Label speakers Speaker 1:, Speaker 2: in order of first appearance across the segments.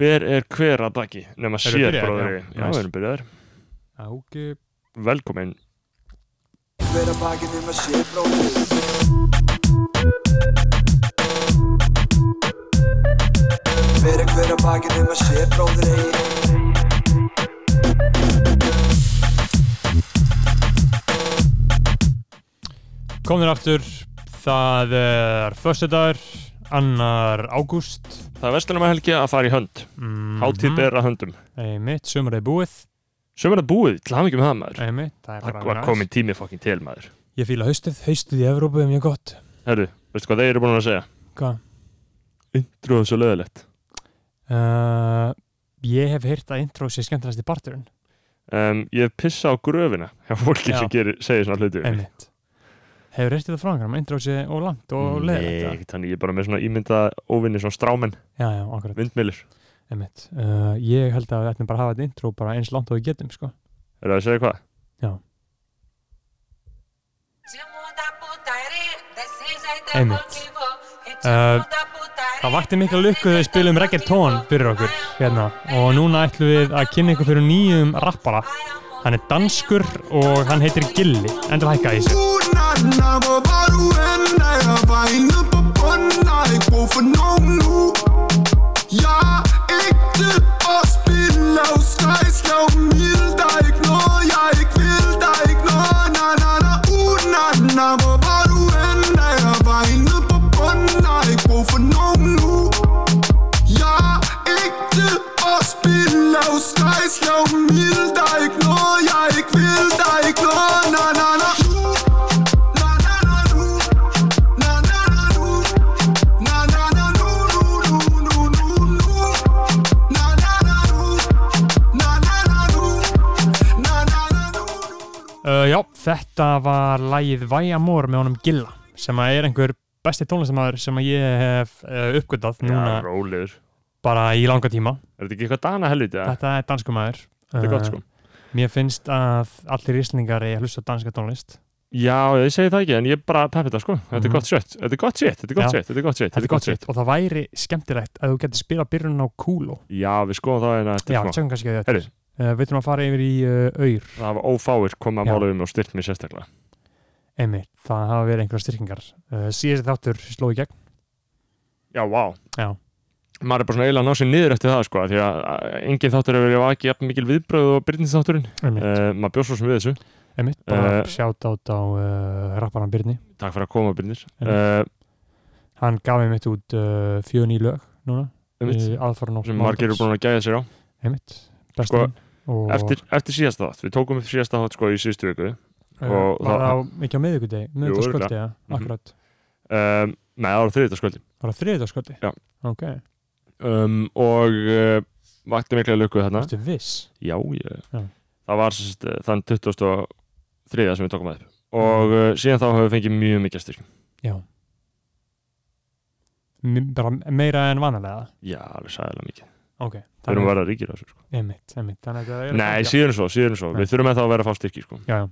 Speaker 1: ber er hver að baki nema
Speaker 2: Erum við
Speaker 1: sér
Speaker 2: byrjaðir?
Speaker 1: bróðri
Speaker 2: Já,
Speaker 1: já,
Speaker 2: nice.
Speaker 1: við erum byrjaðir
Speaker 2: Ágip
Speaker 1: velkomin
Speaker 3: Hver að baki nema sér bróðir Hver að hver að baki nema sér bróðir eigi
Speaker 2: Komður aftur, það er Föstudagur, annar ágúst
Speaker 1: það er vestlunum að helgi að fara í hönd
Speaker 2: mm
Speaker 1: hátíð ber að höndum
Speaker 2: Einmitt, sumar er búið
Speaker 1: sem er að búið, til hafa ekki með það maður
Speaker 2: Einmitt, það er
Speaker 1: það
Speaker 2: bara
Speaker 1: var
Speaker 2: nice.
Speaker 1: komin tími fokkin til maður
Speaker 2: Ég fíla haustið, haustið í Evrópu er mjög gott
Speaker 1: herru, veistu hvað þeir eru búin að segja
Speaker 2: Hvað?
Speaker 1: intro er svo löðilegt
Speaker 2: Uh, ég hef heyrt að intro sé skemmtilegast í parturinn
Speaker 1: um, ég hef pissa á gröfina hjá fólki
Speaker 2: Já.
Speaker 1: sem gerir, segir svona hluti við mig.
Speaker 2: Einmitt Hefur reystið það frá einhverjum, að intro sé og langt og leðilegt
Speaker 1: Nei, þannig ég er bara með svona ímynda óvinni svona strámen,
Speaker 2: Já, já, akkurat
Speaker 1: vindmilir
Speaker 2: Einmitt. Uh, ég held að við ætlum bara að hafa þetta intro bara eins langt og við getum, sko.
Speaker 1: er það að segja hvað?
Speaker 2: Eh, Það vakti mikla lukku þegar við spilum reggaeton fyrir okkur hérna og núna ætlum við að kynna ykkur fyrir nýjum rappara. Hann er danskur og hann heitir Gilli. Endur hækka í sig.
Speaker 4: Godnatten, aber var du end, da jeg var inde på bunden Har ikke brug for nogen nu Jeg er ægte og spil Lav skrejs, lav mild Der er ikke noget, jeg ikke vil Der er ikke noget, na na na Godnatten, aber var du end, da jeg var inde på bunden Har ikke brug for nogen nu Jeg er ægte og spil Lav skrejs, lav mild Der er ikke noget, jeg ikke vil Der er ikke noget, na na na Nu
Speaker 2: Uh, já, þetta var lagið Vajamor með honum Gilla sem að er einhver besti tónlistamæður sem að ég hef uh, uppgötað
Speaker 1: Já,
Speaker 2: núna
Speaker 1: rólegur.
Speaker 2: bara í langa tíma.
Speaker 1: Er þetta ekki eitthvað dana helviti? eða?
Speaker 2: Þetta er danskumæður. Uh,
Speaker 1: Þetta er gott sko.
Speaker 2: Mér finnst að allir íslendingar er að hlusta á danska tónlist.
Speaker 1: Já, ég segi það ekki, en ég er bara peppi þetta sko. Þetta er
Speaker 2: Mhm.
Speaker 1: gott shit, þetta er gott shit, þetta er gott
Speaker 2: Já.
Speaker 1: shit, þetta er gott shit, þetta er gott shit.
Speaker 2: Og það væri skemmtilegt að þú getur spila byrjun á kúlu.
Speaker 1: Já, við skoðum það hérna
Speaker 2: Já,
Speaker 1: eftir smá.
Speaker 2: tjöngum kannski að þetta.
Speaker 1: Herri,
Speaker 2: Uh, við þurfum að fara yfir í uh, auður.
Speaker 1: það hafa ófáir komið að
Speaker 2: Já.
Speaker 1: mála um og styrt mér sérstaklega.
Speaker 2: Einmitt, það hafa verið einhverja styrkingar. Uh, síðast þáttur sló í gegn.
Speaker 1: Já, vá.
Speaker 2: Já.
Speaker 1: Maður er bara svona eiginlega að ná sér niður eftir það sko, af því að að engin þáttur hefur verið ekki jafn mikil viðbröð og byrjnins þátturinn.
Speaker 2: Einmitt,
Speaker 1: Uh, maður bjóð svo sem við þessu.
Speaker 2: einmitt bara
Speaker 1: eh,
Speaker 2: uh, sjátt á uh, rapparan Byrni.
Speaker 1: Takk fyrir að koma, Byrnir. Uh,
Speaker 2: Einmitt. Hann gaf einmitt út uh, fjö ný lög núna.
Speaker 1: um,
Speaker 2: aðfara nótt.
Speaker 1: sem margir eru búin að gæja sér á.
Speaker 2: Einmitt,
Speaker 1: Sko,
Speaker 2: bestin. og,
Speaker 1: Eftir, eftir síðasta þátt, við tókum upp síðasta þátt sko í síðustu viku.
Speaker 2: uh,
Speaker 1: og það-
Speaker 2: var það á- ekki á miðvikudegi, miðvikudagskvöldi, ja,
Speaker 1: Mhm.
Speaker 2: akkurat.
Speaker 1: Um, nei, það var þriðið skvöldi.
Speaker 2: Var það þriðudagskvöldi?
Speaker 1: Já.
Speaker 2: Ok,
Speaker 1: um, og uh, vakti mikla lukku þarna
Speaker 2: þetta er viss.
Speaker 1: já, ég,
Speaker 2: Já.
Speaker 1: það var sest, þann 23. sem við tókum að upp og uh, síðan þá höfum við fengið mjög mikið styrk
Speaker 2: Já. M bara meira en vanalega.
Speaker 1: já, alveg sæðilega mikið,
Speaker 2: Ok.
Speaker 1: við erum
Speaker 2: þannig-
Speaker 1: að vera ríkir á þessu sko.
Speaker 2: Einmitt, einmitt. Þannig að það er...
Speaker 1: nei, síðan svo, síðan svo,
Speaker 2: Nei.
Speaker 1: við þurfum ennþá að vera að fá styrki sko.
Speaker 2: Já, já.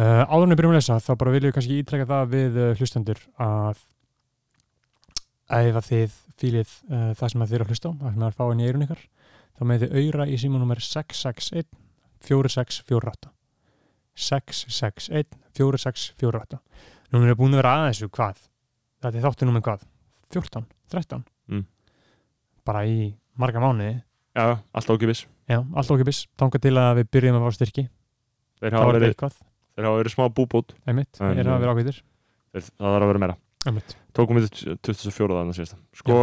Speaker 2: Uh, áður en við byrjum að lesa, þá bara viljum við kannski ítrekka það við uh, hlustendur að ef að þið fýlið uh, það sem að þið eru að hlusta á, það sem að það er fáin í eirun ykkar, þá með þið auðra í símanúmer 661 4648 661 4648 Nú erum við búin að vera aðeins við hvað? Þetta er þáttu númer hvað? 14, 13
Speaker 1: Mm.
Speaker 2: bara í marga mánuði
Speaker 1: já, allt ákipis
Speaker 2: Já, allt okkupis, tanga til að við byrjum að fá styrki
Speaker 1: þeir hafa
Speaker 2: þá er þetta
Speaker 1: verið,
Speaker 2: eitthvað
Speaker 1: þeir hafa verið smá búbút
Speaker 2: Einmitt,
Speaker 1: En,
Speaker 2: er
Speaker 1: eh,
Speaker 2: að vera ágættir
Speaker 1: þeir, það þarf að vera meira
Speaker 2: Einmitt.
Speaker 1: tókum við upp 24. þarna síðasta sko,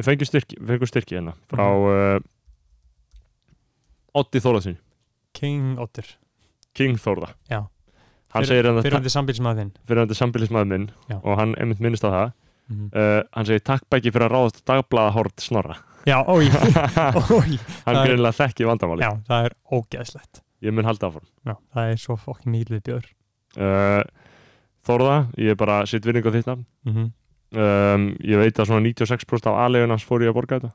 Speaker 1: við fengjum styrki, við fengjum styrki hérna frá
Speaker 2: Mhm.
Speaker 1: uh, Otti Þólaðsson,
Speaker 2: King Otter,
Speaker 1: King Þórða
Speaker 2: Já.
Speaker 1: hann segir hérna
Speaker 2: fyrirandi sambilsmaður þinn
Speaker 1: fyrirandi sambilismæður minn
Speaker 2: Já.
Speaker 1: og hann einmitt minnist á það
Speaker 2: Mhm.
Speaker 1: uh, hann segir takk bæki fyrir að ráðast dagbladahort snorra
Speaker 2: Já, ói, ói
Speaker 1: hann
Speaker 2: Það er-
Speaker 1: greinlega þekki vandamáli
Speaker 2: Já, það er ógeðslegt
Speaker 1: ég mun halda áfram
Speaker 2: Já, það er svo fokkin mýlið björ
Speaker 1: uh, Þorða, ég er bara sitt vinning á þitt nafn
Speaker 2: mm -hmm.
Speaker 1: um, ég veit að svona 96% af aðlegin hans fór ég að borga þetta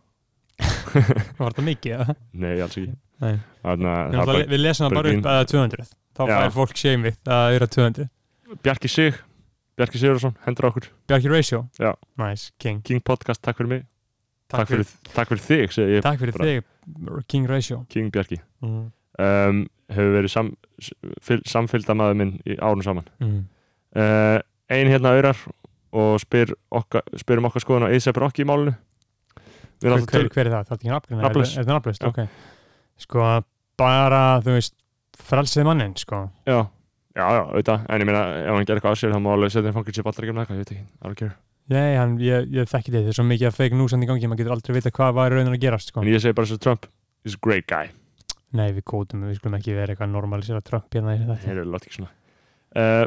Speaker 2: Var það mikið? eða?
Speaker 1: nei, alls ekki
Speaker 2: Nei.
Speaker 1: Þannig að
Speaker 2: Ég
Speaker 1: það
Speaker 2: ætla-
Speaker 1: er
Speaker 2: Við lesum það bara
Speaker 1: Berlín.
Speaker 2: upp að 200 Þá
Speaker 1: Já.
Speaker 2: fær fólk shamið að auðra 200
Speaker 1: bara Bjarki Sig, Bjarki Sigurðarsson, hendur okkur
Speaker 2: Bjarki Ratio
Speaker 1: Já.
Speaker 2: Nice, King
Speaker 1: King Podcast, takk fyrir mig takk fyrir, takk fyrir þig, segi ég,
Speaker 2: Takk fyrir
Speaker 1: bara.
Speaker 2: þig, King Ratio
Speaker 1: King Bjarki
Speaker 2: mm.
Speaker 1: um, hefur verið sam, fyl, samfylgda maður minn í árun saman
Speaker 2: Mm.
Speaker 1: uh, ein hérna auðrar og spyr okka, spyr um okkar skoðun á A$AP Rocky í málinu við
Speaker 2: Hver,
Speaker 1: erum
Speaker 2: hver,
Speaker 1: alltaf
Speaker 2: hver er það? Það er ekki nafngrinn
Speaker 1: Nafnlaus.
Speaker 2: Er það nafnlaust?
Speaker 1: Já.
Speaker 2: Ok Sko, bara, þú veist frelsið mannin, sko
Speaker 1: töl já, já, já, auðvitað, en ég meina ef hann gerir eitthvað á sér þá má alveg setja hann fangilsi ballar ekki um eitthvað, ég veit ekki, I don't care
Speaker 2: Nei, hann, ég, ég þekki þetta, þetta er svo mikið að fake news hann í gangi, maður getur aldrei vita hvað var raunin að gerast, sko
Speaker 1: en ég segi bara svo Trump is a great guy
Speaker 2: Nei, við kótum, við skulum ekki vera eitthvað normalisera Trump hérna í þetta
Speaker 1: Heyrðu, lát ekki svona uh,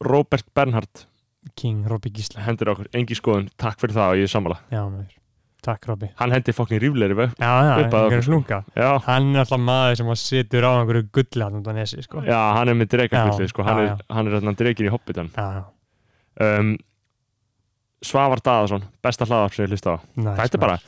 Speaker 1: Robert Bernhard
Speaker 2: King, Robby Gísla
Speaker 1: hendir okkur, engi skoðun, takk fyrir það og ég er sammála
Speaker 2: Já, maður, takk Robby
Speaker 1: hann hendir fokkin rífleiri vef
Speaker 2: Já, já,
Speaker 1: Upp að
Speaker 2: einhverjum
Speaker 1: okkur.
Speaker 2: slunga
Speaker 1: já,
Speaker 2: Hann er alltaf maður sem að situr á einhverju gulli hann út á nesi, sko
Speaker 1: já, hann er með dregakulli
Speaker 2: Já,
Speaker 1: sko. hann,
Speaker 2: já,
Speaker 1: er- hann er hann dregin í Hobbitan
Speaker 2: já, já.
Speaker 1: um, Svavar Daðarsson besta hlaðarp sem ég hlusta á
Speaker 2: Nice,
Speaker 1: þetta er
Speaker 2: maður.
Speaker 1: bara,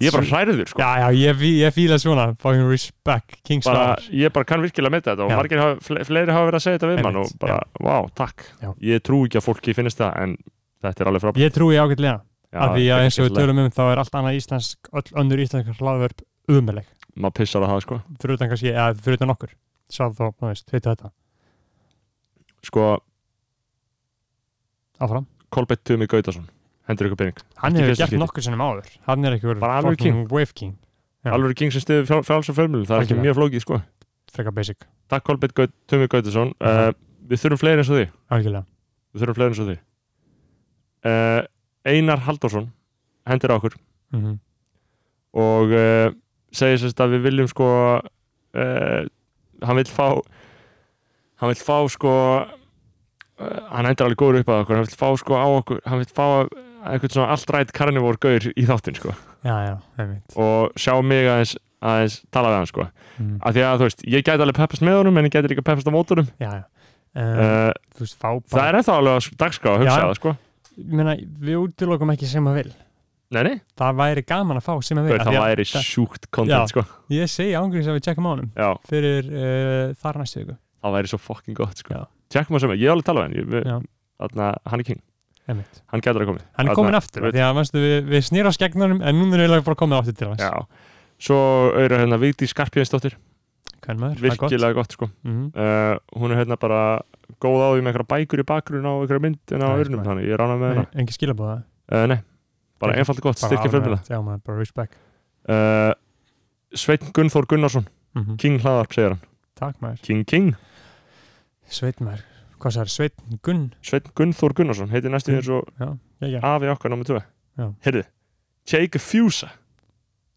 Speaker 1: ég er bara hræður sko.
Speaker 2: Já, já, ég, fí- ég fíla svona, fucking respect, King
Speaker 1: bara,
Speaker 2: Star
Speaker 1: ég bara kann virkilega með þetta og
Speaker 2: Já.
Speaker 1: margir hafa, fle, fleiri hafa verið að segja þetta við mann og
Speaker 2: Einmitt,
Speaker 1: bara, vá, takk
Speaker 2: Já.
Speaker 1: ég trú ekki að fólki finnist það en þetta er alveg frábært
Speaker 2: Ég trúi ágætlega,
Speaker 1: Já,
Speaker 2: af því
Speaker 1: þetta
Speaker 2: að
Speaker 1: er
Speaker 2: eins og við
Speaker 1: skemmtilega.
Speaker 2: tölum um þá er allt annað íslensk, öll önnur íslensk hlaðvörp umöðleg,
Speaker 1: maður pissar á það sko
Speaker 2: fyrir utan kannski, eða fyrir utan okkur Sá þá, þú veist, heitir þetta,
Speaker 1: sko,
Speaker 2: áfram
Speaker 1: Kolbett Tumi Gautason hendur ykkur pening
Speaker 2: Hann
Speaker 1: Ekki
Speaker 2: hefur
Speaker 1: fyrsta
Speaker 2: gert
Speaker 1: skipti.
Speaker 2: nokkur sinnum áður, hann er ekki verið
Speaker 1: Bara alveg
Speaker 2: fucking wave king, Já.
Speaker 1: alveg king sem stuður frjáls frjáls og fjölmjölu, það er ekki
Speaker 2: Algjörlega.
Speaker 1: mjög flókið sko
Speaker 2: frekar basic,
Speaker 1: Takk Kolbett Gaut, Tumi Gautason uh, Við þurfum fleiri eins og því
Speaker 2: algjörlega
Speaker 1: Við þurfum fleiri eins og því uh, Einar Halldórsson hendir á okkur
Speaker 2: mm
Speaker 1: og uh, segir sérst að við viljum sko uh, hann vill fá hann vill fá sko uh, hann hendur alveg góður upp að okkur hann vill fá sko á okkur hann vill fá einhvern svona allt rætt karnivór gaur í þáttinn sko
Speaker 2: Já, já, einmitt
Speaker 1: og sjá mig aðeins, aðeins tala við hann sko
Speaker 2: mm.
Speaker 1: af því að þú veist, ég gæti alveg peppast með honum en ég gæti líka peppast á mótunum
Speaker 2: Já, já uh,
Speaker 1: uh,
Speaker 2: Þú veist, fá
Speaker 1: það
Speaker 2: bara
Speaker 1: er ennþá alveg að dagskrá að hugsa
Speaker 2: Já.
Speaker 1: það sko
Speaker 2: Ég meina, við útilokum ekki sem að vil
Speaker 1: nei, nei,
Speaker 2: Það væri gaman að fá sem að vil
Speaker 1: Gaur,
Speaker 2: af
Speaker 1: það
Speaker 2: því að-
Speaker 1: væri sjúkt content
Speaker 2: Já.
Speaker 1: sko
Speaker 2: Ég segi ángurins að við tjekkum á honum
Speaker 1: já,
Speaker 2: fyrir uh, þar næstu viku
Speaker 1: það væri svo fucking gott sko
Speaker 2: Já.
Speaker 1: tjekkum að sem, ég er alveg að tala við hann ég,
Speaker 2: Já.
Speaker 1: við, þarna, hann er king
Speaker 2: einmitt.
Speaker 1: hann gætur að komið
Speaker 2: Hann er
Speaker 1: Þarna-
Speaker 2: komin aftur,
Speaker 1: veit-
Speaker 2: því að manstu, við, við snýra á skegnunum en núna er eiginlega bara komið aftur til hans
Speaker 1: já. svo auðvitað hérna Vigdís Skarpjöðinsdóttir
Speaker 2: Hvern maður, það er gott
Speaker 1: virkilega gott sko
Speaker 2: mm.
Speaker 1: uh, hún er hérna bara góð á því með einhverja bækur í bakgrunn og einhverja mynd en á
Speaker 2: Nice,
Speaker 1: örnum
Speaker 2: maður.
Speaker 1: þannig, ég rána með
Speaker 2: Nei,
Speaker 1: hérna
Speaker 2: Engi skilabóða
Speaker 1: uh, nei, bara
Speaker 2: Ekki.
Speaker 1: einfalt og gott, styrkja fjölmjöla
Speaker 2: eh? Já maður, bara respect
Speaker 1: uh, Sveinn Gunnþór Gunnarsson
Speaker 2: mm -hmm.
Speaker 1: King Hlaðarp segir hann,
Speaker 2: Takk maður,
Speaker 1: King King
Speaker 2: Sveit maður Hvað sagði, Sveit Gunn
Speaker 1: Sveinn Gunnþór Gunnarsson, heitir næstu
Speaker 2: Mm.
Speaker 1: eins og
Speaker 2: Já, já, já
Speaker 1: afi okkar námið tvö
Speaker 2: Já.
Speaker 1: heyrðu, Jake Fusa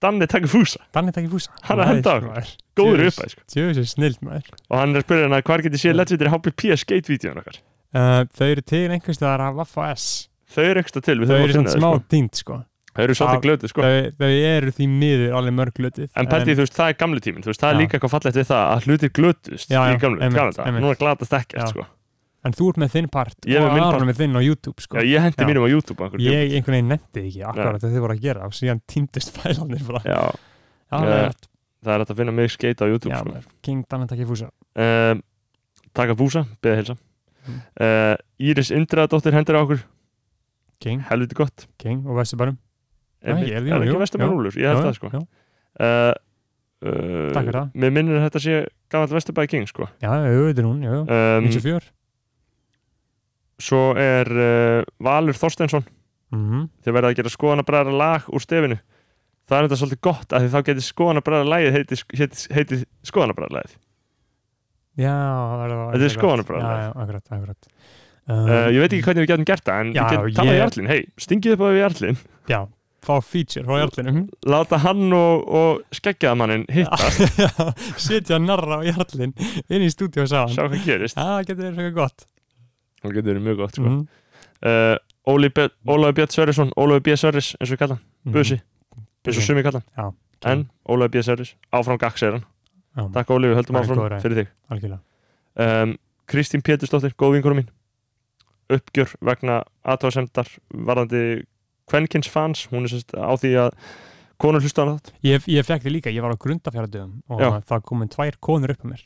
Speaker 1: Danni Takafúsa,
Speaker 2: Danni takk í fúsa
Speaker 1: Hann er að henda á okkur. góður upp sko.
Speaker 2: Tjóðis er snild maður
Speaker 1: og hann er að spyrja hann að hvar getið séð
Speaker 2: Mm.
Speaker 1: legendary HBP skate-vídeóin okkar
Speaker 2: uh, Þau eru til einhvers staðar af Vaffa S
Speaker 1: þau eru ekstra til, við
Speaker 2: Þau
Speaker 1: þurfum
Speaker 2: eru
Speaker 1: að
Speaker 2: svona
Speaker 1: finna
Speaker 2: smá
Speaker 1: það sko.
Speaker 2: dýnd sko
Speaker 1: Þau eru svolítið
Speaker 2: Af-
Speaker 1: glötu sko
Speaker 2: þau, þau eru því miður alveg mörg lötið
Speaker 1: En pælti, þú veist, það er gamli tíminn, þú veist, það er
Speaker 2: Já.
Speaker 1: líka eitthvað fallegt við það að hlutir glötust
Speaker 2: Já,
Speaker 1: í
Speaker 2: já,
Speaker 1: gamla,
Speaker 2: einmitt,
Speaker 1: gamla dag,
Speaker 2: einmitt.
Speaker 1: núna glatast
Speaker 2: Já.
Speaker 1: ekkert, sko.
Speaker 2: En þú ert með þinn part
Speaker 1: Ég er
Speaker 2: og
Speaker 1: með minn part.
Speaker 2: Aron er með þinn á YouTube sko.
Speaker 1: Já, ég hendi
Speaker 2: Já.
Speaker 1: mínum á YouTube á einhverjum tíma.
Speaker 2: Ég einhvern veginn nefndi ekki akkurat að þið voru að gera og síðan týndist fælanir bara.
Speaker 1: Já,
Speaker 2: Já, það er
Speaker 1: Eh,
Speaker 2: rétt.
Speaker 1: það er hægt að finna mig skeita á YouTube,
Speaker 2: Já,
Speaker 1: sko.
Speaker 2: maður. King Danne takk í fúsa.
Speaker 1: Um, Takk að búsa, beða helsa.
Speaker 2: Mm.
Speaker 1: Uh, Íris Indreðadóttir hendur á okkur,
Speaker 2: King,
Speaker 1: helviti gott.
Speaker 2: King og Vesturbærum.
Speaker 1: Einmitt.
Speaker 2: ég-
Speaker 1: Er
Speaker 2: jú,
Speaker 1: það
Speaker 2: jú,
Speaker 1: ekki vestur
Speaker 2: já.
Speaker 1: með rúlur? Ég held
Speaker 2: Já,
Speaker 1: það, sko.
Speaker 2: Já,
Speaker 1: Uh, uh,
Speaker 2: Takk fyrir það.
Speaker 1: Mér minnir að þetta sé gamall vesturbæði king, sko.
Speaker 2: já, auðvitað er hún, já, já.
Speaker 1: Um,
Speaker 2: 94.
Speaker 1: svo er uh, Valur Þorsteinsson
Speaker 2: Mhm.
Speaker 1: þið verða að gera skoðanabræðara lag úr stefinu það er þetta svolítið gott af því þá getur skoðanabræðara lagið heiti, heiti, heiti skoðanabræðara lagið
Speaker 2: Já, það er það.
Speaker 1: Þetta er
Speaker 2: akkurat.
Speaker 1: skoðanabræður.
Speaker 2: Já, já, akkurat, akkurat.
Speaker 1: uh, ég veit ekki hvernig við getum gert það en
Speaker 2: Já,
Speaker 1: við getum talað
Speaker 2: ég-
Speaker 1: í Jarlin, hei, stingið upp á við Jarlin
Speaker 2: Já, fá feature frá Jarlinum.
Speaker 1: Mhm. láta hann og, og skeggjaðamannin hitta,
Speaker 2: Sitja narra á Jarlin inn í stúdíu og sá hann.
Speaker 1: sjá hvað gerist
Speaker 2: Já, það getur verið eitthvað gott.
Speaker 1: það getur verið mjög gott sko.
Speaker 2: Mhm.
Speaker 1: uh, Óli Be- Ólafur Björn Sörjesson Ólafur B. Sörjes, eins og við kalla hann,
Speaker 2: Mhm.
Speaker 1: Busi eins og sumi kalla hann,
Speaker 2: Já,
Speaker 1: en Ólafur B. Sörjes áfram gakk segir hann,
Speaker 2: Já,
Speaker 1: takk Óli við höldum
Speaker 2: Það er góð
Speaker 1: áfram
Speaker 2: ræða.
Speaker 1: fyrir þig
Speaker 2: algjörlega.
Speaker 1: um, Kristín Pétursdóttir, góð vinkunum mín uppgjör vegna aðtóðsendar varðandi kvenkins fans hún er sérst á því að konur hlusta á þátt
Speaker 2: Ég, ég fekk því líka, ég var á grundafjörðum og
Speaker 1: Já.
Speaker 2: það komum tvær konur upp á mér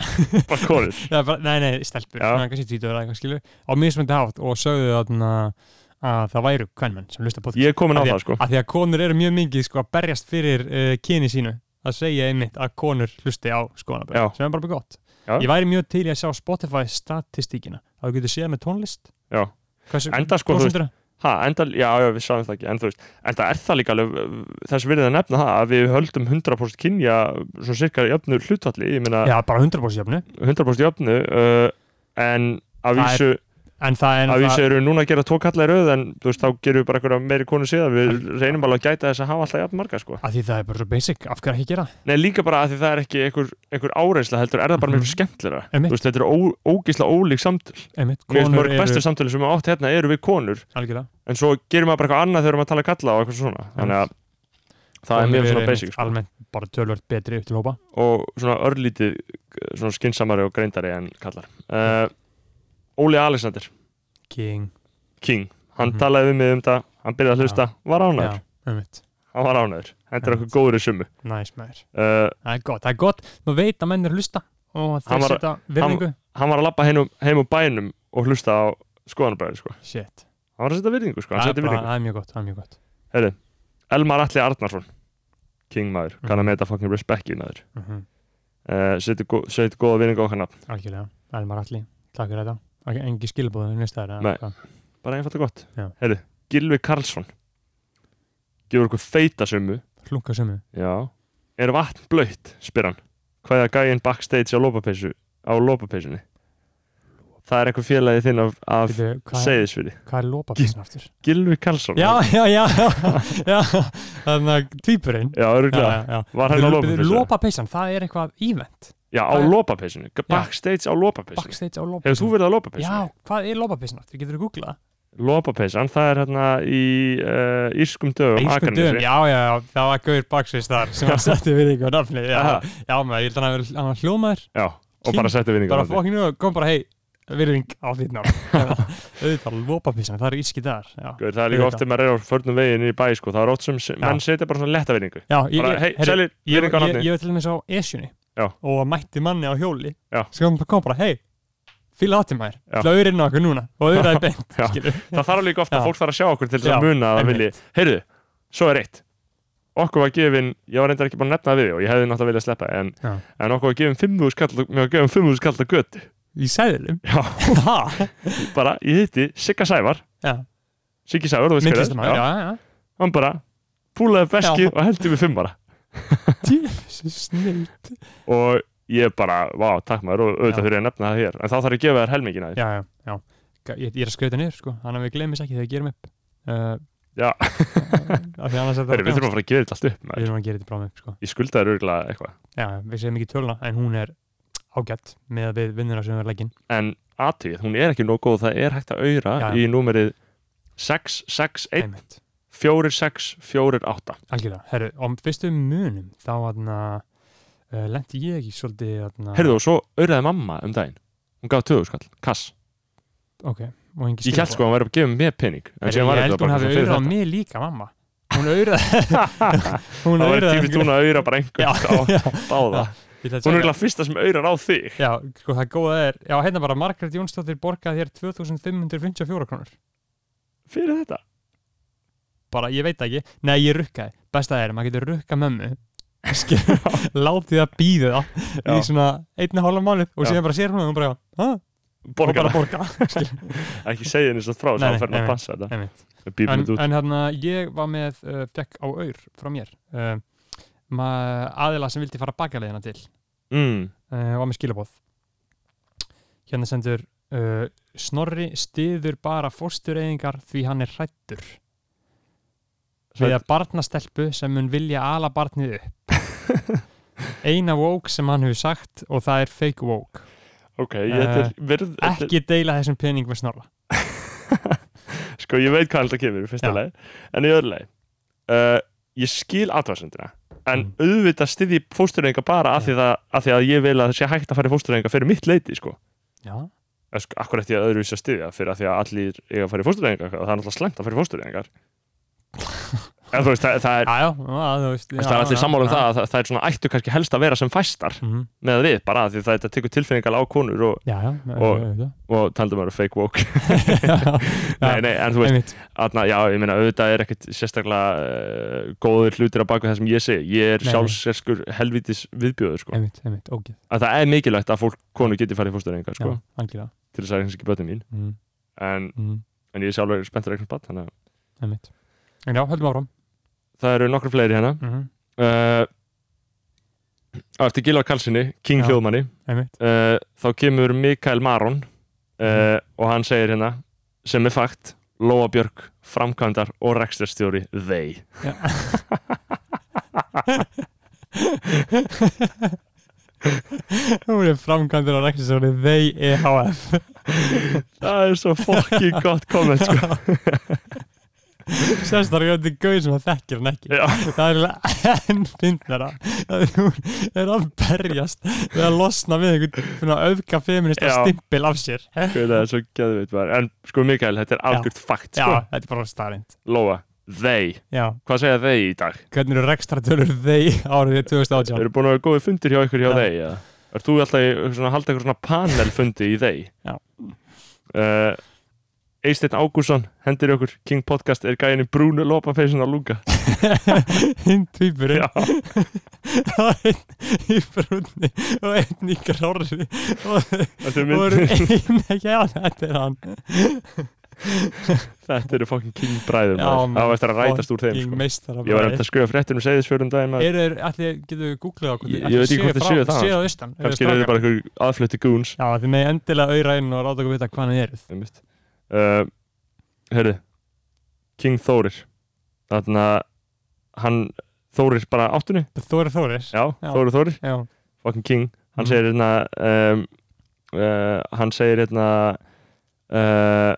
Speaker 1: bara konur
Speaker 2: Já, bara, Nei, nei, stelpur,
Speaker 1: Já.
Speaker 2: svona kannski tvítur eða eitthvað skilur á mismöndi hátt og sögðu þarna að það væru kvenmenn sem hlusta á podcast
Speaker 1: Ég er komin á
Speaker 2: Af
Speaker 1: það sko
Speaker 2: að því að konur eru mjög mikið sko, að berjast fyrir uh, kyni sínu að segja einmitt að konur hlusti á skoðanabæð
Speaker 1: Já.
Speaker 2: sem er bara mjög gott
Speaker 1: Já.
Speaker 2: ég væri mjög til í að sjá Spotify statistíkina að þú getur séð með tónlist
Speaker 1: Já.
Speaker 2: Hversu,
Speaker 1: Enda sko, þú veist-
Speaker 2: prósentur-
Speaker 1: ha, enda, Já, já, við sagðum það ekki En þú veist, enda er það líka alveg uh, Þess virðið að nefna það að við höldum 100% kynja Svo cirka jöfnu hlutvalli Ég meina
Speaker 2: já, bara 100% jöfnu
Speaker 1: 100% jöfnu uh, En að
Speaker 2: Það er-
Speaker 1: vísu,
Speaker 2: en það
Speaker 1: að
Speaker 2: er það-
Speaker 1: vísu eru núna að gera tvo kallar rauð En þú veist, þá gerum við bara einhverja meiri konu síðan Við reynum alveg að gæta þess að hafa alltaf jafn marga sko
Speaker 2: að því það er bara svo basic, af hverju ekki gera það?
Speaker 1: Nei, líka bara að því það er ekki einhver, einhver áreinsla heldur, er það bara
Speaker 2: Mhm.
Speaker 1: mjög skemmtilega
Speaker 2: Einmitt.
Speaker 1: Þú veist, þetta er ó, ógísla ólík samtöl
Speaker 2: einmitt,
Speaker 1: Mjög
Speaker 2: konur
Speaker 1: mörg
Speaker 2: eru
Speaker 1: bestu samtölu sem við átt hérna eru við konur
Speaker 2: algjörlega
Speaker 1: en svo gerir maður bara eitthvað annað þegar maður tala kalla og eitthvað svona þannig að það er
Speaker 2: Konur
Speaker 1: mjög
Speaker 2: eru
Speaker 1: svona
Speaker 2: einmitt
Speaker 1: basic sko.
Speaker 2: almennt bara tölvöld betri upp til hópa
Speaker 1: og svona örlítið eh, svona skinsamari og greindari en kallar uh, Óli Alexander
Speaker 2: king,
Speaker 1: King, hann
Speaker 2: Mhm.
Speaker 1: talaði við mig um þetta hann byrjaði að hlusta, var ánæður
Speaker 2: já, einmitt
Speaker 1: hann var ánæður, hendur okkur
Speaker 2: Einmitt.
Speaker 1: góður í sumu
Speaker 2: nice maður,
Speaker 1: uh,
Speaker 2: það er gott, það er gott maður veit að menn er að hlusta og
Speaker 1: Hann
Speaker 2: þeir
Speaker 1: var-
Speaker 2: setja virðingu
Speaker 1: hann var að labba heim, um- heim um bænum og hlusta á skoðanabræði sko.
Speaker 2: shit
Speaker 1: hann var að setja virðingu, sko. hann
Speaker 2: Það er
Speaker 1: setja
Speaker 2: bara-
Speaker 1: virðingu
Speaker 2: það er mjög gott, það er mjög gott
Speaker 1: Elmar Atli Arnarsson, King maður
Speaker 2: Mhm.
Speaker 1: kann að meta fucking respecti maður
Speaker 2: mm -hmm.
Speaker 1: uh, setja gó- setja góða virðingu á okkar nafn
Speaker 2: Algjörlega, Elmar Alli, takk fyrir þetta okay, Engi skilbóðið nýstæður
Speaker 1: Nei. bara einfalt og gott
Speaker 2: Já.
Speaker 1: Heyrðu, Gilvi Karlsson gefur okkur feita sumu
Speaker 2: Hlunga sömu
Speaker 1: Já. er vatn blöytt, spyr hann hvað er gæinn backstage á lópapeysu á lópapeysunni það er eitthvað félagið þinn af, af
Speaker 2: Bíddu, Hvað er,
Speaker 1: segðisfyrir,
Speaker 2: hvað er lópapísin aftur?
Speaker 1: Gilvi Karlsson
Speaker 2: Já, já, já, já Þannig að tvípurinn
Speaker 1: já, örugglega. var hann á lópapeysu
Speaker 2: Lópapísan, það er eitthvað ívent
Speaker 1: já, á
Speaker 2: Hvað er-
Speaker 1: lópapeysunni, backstage á lópapeysunni
Speaker 2: Backstage á lópapísan
Speaker 1: hefur þú verið á lópapeysunni?
Speaker 2: Já, hvað er lópapísan aftur? Getur þú googlað?
Speaker 1: lópapeysan, það er hérna í uh, Írskum dögum,
Speaker 2: Írskum dögum,
Speaker 1: Akranesi.
Speaker 2: já, já, já, það var Gaur Baksins þar sem að setja við ykkur nafni Já,
Speaker 1: Aha.
Speaker 2: já maður, ég held að hann hafi verið- hann var hljómaður
Speaker 1: já, og bara setja vinningar
Speaker 2: bara fokkinu og kom bara hei virðing á þitt nár auðvitað lópapísan, það eru íski dagar já,
Speaker 1: Guður, það er líka
Speaker 2: Auðvitað.
Speaker 1: oft þegar maður er á förnum veginn í bæ sko, það er oft sem se- menn setja bara svona letta vinningu
Speaker 2: já ég,
Speaker 1: bara, hei,
Speaker 2: heyrðu,
Speaker 1: sælir,
Speaker 2: ég,
Speaker 1: vinningu á
Speaker 2: ég, ég,
Speaker 1: nafni
Speaker 2: var til dæmis á Esjunni
Speaker 1: Já.
Speaker 2: og mætti manni á hjóli
Speaker 1: Já.
Speaker 2: sem kom, kom bara, hei, fíla það til maður
Speaker 1: Já.
Speaker 2: til að auðrinn okkur núna og auðraði beint
Speaker 1: Já.
Speaker 2: skilur.
Speaker 1: það þarf líka oft
Speaker 2: Já.
Speaker 1: að fólk þarf að sjá okkur til þess að
Speaker 2: Já,
Speaker 1: muna að það vilji,
Speaker 2: einmitt.
Speaker 1: heyrðu, svo er eitt okkur var gefin, ég var reyndar ekki búin að nefna það við þig og ég hefði náttúrulega viljað sleppa en,
Speaker 2: Já.
Speaker 1: en okkur var gefin 5.000 kall mér var gefin 5.000 kall að götu
Speaker 2: í sæðilum
Speaker 1: já, bara, ég hitti Sigga Sævar
Speaker 2: Já.
Speaker 1: Siggi Sævar, þú veist hver er,
Speaker 2: myndlistum
Speaker 1: já.
Speaker 2: maður, já, já
Speaker 1: hann bara púlaði beski og heldur við 5 bara
Speaker 2: Djöfis, snill
Speaker 1: og ég bara, vá, takk maður og
Speaker 2: Já.
Speaker 1: auðvitað þurfi ég að nefna það hér en þá þarf ég að gefa þér helmingina
Speaker 2: já, já, já Ég, ég er að skauta niður, sko, þannig að við glemis ekki þegar við gerum upp uh,
Speaker 1: Já.
Speaker 2: af því annars er þetta
Speaker 1: Heri, við þurfum að fara að gefa þetta allt upp
Speaker 2: Við
Speaker 1: maður.
Speaker 2: þurfum að gera þetta bráðum upp, sko
Speaker 1: ég skulda þér örgulega eitthvað
Speaker 2: já, við segjum ekki töluna, en hún er ágætt með að við vinnuna sem við erum leggin
Speaker 1: en aðtögið, hún er ekki nóg góð það er hægt að auðra
Speaker 2: Já.
Speaker 1: í númerið 661
Speaker 2: einmitt,
Speaker 1: 4648
Speaker 2: algjörlega, herru, og fyrstu munum þá aðna uh, lendi ég ekki svolítið aðna
Speaker 1: heyrðu og svo auðraði mamma um daginn hún gaf töðu skall, kass
Speaker 2: ok, og engi
Speaker 1: ég held sko að hún væri að gefa mér pening en
Speaker 2: herru,
Speaker 1: síðan
Speaker 2: ég
Speaker 1: var
Speaker 2: held
Speaker 1: þetta
Speaker 2: hún
Speaker 1: bara
Speaker 2: hafi
Speaker 1: eitthvað fyrir
Speaker 2: auðrað
Speaker 1: þetta
Speaker 2: mig líka, mamma hún auðrað hún
Speaker 1: það var
Speaker 2: auðraði
Speaker 1: tífið hún að auðra bara einhvern á
Speaker 2: einhver- já,
Speaker 1: báða
Speaker 2: ég
Speaker 1: hún
Speaker 2: ætla að
Speaker 1: er
Speaker 2: segja-
Speaker 1: eiginlega fyrsta sem auðrar á þig
Speaker 2: já, sko það góða er, já, hérna bara Margrét Jónsdóttir borgaði þér 2554 krónur
Speaker 1: fyrir þetta
Speaker 2: bara, ég veit það ekki, nei, ég rukkaði besta er, maður getur rukka mömmu Skilur, látið að býða í
Speaker 1: Já.
Speaker 2: svona einna hálfa mánuð og
Speaker 1: Já.
Speaker 2: síðan bara sér hún og hún bara, hæ? og
Speaker 1: borgar
Speaker 2: bara borga
Speaker 1: ekki segja henni svo frá
Speaker 2: Nei,
Speaker 1: sem
Speaker 2: nei,
Speaker 1: hann fer
Speaker 2: nei,
Speaker 1: að
Speaker 2: nei.
Speaker 1: passa þetta
Speaker 2: Einmitt.
Speaker 1: Við bípum
Speaker 2: en,
Speaker 1: þetta út
Speaker 2: en hérna, ég var með uh, fekk á auður frá mér uh, ma- aðila sem vildi fara bakalegina til
Speaker 1: Mm,
Speaker 2: uh, var með skilabóð hérna sendur uh, Snorri stiður bara fóstureyðingar því hann er hrættur við að barnastelpu sem mun vilja ala barnið upp eina woke sem hann hefur sagt og það er fake woke
Speaker 1: ok, ég þetta
Speaker 2: Eh,
Speaker 1: er virð þetta er-
Speaker 2: ekki deila þessum pening með Snorra
Speaker 1: sko ég veit hvað alltaf kemur í fyrsta
Speaker 2: Já.
Speaker 1: lagi en í öðru lagi uh, ég skil aðvarsendina en
Speaker 2: Mm.
Speaker 1: auðvitað styði fóstureyinga bara af því, það, af því að ég vil að það sé hægt að fara í fóstureyinga fyrir mitt leiti sko
Speaker 2: já,
Speaker 1: En sko, akkur eftir að öðruvísi að styðja fyrir að því að allir eiga að fara í fóstureyinga það er náttúrulega slæmt að fara í fóstureyingar eða, þú veist, það, það, er,
Speaker 2: Já, já, já, þú veist
Speaker 1: það er allir sammála um það að það- það er svona ættu kannski helst að vera sem fæstar
Speaker 2: Mhm.
Speaker 1: með við bara af því það þetta tekur tilfinningal á konur og,
Speaker 2: Já, já,
Speaker 1: Og-
Speaker 2: auðvitað.
Speaker 1: og taldum að vera fake woke nei,
Speaker 2: Já,
Speaker 1: nei, en þú veist, Sko.
Speaker 2: einmitt
Speaker 1: Atna, já, ég meina, auðvitað er ekkert sérstaklega uh, góður hlutir að baka það sem ég segi. Ég er
Speaker 2: Nei, nei.
Speaker 1: sjálfserskur helvítis viðbjóður, sko.
Speaker 2: Einmitt, einmitt, ógið
Speaker 1: Að það er mikilvægt að fólk, konur geti farið í fórstöðningar,
Speaker 2: Já,
Speaker 1: sko,
Speaker 2: algjörlega
Speaker 1: til þess að það er kannski ekki bötni mín.
Speaker 2: mm,
Speaker 1: En,
Speaker 2: mm,
Speaker 1: en ég er sjálfur spenntur eitthvað böt, þannig að
Speaker 2: Einmitt En já, höldum áfram
Speaker 1: það eru nokkru fleiri hérna.
Speaker 2: mm,
Speaker 1: Uh, á eftir Gilvar Karlssoni, King
Speaker 2: Já.
Speaker 1: Hljóðmanni,
Speaker 2: Einmitt
Speaker 1: uh, þá kemur Mikael Maron uh,
Speaker 2: Mhm.
Speaker 1: og hann segir hérna, sem er fakt, Lóa Björk, framkvæmdar og rekstjarstjóri, they.
Speaker 2: Hún er framkvæmdur á E rekstinsjóni They EHF
Speaker 1: Það er svo fokkin gott komment sko.
Speaker 2: Sérstaklega þetta er gauð sem að þekkir hann ekki
Speaker 1: Já.
Speaker 2: Það er eiginlega enn fyndnara að hún er að berjast við að losna við einhvern svona öfka feminista
Speaker 1: Já.
Speaker 2: stimpil af sér Já,
Speaker 1: Guð, það er svo geðveit bara En sko Mikael, þetta er algjört fakt sko.
Speaker 2: þetta er bara starind
Speaker 1: Lóa, they,
Speaker 2: Já,
Speaker 1: hvað segja they í dag?
Speaker 2: hvernig eru rekstratölur þeir árið 2018
Speaker 1: Eru búin að vera góði fundir hjá ykkur hjá
Speaker 2: Já.
Speaker 1: they? Ja? Er þú alltaf í, svona, að halda eitthvað svona panelfundi í they?
Speaker 2: Já.
Speaker 1: uh, Eisteinn Ágússon hendir ykkur, King Podcast er gæðin í brúnu lópapeysin á lúka
Speaker 2: Hinn tvíburinn
Speaker 1: Já,
Speaker 2: og einn í brúnni og einn í grári og
Speaker 1: þetta er
Speaker 2: og eru
Speaker 1: mynd
Speaker 2: einn ekki að þetta er hann
Speaker 1: Þetta eru fokkin King bræður maður.
Speaker 2: Já,
Speaker 1: Það
Speaker 2: maður,
Speaker 1: var eftir að rætast úr þeim
Speaker 2: Ég
Speaker 1: sko.
Speaker 2: meistara
Speaker 1: Ég var eftir að skrifa fréttir um segðisfjörðum daginn maður.
Speaker 2: Eru, allir, getur við googlað á hvort-
Speaker 1: Ég- ég
Speaker 2: ætli
Speaker 1: veit ekki hvort þeir séu
Speaker 2: frá-
Speaker 1: það.
Speaker 2: Séu á austan eru
Speaker 1: Kannski
Speaker 2: þeir
Speaker 1: er þetta
Speaker 2: strákar?
Speaker 1: bara einhver aðflutti goons
Speaker 2: Já, þið með endilega auðra inn og ráða okkur vita hvað hann eruð.
Speaker 1: einmitt uh, Herðu King Þórir Þannig að hann Þórir bara á áttunni
Speaker 2: Þóri Þórir.
Speaker 1: Já,
Speaker 2: Já.
Speaker 1: Þórir Þórir,
Speaker 2: Já.
Speaker 1: fucking King Hann
Speaker 2: Mhm.
Speaker 1: segir hérna um, uh, Hann segir hérna uh,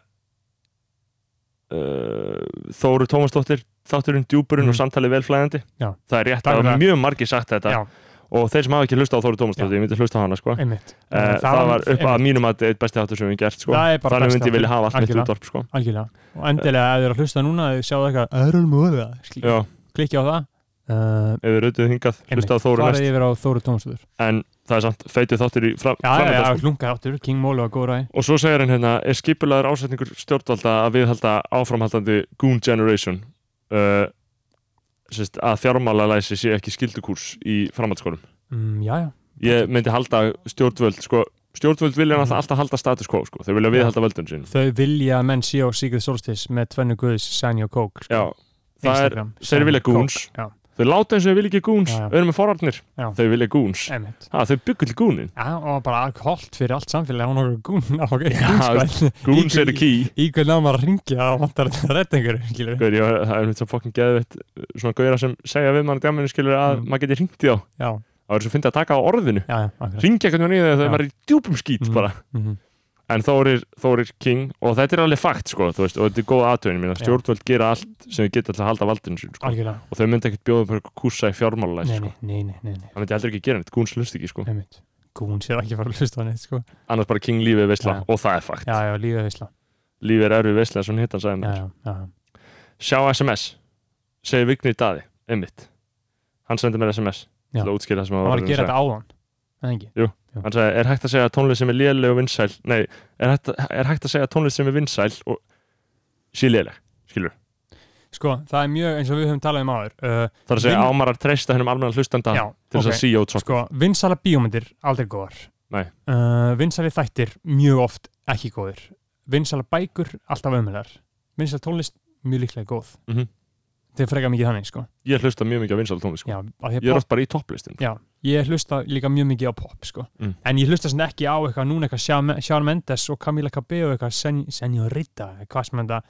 Speaker 1: uh, Þóru Tómasdóttir Þátturinn djúpurinn
Speaker 2: Mhm.
Speaker 1: og samtalið velflæðandi
Speaker 2: Já.
Speaker 1: Það er rétt
Speaker 2: Það er
Speaker 1: að
Speaker 2: það.
Speaker 1: mjög margir sagt þetta
Speaker 2: Já.
Speaker 1: Og þeir sem hafa ekki hlusta á Þóru
Speaker 2: Já.
Speaker 1: Tómasdóttir Ég myndi hlusta á hana sko uh,
Speaker 2: Einmitt.
Speaker 1: Það, var upp að mínum að eitt besti þáttur sem við gert sko
Speaker 2: Það er bara
Speaker 1: Þannig
Speaker 2: besti
Speaker 1: myndi ég vilja hafa allt mitt
Speaker 2: Algjörlega.
Speaker 1: útvarp sko
Speaker 2: Algjörlega. Og endilega, ef þið eru að hlusta núna, þið sjáu eitthvað, öðrul múða,
Speaker 1: Já
Speaker 2: klikki á það. Uh,
Speaker 1: ef við rautuð hingað, hlusta á Þóru
Speaker 2: Farið
Speaker 1: næst
Speaker 2: yfir á Þóri Tómastöður.
Speaker 1: en það er samt feitið þáttir í fram,
Speaker 2: Já, já, já,
Speaker 1: framöndan, sko.
Speaker 2: hlunga þáttur, King Mólu og Góra.
Speaker 1: og svo segir hann hérna er skipulaður ásetningur stjórnvalda að viðhalda áframhaldandi Goon Generation uh, sérst, að fjármálalæsi sé ekki skildukurs í framhaldsskólum
Speaker 2: Mm, já, já.
Speaker 1: ég myndi halda stjórnvöld sko, stjórnvöld vilja
Speaker 2: Mhm.
Speaker 1: alltaf, alltaf halda status quo sko. þau vilja viðhalda völdun sín
Speaker 2: Þau vilja að menn síu á Sigurð Solstis með tvennu guðs, Sani og Kók.
Speaker 1: já, það er, þeir vilja goons.
Speaker 2: Já,
Speaker 1: þau láta eins og þau vilja ekki goons
Speaker 2: Já, já. Eh.
Speaker 1: þau eru með forvarnir,
Speaker 2: Já.
Speaker 1: þau vilja goons
Speaker 2: einmitt.
Speaker 1: ha, þau byggur til goonin
Speaker 2: Já, og bara allt fyrir allt samfélag, hún okkur gún á okkur
Speaker 1: Já,
Speaker 2: gúnskvæl.
Speaker 1: goons eru key
Speaker 2: í hvern á maður að ringja og vantar þetta að redda einhverju, skilur við.
Speaker 1: Gauður, ég, það er mitt svo fokkin geðveitt svona gauðra sem segja við mann að djáminu skilur að
Speaker 2: Mm.
Speaker 1: maður geti ringt í þá
Speaker 2: Já,
Speaker 1: það er svo fyndið að taka á orðinu
Speaker 2: já, já, akkurat.
Speaker 1: ringja einhvern veginn í það þegar
Speaker 2: Já.
Speaker 1: maður er í djúpum skít
Speaker 2: Mhm.
Speaker 1: bara
Speaker 2: Mhm.
Speaker 1: en Þórir, Þórir King og þetta er alveg fakt sko þú veist, og þetta er góð aðtöðin mín að
Speaker 2: Já.
Speaker 1: stjórnvöld gera allt sem þau geta alltaf að halda valdinu sín sko.
Speaker 2: Algjörlega.
Speaker 1: og þau myndi ekkert bjóða upp eitthvað kúsa í fjármálalæs
Speaker 2: Nei,
Speaker 1: sko.
Speaker 2: nei, nei, nei, nei, nei,
Speaker 1: það myndi heldur ekki gera neitt, gúns hlust ekki sko.
Speaker 2: einmitt. Gún sér ekki að fara að hlusta á neitt, sko.
Speaker 1: annars bara King lífið veisla
Speaker 2: Já.
Speaker 1: og það er fakt
Speaker 2: Já, já, lífið veisla.
Speaker 1: lífið er erfið veisla, svona hitt hann sagði
Speaker 2: Já,
Speaker 1: mér
Speaker 2: já, já.
Speaker 1: sjá SMS, segir Vignir Daði einmitt, hann sendi mér SMS
Speaker 2: Já.
Speaker 1: til að útskýra það sem hann
Speaker 2: Hann var
Speaker 1: að
Speaker 2: að
Speaker 1: reyna
Speaker 2: gera
Speaker 1: að
Speaker 2: þetta áðan, en ekki.
Speaker 1: hann sagði, er hægt að segja að tónlist sem er léleg og vinsæl nei, er hægt, að- er hægt að segja að tónlist sem er vinsæl og sé léleg, skilur
Speaker 2: Sko, það er mjög, eins og við höfum talað um áður, uh,
Speaker 1: það er að segja
Speaker 2: Vin-
Speaker 1: Vin... ámarar treysta hennum almenna hlustanda
Speaker 2: já,
Speaker 1: til þess
Speaker 2: ok.
Speaker 1: að sí og trók
Speaker 2: Sko, vinsala bíómyndir, aldrei góðar.
Speaker 1: Nei.
Speaker 2: Uh, vinsali þættir, mjög oft ekki góðir. Vinsala bækur, alltaf ömulegar. Vinsala tónlist, mjög líklega góð.
Speaker 1: Mhm.
Speaker 2: Þetta er frekar mikið þannig, sko.
Speaker 1: ég hlusta mjög mikið á vinsæl tónlist sko.
Speaker 2: Já, af því að
Speaker 1: ég er oft bara í topplistin
Speaker 2: Já, ég hlusta líka mjög mikið á pop sko.
Speaker 1: Mm.
Speaker 2: en ég hlusta svona ekki á eitthvað núna eitthvað Shawn- Shawn Mendes og Camila Cabello eitthvað Sen Senorita, hvað sem þetta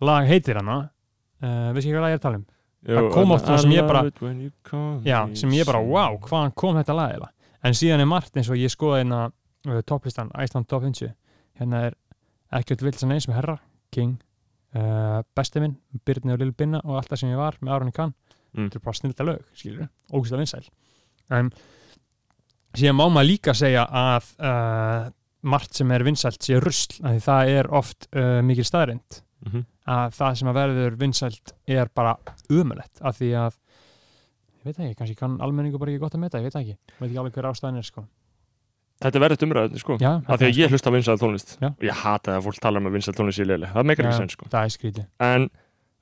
Speaker 2: lag heitir hana uh, veist ekki hvað lag ég er að tala um það kom oft það sem ég bara- já, sem ég bara, wow, hvaðan kom þetta lag eða? en síðan er margt eins og ég skoða hérna uh, topplistan, Iceland Top 50 hérna er ekkert vilt sem eins með herra, King uh, besti minn, Byrni og Lil Binna og alltaf sem ég var með Aron Kahn
Speaker 1: Mm.
Speaker 2: þetta er bara snilda lög, skilur við, ógust að vinsæl en síðan má maður líka segja að uh, margt sem er vinsælt sé rusl, af því það er oft uh, mikil staðrind
Speaker 1: Mhm.
Speaker 2: að það sem að verður vinsælt er bara umulett af því að ég veit það ekki, kannski kann almenningu bara ekki gott að meta, ég veit það ekki ég veit ekki alveg hver ástæðan er sko
Speaker 1: Þetta verður umræðin, sko.
Speaker 2: Já,
Speaker 1: Af því að ég hlusta á vinsæl tónlist.
Speaker 2: Já.
Speaker 1: Og ég hata það að fólk tala um að vinsæl tónlist í leili. Það meikar ekki
Speaker 2: Já.
Speaker 1: sens, sko.
Speaker 2: það er skrítið
Speaker 1: En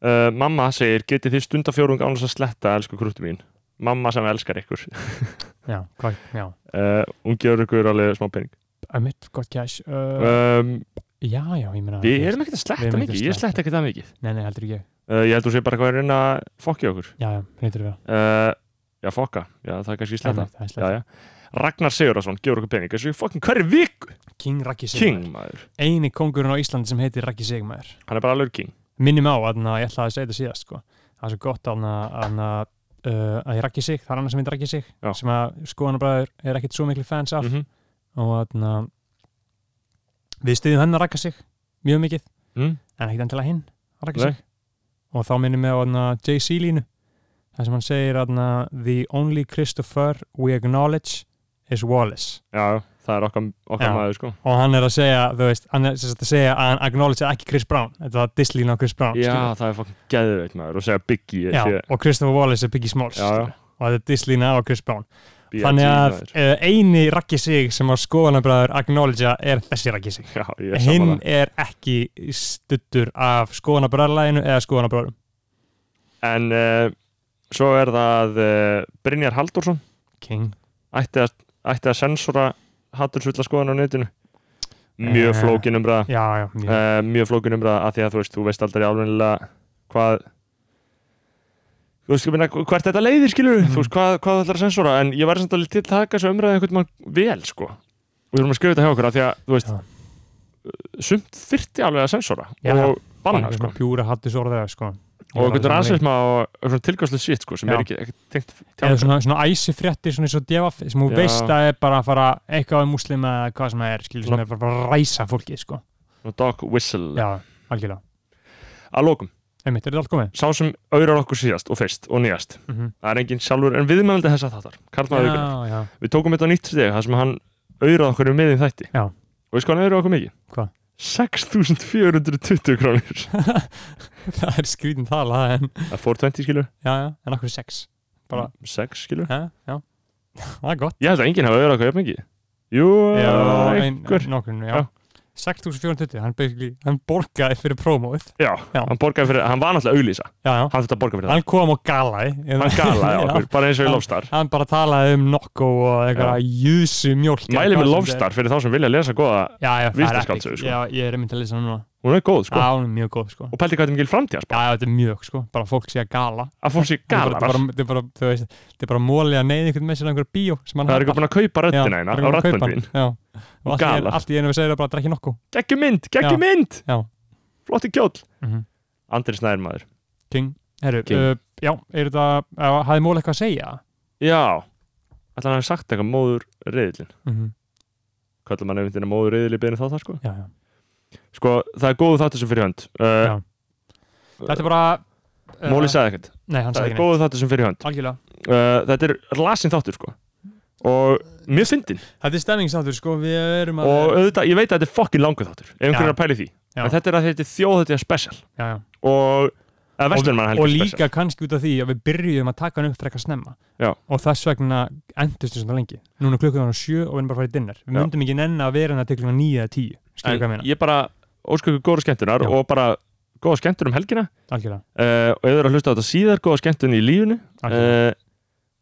Speaker 1: uh, mamma segir, getið þið stundafjórung án þess að sletta, elsku krúttu mín. Mamma sem elskar ykkur.
Speaker 2: já, hvað, já,
Speaker 1: Uh, hún gefur ykkur alveg smá pening.
Speaker 2: að mitt gott cash uh,
Speaker 1: Um,
Speaker 2: já, já, ég meina
Speaker 1: við erum ekkert að
Speaker 2: Við
Speaker 1: sletta
Speaker 2: erum
Speaker 1: mikið.
Speaker 2: ekkert að
Speaker 1: Ég
Speaker 2: sletta.
Speaker 1: sletta ekkert það mikið.
Speaker 2: nei, nei, heldur ekki ég.
Speaker 1: Uh, ég held þú sé bara hvað er reyna að fokki okkur.
Speaker 2: já, já, hreytur við
Speaker 1: Uh, já, fokka. Já, það er kannski sletta.
Speaker 2: það er
Speaker 1: Já,
Speaker 2: slett
Speaker 1: já. Ragnar Sigurðarsson gefur okkur pening. Þessu fokkin hverju viku.
Speaker 2: King Raggi Sigmar
Speaker 1: King, maður.
Speaker 2: eini kongurinn á Íslandi sem heitir Raggi Sigmar
Speaker 1: Hann er bara alveg king.
Speaker 2: minnum á að ég ætlaði að segja þetta síðast sko. það er svo gott að, að, að, uh, að ég rakki sig, það er annars sem ég rakki sig
Speaker 1: Já.
Speaker 2: sem að skoðanabræður er ekkit svo miklu fans af
Speaker 1: Mhm.
Speaker 2: og að, við styðum henn að rakka sig mjög mikið,
Speaker 1: Mm.
Speaker 2: en ekkit endilega hinn að rakka
Speaker 1: Nei.
Speaker 2: sig og þá minnum ég á að JC línu það sem hann segir að the only Christopher we acknowledge is Wallace
Speaker 1: Já, já, það er okkar, okkar
Speaker 2: Já.
Speaker 1: maður, sko.
Speaker 2: og hann er að segja, þú veist, hann er sem sagt að segja að hann acknowledge ekki Chris Brown þetta var dislína á Chris Brown skilurðu.
Speaker 1: Já, það er fokkin geðveit, maður. Og segja Biggie.
Speaker 2: Já,
Speaker 1: sé-
Speaker 2: og Christopher Wallace er Biggie Smalls
Speaker 1: já, já.
Speaker 2: skilur. og þetta er dislína á Chris Brown
Speaker 1: BLT,
Speaker 2: þannig að
Speaker 1: maður.
Speaker 2: uh, eini rakki sig sem á skoðanabræður acknowledgea er þessi rakki sig
Speaker 1: Já, ég er
Speaker 2: hinn
Speaker 1: sammála.
Speaker 2: er ekki stuttur af skoðanabræðarlæginu eða skoðanabræðurum
Speaker 1: En uh, svo er það uh, Brynjar Halldórsson
Speaker 2: King
Speaker 1: ætti að, ætti að sensora hattursvilla skoðan á netinu mjög
Speaker 2: Eh,
Speaker 1: flókin umræða
Speaker 2: já, já, já.
Speaker 1: uh, mjög flókin umræða að því að þú veist þú veist aldrei alveg hvað þú veist, ég meina, hvert þetta leiðir skilur
Speaker 2: Mhm.
Speaker 1: þú veist hvað, hvað það ætlar að sensora en ég var samt alveg til að taka þessu umræða einhvern mann vel sko og við erum að skrifa þetta hjá okkur að því að þú veist
Speaker 2: Já.
Speaker 1: sumt þyrti alveg að sensora
Speaker 2: Já, já.
Speaker 1: og banna sko
Speaker 2: pjúra hattis orðið sko. Ég
Speaker 1: og
Speaker 2: er alveg
Speaker 1: einhvern
Speaker 2: sammála því.
Speaker 1: rannsveitma og tilgjóðslega shit sko sem
Speaker 2: Já.
Speaker 1: er ekki, ekki tengt
Speaker 2: eða svona, svona æsi fréttir svona eins og devaf sem hún
Speaker 1: Já.
Speaker 2: veist að er bara að fara eitthvað um muslima eða hvað sem það er skilur, sem
Speaker 1: Svona-
Speaker 2: er bara, bara að ræsa fólki sko.
Speaker 1: og dog whistle
Speaker 2: já, algjörlega,
Speaker 1: að lókum,
Speaker 2: einmitt, er þetta allt komið?
Speaker 1: sá sem auðrar okkur síðast og fyrst og nýjast
Speaker 2: Mm
Speaker 1: það er enginn sjálfur en viðmældi þessa þáttar Karlmaður Víkunar,
Speaker 2: já, já,
Speaker 1: við tókum þetta á nýtt steg þar sem hann auðrað okkur um miðin þætti
Speaker 2: Já.
Speaker 1: og veist hvað hann auðrað okkur mikið?
Speaker 2: Hvað?
Speaker 1: 6.420 krónir
Speaker 2: það er skrítin tala en
Speaker 1: það er 420 skilur,
Speaker 2: já, já, en akkur sex Bara-
Speaker 1: 6 skilur
Speaker 2: já, já, það er gott
Speaker 1: ég held að enginn hafa auðrað okkur jafn mikið jú,
Speaker 2: ein-
Speaker 1: einhver
Speaker 2: nokkurn, já.
Speaker 1: Já.
Speaker 2: 6420, hann, basically- hann borgaði fyrir prómóið
Speaker 1: já,
Speaker 2: Já.
Speaker 1: hann borgaði fyrir, hann var náttúrulega auðlýsa
Speaker 2: já, já,
Speaker 1: hann þurfti að borga fyrir það,
Speaker 2: hann kom og galaði eða-
Speaker 1: hann galaði á
Speaker 2: Já.
Speaker 1: okkur bara eins og í
Speaker 2: Já.
Speaker 1: Lofstar
Speaker 2: hann bara talaði um nokko og einhverja júsu mjólk eða
Speaker 1: mæli með
Speaker 2: hvað sem þetta er.
Speaker 1: Lofstar fyrir þá sem vilja lesa góða,
Speaker 2: já, já, það er
Speaker 1: Vísindaskaldsögu,
Speaker 2: epic.
Speaker 1: sko.
Speaker 2: já, ég er einmitt að lýsa hann núna
Speaker 1: hún er góð
Speaker 2: já,
Speaker 1: sko
Speaker 2: hún er mjög góð, sko
Speaker 1: og pældi hvað þetta er mikil framtíðar
Speaker 2: já, já, þetta er mjög, sko, bara fólk sé að gala
Speaker 1: að fólk sé gala
Speaker 2: þetta er bara,
Speaker 1: bara,
Speaker 2: þetta er bara, þú veist, þetta er bara móli að neyða einhvern með sér á einhver bíó sem hann
Speaker 1: það er eitthvað búin að kaupa
Speaker 2: Já,
Speaker 1: röddina eina
Speaker 2: það
Speaker 1: á
Speaker 2: er eitthvað að kaupa
Speaker 1: röddböndin
Speaker 2: hann, já. og allt í einu-
Speaker 1: galar.
Speaker 2: allt í einu við segir það bara að drekja nokku
Speaker 1: geggju mynd, geggju
Speaker 2: Já.
Speaker 1: mynd
Speaker 2: Já.
Speaker 1: flotti kjóll
Speaker 2: mm -hmm.
Speaker 1: Andri Snær maður
Speaker 2: King, herru,
Speaker 1: King.
Speaker 2: Uh, já, er þetta uh, hafði mól eitthvað að segja
Speaker 1: já, ætla hann hafi sagt eitthvað um móður reyðilin
Speaker 2: mm -hmm.
Speaker 1: kallum hann einhvern veginn að móður reyðil í byrjun þá það sko
Speaker 2: já, já.
Speaker 1: sko, það er góðu þáttur sem fyrir hönd uh,
Speaker 2: Já. þetta er bara uh,
Speaker 1: Móli sagði ekkert,
Speaker 2: nei, hann
Speaker 1: það er
Speaker 2: sagði ekki neitt.
Speaker 1: góðu þáttur sem fyrir hönd
Speaker 2: algjörlega
Speaker 1: uh, þetta er lasin þáttur sko og mjög fyndin
Speaker 2: þetta er stemmingsáttur, sko, við erum að
Speaker 1: og auðvitað, ég veit að þetta er fokkin langu þáttur ef einhvern
Speaker 2: Já.
Speaker 1: er að pæli því
Speaker 2: Já.
Speaker 1: en þetta er að þetta er þjóðhættiða special
Speaker 2: já, já.
Speaker 1: og, eða vestlunum
Speaker 2: og líka kannski út af því að við byrjuðum að taka hann upp frekar snemma
Speaker 1: Já.
Speaker 2: og þess vegna endurstu svona lengi núna klukkuðan á sjö og við erum bara að fara í dinner við
Speaker 1: Já.
Speaker 2: myndum ekki nenni að vera hann að til klukkan nýja eða tíu skilur hvað ég
Speaker 1: en
Speaker 2: meina,
Speaker 1: ég bara ósköku góða skemmtunar
Speaker 2: Já.
Speaker 1: og bara góða skemmtun um helgina
Speaker 2: algjörlega,
Speaker 1: uh, og ef þið eru að hlusta á þetta síðar góða skemmtun í lífinu
Speaker 2: algjörlega.
Speaker 1: uh,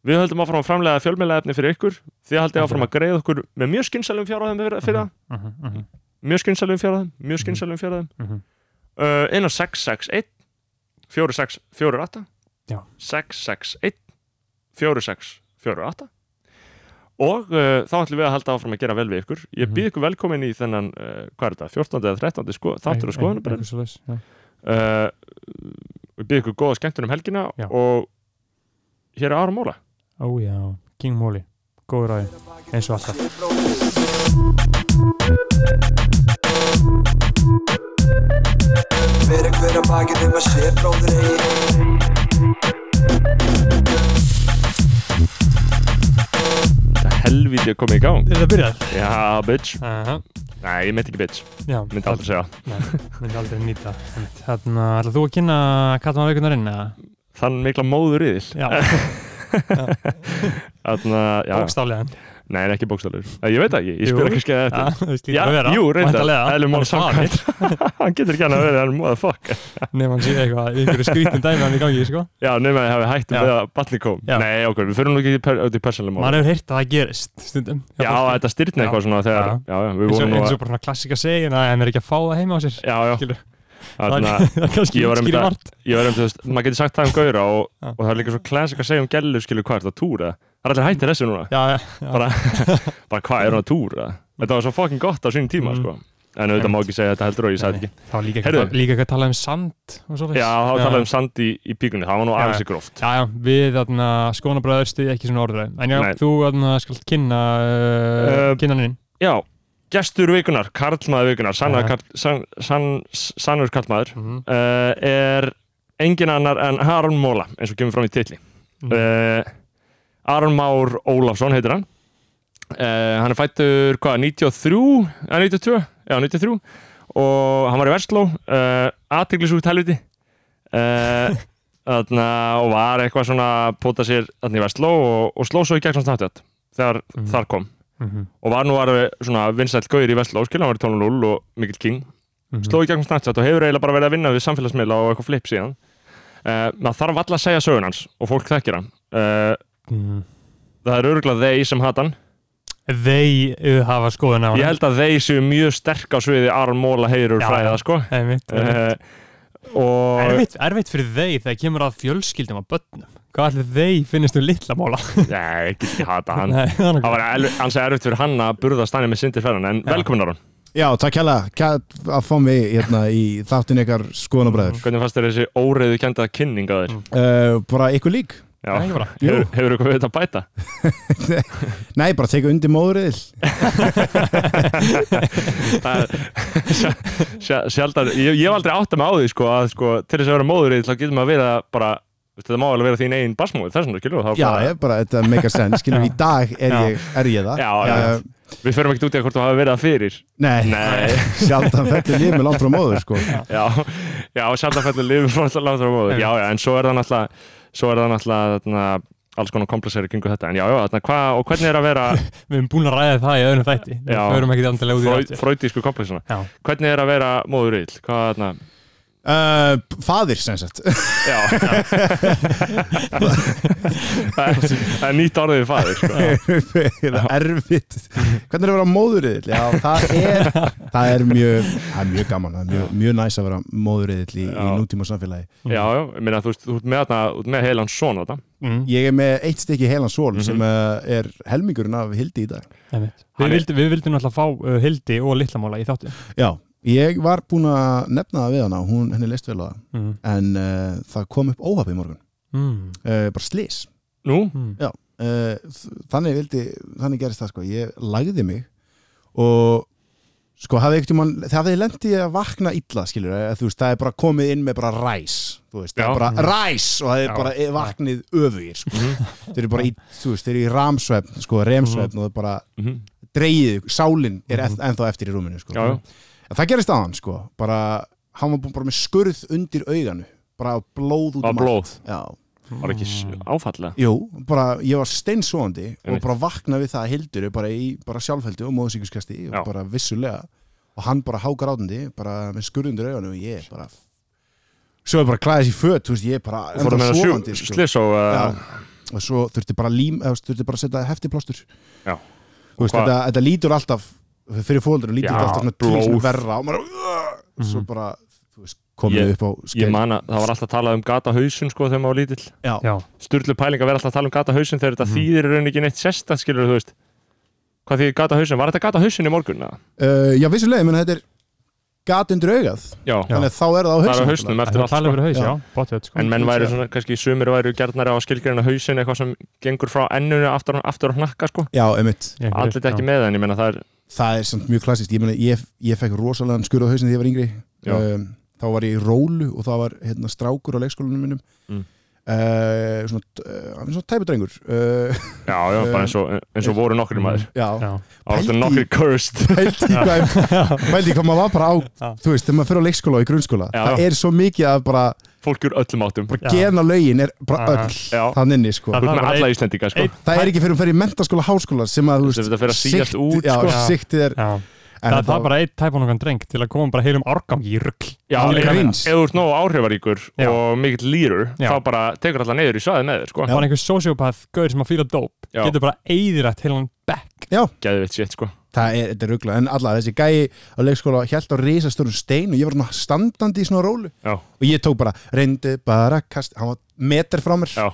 Speaker 1: við höldum áfram að framlega fjölmjöla efni fyrir ykkur þið haldið áfram að
Speaker 2: Algjörlega.
Speaker 1: greiða okkur með mjög skynsælum fjárhæðum fyrir, fyrir það
Speaker 2: Uh -huh, uh -huh,
Speaker 1: mjög skynsælum fjárhæðum, mjög skynsælum fjárhæðum
Speaker 2: uh -huh.
Speaker 1: uh, inn á 661 46 48
Speaker 2: Já.
Speaker 1: 661 46 48 og uh, þá ætlum við að halda áfram að gera vel við ykkur ég
Speaker 2: Mhm.
Speaker 1: býð ykkur velkomin í þennan uh, hvað er þetta, 14. eða 13. Sko, þáttur og skoðanabræð
Speaker 2: skoðanabræður
Speaker 1: uh, við byggjum ykkur góða skemmtun um helgina
Speaker 2: Já.
Speaker 1: og hér er Ára Móla
Speaker 2: Ó já, King Móli, góður aðeins, eins og alltaf.
Speaker 3: Fyrir hver að bakið um að sé bróður eigi
Speaker 1: helvítið að koma í gang
Speaker 2: Er það byrjað?
Speaker 1: já bitch
Speaker 2: Aha.
Speaker 1: Nei, ég myndi ekki bitch,
Speaker 2: Já,
Speaker 1: ég myndi aldrei segja
Speaker 2: Nei, myndi aldrei nýta Þannig að ætla þú að kynna Katman vikunar inn eða?
Speaker 1: Þann mikla móður í þill
Speaker 2: Já,
Speaker 1: Þannig að, já,
Speaker 2: bókstálegan
Speaker 1: nei, nei, ekki bókstallur Ég veit það ekki, ég
Speaker 2: Jú.
Speaker 1: spyr ekki skeið
Speaker 2: Já,
Speaker 1: eftir
Speaker 2: þú veist,
Speaker 1: Já,
Speaker 2: lítur að vera
Speaker 1: jú, reyndar,
Speaker 2: Væntanlega.
Speaker 1: eðlum
Speaker 2: Hann
Speaker 1: máls
Speaker 2: er faðir. Ah.
Speaker 1: Hann getur ekki hann að vera, hann móða fuck
Speaker 2: Nei, mann sé eitthvað, í einhverju skrítum dæmi hann í gangi, sko
Speaker 1: Já, nema að ég hafi hægt um
Speaker 2: Já.
Speaker 1: að beða batni kom
Speaker 2: Já.
Speaker 1: Nei, okkur, við fyrir nú ekki í per- út í persónlega mál
Speaker 2: Maður hefur heyrt að það gerist stundum hjá
Speaker 1: Já,
Speaker 2: fólki.
Speaker 1: þetta styrtni eitthvað svona þegar
Speaker 2: Já.
Speaker 1: Já, já, við
Speaker 2: eins og,
Speaker 1: vorum nú
Speaker 2: eins
Speaker 1: að
Speaker 2: og bara svona klassika segin að hann er ekki að fá það heima á sér
Speaker 1: Já, já,
Speaker 2: skilur. það
Speaker 1: þannig
Speaker 2: er- það er kannski
Speaker 1: ég var einmitt
Speaker 2: skýri
Speaker 1: að-
Speaker 2: margt
Speaker 1: Ég verðum, þú veist, maður getur sagt það um Gaura og,
Speaker 2: Já.
Speaker 1: og það er líka svo classic að segja um gælu skilur hvað er þetta túr eða Það er allir hættir þessu núna
Speaker 2: já, já,
Speaker 1: Bara, bara hvað er hún að túr eða Þetta var svo fucking gott á sínum tíma
Speaker 2: Mm.
Speaker 1: sko En auðvitað má ekki segja þetta heldur og ég sagði
Speaker 2: Nei,
Speaker 1: ekki
Speaker 2: nei. það var líka
Speaker 1: Heyrðu.
Speaker 2: eitthvað líka eitthvað að tala um sand og svo
Speaker 1: Já, þá talaði um sand í, í píkunni, það var nú
Speaker 2: Já,
Speaker 1: aðeins gróft
Speaker 2: já, já, við þarna skónabræður stuði ekki svona orðræði en já,
Speaker 1: Nei.
Speaker 2: þú þarna skal kynna uh,
Speaker 1: Uh,
Speaker 2: kynna hann inn
Speaker 1: Já, gestur vikunar, karlmaður vikunar, sannar
Speaker 2: Já.
Speaker 1: karl, sann, sann, sannur karlmaður
Speaker 2: mm -hmm.
Speaker 1: uh, er engin annar en Aron Móla eins og kemur fram í titli
Speaker 2: Mm.
Speaker 1: uh, Aron Már Ólafsson heitir hann uh, hann er fættur hvað, 93 eða 92, já 93 og hann var í Vestló uh, aðteglisútt helviti uh, þarna, og var eitthvað svona að póta sér þarna í Vestló og, og sló svo í gegn snartjátt þegar
Speaker 2: Mhm.
Speaker 1: þar kom og var nú var svona vinsæll gauðir í Vestló skil, hann var í 12.0 og mikill king sló í gegnum Snapchat og hefur eiginlega bara verið að vinna við samfélagsmiðla og eitthvað flip síðan uh, maður þarf alla að segja sögun hans og fólk þekkir hann uh,
Speaker 2: -hmm.
Speaker 1: það er örgulega þeir sem hata hann
Speaker 2: þeir uh, hafa skoðun á hann
Speaker 1: ég held að þeir séu mjög sterk á sviði Aron Móla heyrur
Speaker 2: Já,
Speaker 1: fræða sko
Speaker 2: Einmitt, einmitt.
Speaker 1: uh, og
Speaker 2: erfitt, erfitt fyrir þeir þegar kemur að fjölskyldum að börnum hvað allir þeir finnist um litla móla
Speaker 1: nei, ég get ekki hata hann
Speaker 2: Nei, það er nokkuð.
Speaker 1: það var elvi- ansi erfitt fyrir hann að burðast hann með sindir ferðan en
Speaker 2: Já.
Speaker 1: velkomin Aron
Speaker 5: Já, takk hella að fá mig hérna í þáttin ykkar skoðanabræður
Speaker 1: hvernig fannst þér þessi óreiðu kenda kynning að þér?
Speaker 2: Mm.
Speaker 5: uh, Bara ykkur lík
Speaker 1: Já.
Speaker 2: Nei, ekki bara.
Speaker 1: hefur, hefur eitthvað við þetta að bæta?
Speaker 5: Nei, bara teka undir móðuril
Speaker 1: Það er- sj- sj- sjaldan, ég, ég hef aldrei átt að mig á því sko, að sko, til þess að vera móður í þá getur maður að vera bara, veist, þetta má alveg vera þín eigin basmóð, þess vegna, skilur við
Speaker 5: Já, ég, bara þetta make a sense Skilum, í dag er
Speaker 2: Já.
Speaker 5: ég, er ég það
Speaker 1: Já, já.
Speaker 5: Eh,
Speaker 1: Við förum ekkert út í að hvort þú hafi verið það fyrir
Speaker 5: Nei,
Speaker 1: Nei.
Speaker 5: sjaldan þetta líf með langt frá móður sko.
Speaker 1: Já, já sjaldan fellur lifið frá alltaf langt frá móður Já, já, en svo er það náttúrulega, svo er það náttúrulega þarna, alls konar komplexeri kringu þetta En já, já, þarna, hva, og hvernig er að vera
Speaker 2: við erum búin að ræða það í öðrum þætti við
Speaker 1: Já.
Speaker 2: förum ekkert andilega út í
Speaker 1: frau-
Speaker 2: það aftur.
Speaker 1: frautísku komplexina?
Speaker 2: Já.
Speaker 1: Hvernig er að vera móður í Hvað, þarna,
Speaker 5: uh, Fadir sem sagt
Speaker 1: já Það er- það er nýtt orðið við faðir, sko
Speaker 5: Eða Erfitt Hvernig er að vera móðurriðil? Já, það er, það er, mjög, það er mjög gaman Það er mjög, mjög næs að vera móðurriðil í, í
Speaker 1: Já.
Speaker 5: nútíma samfélagi
Speaker 1: Já, já, ég meina þú veist, þú ert með, þarna, þú ert með heilan son þetta
Speaker 2: Mm,
Speaker 5: Ég er með eitt stykki heilan svol
Speaker 1: Mhm.
Speaker 5: sem uh, er helmingurinn af hildi í dag
Speaker 2: einmitt.
Speaker 1: Hann
Speaker 2: við
Speaker 1: er-
Speaker 2: vildum, við vildum alltaf fá uh, Hildi og Lillamála í þáttu
Speaker 5: Já, ég var búin að nefna það við hana hún, henni leist vel á það
Speaker 2: mm.
Speaker 5: en uh, það kom upp óhafi í morgun
Speaker 2: Mm.
Speaker 5: uh, bara slis
Speaker 1: Nú?
Speaker 2: Mm.
Speaker 5: uh, þ- þannig, vildi, þannig gerist það sko ég lagði mig og sko hafði ekkert mann það hafði lendi að vakna illa skilur að, þú veist, það er bara komið inn með bara ræs þú veist, það
Speaker 1: Já.
Speaker 5: er bara ræs og það er
Speaker 2: Já.
Speaker 5: bara e- vaknið öfugir sko. þeir eru bara í, þú veist, þeir eru í ramsvefn sko, remsvefn og það er bara
Speaker 1: Mhm.
Speaker 5: dreigið, sálinn er mm ennþá eftir í rúminu sko.
Speaker 1: Já, já.
Speaker 5: En það gerist aðan sko, bara hann var búinn bara með skurð undir auganu bara blóð út
Speaker 1: Á
Speaker 5: um
Speaker 1: blóð.
Speaker 5: allt Já.
Speaker 1: Var ekki s- áfallega
Speaker 5: Jú, bara ég var steinsóandi og
Speaker 1: Einmitt.
Speaker 5: bara vakna við það að Hildur er bara í bara sjálfheldu og móðsíkuskasti og
Speaker 1: Já.
Speaker 5: bara vissulega og hann bara hákar átandi bara með skurð undir auganu og ég er bara svo er bara klæðis í föt, þú veist, ég er bara
Speaker 1: Þú fórum með
Speaker 5: ennþá
Speaker 1: það
Speaker 5: sofandi, sko.
Speaker 1: slis og uh,
Speaker 5: Já. Um, og svo þurfti bara lím, eða þurfti bara að setja heftiplástur
Speaker 1: Já.
Speaker 5: Þú veist,
Speaker 1: Hvað-
Speaker 5: þetta, þetta lítur alltaf fyrir fóldur og lítur
Speaker 1: Já,
Speaker 5: þetta alltaf svona til
Speaker 1: blóð. Mhm.
Speaker 5: svona verra og maður mm. svo bara þú veist,
Speaker 1: Ég-
Speaker 5: komið upp á
Speaker 1: ég
Speaker 5: skeið
Speaker 1: man að það var alltaf að tala um gata hausin sko þegar maður var lítill
Speaker 5: já,
Speaker 2: Já,
Speaker 1: Sturlu pæling að vera alltaf að tala um gata hausin þegar þetta þýðir í rauninni ekki neitt sérstætt skilur þú veist Hvað þýðir gata hausin? Var þetta gata hausin í morgun? eða?
Speaker 5: uh, já vissulega, menn þetta er gat undir augað
Speaker 1: Já,
Speaker 5: þannig að þá er það á
Speaker 1: það er á
Speaker 5: hausnum
Speaker 1: hausnum
Speaker 2: það
Speaker 1: eftir
Speaker 2: er
Speaker 1: allt
Speaker 2: talað
Speaker 1: sko.
Speaker 2: um fyrir haus,
Speaker 5: Já.
Speaker 2: já, bóttið sko.
Speaker 1: En menn væri
Speaker 5: Já.
Speaker 1: svona, kannski sumir væri gjarnari á að skilgreina hausin eitthvað sem gengur frá ennunu aftur, aftur á hnakka sko
Speaker 5: já, einmitt,
Speaker 2: Í einhverju,
Speaker 1: Allir
Speaker 2: já.
Speaker 1: ekki með en ég meina það er
Speaker 5: það er samt mjög klassist ég, meni, ég, ég fekk rosalega skurð á hausnum þegar ég var yngri
Speaker 1: Já.
Speaker 5: um, þá var ég í rólu og það var hérna strákur á leikskólanum minnum
Speaker 1: Mm.
Speaker 5: uh, svona, uh, hann er svona tæpudrengur uh,
Speaker 1: já, já, bara eins og, eins
Speaker 2: Eh,
Speaker 1: og voru nokkri maður
Speaker 5: já,
Speaker 2: Já.
Speaker 1: ástu
Speaker 5: Pældi-
Speaker 1: nokkri cursed
Speaker 5: pældi í hvað pældi í hvað maður var bara á
Speaker 2: Já.
Speaker 5: þú veist, þegar maður fyrir á leikskóla og í grunnskóla
Speaker 1: Já.
Speaker 5: það er svo mikið að bara,
Speaker 1: fólk úr öllum áttum
Speaker 2: Já.
Speaker 5: bara gena lögin er bara
Speaker 2: Já.
Speaker 5: öll
Speaker 1: Já.
Speaker 5: þann inni sko
Speaker 2: Það-
Speaker 1: Þú ert með
Speaker 2: var
Speaker 1: alla
Speaker 2: einn-
Speaker 1: Íslendinga sko
Speaker 2: Einn-
Speaker 5: það er ekki fyrir að fyrir í mentaskóla háskóla sem að þú
Speaker 1: Sem þetta fer að síast
Speaker 5: sigtið-
Speaker 1: út,
Speaker 5: já,
Speaker 1: sko.
Speaker 2: Já.
Speaker 5: sigtið er,
Speaker 2: Já.
Speaker 5: en
Speaker 2: Það,
Speaker 5: þetta
Speaker 2: það er bara einn tæpanungan dreng til að koma bara heilum árgangi í rugl
Speaker 1: Já,
Speaker 5: Það er
Speaker 1: ég meina,
Speaker 5: gríns.
Speaker 1: ef þú ert nógu áhrifaríkur
Speaker 2: Já.
Speaker 1: og mikill lýrur
Speaker 2: Já.
Speaker 1: þá bara tekur alla neyður í svaðið með þér sko
Speaker 2: Það var einhver sociopath gaur sem að fýla dóp
Speaker 1: Já.
Speaker 2: getur bara eiðirætt heilan bekk
Speaker 1: Gæðvitt sétt sko
Speaker 5: það er, þetta er ruggla en alla þessi gæi á leikskóla held á risastörum stein og ég var svona standandi í svona rólu
Speaker 1: Já.
Speaker 5: og ég tók bara, reyndi bara kast hann var meter frá mér
Speaker 1: Já.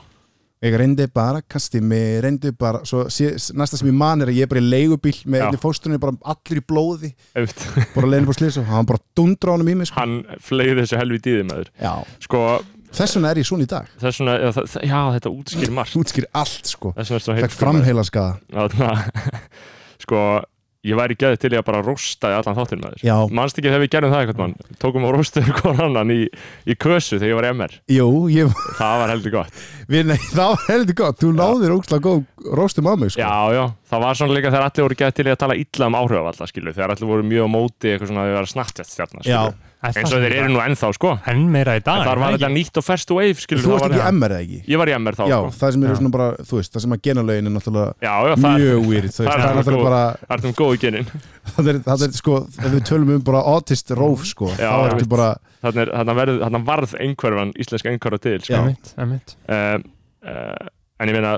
Speaker 5: ég reyndi bara, kasti mig, reyndi bara svo sé, næsta sem ég man er að ég er bara í leigubíl með
Speaker 1: Já.
Speaker 5: einni fóstunni bara allir í blóði
Speaker 1: Einmitt.
Speaker 5: bara leiðin bara slýsa og hann bara dundra honum í mig sko.
Speaker 1: Hann fleið þessu helvið dýði með þér
Speaker 5: Já.
Speaker 1: Sko,
Speaker 5: þess vegna er ég svona í dag
Speaker 1: þess vegna, já, það- já þetta útskýr margt
Speaker 5: þú útskýr allt sko
Speaker 1: Þess vegna er svona
Speaker 5: fekk framheila skaða
Speaker 1: Þannig sko, ég væri gæðið til ég að bara rostaði allan þáttinn með þér
Speaker 5: Já.
Speaker 1: Manst ekki þegar við gerðum það eitthvað mann Tókum að rostaði hvort annan í, í kösu þegar ég var í MR
Speaker 5: Jú, ég,
Speaker 1: Það var heldur gott
Speaker 5: við, nei, það var heldur gott þú náðir ógslag góð róstum á mig sko.
Speaker 1: Já, já, það var svona líka þegar allir voru gæðið til ég að tala illa um áhrifavalla skilu Þegar allir voru mjög á móti eitthvað svona að við varum snattjast stjarnar
Speaker 5: Já.
Speaker 1: Eins og þeir eru nú ennþá sko
Speaker 2: enn meira í dag
Speaker 1: Það var
Speaker 2: er
Speaker 1: þetta
Speaker 2: ekki?
Speaker 1: nýtt og ferst wave skilu
Speaker 5: þú
Speaker 1: það
Speaker 5: varst
Speaker 1: var-
Speaker 5: ekki í MR eða ekki
Speaker 1: Ég var í MR þá
Speaker 5: Já,
Speaker 1: sko
Speaker 5: það sem eru
Speaker 2: Já.
Speaker 5: svona bara, þú veist, það sem að genalögin er náttúrulega
Speaker 1: Já, já, það er
Speaker 5: mjög weird, þú
Speaker 1: það er
Speaker 5: veist, það er
Speaker 1: alveg
Speaker 5: náttúrulega bara
Speaker 1: Það er um góðu genin
Speaker 5: það er, það er sko, ef við tölum um bara autist róf, sko,
Speaker 1: Já,
Speaker 5: þá ertu
Speaker 1: einmitt.
Speaker 5: bara
Speaker 1: Þannig að varð einhverfan íslenska einhverfa til sko.
Speaker 2: Einmitt, einmitt.
Speaker 1: um, uh, en ég meina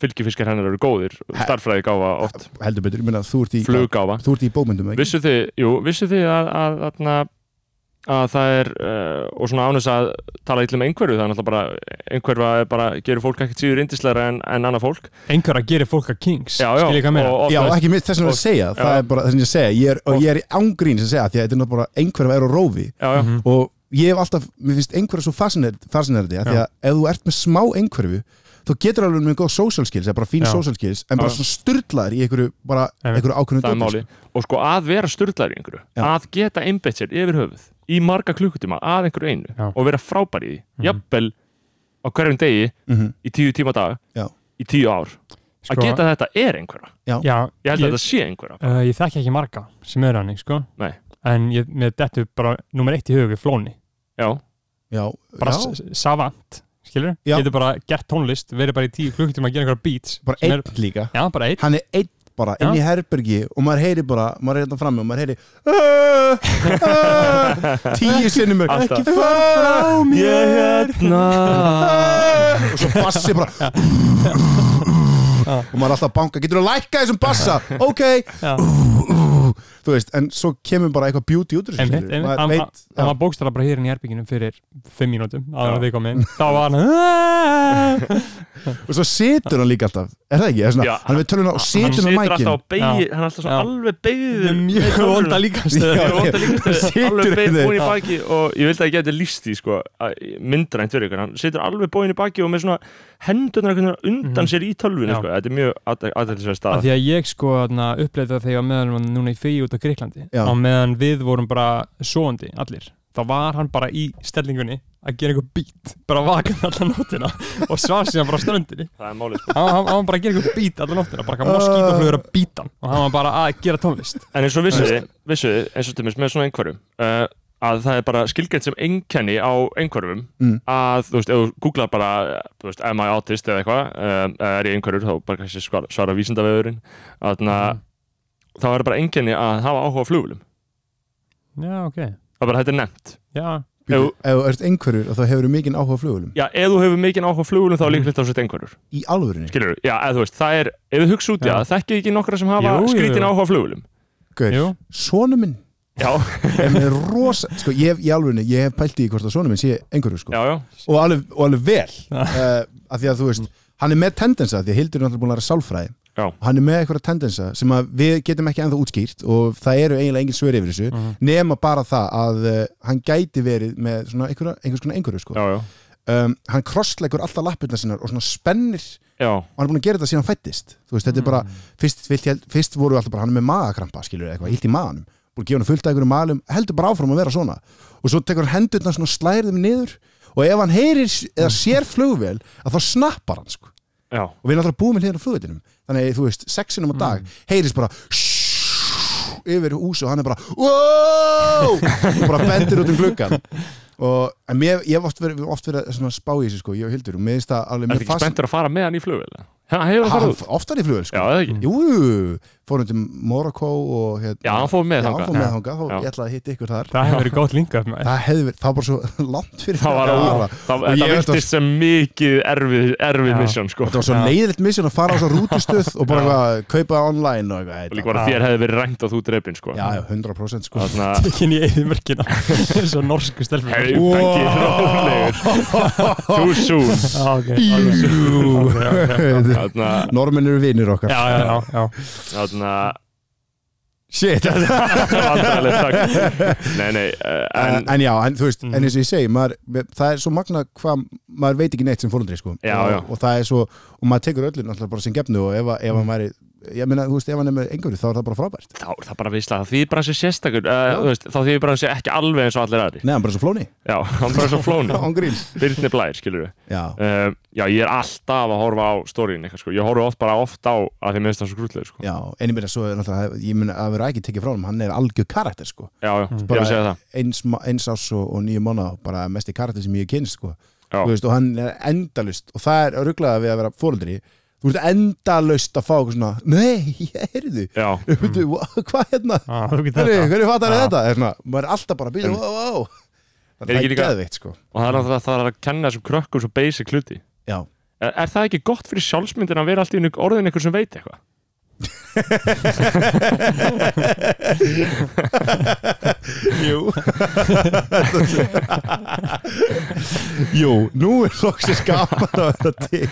Speaker 1: fylgifiskar hennar eru góðir starfræði gáfa oft,
Speaker 5: heldur betur, ég meina, þú ert í
Speaker 1: fluggáfa
Speaker 5: þú ert í bókmyndum, ekki?
Speaker 1: vissu þið, jú, vissu þið að, að, að, að það er uh, og svona ánægis að tala illa um einhverju það er náttúrulega bara, einhverfa er bara gerur fólk ekkert síður indislegra en, en annað fólk
Speaker 2: einhver að gera fólk að kings
Speaker 1: já, já,
Speaker 2: skil ég hvað meira
Speaker 1: og, og,
Speaker 5: Já, ekki mitt þess
Speaker 1: og-
Speaker 5: að vera að segja, það
Speaker 1: já.
Speaker 5: er bara þess að segja, ég er, og ég er í ángrín sem segja, því að þetta er náttúrulega bara einhverfa er á rófi
Speaker 1: já,
Speaker 2: Mhm.
Speaker 1: já,
Speaker 5: og ég hef alltaf, mér finnst einhverja svo fascinerandi, því
Speaker 2: Já.
Speaker 5: að ef þú ert með smá einhverfu, þú getur alveg með góð social skills, eða bara fín
Speaker 2: Já.
Speaker 5: social skills en bara
Speaker 1: Já.
Speaker 5: svona styrlaður í einhverju, bara
Speaker 2: Einmitt.
Speaker 5: einhverju ákveðnu
Speaker 1: það er
Speaker 5: dóti,
Speaker 1: máli og sko að vera styrlaður í einhverju
Speaker 5: Já.
Speaker 1: að geta einbeitt sér yfir höfuð í marga klukkutíma að einhverju einu
Speaker 2: Já. Mhm.
Speaker 1: og vera frábær í því, jafnvel á hverjum degi
Speaker 5: sko. Mhm.
Speaker 1: í tíu tíma á dag
Speaker 5: Já.
Speaker 1: í tíu ár að
Speaker 2: Sko,
Speaker 1: geta þetta er einhverja
Speaker 2: já,
Speaker 1: ég held að
Speaker 2: ég,
Speaker 1: þetta sé einhverja
Speaker 2: uh, ég þekki ekki marga sem eru hann sko.
Speaker 1: Nei.
Speaker 2: en ég, mér dettu bara nummer eitt í hug er flóni
Speaker 1: já,
Speaker 5: Já,
Speaker 2: bara
Speaker 5: já.
Speaker 2: s- savant skilur,
Speaker 5: Já.
Speaker 2: getur bara gert tónlist verið bara í tíu klukkutíma að gera einhverja beats
Speaker 5: bara
Speaker 2: sem
Speaker 5: einn
Speaker 2: er-
Speaker 5: líka
Speaker 2: já, bara einn
Speaker 5: hann er einn bara
Speaker 2: Já.
Speaker 5: inn í herbergi og maður heyri bara, maður er hérna frammi og maður heyri "Aah, aah," tíu sinnum
Speaker 1: Alltaf.
Speaker 5: fara frá
Speaker 1: Ég hérna
Speaker 5: og svo bassi bara og maður er alltaf að banka, getur þú að lækka þessum bassa ok,
Speaker 2: Já.
Speaker 5: þú veist en svo kemur bara eitthvað beauty út úr þessu,
Speaker 2: Einmitt, einmitt.
Speaker 5: skilurðu. maður
Speaker 2: Hann
Speaker 5: veit
Speaker 2: hann var bókstara bara hér inn í herbygginu fyrir fimm mínútum áður en þið komið inn þá var hann
Speaker 5: og svo setur hann líka alltaf, er það ekki? Er svona,
Speaker 1: Já,
Speaker 5: hann er við töluna og
Speaker 1: hann
Speaker 5: setur hann
Speaker 1: situr
Speaker 5: á mækin
Speaker 1: alltaf á beigir,
Speaker 2: Já.
Speaker 1: hann er alltaf svona
Speaker 2: Já.
Speaker 1: alveg beigður
Speaker 2: mjög vonda líkastöð
Speaker 5: Já,
Speaker 1: Ég vonda líka
Speaker 5: Situr
Speaker 1: alveg bein
Speaker 5: hérna.
Speaker 1: búin í baki og ég vildi að ég geti líst því sko, að- myndrænt fyrir ykkur, hann situr alveg búin í baki og með svona hendurnar einhvern veginn undan sér í tölvunni,
Speaker 2: Mhm. Já.
Speaker 1: sko. þetta er mjög aðeinsverð
Speaker 2: af
Speaker 1: staða
Speaker 2: því að ég sko þarna, uppleita það þegar meðan hann var núna í fegi út á Greiklandi
Speaker 5: Já.
Speaker 2: á meðan við vorum bara svoandi allir þá var hann bara í stellingunni að gera einhver bít bara vakan allan nóttina og svaf síðan bara á ströndinni
Speaker 1: það er málið, sko.
Speaker 2: hann, hann, hann var bara að gera einhver bít allan nóttina bara eitthvað moskítaflugur að bíta hann og hann var bara að gera tónlist
Speaker 1: en eins og vissuði, vissuði eins og til mér með svona einhverjum uh, að það er bara skilgjönd sem einkenni á einhverjum
Speaker 5: Mm.
Speaker 1: að þú veist, ef þú googlar bara þú veist, am I autist eða eitthvað um, er ég einhverjur, þá bara kannski svara, svara vísindavegurinn þannig að
Speaker 2: Mm-hmm.
Speaker 1: þá er bara einkenni að hafa áhuga á flugulum
Speaker 2: já ok
Speaker 1: það er bara, þetta er nefnt
Speaker 2: já,
Speaker 5: ef
Speaker 1: Ef-
Speaker 5: þú ert einhverjur og þá hefur þú mikinn áhuga á flugulum
Speaker 1: já, ef þú hefur mikinn áhuga á flugulum þá er
Speaker 2: Mhm.
Speaker 1: líklegt að þú sett einhverjur
Speaker 5: í alvörunni,
Speaker 1: skilur já, eða þú veist, það er, ef þú hugsa út í
Speaker 2: Já.
Speaker 1: það þekkið ekki nokkra sem hafa
Speaker 2: Jú, jú,
Speaker 1: skrítin
Speaker 2: jú.
Speaker 1: áhuga á flugulum
Speaker 5: Gaur,
Speaker 2: jú,
Speaker 5: sonu minn
Speaker 1: já,
Speaker 5: en er rosa, sko, ég hef í alvegni ég hef pælt í hvort að sonur minn sé einhverju sko.
Speaker 1: já, já,
Speaker 5: og, alveg, og alveg vel uh, af því að þú veist, hann er með tendensa því að Hildur er náttúrulega búin að læra sálfræði
Speaker 1: Já.
Speaker 5: og hann er með einhverja tendensa sem að við getum ekki ennþá útskýrt og það eru eiginlega engin svör yfir þessu
Speaker 1: Mhm.
Speaker 5: nema bara það að uh, hann gæti verið með svona einhverja, einhvers konar einhverju sko.
Speaker 1: já, já,
Speaker 5: um, hann krossleikur alltaf lappirna sinnar og svona spennir
Speaker 1: já.
Speaker 5: og hann er búin að gera þetta síðan hann fættist þú veist, þetta er bara,
Speaker 1: Mm.
Speaker 5: fyrst, fyrst, fyrst voru alltaf bara hann er með magakrampa, skilur við eitthvað, illt í maganum búin að gefa hann fullt af einhverjum malum, heldur bara áfram að vera svona og svo tekur hann hendurna svona slærðum niður og og ef hann heyrir s- eða
Speaker 1: Mm.
Speaker 5: sér flugvél að þá snappar hann sko
Speaker 1: já,
Speaker 5: og við erum alltaf búið með hliðin á flugveitinum þannig þú veist,
Speaker 1: Mm.
Speaker 5: sexinum á dag heyrist bara yfir hús og hann er bara wow! og bara bendir út um gluggan og en mér, ég hef oft verið, oft verið svona að spá í þessu sko, ég og Hildur og mér finnst það alveg
Speaker 1: er
Speaker 5: mér
Speaker 1: ekki spenntur að fara með hann í flugvel hann hefur að fara
Speaker 5: hann
Speaker 1: út,
Speaker 5: oftar í flugvél
Speaker 1: já,
Speaker 5: sko
Speaker 1: eða ekki
Speaker 5: jú, fórum til Morocco og hérna,
Speaker 1: Mm. já, hann fór
Speaker 5: já,
Speaker 1: með
Speaker 5: hann fór
Speaker 1: þangað
Speaker 5: með
Speaker 2: Já.
Speaker 5: þangað þá
Speaker 1: Já.
Speaker 5: ég ætlaði að hitta ykkur þar
Speaker 2: það hefur verið gott linga
Speaker 5: það hefði verið, það var bara svo langt fyrir
Speaker 1: það var
Speaker 5: að
Speaker 1: að
Speaker 5: fara.
Speaker 1: það,
Speaker 5: Og
Speaker 1: þetta
Speaker 5: ég-
Speaker 1: virtist sem mikið erfið, erfið
Speaker 2: Já.
Speaker 1: mission sko
Speaker 5: þetta var svo
Speaker 2: Já.
Speaker 5: leiðilegt misjón að fara á svo rútustöð og bara eitthvað, kaupa online og eitthvað
Speaker 1: og líka var að þér hefði verið rænt að þú drefin sko
Speaker 5: já, já, 100% sko
Speaker 1: þannig að
Speaker 2: ekki í eðimörkina svo norsku stelfur
Speaker 1: Hei, Beggi, rólegur Too soon
Speaker 2: ah, okay. okay, okay.
Speaker 1: Þarna,
Speaker 5: Normin eru vinir okkar
Speaker 2: já, já, já, já.
Speaker 1: þarna
Speaker 5: Shit,
Speaker 1: Vandræðilegt, takk. Nei, nei eh, En,
Speaker 5: en,
Speaker 1: Mhm.
Speaker 5: en já, en, þú veist, en eins og ég segi maður, það er svo magna hvað maður veit ekki neitt sem fórundri sko.
Speaker 1: Já,
Speaker 5: og,
Speaker 1: já. Mhm.
Speaker 5: og það er svo, og maður tekur öllu náttúrulega bara sem gefnu og ef, að- ef hann væri ég meina, þú veist, ef hann er með einhverju þá er það bara frábært
Speaker 1: þá er það bara visla Það þýðir bara hans er sérstakur uh, veist, Þá þýðir bara hans er ekki alveg eins og allir aðri
Speaker 5: Nei, hann bara er svo flóni
Speaker 1: Já, hann bara er svo flónu
Speaker 5: Ángríns
Speaker 1: Byrni blær, skilur við
Speaker 5: Já,
Speaker 1: uh, Já, ég er alltaf að horfa á stórin eitthvað, sko. Ég horfa oft bara oft á að því minnst það svo grútlega sko.
Speaker 5: já, en ég meina svo er náttúrulega ég meina að vera ekki tekið frá hann, hann er algjör karakter sko.
Speaker 1: Já, já, ég er
Speaker 5: Bara-
Speaker 1: að segja það
Speaker 5: eins, ma- eins ás og, og nýju mánu bara mesti karakter sem ég hef kynst sko.
Speaker 1: Já.
Speaker 5: Þú veist, og hann er endalust og það er rugglaða við að vera fórundri þú veist endalust að fá eitthvað svona nei, ég heyrðu
Speaker 1: Já,
Speaker 5: Bíddu,
Speaker 1: Mm.
Speaker 5: wha- hvað hérna
Speaker 2: Ah, þú getur
Speaker 5: hverju,
Speaker 2: þetta
Speaker 5: hverju fattar
Speaker 2: Já.
Speaker 5: þetta er svona, maður er alltaf bara að býta
Speaker 1: En-
Speaker 5: wow, wow.
Speaker 1: Er
Speaker 5: það er
Speaker 1: ekki líka-
Speaker 5: geðveikt sko
Speaker 1: og það er náttúrulega það er að kenna þessum krökkum svo basic hluti
Speaker 5: já,
Speaker 1: Er, er það ekki gott fyrir sjálfsmyndin að vera alltaf í orðin eitthvað sem veit eitthvað?
Speaker 5: jú jú, nú er loksins gaman að vera til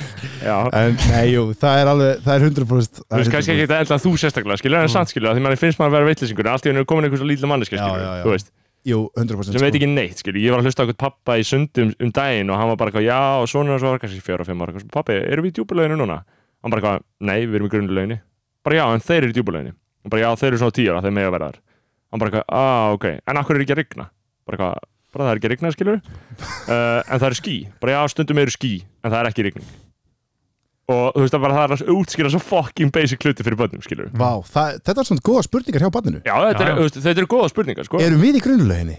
Speaker 1: Já,
Speaker 5: en nei, jú, það er alveg það er 100%
Speaker 1: Þú
Speaker 5: það er
Speaker 1: veist kannski
Speaker 5: 100%.
Speaker 1: ekki þetta þú sérstaklega, skilur, en samt skilur, af því manni finnst maður að vera veitlisingur, en allt í hennu er komin einhver svo lítla manneska,
Speaker 5: Já,
Speaker 1: skilur,
Speaker 5: já, já.
Speaker 1: þú veist,
Speaker 5: jú, sko. 100%
Speaker 1: sem veit ekki neitt, skilur, ég var að hlusta okkur pappa í sundum um daginn og hann var bara eitthvað, já, og svona og svo var kannski fjóra og fimm ára, eitthvað, pappi, erum við í djúbulöginu núna? Hann bara eitthvað, nei, við erum í grunnlöginu, bara já, en þeir eru í djúbulöginu, hann bara já, þeir eru svona tíu ára, þeir mega vera þar, hann bara eitthvað, ah, ok, en akkur er ekki að rigna, bara eitthvað, bara það er ekki að rigna, skilur, en það eru ský, bara já, stundum eru ský, en það er ekki rigning. Og þú veist að bara það er að útskýra svo fucking basic hluti fyrir börnum, skilur.
Speaker 5: Vá, það, þetta er svona góða spurningar hjá banninu
Speaker 1: Já, þetta,
Speaker 2: Já,
Speaker 1: er,
Speaker 2: já.
Speaker 1: þú veist, þetta eru góða spurningar sko.
Speaker 5: Erum við í grunnleginni?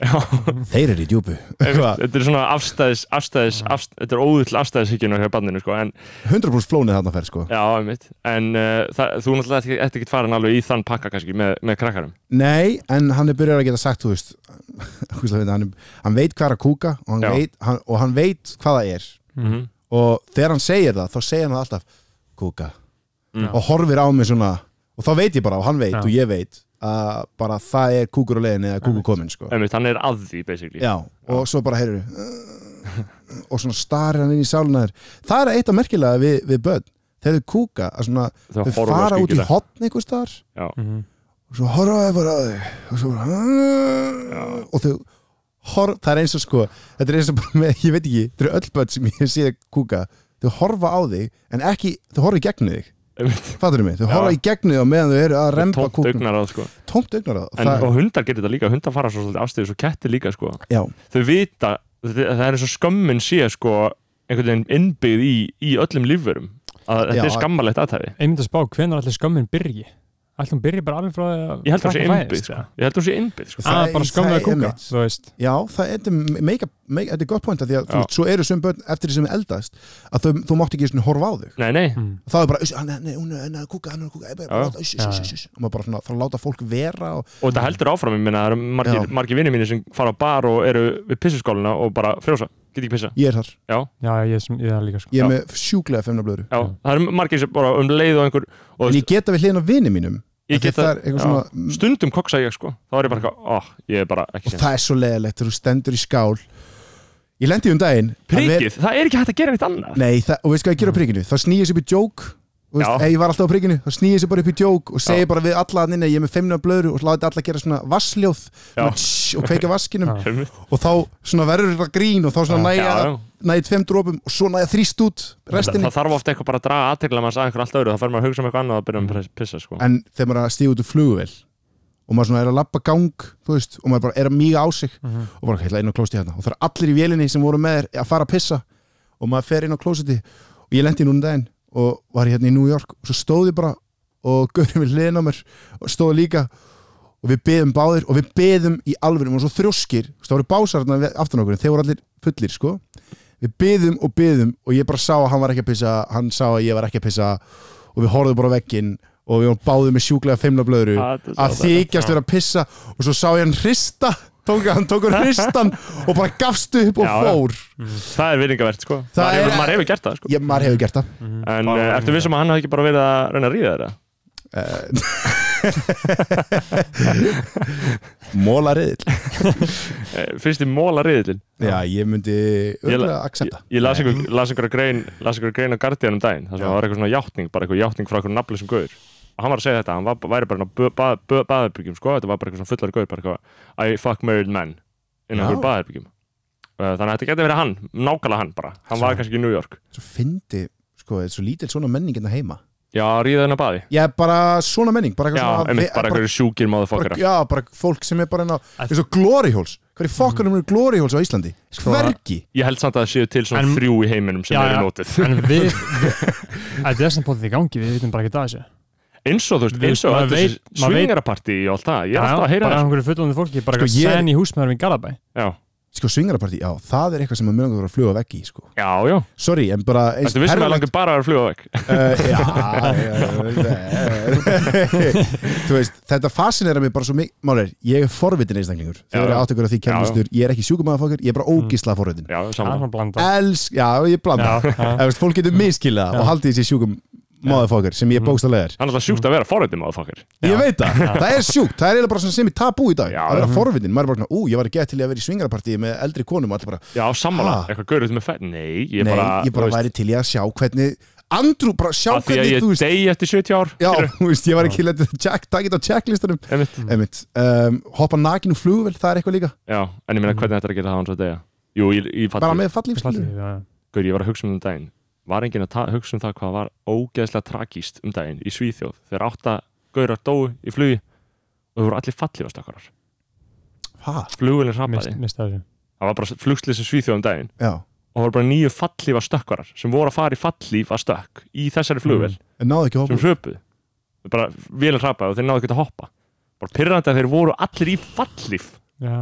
Speaker 5: Þeir eru í djúpu Eitthvað,
Speaker 1: Þetta er svona afstæðis, afstæðis,
Speaker 5: Mm.
Speaker 1: afstæðis Þetta er óðull afstæðishyggjuna hjá bandinu sko. en,
Speaker 5: 100% flónið þarna fer sko
Speaker 1: Já, einmitt En uh, það, þú náttúrulega ert ekki- ert ekkert farin alveg í þann pakka kannski með, með krakkarum
Speaker 5: Nei, en hann er byrjar að geta sagt, þú veist ógeðslega fyndið, hann, er- hann veit hvað er að kúka og hann,
Speaker 1: Já.
Speaker 5: veit, hann, og hann veit hvað það er
Speaker 1: mm -hmm.
Speaker 5: Og þegar hann segir það, þá segir hann það alltaf Kúka
Speaker 1: Já.
Speaker 5: Og horfir á mig svona Og þá veit ég bara, og hann veit
Speaker 2: Já.
Speaker 5: og ég veit Að bara það er kúkur á leiðinni eða kúkur kominn sko
Speaker 1: Einmitt, hann er að því basically
Speaker 5: Já, og svo bara heyrðu og svona starir hann inn í sáluna þér það er eitt af merkilega við, við börn þeir eru kúka, að svona
Speaker 1: Þau
Speaker 5: þau
Speaker 1: horfa
Speaker 5: fara út í
Speaker 1: skyggilega.
Speaker 5: hotn einhvers staðar
Speaker 1: Já.
Speaker 2: Mhm.
Speaker 5: og svo horfa þau bara á þig og svo bara og þau horfa, það er eins og sko þetta er eins og bara með, ég veit ekki þetta eru öll börn sem ég sé að kúka þau horfa á þig, en ekki, þau horfa í gegnum þig
Speaker 1: Einmitt,
Speaker 5: fattur þau mig, þau
Speaker 1: Já.
Speaker 5: horfa í gegnum þig og meðan þau eru að remba
Speaker 1: Tómt
Speaker 5: kúkum
Speaker 1: augnar að sko
Speaker 5: tómt augnar á það,
Speaker 1: en,
Speaker 5: það
Speaker 1: Og hundar gerir þetta líka, hundar fara svo svolítið afstæðis og kettir líka sko
Speaker 5: já,
Speaker 1: Þau vita, þ- það er eins og skömmin sé sko einhvern veginn innbyggð í, í öllum lífverum að
Speaker 5: Já,
Speaker 1: þetta er
Speaker 5: að-
Speaker 1: skammarlegt aðtæfi
Speaker 2: ég myndi að spá hvernig allir skömmin byrji allir hún byrji bara alveg frá því að
Speaker 1: Ég held að hún sé
Speaker 2: krakkinn fæðist,
Speaker 1: innbyggð sko.
Speaker 2: eða?
Speaker 1: Ég held að hún sé innbyggð sko.
Speaker 5: Það
Speaker 2: að
Speaker 5: er-
Speaker 2: bara skömmin
Speaker 5: það
Speaker 2: að
Speaker 5: er
Speaker 2: kúka
Speaker 5: einmitt.
Speaker 2: þú veist
Speaker 5: Já, það þetta er make, make, þetta er gott point að því að þú
Speaker 1: Já.
Speaker 5: veist, svo eru sum börn eftir því sem eldast að þau, þú mátt ekki svona horfa á þig
Speaker 1: Nei, nei,
Speaker 5: þá er bara, "Uss, hann er- nei, hún er hann er að kúka, hann er að kúka ég bara,
Speaker 1: Já.
Speaker 5: láta- uss, uss,
Speaker 2: Já,
Speaker 5: uss, uss." og maður bara svona, þá láta fólk vera og,
Speaker 1: og þetta heldur áfram ég minna, það eru margir,
Speaker 5: Já.
Speaker 1: margir vinnir mínir sem fara á bar og eru við pissuskóluna og bara frjósa, get ekki pissa
Speaker 5: ég er þar,
Speaker 1: já,
Speaker 2: já, ég, sem- ég er það líka sko
Speaker 5: ég er
Speaker 1: Já.
Speaker 5: með sjúklega femna blöðru
Speaker 1: já, það eru margir sem bara um leið og einhver og
Speaker 5: en ég geta við hliðin á vini mínum
Speaker 1: ég
Speaker 5: af því
Speaker 1: get
Speaker 5: það er
Speaker 1: já,
Speaker 5: eitthvað svona-
Speaker 1: stundum koksa ég sko, þá er ég bara eitthvað, oh, ég er bara ekki
Speaker 5: og
Speaker 1: sinn
Speaker 5: það er svo leðilegt þegar þú stendur í skál ég lendi um daginn að ver-
Speaker 1: prikið, það er ekki hægt að gera neitt annað
Speaker 5: Nei, það, og veistu hvað ég ger á prikinu? Þá snýjum sér upp í djók Þú veist,
Speaker 1: Já.
Speaker 5: ef ég var alltaf á prikinu, þá snýjum sér bara upp í djók og segi
Speaker 1: Já.
Speaker 5: bara við alla að nynna, ég er með feimna blöðru og láti alla gera svona vassljóð svona
Speaker 1: Já.
Speaker 5: tss, og kveika vaskinum
Speaker 2: Já.
Speaker 1: Einmitt.
Speaker 5: og þá svona verður þetta grín og þá svona
Speaker 1: já,
Speaker 5: næja,
Speaker 1: já.
Speaker 5: næja tveim drópum og svo næja þrýst út
Speaker 1: Það,
Speaker 5: restinni
Speaker 1: það þarf ofta eitthvað bara að draga aðtegla manns að einhver allt öðru, það fer maður að hugsa um eitthvað annað að byrja um að pissa sko.
Speaker 5: en þegar maður er að stíða út úr flugvél og maður svona er að labba gang þú veist, og maður bara er að míga á sig og bara heila inn á klósti hérna og það er allir í vélinni sem voru með þér að fara að pissa og maður fer inn á klósiti og ég lendi núna um daginn og var hérna í New York og svo stóði bara og gaurið við hliðin á mér og stóði líka og við beðum báðir og við beðum í alvörum og svo þrjóskir, þú veist, það voru básarna aftan á okkur, en þeir voru allir fullir sko við beðum og beðum og ég bara sá að hann var ekki að pissa, hann sá að ég var ekki að pissa og við horfðum bara á vegginn og við vorum báðið með sjúklega feimla blöðru
Speaker 1: Ah,
Speaker 5: að þykjast vera að pissa og svo sá ég hann hrista tók, hann tók hann hristan og bara gafst upp og
Speaker 1: Já, já.
Speaker 5: fór
Speaker 1: Það er vinningavert sko
Speaker 5: Það
Speaker 1: Maður
Speaker 5: er-
Speaker 1: hefur- Maður hefur gert það sko
Speaker 5: ég, maður hefur gert það
Speaker 1: En uh, ertu vissum að hann hafði ekki bara verið að reyna að ríða þeirra?
Speaker 5: uh, Móla riðil
Speaker 1: Eh, Finnst þið móla riðilinn?
Speaker 5: Já, ég myndi örgulega að
Speaker 1: Ég,
Speaker 5: accepta
Speaker 1: ég las einhver, las einhver grein las einhver grein á Guardian um daginn þar sem
Speaker 5: Já.
Speaker 1: það var eitthvað svona játning, bara eitthvað játning frá einhver nafnlisum gaur og hann var að segja þetta, hann var, væri bara inn á baðherbyggjum sko, þetta var bara eitthvað svona fullar gaur bara eitthvað I fuck married men inn á
Speaker 5: Já.
Speaker 1: einhver baðherbyggjum þannig að þetta geti verið hann, nákvæmlega hann bara hann var kannski í New York
Speaker 5: Svo fyndi, sko, svo lítil svona menning en það heima
Speaker 1: Já, ríða hennar baði
Speaker 5: Já, bara svona menning bara eitthvað
Speaker 1: Já,
Speaker 5: svona
Speaker 1: einmitt, bara
Speaker 5: bara,
Speaker 1: einhverju sjúkir
Speaker 5: bara,
Speaker 1: motherfucker
Speaker 5: já, bara fólk sem er bara enn á eins og glory holes Hverju
Speaker 1: Mhm.
Speaker 5: fokkanum eru glory holes á Íslandi?
Speaker 2: Sko-
Speaker 5: Hvergi?
Speaker 1: Ég held samt að það séu til svona
Speaker 2: En-
Speaker 1: þrjú í heiminum sem
Speaker 2: Já, já.
Speaker 1: eru notuð
Speaker 2: en við þetta er sem bóðið í gangi, við vitum bara ekki það þessu
Speaker 1: eins og þú veist,
Speaker 2: Við-
Speaker 1: eins og
Speaker 2: maður
Speaker 1: öll
Speaker 2: veit-
Speaker 1: þessi
Speaker 2: maður veit-
Speaker 1: svingarapartí og allt það, ég er alltaf að heyra
Speaker 2: bara
Speaker 1: það
Speaker 2: einhverju fullónið fólki, bara
Speaker 5: Sko,
Speaker 2: sko,
Speaker 5: ég-
Speaker 2: sen í húsmaðurum í Garabæ
Speaker 1: Já,
Speaker 5: Sko, svingarapartí, já, það er eitthvað sem maður mjög að fluga vekk í, sko
Speaker 1: já, já
Speaker 5: Sorry, en bara eins
Speaker 1: Þetta vissum um að langar bara að vera að fluga vekk
Speaker 5: uh, já, já, þú veist, þetta fascinera mig bara svo mikið, málir, ég er forvitin einstaklingur,
Speaker 1: Já,
Speaker 5: þegar
Speaker 1: já. Mm.
Speaker 5: ég átt ykkur að því kemnistur ég er ekki sjúkumæðafokkar, ég er bara ógísla forvitin
Speaker 1: Já,
Speaker 2: það er
Speaker 1: saman
Speaker 2: svona blanda
Speaker 5: elsk, já, ég blanda
Speaker 2: Já, já.
Speaker 5: Ef, veist, fólk getur miskilað og haldið þessi sjúkumæðafokkar sem
Speaker 1: Mhm.
Speaker 5: ég bókstallega er
Speaker 1: Það er alltaf sjúkt að vera forröndum á fokkir
Speaker 5: ég veit það, það er sjúkt, það er eiginlega bara svona sem í tabú í dag,
Speaker 1: Já. Mhm.
Speaker 5: að vera forvitin maður er bara, svona, ú, ég var ekki til í að vera í svingarapartíi með eldri konum og allir bara,
Speaker 1: Já, sammála,
Speaker 5: Ha?
Speaker 1: eitthvað gaurið með fætt Nei, ég
Speaker 5: nei,
Speaker 1: bara,
Speaker 5: ég bara
Speaker 1: þú
Speaker 5: væri til í að sjá hvernig, andrú, bara sjá
Speaker 1: að því að
Speaker 5: hvernig,
Speaker 1: ég
Speaker 5: þú veist
Speaker 1: degi eftir 70 ár
Speaker 5: Já, þú veist, ég var ekki letið að check, takit á checklistanum
Speaker 1: Einmitt.
Speaker 5: Einmitt, um, hoppa nakin úr flugvel, það er eitthvað líka
Speaker 1: Já, en ég meina hvernig þetta er að gera það hans að degja Jú, ég, ég fatt
Speaker 5: Mm. bara með fallífskilju
Speaker 2: það
Speaker 1: Gaur, ég var að hugsa um um daginn Var enginn að ta- hugsa um það hvað var ógeðslega tragíst um daginn í Svíþjóð Þegar átta gaurar dói í flugi og þú voru allir fallifast akkurar
Speaker 5: Hvað?
Speaker 1: Flugulinn rapaði,
Speaker 2: mista þessu
Speaker 1: það var bara flugslýs í Svíþjóð um daginn
Speaker 5: Já,
Speaker 1: og það voru bara nýju fallífa stökkvarar sem voru að fara í fallífa stökk í þessari flugvel
Speaker 5: en náðu ekki að hoppa
Speaker 1: sem hröpuð bara vélum hrapaði og þeir náðu ekki að hoppa bara pyrrandi að þeir voru allir í fallif
Speaker 2: já,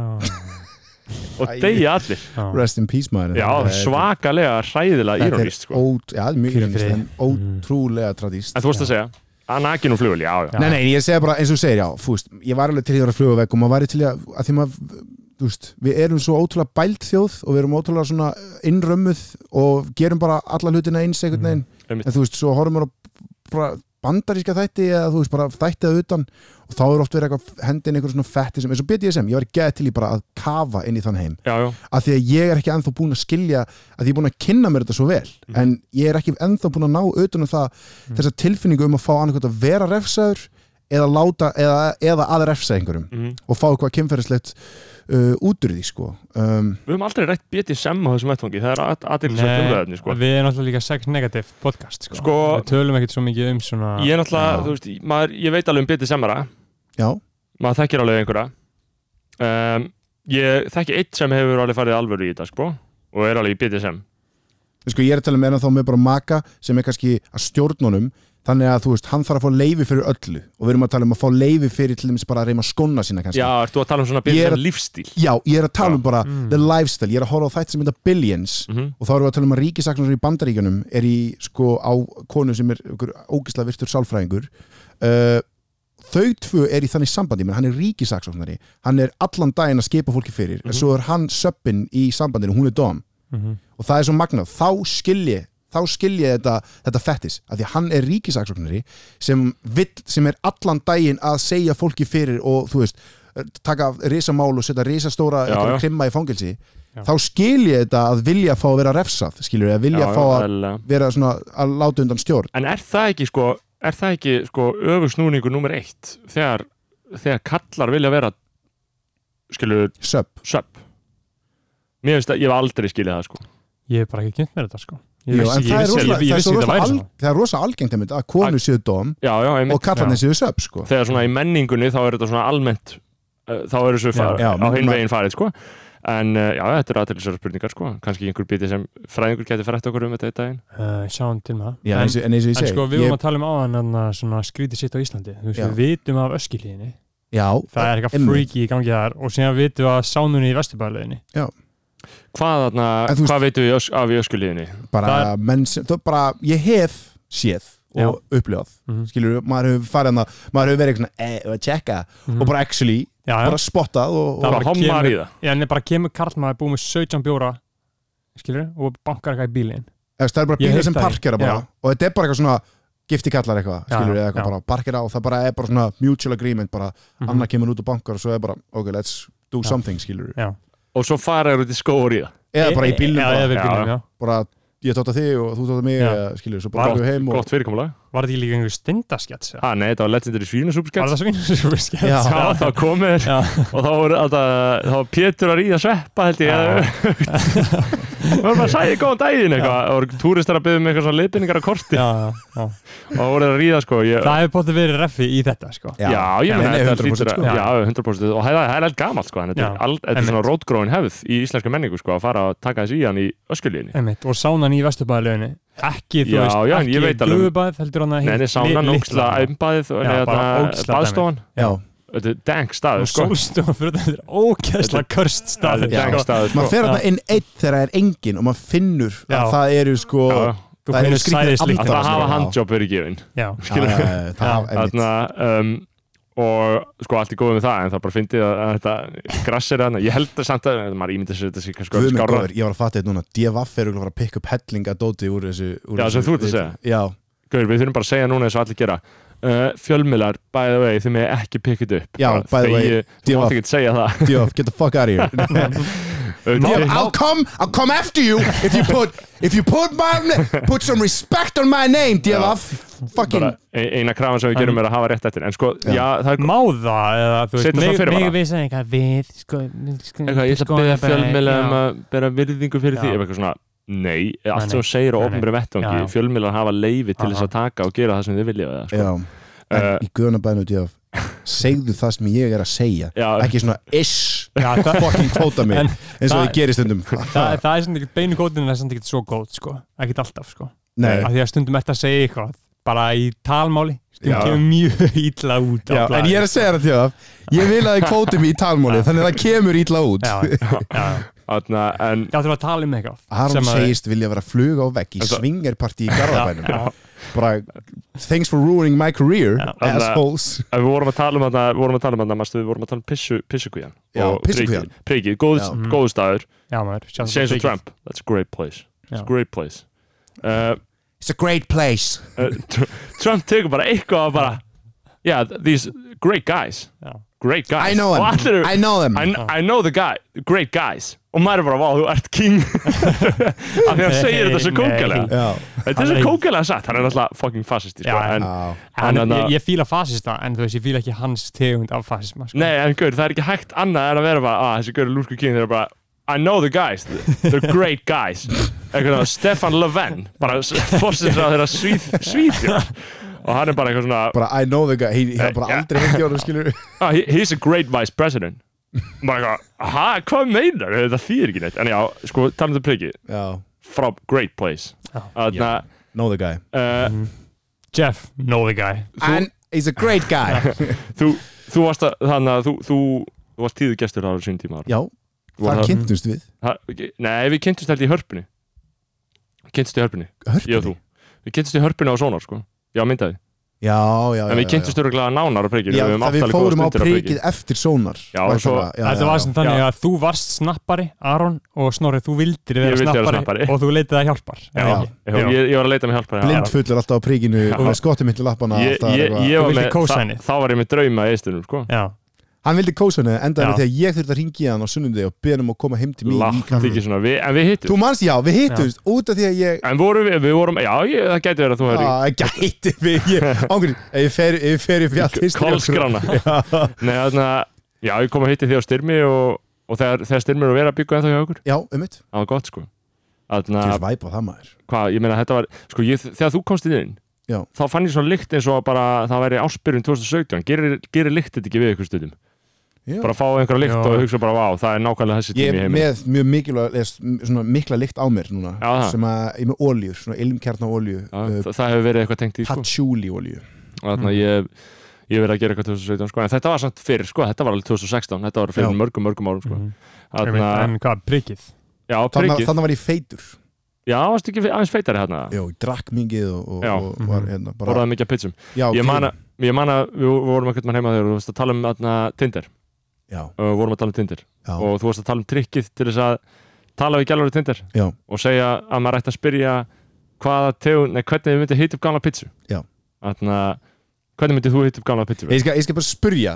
Speaker 1: og
Speaker 5: Æi.
Speaker 1: deyja allir
Speaker 5: úr. Rest in peace maður
Speaker 1: já, svakalega hræðilega írónist sko.
Speaker 5: Ó, Já, það er mjög
Speaker 2: Hvíl í
Speaker 5: írónist,
Speaker 2: friði.
Speaker 5: en ótrúlega tradíst
Speaker 1: en þú veist að segja að nakin og flugul, já, já,
Speaker 5: Nei, nei, ég segja bara, eins og þú segir, já, fúst Ég var alveg til í að vera flugvegg og maður væri til í að, að því maður, þú veist Við erum svo ótrúlega bælt þjóð og við erum ótrúlega svona innrömmuð og gerum bara alla hlutina eins einhvern veginn
Speaker 1: Einmitt.
Speaker 5: en þú veist, svo horfum við á bara bandaríska þætti eða þú veist, bara þætti að utan og þá er oft verið eitthvað hendin einhver svona fætti sem, eins og BDSM, ég var geð til í bara að kafa inn í þann heim,
Speaker 1: já, já.
Speaker 5: af því að ég er ekki ennþá búin að skilja, að ég er búin að kynna mér þetta svo vel, en ég er ekki ennþá búin að ná utan um það, þessa tilfinningu um að fá annarkvæmt að vera refsaður eða láta, eða, eða að refsa einhverjum
Speaker 1: Mm
Speaker 5: og fá eitthvað kynferðislegt uh, út úr því, sko um,
Speaker 1: við höfum aldrei rætt BDSM á þessum vettfangi það er aðeinslega umræðinni sko.
Speaker 2: við erum náttúrulega líka sex negative podcast sko.
Speaker 1: Sko-
Speaker 2: við tölum ekkert svo mikið um svona
Speaker 1: ég er náttúrulega,
Speaker 5: Já.
Speaker 1: þú veist, maður, ég veit alveg um BDSM-ara
Speaker 5: já,
Speaker 1: maður þekkir alveg einhverja um, ég þekki eitt sem hefur alveg farið alvöru í þetta sko, og er alveg í BDSM
Speaker 5: sko ég er að tala með ennþá með bara maka sem er kannski að stjórnunum þannig að þú veist, hann þarf að fá leifi fyrir öllu og við erum að tala um að fá leifi fyrir til dæmis bara að reyma skona sína kannski
Speaker 1: já, ert þú að tala um svona
Speaker 5: Ég er-
Speaker 1: BDSM lífstíl
Speaker 5: Já, ég er að tala um bara
Speaker 2: Mm.
Speaker 5: the lifestyle, ég er að horfa á þætt sem mynda billions
Speaker 1: Mhm.
Speaker 5: og þá erum við að tala um að ríkisaksnur í bandaríkjunum er í sko á konu sem er ykkur ógisla virtur sálfræðingur uh, þau tvö er í þannig sambandi, menn hann er ríkisaksnari hann er allan daginn að skipa fólki fyrir
Speaker 1: Mhm.
Speaker 5: en svo er hann söppin í sambandinu, hún er dom
Speaker 2: Mhm.
Speaker 5: og það er svo magnað, þá skilji þá skilji þetta, þetta fettis af því að hann er ríkisaksóknari sem, vill, sem er allan daginn að segja fólki fyrir og þú veist taka risamál og setja risastóra
Speaker 1: Já,
Speaker 5: einhverja
Speaker 1: já.
Speaker 5: krimma í fangelsi
Speaker 2: Já.
Speaker 5: þá skilji þetta að vilja fá að vera refsað skilur við, að vilja
Speaker 1: Já,
Speaker 5: fá
Speaker 1: já,
Speaker 5: að
Speaker 1: eðlilega.
Speaker 5: vera svona að láta undan stjórn
Speaker 1: En er það ekki sko er það ekki sko öfugsnúningur nummer eitt þegar, þegar kallar vilja vera skilur
Speaker 5: söp,
Speaker 1: söp Mér finnst að ég hef aldrei skilið það sko
Speaker 2: ég er bara ekki kynnt með þetta sko
Speaker 5: Jú, en það er
Speaker 1: vissi-
Speaker 5: rosa-
Speaker 1: ég- ég vissi
Speaker 5: það er svo
Speaker 1: ekki
Speaker 5: rosa
Speaker 1: það væri
Speaker 5: al-
Speaker 1: svona.
Speaker 5: það er rosa algengt einmitt að konu séu dom
Speaker 1: já, já,
Speaker 5: og
Speaker 1: einmitt
Speaker 5: kallarnir séu söp sko.
Speaker 1: þegar svona í menningunni þá er þetta svona almennt uh, þá eru þessu fara,
Speaker 5: já,
Speaker 1: á hinn
Speaker 5: ma-
Speaker 1: veginn farið sko. en uh, já, þetta eru aðtælisar spurningar sko. kannski einhver biti sem fræðingur geti frætt okkur um þetta í daginn
Speaker 2: uh, sjáum til með það
Speaker 5: Já, eins, og- en eins og ég
Speaker 2: en
Speaker 5: segi
Speaker 2: sko við vorum að
Speaker 5: ég,
Speaker 2: tala um áðan þarna svona skrítið sitt á Íslandi þú veist
Speaker 5: Já.
Speaker 2: við vitum af öskilíðinni
Speaker 5: já,
Speaker 2: það er eitthvað
Speaker 5: einmitt.
Speaker 2: freaky í gangi þar og síðan vitum við að sánunni í vesturbæðleginni
Speaker 1: hvað, þarna,
Speaker 5: En þú veist-
Speaker 1: hvað veitum við ösk, af í öskulíðinni
Speaker 5: bara, menn sem, það er bara, ég hef séð og upplifað
Speaker 2: Mhm.
Speaker 5: skilur, maður hefur farið hana maður hefur verið eitthvað, eh, að checka og bara actually,
Speaker 2: Mhm. já, já.
Speaker 5: bara spottað
Speaker 2: Það
Speaker 5: og, og,
Speaker 1: bara
Speaker 2: bara
Speaker 1: homar
Speaker 2: kemur-
Speaker 1: í það
Speaker 2: Já, en bara kemur karlmaður búið með 17 bjóra skilur, og bankar eitthvað í bílinn
Speaker 5: eða, það er bara
Speaker 2: Ég
Speaker 5: bílar
Speaker 2: hef
Speaker 5: sem
Speaker 2: það í-
Speaker 5: parkera bara
Speaker 2: já.
Speaker 5: og þetta er bara eitthvað svona gifti kallar eitthvað,
Speaker 2: Já,
Speaker 5: skilur, eða
Speaker 2: já.
Speaker 5: eitthvað bara parkera og það bara er bara svona mutual agreement bara, annar kemur út og bankar og svo er bara, ok, let's do
Speaker 2: Já.
Speaker 5: something, skilur
Speaker 2: Já.
Speaker 1: og svo faraður út í skóur í það
Speaker 5: eða bara í bílnum
Speaker 2: Eh, já,
Speaker 5: bara,
Speaker 2: eða í
Speaker 1: Já.
Speaker 2: bílnum, já.
Speaker 5: bara, ég tótt að þig og þú tótt að mig
Speaker 2: Já.
Speaker 5: eða, skilur, svo bara
Speaker 1: gott,
Speaker 5: við heim og
Speaker 1: gott fyrirkomulag
Speaker 2: var þetta ekki líka einhver stindaskjats
Speaker 1: ha, nei, þetta var legendary
Speaker 2: var
Speaker 1: svínasúpskett
Speaker 2: það svinnskjats
Speaker 5: Já.
Speaker 1: Já, þá komið
Speaker 2: Já.
Speaker 1: þér og þá voru alltaf, þá var Pétur að ríða sveppa held ég
Speaker 2: Já.
Speaker 1: það var bara að sæði góðan daginn eitthvað og voru túristar að byggja um eitthvað svona leiðbynningar á korti
Speaker 2: já, já, já.
Speaker 1: og það voru þeir að ríða sko ég,
Speaker 2: það hefur bótið verið reffi í þetta sko.
Speaker 5: Já.
Speaker 1: Já, ég meina
Speaker 5: Nei,
Speaker 1: þetta
Speaker 5: 100%
Speaker 1: hlýtur að-
Speaker 5: sko.
Speaker 1: Já, 100% og það það er allt gamalt sko en þetta er
Speaker 2: Já,
Speaker 1: all- þetta er
Speaker 2: einmitt.
Speaker 1: svona rótgróin hefð í íslenska menningu sko að fara að taka þess í hann í öskulíðinni
Speaker 2: Einmitt, og sánan í vesturbæðleginni ekki, þú
Speaker 1: Já,
Speaker 2: veist,
Speaker 1: já, en ég
Speaker 2: ekki
Speaker 1: veit alveg um-
Speaker 2: glöfubæð heldur hann að
Speaker 1: Nei, nei, sánan, óksla, æmbaðið
Speaker 2: Já, bara ógeðslega dæmi.
Speaker 1: hérna baðstofan
Speaker 5: Já.
Speaker 1: Þetta er dank staður sko
Speaker 2: sólstofan fyrir þetta er ókæsla körst
Speaker 1: Þetta
Speaker 2: staður
Speaker 1: er
Speaker 5: Já.
Speaker 1: dank staður
Speaker 5: maður
Speaker 1: sko
Speaker 5: fer þarna inn einn þegar það er engin og maður finnur
Speaker 2: Já.
Speaker 5: að það eru sko
Speaker 1: Já, já.
Speaker 2: þú
Speaker 5: það
Speaker 2: finnur
Speaker 5: eru skrýtnir
Speaker 2: sæðislíkt
Speaker 1: Að
Speaker 5: andar.
Speaker 1: það
Speaker 5: Já.
Speaker 1: hafa handjob verið gefin
Speaker 2: já,
Speaker 5: skilur
Speaker 1: skilur
Speaker 5: það er mitt
Speaker 1: Þarna, um, og sko allt er góð með það en það bara fyndið að, að þetta grassir þarna, ég held að samt að maður ímyndir sér þetta sé kannski
Speaker 5: Guð
Speaker 1: öll
Speaker 5: minn
Speaker 1: skárra
Speaker 5: góður, ég var að fatta þetta núna DFF er örugglega að fara að pikka upp helling að dóti úr þessu úr
Speaker 1: Já,
Speaker 5: þessu
Speaker 1: sem þú ert að
Speaker 5: viti. Já,
Speaker 1: Guður, við þurfum bara að segja núna eins og allir gera uh, Fjölmiðlar, by the way, þið með ekki pikkið upp
Speaker 5: Já, by the way,
Speaker 1: Þú
Speaker 5: DFF.
Speaker 1: mátt ekki að segja það
Speaker 5: DFF, get the fuck out of here DFF, I'll come, I'll come after you if you put, if you put my na- put some respect on my name DFF, fucking
Speaker 1: Bara ein- eina krafan sem við gerum er að hafa rétt eftir En sko, já, það er
Speaker 2: máða eða þú
Speaker 1: Setja
Speaker 2: veist,
Speaker 1: svona fyrirvara.
Speaker 2: mig við segja eitthvað við sko, við sko,
Speaker 1: eitthvað, ég ætla að
Speaker 2: skoða
Speaker 1: byrja
Speaker 2: bara-
Speaker 1: fjölmiðla um
Speaker 2: já.
Speaker 1: að bera virðingu fyrir
Speaker 2: Já.
Speaker 1: því Ef eitthvað svona, nei,
Speaker 2: Nei,
Speaker 1: allt sem þú segir á
Speaker 2: nei, nei.
Speaker 1: ofnbjörn
Speaker 2: Já,
Speaker 1: vettvangi
Speaker 2: já.
Speaker 1: Fjölmiðlar hafa leifi til þess að taka og gera það sem þið vilja við það,
Speaker 5: Já,
Speaker 1: sko.
Speaker 5: en
Speaker 2: Eh.
Speaker 1: Uh,
Speaker 5: í guðanabæðinu DFF segðu það sem ég er að segja
Speaker 1: Já.
Speaker 5: ekki svona ish
Speaker 2: Já, það,
Speaker 5: fucking kvóta mig
Speaker 2: En
Speaker 5: eins og
Speaker 2: það-
Speaker 5: ég gerir stundum
Speaker 2: það, er- það er svona ekkert beinu kótinu er svona ekkert svo góð sko, ekkert alltaf sko
Speaker 5: Nei,
Speaker 2: af því að stundum eftir að segja eitthvað bara í talmáli,
Speaker 5: Já.
Speaker 2: stundum kemur mjög illa út á
Speaker 5: Já, en
Speaker 2: blaði.
Speaker 5: ég er að segja það til það Ég vil að þið kvóti mig í talmáli Þannig að það kemur ítla út
Speaker 2: já, já, já.
Speaker 1: Þarna, en
Speaker 2: ég ætlum að tala um eitthvað
Speaker 5: Aron
Speaker 2: sem að-
Speaker 5: segist vilja vera flug á vegg í
Speaker 1: En það-
Speaker 5: svingerparti í
Speaker 2: Já,
Speaker 5: Garðabænum bara, thanks for ruining my career
Speaker 2: Já.
Speaker 5: assholes
Speaker 1: En við vorum að tala um þarna, við vorum að tala um þarna, manstu, við vorum að tala um pissu, pissukvíjan
Speaker 5: Já, pissukvían.
Speaker 1: Prikið, góð,
Speaker 5: Já.
Speaker 1: góð staður,
Speaker 2: já, maður, sjá
Speaker 1: Saints of
Speaker 2: Mm. það
Speaker 1: Trump That's a great place,
Speaker 2: Já.
Speaker 1: it's a great place uh,
Speaker 5: It's a great place
Speaker 1: uh, Tr- Trump tekur bara eitthvað og bara Yeah, these great guys
Speaker 2: Já.
Speaker 1: Great guys
Speaker 5: I know
Speaker 1: Og allir
Speaker 5: them,
Speaker 1: eru-
Speaker 5: I know them
Speaker 1: I, kn- I know the guy, great guys Og maður er bara, vá, þú ert king Af því hann segir þetta svo
Speaker 2: Nei,
Speaker 1: kókalega
Speaker 5: Já,
Speaker 1: Þetta er
Speaker 2: Hann
Speaker 1: svo
Speaker 2: er-
Speaker 1: kókalega satt, hann er náttúrulega fucking fascisti sko.
Speaker 2: Já,
Speaker 1: en,
Speaker 5: já.
Speaker 1: en,
Speaker 2: En,
Speaker 1: en,
Speaker 2: ég, ég fíla fasista, en þú veist, ég fíla ekki hans tegund af fasisma sko.
Speaker 1: Nei, en gaur, það er ekki hægt annað en að vera bara, ah, þessi gaur er lúsku king, þeir eru bara I know the guys, they're great guys eitthvað, Stefan Löfven bara fórsins á þeirra svíð, svíðjör og hann er bara eitthvað svona
Speaker 5: bara I know the guy He- Ég hef bara
Speaker 1: Já.
Speaker 5: aldrei hengi á hann skilur
Speaker 1: ah, he- he's a great vice president bara eitthvað, ha, hvað meinar þetta þýðir ekki neitt, en já, sko, talum þetta prikið
Speaker 5: Já,
Speaker 1: from great place þannig að
Speaker 5: know the guy
Speaker 1: uh,
Speaker 2: Mhm. Jeff, know the guy
Speaker 5: And he's a great guy
Speaker 1: þú, þú varst að, þannig að þú, þú, þú varst tíðu gestur á þessum tíma ára
Speaker 5: Já,
Speaker 1: Voru
Speaker 5: það
Speaker 1: það-
Speaker 5: kynntumst við
Speaker 1: Ha- Nei, við kynntumst held ég í hörpunni Kynntumst í hörpunni, ég og þú
Speaker 5: Hörpunni
Speaker 1: Við kynntumst í hörpunni á Sónar sko Já, myndaði
Speaker 5: Já, já, já
Speaker 1: En við
Speaker 5: já,
Speaker 1: kynntumst öruglega nánar á
Speaker 5: já.
Speaker 1: preikir
Speaker 5: Já, það við fórum á prikið eftir sónar
Speaker 1: Já, og svo-
Speaker 5: væntanlega. Já,
Speaker 2: Þetta
Speaker 5: já,
Speaker 2: var
Speaker 5: já.
Speaker 2: sem þannig
Speaker 1: Já.
Speaker 2: að þú varst snappari, Aron og Snorri, þú vildir vera
Speaker 1: Ég vildi vera
Speaker 2: snappari,
Speaker 1: snappari.
Speaker 2: og þú leitaði hjálpar eða
Speaker 5: Já.
Speaker 2: ekki?
Speaker 1: ég, ég, ég var að leita með hjálpa
Speaker 5: blindfullur alltaf á príkinu og með skottum mitt í lappana
Speaker 1: Ég,
Speaker 5: alltaf
Speaker 1: ég,
Speaker 5: eitthvað.
Speaker 1: ég var
Speaker 2: vildir
Speaker 1: með,
Speaker 2: kósænið.
Speaker 1: þa- þá var ég með drauma í eistunum sko
Speaker 2: Já.
Speaker 5: hann vildi kósunni endaði
Speaker 2: Já.
Speaker 5: með því að ég þurfti að ringi hann á sunnundi og beða hann um að koma heim til mín í
Speaker 1: Látt
Speaker 5: kaffi.
Speaker 1: ekki svona, við, en við hittum
Speaker 5: þú manst, já, við hittumst út af því að ég
Speaker 1: En vorum við, við vorum, já, ég, það gæti verið að þú hefði
Speaker 5: að Ah, gæti mig ég, ángrín, ef ég fer, ef ég fer í fjallt
Speaker 1: Kolskrána Nei, þannig að, já, ég kom að hitti þig á styrmi og, og þegar, þegar styrmi er að vera að byggja ennþá hjá okkur
Speaker 5: já, um mitt
Speaker 1: Það var gott sko Þarna,
Speaker 5: Kjörs væp á það maður
Speaker 1: hvað, ég meina þetta var sko, ég, þegar þú komst inn
Speaker 5: Já.
Speaker 1: þá fann ég svona lykt eins og að bara það væri áspyrjun 2017, gerir, gerir lykt þetta ekki við ykkur stundum,
Speaker 5: Já.
Speaker 1: bara fá einhverja lykt
Speaker 2: Já.
Speaker 1: og hugsa bara, vá, það er nákvæmlega þessi
Speaker 5: Ég
Speaker 1: tími í
Speaker 5: er
Speaker 1: heiminum
Speaker 5: með mjög mikilvæg eða svona mikla lykt á mér núna
Speaker 1: Já, það.
Speaker 5: sem að ég er með oljur, svona uh, ilmkjarna olju
Speaker 1: Já, þa- það sko- hefur verið eitthvað tengt í sko.
Speaker 5: patchouli olju
Speaker 1: og þarna
Speaker 2: Mm.
Speaker 1: ég ég hef verið að gera eitthvað 2017 sko. en þetta var samt fyrir, sko, þetta var alveg 2016 þetta var fyrir
Speaker 5: Já.
Speaker 1: mörgum, mörgum árum sko.
Speaker 2: Mhm.
Speaker 1: þarna,
Speaker 2: En hvað, prikið?
Speaker 1: já,
Speaker 5: Þannig,
Speaker 1: prikið,
Speaker 5: þannig var ég feitur
Speaker 1: já, varstu ekki aðeins feitari hérna,
Speaker 5: Já, ég drakk mingið og, og,
Speaker 1: Já.
Speaker 5: og var hérna bara
Speaker 1: borðaði mikið að pizzum
Speaker 5: já,
Speaker 1: ég
Speaker 5: ok.
Speaker 1: man að, ég man að við vorum ekkert mann heima þegar og þú varst að tala um þarna, Tinder,
Speaker 5: Já,
Speaker 1: og vorum að tala um Tinder
Speaker 5: já,
Speaker 1: og þú varst að tala um trikkið til þess að tala við gælur í Tinder
Speaker 5: já,
Speaker 1: og segja að maður ætti að spyrja hvaða tegund, nei, hvernig þið myndi hýta upp gamla pizzu
Speaker 5: Já.
Speaker 1: Þarna, hvernig myndið þú hýta upp gamla pizzu
Speaker 5: Ég skal, ég skal bara spurja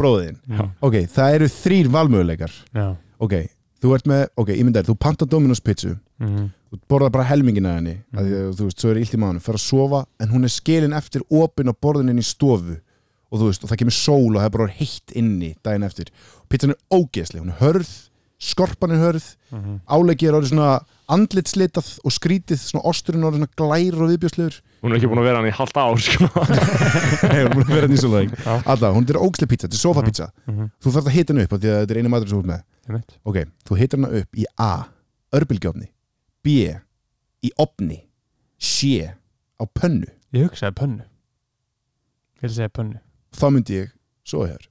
Speaker 5: bróðin
Speaker 2: Já.
Speaker 5: Ok, það eru þrýr valmöguleikar
Speaker 2: Já.
Speaker 5: Ok, þú ert með, ok, ég myndi þér Þú pantar Dominos pizzu,
Speaker 2: Mhm.
Speaker 5: þú borðar bara helmingin að henni mm. að, því að, Þú veist, svo er illt í maðunum, fer að sofa En hún er skilin eftir opin á borðin inn í stofu Og þú veist, og það kemur sól Og það er bara heitt inni daginn eftir Pizzan er ógeðsleg, hún er hörð Skorpan er hörð,
Speaker 2: Mhm.
Speaker 5: áleggi er orðið svona andlitslitað og skrítið svona osturinn orðið svona glær og viðbjörslegur
Speaker 1: hún er ekki búin að vera hann í halvt ár sko.
Speaker 5: Nei, hún er búin að vera nýsum lang
Speaker 2: Já.
Speaker 5: Alltaf, hún er ógæslega pizza, þetta er sofapizza
Speaker 2: Mhm.
Speaker 5: Þú þarf að hita henni upp af því að þetta er einu matur sem þú ert með
Speaker 2: Einmitt.
Speaker 5: Ok, þú hitar henni upp í A Örbylgjófni B Í opni C Á pönnu
Speaker 2: Ég hugsaði pönnu Ég vil segja pönnu
Speaker 5: Þá myndi ég, svo hefur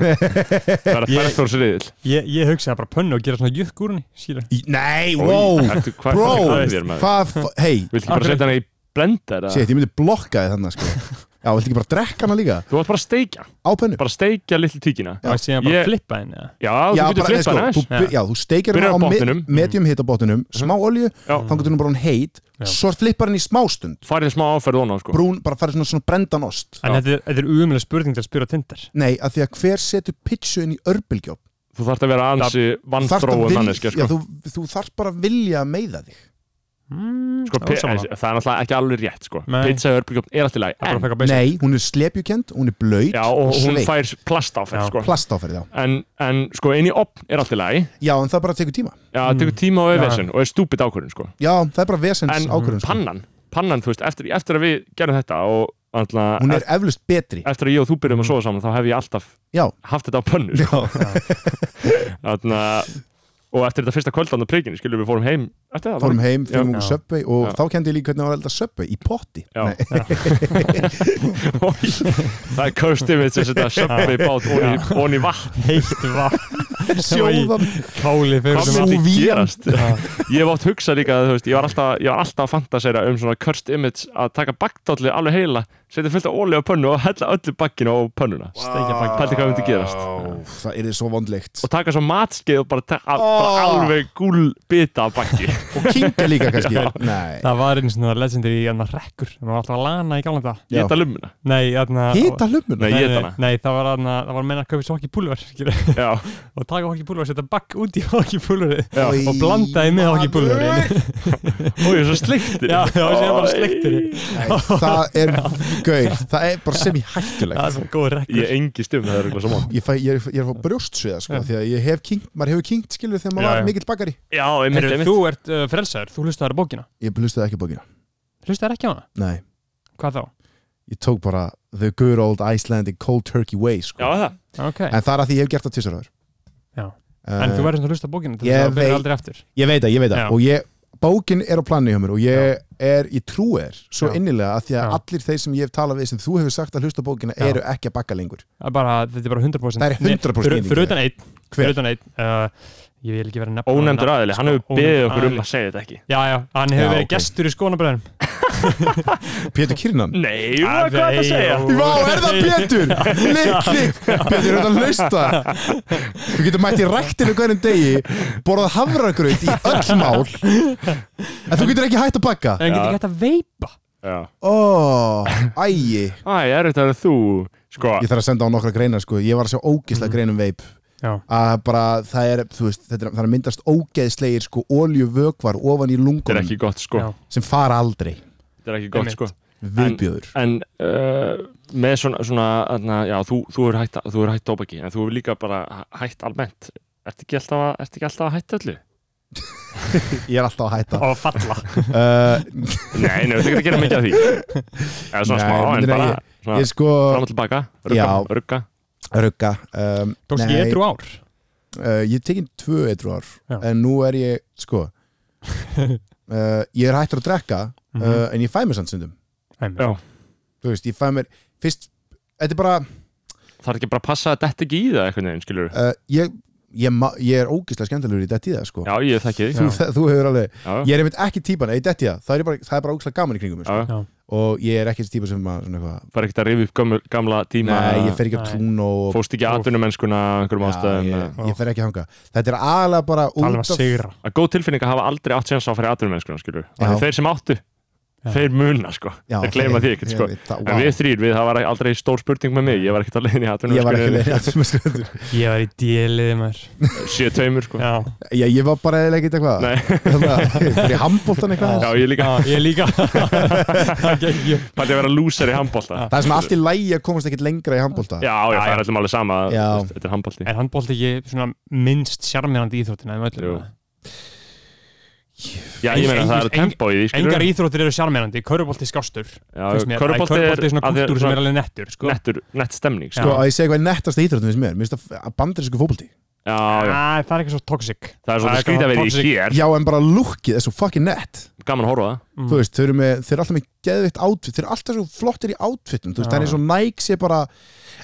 Speaker 1: það er að
Speaker 2: Ég-
Speaker 1: Bergþór Sriðil
Speaker 2: Ég, ég hugsaði bara pönnu og gera svona jukk úr henni Skilur
Speaker 5: Í- Nei, wow Bro,
Speaker 1: Vilt
Speaker 5: hvað, f- hey
Speaker 1: ekki bara setja hann í blenda eða?
Speaker 5: Sétt, ég myndi blokka þið þannig sko. Já, viltu ekki bara drekka hana líka
Speaker 1: þú varst bara að steikja,
Speaker 5: Á pönnu
Speaker 1: bara að steikja litlu tíkina
Speaker 5: Já.
Speaker 2: Og síðan bara
Speaker 1: Ég-
Speaker 2: flippa henni eða?
Speaker 1: já, þú
Speaker 5: Já,
Speaker 1: getur
Speaker 5: bara, nei,
Speaker 1: flippað
Speaker 5: sko,
Speaker 1: hann
Speaker 5: þú,
Speaker 1: aðeins
Speaker 5: by- já, þú steikir
Speaker 1: Byrjar
Speaker 5: hana á
Speaker 1: á botninum. Mm.
Speaker 5: me- medium hita botninum smá olju,
Speaker 1: Já.
Speaker 5: þá getur hún bara hún heit
Speaker 2: Já.
Speaker 5: svo flippar hann í smástund
Speaker 1: farið smá áferð ofan á sko.
Speaker 5: brún, bara farið svona, svona brendan ost
Speaker 2: En þetta er, þetta er umjöðlega spurning til að spyrja á Tinder
Speaker 5: Nei, að því að hver setur pitchu inn í örbylgjóp
Speaker 1: þú þarft að vera ansi vannþróun manneski
Speaker 5: já,
Speaker 1: sko.
Speaker 5: þú, þú þarft bara að vilja að meiða þig
Speaker 2: mm,
Speaker 1: Sko, pi- það
Speaker 2: Það
Speaker 1: er náttúrulega ekki alveg rétt sko.
Speaker 2: Nei.
Speaker 1: pizza og örbyggjum er alltaf læg
Speaker 2: er
Speaker 1: en
Speaker 2: bara fækka basic
Speaker 5: Nei, hún er slepjukend, hún er blaut
Speaker 1: Já, og hún
Speaker 5: sveitt.
Speaker 1: fær plastáferð
Speaker 2: Já.
Speaker 1: sko.
Speaker 5: Plastáferð, já
Speaker 1: en, en sko, inn í opn er alltaf læg
Speaker 5: Já, en það bara tekur tíma
Speaker 1: Já, það tekur tíma og öfessin og er stúpid ákvörðun sko.
Speaker 5: Já, það er bara vesens
Speaker 1: En
Speaker 5: ákvörðun sko.
Speaker 1: pannan, pannan, þú veist, eftir, eftir að við gerum þetta og
Speaker 5: Hún
Speaker 1: alltaf,
Speaker 5: er eflust betri
Speaker 1: eftir að ég og þú byrjum að sofa saman þá hef ég alltaf
Speaker 5: Já,
Speaker 1: haft þetta á pönnu
Speaker 5: já,
Speaker 1: sko. Þarna, og eftir þetta fyrsta kvöldan á prikinu, skilur við fórum heim eftir það,
Speaker 5: fórum heim,
Speaker 1: Já.
Speaker 5: fengum okkur
Speaker 2: Já.
Speaker 5: söpvei og
Speaker 1: Já.
Speaker 5: þá kendi ég líka hvernig það var að elda söpvei í potti
Speaker 1: Já.
Speaker 5: Nei,
Speaker 1: það er coast image að setja söppi bát onni, onni vatn
Speaker 2: Heitt vatn
Speaker 5: sjóðan
Speaker 2: Káli fyrir
Speaker 1: hvað
Speaker 2: sem
Speaker 1: myndi
Speaker 5: vatn.
Speaker 1: gerast
Speaker 2: Já.
Speaker 1: ég hef átt hugsa líka að, þú veist, ég var alltaf, ég var alltaf að fantasera um svona cursed image að taka baktálli alveg heila setja fullt af óli á pönnu og hella öllu bakkinu á pönnuna
Speaker 2: Steikja bakið.
Speaker 1: pældi hvað myndi gerast
Speaker 5: Ó, Það er þið svo vondlegt
Speaker 1: og taka svo matskeið og bara, ta- al, bara
Speaker 5: Oh.
Speaker 1: alveg gúl bita af bakki
Speaker 5: Og kinga líka kannski Nei
Speaker 2: Það var einu svona legendir í hérna rekkur Það var alltaf að lana í galanda
Speaker 5: Já.
Speaker 1: geta lumina
Speaker 2: Nei, hérna
Speaker 5: Hita hlumuna
Speaker 1: Nei,
Speaker 2: Nei,
Speaker 1: ég
Speaker 2: nei,
Speaker 1: hana.
Speaker 2: nei, það var, aðna, það var að menna að kaupa svo hokki púlver og
Speaker 1: Já,
Speaker 2: taka hokki púlver og setja bakk út í hokki púlveri
Speaker 1: já.
Speaker 5: Oj,
Speaker 2: og blandaði með hokki púlverin
Speaker 1: og ég er svo sliktir
Speaker 2: Já, já, og síðan bara sleiktir í.
Speaker 5: Nei, það er gaur, það er bara sem í
Speaker 2: Það er
Speaker 5: hættulegt
Speaker 2: svona góð rekkur
Speaker 1: Ég engi stum, það er eitthvað saman
Speaker 5: ég, fæ, ég, er, ég er að fá brjóstsviða sko,
Speaker 2: Já.
Speaker 5: því að ég hef kinkt, maður hefur kinkt skilur þegar maður
Speaker 2: Já,
Speaker 5: var
Speaker 2: já.
Speaker 5: mikill bakari
Speaker 1: Já, einmitt,
Speaker 2: Heru,
Speaker 1: einmitt
Speaker 2: Þú ert uh, frelsaður, þú hlustaður á bókina
Speaker 5: ég hlustaði ekki á bókina
Speaker 2: Hlustaður ekki á hana?
Speaker 5: Nei,
Speaker 2: Hvað þá?
Speaker 5: ég tók bara the good old Icelandic cold turkey way sko.
Speaker 1: Já, það
Speaker 2: Ok, en,
Speaker 5: en það er að því ég hef gert það tísar áður
Speaker 2: Já. þú
Speaker 5: uh,
Speaker 2: verður svona að hlusta á bókina til
Speaker 5: ég
Speaker 2: þess að það
Speaker 5: veit-
Speaker 2: verður aldrei aftur
Speaker 5: ég veit það, ég veit
Speaker 2: Já.
Speaker 5: það og ég, bókin er á planinu hjá mér og ég er, ég trú er svo
Speaker 2: Já.
Speaker 5: innilega að því að
Speaker 2: Já.
Speaker 5: allir þeir sem ég hef talað við sem þú hefur sagt að hlusta á bókina
Speaker 2: Já.
Speaker 5: eru ekki að bakka lengur
Speaker 2: Það er bara, þetta er bara 100%
Speaker 5: Það er 100%
Speaker 2: Nei, fyrir- Fyrir utan einn
Speaker 5: Hver?
Speaker 2: Fyrir utan einn uh, Ég vil ekki vera að nefna
Speaker 1: Ónefndur
Speaker 2: nafn,
Speaker 1: aðili, hann
Speaker 2: sko,
Speaker 1: hefur beðið
Speaker 2: ónefndur
Speaker 1: okkur um
Speaker 2: aðili.
Speaker 1: að segja þetta ekki
Speaker 2: Já, já, hann hefur
Speaker 5: Já,
Speaker 2: verið
Speaker 5: ok.
Speaker 2: gestur í skónabræðinum
Speaker 5: Pétur Kirnan
Speaker 1: Nei, hvað
Speaker 2: Ah,
Speaker 1: er þetta að
Speaker 2: nei,
Speaker 1: segja?
Speaker 2: já.
Speaker 5: Vá, er það Pétur? Klikk, klikk Pétur er að lausta Þú getur mætt í ræktinu hverjum degi Borðað hafragraut í öll mál En þú getur ekki hætt að bakka
Speaker 2: En hann
Speaker 1: Já.
Speaker 2: getur ekki hægt að veipa
Speaker 1: Já
Speaker 5: Ó, ægi
Speaker 1: Æ, er þetta að þú, sko
Speaker 5: Ég þarf að senda á nokkra greinar sko Ég var að sjá ógeðslega greinum veip
Speaker 2: Mhm. Já,
Speaker 5: að bara það er, þú veist, þetta er, það er að myndast ógeðslegir sko oljuvökvar ofan í
Speaker 1: Þetta er
Speaker 5: lungunum
Speaker 1: ekki gott, sko
Speaker 2: Já.
Speaker 5: sem fara aldrei
Speaker 1: Þetta er ekki gott,
Speaker 2: Einmitt.
Speaker 1: sko
Speaker 5: viðbjöður
Speaker 1: En uh, með svona, svona aðna, já, þú, þú er hætt, þú er hætt tóbaki en þú er líka bara hætt almennt Ertu ekki alltaf að, ertu ekki alltaf að hætta öllu?
Speaker 5: ég er alltaf að hætta
Speaker 2: á að falla
Speaker 5: uh,
Speaker 1: Nei, nei, þetta er ekki að gera mikið af því Eða svona
Speaker 5: Nei,
Speaker 1: smá, en
Speaker 5: myndin er
Speaker 1: bara svona,
Speaker 5: ég sko
Speaker 1: fram og tilbaka, rugga,
Speaker 5: Já.
Speaker 1: rugga
Speaker 5: rugga um,
Speaker 2: Tókst ég eitthvað ár
Speaker 5: Uh, ég tekinn tvö eitru ár
Speaker 2: Já.
Speaker 5: en nú er ég, sko uh, ég er hættur að drekka uh,
Speaker 2: Mhm.
Speaker 5: en ég fæ mér samt stundum
Speaker 2: Einmitt.
Speaker 1: Já.
Speaker 5: þú veist, ég fæ mér fyrst, þetta er bara
Speaker 1: Það er ekki bara að passa að þetta ekki í það eitthvað neginn, skilur
Speaker 5: uh, ég, ég, ma- ég er ógislega skemmtilegur í detti það, sko
Speaker 1: Já, ég þekki þig
Speaker 5: þú, þú hefur alveg,
Speaker 1: Já,
Speaker 5: ég er einmitt ekki típan ef ég detti það, það er bara, það er bara ógislega gaman í kringum mig, sko.
Speaker 1: já,
Speaker 2: Já.
Speaker 5: og ég er ekki þessi típa sem að, svona eitthvað
Speaker 1: bara ekkert að rifja upp gamla, gamla tíma
Speaker 5: nei, ég fer ekki á
Speaker 2: Nei.
Speaker 5: tún og
Speaker 1: Fóst ekki aðdunum mennskuna einhverjum
Speaker 5: Já,
Speaker 1: ástæðum
Speaker 5: ég,
Speaker 1: eða- um
Speaker 5: ég fer ekki hanga þetta er aðalega bara
Speaker 2: Talum um
Speaker 5: út
Speaker 2: að sigra
Speaker 1: Að góð tilfinning að hafa aldrei átt séns á að fara í aðdunum mennskuna, skilur
Speaker 5: Já.
Speaker 1: Og þeir sem áttu,
Speaker 2: Já.
Speaker 1: þeir muna, sko
Speaker 5: Já,
Speaker 1: Þeir gleyma því ekkert, sko
Speaker 5: ég- það-
Speaker 1: En
Speaker 5: vá.
Speaker 1: við þrýr, við, það var aldrei stór spurning með mig Ég var ekkert að leiðin í aðdunum
Speaker 5: ég var ekki leið
Speaker 2: Ég var í djeliði mér
Speaker 1: Sjö taumur, sko
Speaker 2: Já,
Speaker 5: ég, ég var bara eða ekkert eitthvað
Speaker 1: Nei.
Speaker 5: Þannig að- ég var í handbóltan eitthvað
Speaker 1: Já, ég líka,
Speaker 2: Já, ég líka Það gekk ég
Speaker 1: pæli að vera lúsar í handbólta
Speaker 5: það er sem allt í lægi að komast ekkert lengra í handbólta
Speaker 1: Já, já, það
Speaker 2: Já,
Speaker 1: er allum alveg sama þú
Speaker 5: Já.
Speaker 1: veist, Þetta er handbólti
Speaker 2: Er handbólt ekki svona minnst sjarmirandi íþróttina um öllum?
Speaker 1: Jú. Já, ég meina
Speaker 2: Engin-
Speaker 1: það er
Speaker 2: engin-
Speaker 1: tempo í því, skilur
Speaker 2: Engar íþróttir eru sjarmirandi, körubólti skástur finnst mér.
Speaker 1: Körubolti
Speaker 2: Æ, körfubolti er svona
Speaker 1: að því að
Speaker 2: kultúr sem er alveg nettur sko.
Speaker 1: nettur, nett stemning
Speaker 5: sko,
Speaker 1: sko.
Speaker 5: að ég segi hvað er nettasta íþróttum sem er, mér finnst að bandarísku fótbólti
Speaker 1: Já, já,
Speaker 2: Æ, það er ekki svo toxic
Speaker 1: það er svona skrítið að vera í hér
Speaker 5: já, en bara lukkið er svo fucking nett
Speaker 1: Gaman að horfa á það
Speaker 2: Mm.
Speaker 5: þú veist, þeir eru með, þeir eru alltaf með geðvitt outfit þeir eru alltaf svo flottir í outfitum þú veist, það er eins og Nike sé bara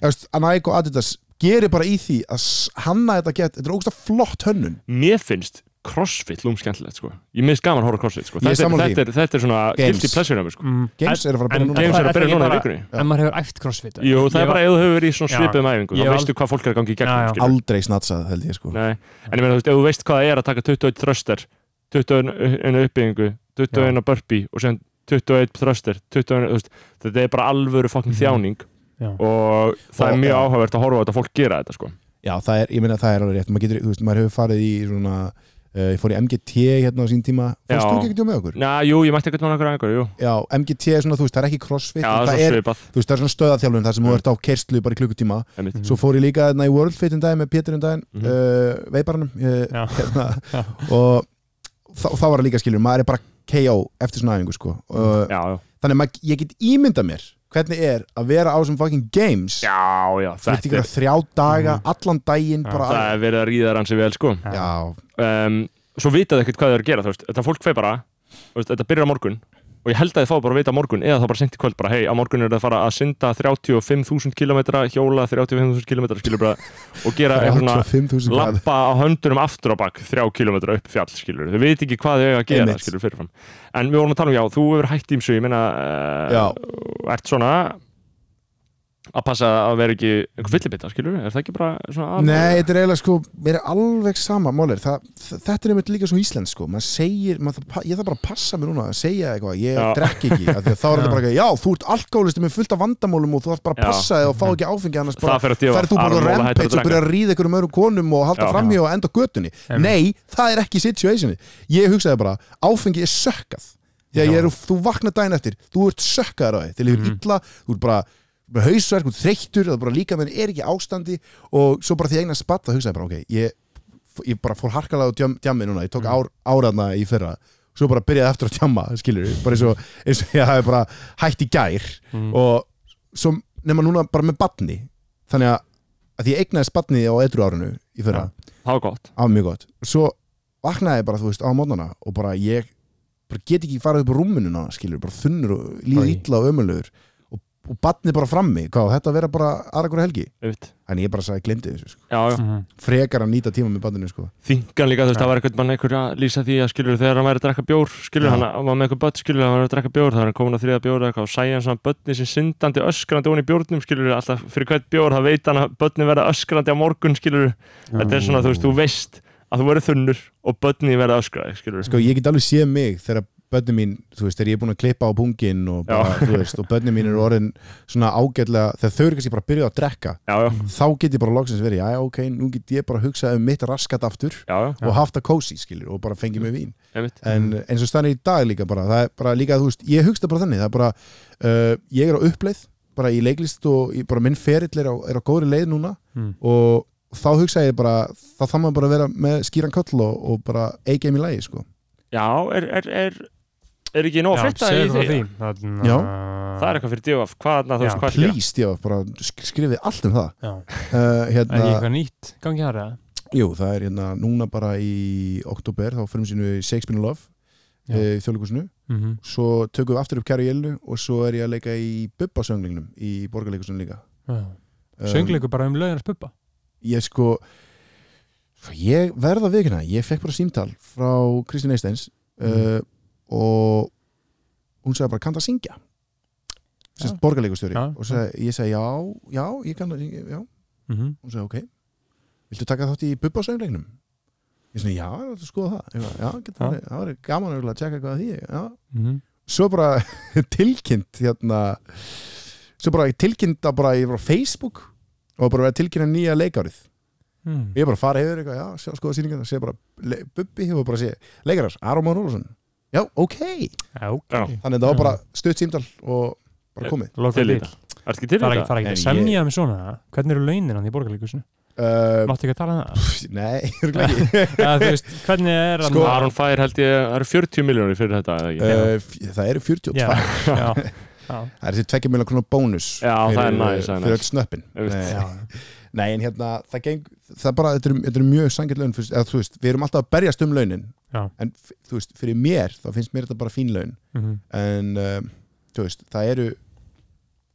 Speaker 5: eða, veist, að Nike og Adidas gerir bara í því að s- hanna þetta get, þetta er ógst flott hönnun
Speaker 1: Mér finnst crossfit lúm skemmtilegt sko. Ég minnst gaman að horfa á crossfit sko. þetta,
Speaker 5: Ég er
Speaker 1: er,
Speaker 5: sammála því.
Speaker 1: þetta, er, þetta er svona
Speaker 5: Games.
Speaker 1: guilty pleasure af mér sko.
Speaker 2: Mm.
Speaker 5: Games eru að fara að byrja
Speaker 2: En-
Speaker 5: núna
Speaker 1: Games
Speaker 2: það-
Speaker 1: er að
Speaker 2: það
Speaker 1: byrja
Speaker 2: ekki
Speaker 1: núna í
Speaker 2: bara-
Speaker 1: vikunni
Speaker 5: Já.
Speaker 2: En maður hefur æft crossfit eða?
Speaker 1: Jú,
Speaker 2: Ég
Speaker 1: það er
Speaker 2: var-
Speaker 1: bara ef þú hefur verið í svona
Speaker 2: Já.
Speaker 1: svipum æfingu
Speaker 2: Ég
Speaker 1: þá
Speaker 2: var-
Speaker 1: veistu hvað fólk er að gangi í
Speaker 2: Já, já.
Speaker 1: gegnum skilur.
Speaker 5: aldrei snatsað held ég sko
Speaker 1: Nei. En ég meina, þú veist, ef þú veist hvað það er að taka 21 þröster 21 uppbyggingu 21 burpee og sen 21 þröster 21, þú veist, þetta er bara alvöru fucking
Speaker 2: Mhm.
Speaker 1: þjáning
Speaker 2: Já.
Speaker 1: og það
Speaker 5: Og-
Speaker 1: er mjög
Speaker 5: já.
Speaker 1: áhugavert að horfa á þetta fólk gera þetta sko.
Speaker 5: Já, það er, ég meina það er alveg rétt maður, getur, þú veist, maður hefur farið í svona uh, ég fór í MGT hérna á sín tíma
Speaker 1: Já.
Speaker 5: fórst þú ekki ekki með okkur?
Speaker 1: Na, jú, ég mætti eitthvað með einhverju einhverju, jú
Speaker 5: Já, MGT er svona, þú veist, það er ekki crossfit
Speaker 1: Já, það
Speaker 5: en það,
Speaker 1: er
Speaker 5: er,
Speaker 1: svo svipað
Speaker 5: þú veist, það er svona stöðaþjálfun þar sem þú
Speaker 1: Mm.
Speaker 5: ert á kerslu bara í klukkutíma
Speaker 1: einmitt.
Speaker 5: svo fór ég líka þarna í World Fit um daginn með Pétur um daginn
Speaker 1: Mhm.
Speaker 5: uh, veiparanum uh,
Speaker 2: Já.
Speaker 5: hérna,
Speaker 2: Já.
Speaker 5: og þá, þá var það líka skilur maður er bara KO eftir svona æfingu sko. uh,
Speaker 1: Mm. Já, já,
Speaker 5: þannig að maður- ég get ímyndað mér hvernig er að vera á þessum fucking games
Speaker 1: já, já
Speaker 5: þú ert
Speaker 1: þetta
Speaker 5: ykkur
Speaker 1: er, Mhm.
Speaker 5: að þrjá daga allan daginn
Speaker 2: Já,
Speaker 5: bara
Speaker 1: það er verið að ríða hansi vel sko.
Speaker 5: Já,
Speaker 1: um, Svo vitað ekkert hvað það er að gera þú veist. Þetta fólk feg bara, þú veist, þetta byrjar á morgun og ég held að þið fá bara að vita á morgun eða þá bara sent í kvöld bara, hei, á morgun er það að fara að synda 35.000 km, hjóla 35.000 km skilur bara, og gera eitthvað
Speaker 5: 85.000
Speaker 1: svona
Speaker 5: grad
Speaker 1: lappa á höndunum aftur á bak 3 km upp fjall, skilur þau veit ekki hvað þau eiga að gera,
Speaker 5: Einmitt.
Speaker 1: skilur fyrirfram en við vorum að tala um, já, þú hefur hætt ímsu ég meina,
Speaker 5: Já.
Speaker 1: uh, ert svona að passa að vera ekki einhver fyllibita, skilur, er það ekki bara svona aðal-
Speaker 5: Nei, þetta er eiginlega sko, mér er alveg sama málir, það, þetta er einmitt líka svo íslensk sko, maður segir, maður, þarf pa- ég þarf bara að passa mér núna að segja eitthvað, ég
Speaker 1: Já.
Speaker 5: drekk ekki af því að þá er þetta bara eitthvað, já, þú ert alkoholisti með fullt af vandamálum og þú þarf bara
Speaker 1: Já.
Speaker 5: að passa þig og fá ekki áfengi annars
Speaker 1: það
Speaker 5: bara
Speaker 1: fer að dýfa
Speaker 5: ferð þú bara að rampage og byrja að ríða einhverjum öðrum konum og halda
Speaker 1: Já.
Speaker 5: fram í og enda á götunni
Speaker 2: Einmitt.
Speaker 5: Nei, það er ekki situationi ég hugsaði bara, áfengi er sökkað því að
Speaker 2: Já.
Speaker 5: ég er, þú vaknar daginn eftir þú ert sökkaður á því, þegar lífur
Speaker 2: Mhm.
Speaker 5: illa þú ert bara með hausverk, þú ert þreyttur það er bara líka með er ekki í ástandi og svo bara því eignar spatt, það hugsaði ég bara, ok ég, ég bara fór harkalega á djam, djammi núna
Speaker 2: Mhm.
Speaker 5: ég tók ár, áraðna í fyrra svo bara byrjaði eftir að djamma, skilur bara eins og, eins og ég hafi bara hætt í gær
Speaker 2: Mhm.
Speaker 5: og svo nema núna bara með batni þannig að, að því ég eignaði batni á eitru árinu í fyrra,
Speaker 1: Já. það var gott
Speaker 5: það var mjög gott svo vaknaði ég bara, þú veist, á mótnana og bara ég bara get ekki farið upp á rúminu ná, skilur, bara þunnur og líða
Speaker 2: Æ.
Speaker 5: illa og ömulegur og, og batni bara frammi, hvað, á þetta að vera bara aðra hverja helgi,
Speaker 1: einmitt.
Speaker 5: en ég bara sagði, glemdi þessu sko.
Speaker 1: já, já.
Speaker 2: Mhm.
Speaker 5: frekar að nýta tíma með batninu, sko
Speaker 1: þingan líka, þú veist,
Speaker 2: Já.
Speaker 1: það var eitthvað mann einhver að lýsa því að skilur þegar hann væri að drekka bjór skilur
Speaker 5: Já.
Speaker 1: hann, hann var með eitthvað börn skilur hann væri að drekka bjór, það var hann komin að þriða bjór eða eitthvað og sæja hann svona börni sem syndandi öskrandi ón í bjórnum skilur, alltaf fyrir hvert bjór það veit hann að börni verða öskrandi á morgun skilur, þetta er svona, þú veist, þú veist að þú verður þunnur og börni verða öskrandi skilur,
Speaker 5: sko, ég get alveg séð mig þegar bönni mín, þú veist, þegar ég er búin að klippa á pungin og bara, þú veist, og bönni mín eru orðin svona ágætlega, þegar þau eru kannski bara byrjuð að drekka,
Speaker 1: já, já,
Speaker 5: þá get ég bara loksins verið, já, ok, nú get ég bara að hugsa um mitt raskat aftur
Speaker 1: já, já,
Speaker 5: og haft að kósi, skilur, og bara fengið mig vín
Speaker 1: einmitt
Speaker 5: en eins og stannir í dag líka bara það er bara líka, þú veist, ég hugsta bara þannig það er bara, uh, ég er á uppleið bara í leiklist og ég, bara minn ferill er á, er á góðri leið núna
Speaker 2: Mm.
Speaker 5: og þá hugsa ég bara, þá þarf maður bara að vera með skýran köll og, og bara eigið í lagi, sko
Speaker 1: Já, er, er, er, er ekki nóg að frétta í
Speaker 2: segðu
Speaker 1: því?
Speaker 2: frá Þarna-
Speaker 5: Já.
Speaker 1: Það er eitthvað fyrir djóf, hvað er það, þú
Speaker 2: Já,
Speaker 1: veist, hvað er að gera?
Speaker 5: Please, ég var bara sk- skrifið allt um það
Speaker 2: Já.
Speaker 5: uh,
Speaker 2: Er ekki
Speaker 5: hérna,
Speaker 2: eitthvað nýtt gangi þar eða?
Speaker 5: Jú, það er hérna núna bara í oktober þá fyrir sínu Shakespeare in Love
Speaker 2: Já.
Speaker 5: eh, í þjóðleikusinu,
Speaker 2: Mhm.
Speaker 5: svo tökum við aftur upp Kæru Jellu og svo er ég að leika í Bubba sönglingnum í borgarleikusunum líka
Speaker 2: Já.
Speaker 5: Um,
Speaker 2: Söngleikur bara um lögin að spubba
Speaker 5: Ég sko ég verða að vikina, ég fekk bara símtal frá Kristín Eisteins
Speaker 2: Mhm.
Speaker 5: uh, og hún sagði bara, kanntu að syngja? Sérst borgarleikustjóri
Speaker 2: Já,
Speaker 5: og sagði, ég sagði já, já, ég kann að syngja, já
Speaker 2: Mhm.
Speaker 5: hún sagði ok viltu taka þátt í bubba söngleiknum ég sagði já, þetta skoða það ég, bara, já, geta,
Speaker 2: Já.
Speaker 5: ja. það var gaman örugglega að tjekka hvað því já.
Speaker 2: Mhm.
Speaker 5: svo bara tilkynnt hérna svo bara tilkynnt að bara ég var á Facebook og bara verið að tilkynna nýja leikárið
Speaker 2: Mm.
Speaker 5: ég bara fara hefur eitthvað, já, sjá skoða sýningarna sé bara le- bubbi og bara sé leikarar, Aron Már Ólafsson já, ok, þannig
Speaker 2: Já, ok.
Speaker 1: Já.
Speaker 5: að það var
Speaker 2: Já.
Speaker 5: bara stutt símdal og bara komið
Speaker 2: Lokaðu
Speaker 1: Til í
Speaker 2: bíl.
Speaker 1: þetta. Er ekki til í
Speaker 2: Það er ekki,
Speaker 1: þetta?
Speaker 2: það er ekki að
Speaker 5: En ég-
Speaker 2: semja um svona eða? Hvernig eru launin hann í borgarleikusinu?
Speaker 5: uh,
Speaker 2: Máttu ekki að tala um það?
Speaker 5: nei, örugglega ekki
Speaker 2: Eða, þú veist, hvernig er hann
Speaker 5: Sko-
Speaker 1: Aron Fær held ég, það eru 40 miljónir fyrir þetta, eða ekki?
Speaker 2: Eh,
Speaker 5: uh, f- það eru 42
Speaker 2: Já, já, já,
Speaker 5: Það er þessi 2 miljonar krónar bónus
Speaker 1: Já, það er næs, það er
Speaker 5: Fyrir
Speaker 1: næs.
Speaker 5: öll snöppin
Speaker 1: Einmitt.
Speaker 5: Nei.
Speaker 2: já.
Speaker 5: Nei, en hérna, það geng Það er bara, þetta eru- þetta eru mjög sangið laun fyrir, eða, þú veist, Við erum alltaf að berjast um launin
Speaker 2: Já.
Speaker 5: En f- þú veist, fyrir mér, þá finnst mér þetta bara fín laun
Speaker 2: Mhm.
Speaker 5: En, um, þú veist, það eru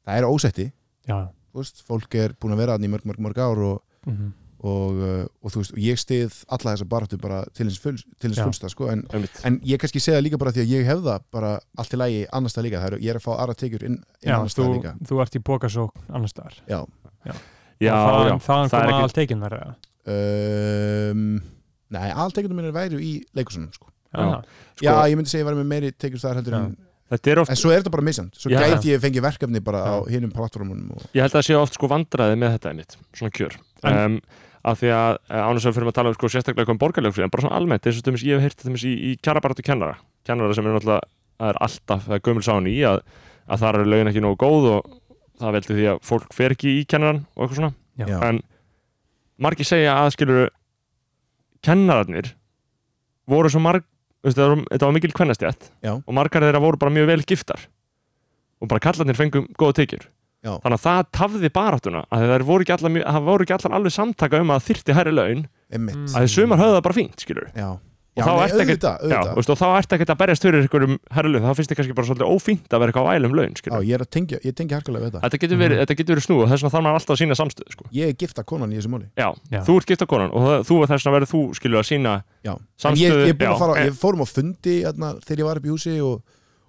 Speaker 5: Það eru ósetti
Speaker 2: já.
Speaker 5: Þú veist, fólk er búin að vera þannig í mörg, mörg, mörg ár Og,
Speaker 2: mhm.
Speaker 5: og, uh, og þú veist, og ég stið alla þessa baráttu bara til hins fulls- til hins
Speaker 2: Já.
Speaker 5: fullsta, sko En
Speaker 1: Einmitt.
Speaker 5: En ég kannski segja líka bara því að ég hef það bara allt í lagi annars það líka, það eru, ég er að fá aðra tekjur inn, inn
Speaker 2: já
Speaker 5: annars
Speaker 2: þú,
Speaker 5: það líka
Speaker 2: þú ert í bókasókn annars staðar
Speaker 5: Já,
Speaker 1: Já,
Speaker 2: Og þaðan,
Speaker 1: já,
Speaker 2: þaðan
Speaker 1: það er ekki-
Speaker 2: koma ekki... allt eikin verið
Speaker 5: um, Nei, alltekjunum minn er væru í leikusunum sko.
Speaker 1: Já.
Speaker 2: Já,
Speaker 5: Já,
Speaker 1: Sko,
Speaker 5: ég myndi segja ég væri með meiri tekjur þar heldur en
Speaker 1: þetta er oft,
Speaker 5: En svo er þetta bara misjönd Svo
Speaker 1: Já.
Speaker 5: gæti ég fengið verkefni bara á
Speaker 2: Já.
Speaker 5: hinum plattformunum og...
Speaker 1: ég held að það sé oft sko vandræði með þetta einmitt, svona kjör. Um, af því að ánum sem fyrir að tala um sko sérstaklega eitthvað um borgarljóksi, en bara svona almennt, eins og stumis, ég hef heyrt stumis í, í kjarabaratu kennara, kennara sem er náttúrulega, það er alltaf, það er gömul sáni í að, að þar eru laun ekki nógu góð og það veldi því að fólk fer ekki í kennaran og eitthvað svona.
Speaker 5: Já.
Speaker 1: en margir segja að skilur kennararnir voru svo marg veistu, það voru- þetta var mikil kvennastjætt
Speaker 5: Já.
Speaker 1: og margar þeirra voru bara mjög vel giftar og bara kallarnir fengum góða tekjur
Speaker 5: Já.
Speaker 1: þannig að það tafði baráttuna að það voru ekki allar, mjög- það voru ekki allar alveg samtaka um að þyrti hærri laun
Speaker 5: Emmitt
Speaker 2: Mm.
Speaker 1: að þið sumar höfðu það bara fínt skilur
Speaker 5: Já,
Speaker 1: og
Speaker 5: já
Speaker 1: þá ertu
Speaker 5: nei,
Speaker 1: ekkert-
Speaker 5: auðvitað,
Speaker 1: Já,
Speaker 5: auðvitað.
Speaker 1: veistu, og þá ert ekki að berjast fyrir einhverjum hærri laun þá finnst þið kannski bara svolítið ófínt að vera eitthvað á ælum laun
Speaker 5: Já,
Speaker 1: skilur
Speaker 5: ég er að tengja, ég tengja harkalega við þetta
Speaker 1: þetta getur verið,
Speaker 2: Mhm.
Speaker 1: þetta getur verið snú og þess vegna þarf maður alltaf að sína samstöð sko.
Speaker 5: Ég er gifta konan í þessu máli
Speaker 1: Já,
Speaker 2: Já.
Speaker 1: þú ert gifta konan og það- þú er þess að verður þú skilur að sína
Speaker 5: Já, en ég,
Speaker 1: Samstöðu,
Speaker 5: ég, já,
Speaker 1: já, eh.
Speaker 5: fara,
Speaker 1: en-
Speaker 5: ég fórum á fundi atna, þegar ég var upp í húsi og,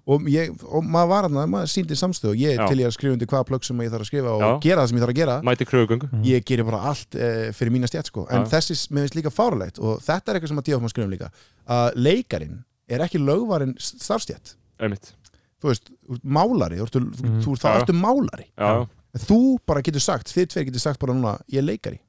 Speaker 5: og, ég, og maður var hann, maður síndi samstöð og ég
Speaker 1: Já.
Speaker 5: er til ég að skrifa undir hvaða plögg sem ég þarf að skrifa og
Speaker 1: Já.
Speaker 5: gera það sem ég þarf að gera
Speaker 1: mæti kröfugöngu
Speaker 5: ég gerir bara allt uh, fyrir mína stjætt sko. en
Speaker 1: Já.
Speaker 5: þessi, mér finnst líka fárlegt og þetta er eitthvað sem að díðafum að skrifa um líka að leikarin er ekki lögvarinn starfstjætt
Speaker 1: einmitt
Speaker 5: þú veist, þú ert málari þú, ert, þú,
Speaker 2: Mhm.
Speaker 5: þú,
Speaker 1: Mm-hmm. Já,
Speaker 5: þá
Speaker 1: já.
Speaker 5: ertu málari
Speaker 1: já, já.
Speaker 5: en þú bara getur sagt, þið tveir getur sagt bara núna ég er leikari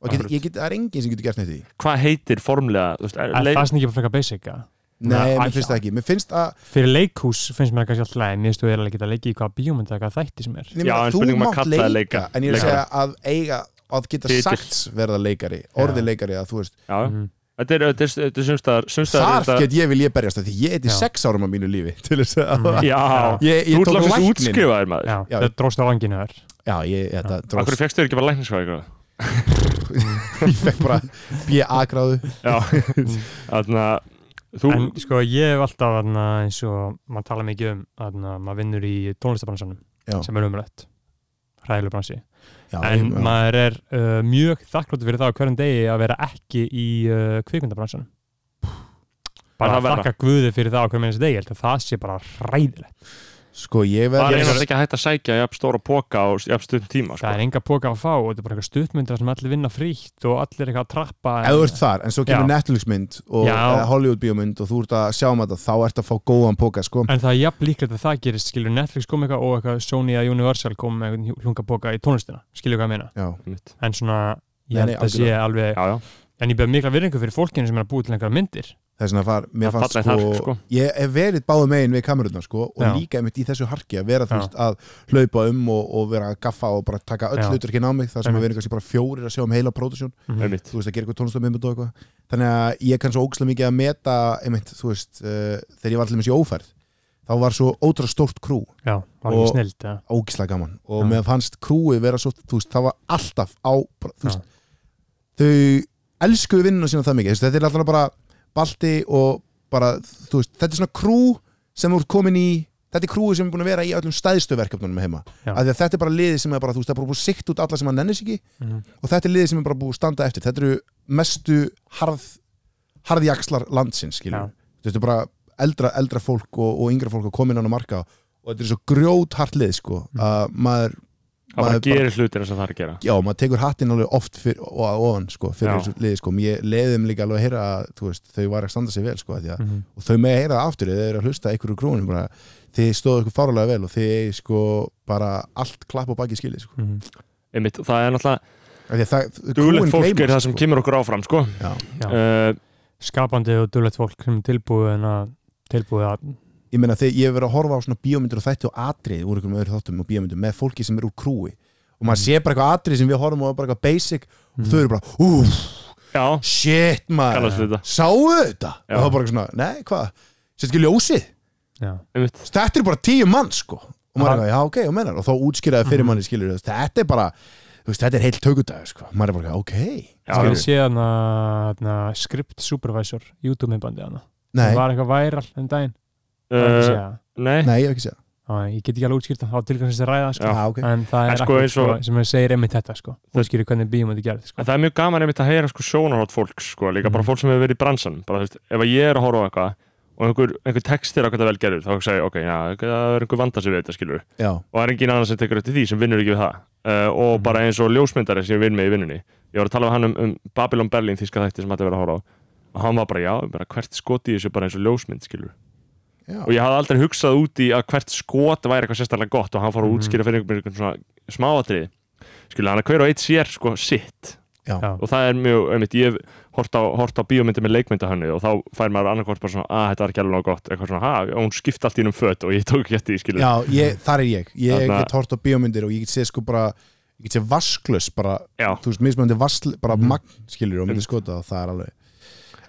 Speaker 5: og get,
Speaker 1: Akkurat.
Speaker 5: ég get, það er enginn sem getur gert neitt í því
Speaker 1: hvað heitir formlega þú veist, er,
Speaker 2: Er
Speaker 1: leik,
Speaker 2: það sem ekki bara frekar basic að?
Speaker 5: nei,
Speaker 2: Nei,
Speaker 5: mér finnst það ekki, mér finnst að
Speaker 2: Fyrir leikhús finnst mér það kannski alltaf leið Mér finnst þú eiginlega ekki að leika í hvaða bíómynd eða hvaða þætti sem er
Speaker 5: Nei,
Speaker 1: Já,
Speaker 5: meina,
Speaker 1: en
Speaker 5: þú
Speaker 1: spurning um að
Speaker 5: mátt
Speaker 1: kalla
Speaker 5: leika,
Speaker 1: það leika.
Speaker 5: en ég er
Speaker 1: Leikara.
Speaker 5: að segja að eiga að geta
Speaker 1: Titill.
Speaker 5: sagt verða leikari, orði leikari að þú veist,
Speaker 1: já, já.
Speaker 2: Mhm.
Speaker 1: þetta er, þetta er, þetta er sumstaðar sumstaðar
Speaker 5: þar get ég vil ég berjast að því ég heiti
Speaker 2: Já.
Speaker 5: sex árum á mínu lífi til þess að
Speaker 1: já,
Speaker 5: ég,
Speaker 1: þú
Speaker 5: ég
Speaker 1: ert
Speaker 5: tók
Speaker 1: lóksins
Speaker 5: læknin
Speaker 1: útskrifaðir maður
Speaker 2: Já,
Speaker 5: Já.
Speaker 2: það dróst á langinu þar
Speaker 5: já, ég, þetta
Speaker 1: af
Speaker 5: dróst,
Speaker 1: hverju fekkstu þér ekki bara læknisfræði
Speaker 5: ég fekk bara B.A. gráðu
Speaker 1: já, þannig að þú,
Speaker 2: Mm. En sko ég hef alltaf þarna, eins og maður tala mikið um þarna, maður vinnur í tónlistabransanum
Speaker 5: Já.
Speaker 2: sem er umrætt hræðileg bransi
Speaker 5: já,
Speaker 2: en
Speaker 5: ég- já.
Speaker 2: maður er uh, mjög þakkláttur fyrir það á hverjum degi að vera ekki í uh, kvikmyndabransanum
Speaker 1: Var það
Speaker 2: bara að
Speaker 1: verra?
Speaker 2: þakka guði fyrir það á hverjum einasta degi ég held að það sé bara hræðilegt
Speaker 5: sko ég
Speaker 1: það er
Speaker 5: verð
Speaker 1: einhvers ekki að hætta að sækja jafn stóra póka á jafn stund tíma
Speaker 2: það
Speaker 1: sko.
Speaker 2: er enga póka að fá og þetta er bara eitthvað stuttmyndra sem allir vinna frítt og allir eitthvað að trappa
Speaker 5: ef þú ert þar, en svo kemur
Speaker 2: Já.
Speaker 5: Netflix mynd og
Speaker 2: Já.
Speaker 5: eh, Hollywood bíómynd og þú ert að sjá um þetta, þá ert að fá góðan póka sko.
Speaker 2: En það er jafn líklegt að það gerist, skilur Netflix kom eitthvað og eitthvað Sony að Universal kom með einhvern hlunga boka í tónlistina, skilur hvað ég meina.
Speaker 5: já,
Speaker 1: Einmitt.
Speaker 2: En svona,
Speaker 5: Nei,
Speaker 2: ég
Speaker 5: nei,
Speaker 2: held að sé alveg,
Speaker 1: já, já,
Speaker 2: en ég beða mikla virðingu fyrir fólkinu sem er að búi til einhverja myndir
Speaker 5: þess vegna far, mér
Speaker 1: Það
Speaker 5: fannst
Speaker 1: fallaði
Speaker 5: sko,
Speaker 1: þar, sko.
Speaker 5: ég hef verið báðu megin við kamerunna sko og
Speaker 2: Já.
Speaker 5: líka einmitt í þessu harki að vera þú
Speaker 2: Já.
Speaker 5: veist að hlaupa um og, og vera að gaffa og bara taka öll
Speaker 2: Já.
Speaker 5: hluturkinn á mig það sem
Speaker 2: Einmitt.
Speaker 5: að vera kannski bara fjórir að sjá um heila pródusjón
Speaker 2: Mm.
Speaker 1: einmitt.
Speaker 5: þú veist að gera eitthvað tónlistamimund og eitthvað þannig að ég kann svo ógæslega mikið að meta einmitt þú veist uh, þegar ég var allir með sér ófærð þá var svo ótrúlega stórt krú
Speaker 2: já, var ekki
Speaker 5: Og-
Speaker 2: snild ja.
Speaker 5: ógíslega gaman og
Speaker 2: Já.
Speaker 5: með fannst krúið vera svo, þú veist, það var alltaf á, bara, þú
Speaker 2: Já.
Speaker 5: veist þau elskuðu vinnuna sína það mikið þú veist, þetta er alltaf bara balti og bara, þú veist, þetta er svona krú sem þú ert komin í, þetta er krúið sem er búin að vera í öllum stæðstu verkefnunum heima
Speaker 2: Já.
Speaker 5: af því að þetta er bara liðið sem er bara, þú veist, það er bara búið sikt út alla sem hann nennis ekki
Speaker 2: Mhm.
Speaker 5: og þetta er liðið sem er bara búið að standa eftir þetta eru mestu harð harðjakslar
Speaker 2: Já.
Speaker 5: landsins, skiljum þú veist, bara eldra, eldra fólk og, og yngra fólk að koma inn á þennan markað og þetta er svo grjóthart lið sko
Speaker 1: Mm.
Speaker 5: að maður,
Speaker 1: Það bara
Speaker 5: maður bara-
Speaker 1: gerir hlutir sem það er að gera
Speaker 5: já, maður tekur hattinn alveg oft fyr, og að ofan sko, fyrir
Speaker 1: Já.
Speaker 5: þessu lið sko, ég leiðum líka alveg að heyra að þú veist, þau var að standa sig vel sko, af því
Speaker 1: Mm.
Speaker 5: að,
Speaker 2: Mhm.
Speaker 5: og þau með að heyra það aftur eða þau eru að hlusta ykkur úr grúinu bara, þið stóðu ykkur fárulega vel og þið eigið, sko bara allt klapp á baki skilið sko.
Speaker 2: Mhm.
Speaker 1: einmitt, það er náttúrulega
Speaker 5: Af því að
Speaker 1: duglegt
Speaker 5: það, krúin
Speaker 1: fólk er
Speaker 5: gleymast,
Speaker 1: það sem
Speaker 5: sko.
Speaker 1: kemur okkur áfram sko.
Speaker 5: Já.
Speaker 2: Já.
Speaker 1: uh,
Speaker 2: skapandi og dulett fólk sem er tilbúið en að tilbúið að
Speaker 5: ég meina þegar ég hef verið að horfa á svona bíómyndir og þætti og atrið úr einhverjum öðru þáttum og bíómyndir með fólki sem er úr krúi og
Speaker 1: Mm.
Speaker 5: maður sé bara eitthvað atrið sem við horfum og bara eitthvað basic og þau eru bara, úf,
Speaker 1: já,
Speaker 5: shit
Speaker 1: Kallast
Speaker 5: maður
Speaker 1: þetta.
Speaker 5: sáu þetta
Speaker 1: Já.
Speaker 5: og það er bara eitthvað svona, nei, hvað, setja ekki ljósið
Speaker 2: já,
Speaker 1: einmitt
Speaker 5: þetta er bara tíu mann sko og maður er eitthvað, já ok, og menar, og þá útskýraði
Speaker 1: Mhm.
Speaker 5: fyrir manni skilur, þetta er bara, þú veist, þetta er heilt tökudag sko, maður er bara, eitthvað, ok
Speaker 1: Já,
Speaker 2: það
Speaker 5: skilurðu.
Speaker 2: við séð hana, hana script supervisor, YouTube myndbandi hana það
Speaker 5: nei,
Speaker 2: var eitthvað væral um daginn
Speaker 1: uh,
Speaker 2: uh,
Speaker 1: nei,
Speaker 5: nei, ég hef ekki séð
Speaker 2: Æ, ég get ekki alveg útskýrt það, það á tilkvæmst að ræða sko.
Speaker 5: það, ah, ok
Speaker 2: en það
Speaker 1: En
Speaker 2: er
Speaker 1: sko,
Speaker 2: akkurat,
Speaker 1: eins og-
Speaker 2: sko, sem við segir einmitt þetta sko. útskýri hvernig bíum þetta gerði sko.
Speaker 1: En það er mjög gaman einmitt að heyra sko sjónarhótt fólks sko, líka
Speaker 2: Mm.
Speaker 1: bara fólk sem hefur verið í bransanum bara, þú veist, ef að ég er að horfa á eitthvað og einhver, einhver textir á hvað það vel gerur þá hugsa ég, ok, já, það er einhver vanda sem við þetta skilur og
Speaker 5: já,
Speaker 1: það er engin annar sem tekur eftir því sem vinnur ekki við það uh, og
Speaker 5: Mhm.
Speaker 1: bara eins og ljósmyndari sem ég vinn með í vinnunni ég var að tala um hann um, um Babylon Berlin þíska þætti sem allir verið að horfa á og hann var bara, já, bara, hvert skot í þessu bara eins og ljósmynd skilur
Speaker 5: já,
Speaker 1: og ég hafði aldrei hugsað út í að hvert skot væri eitthvað sérstaklega gott og hann fór að
Speaker 5: Mhm.
Speaker 1: útskýra fyrir einhvern einhvern svona smáatrið skilur hann að hver og eitt sér sko sitt
Speaker 5: Já.
Speaker 2: Já.
Speaker 1: og það er mjög, einmitt, ég hef hort á, hort á bíómyndi með leikmyndahönnu og þá fær maður annarkvort bara svona, að þetta er ekki alveg nóg gott eitthvað svona, að hún skipti allt í um föt og ég tók ekki eftir því skilur
Speaker 5: já ég, þar er ég ég
Speaker 1: Þarna-
Speaker 5: get hort á bíómyndir og ég get séð sko bara ég get séð vasklöss bara
Speaker 1: Já. Mhm.
Speaker 5: þú veist, mismunandi vasl, bara magn skilur og myndi skota og það er alveg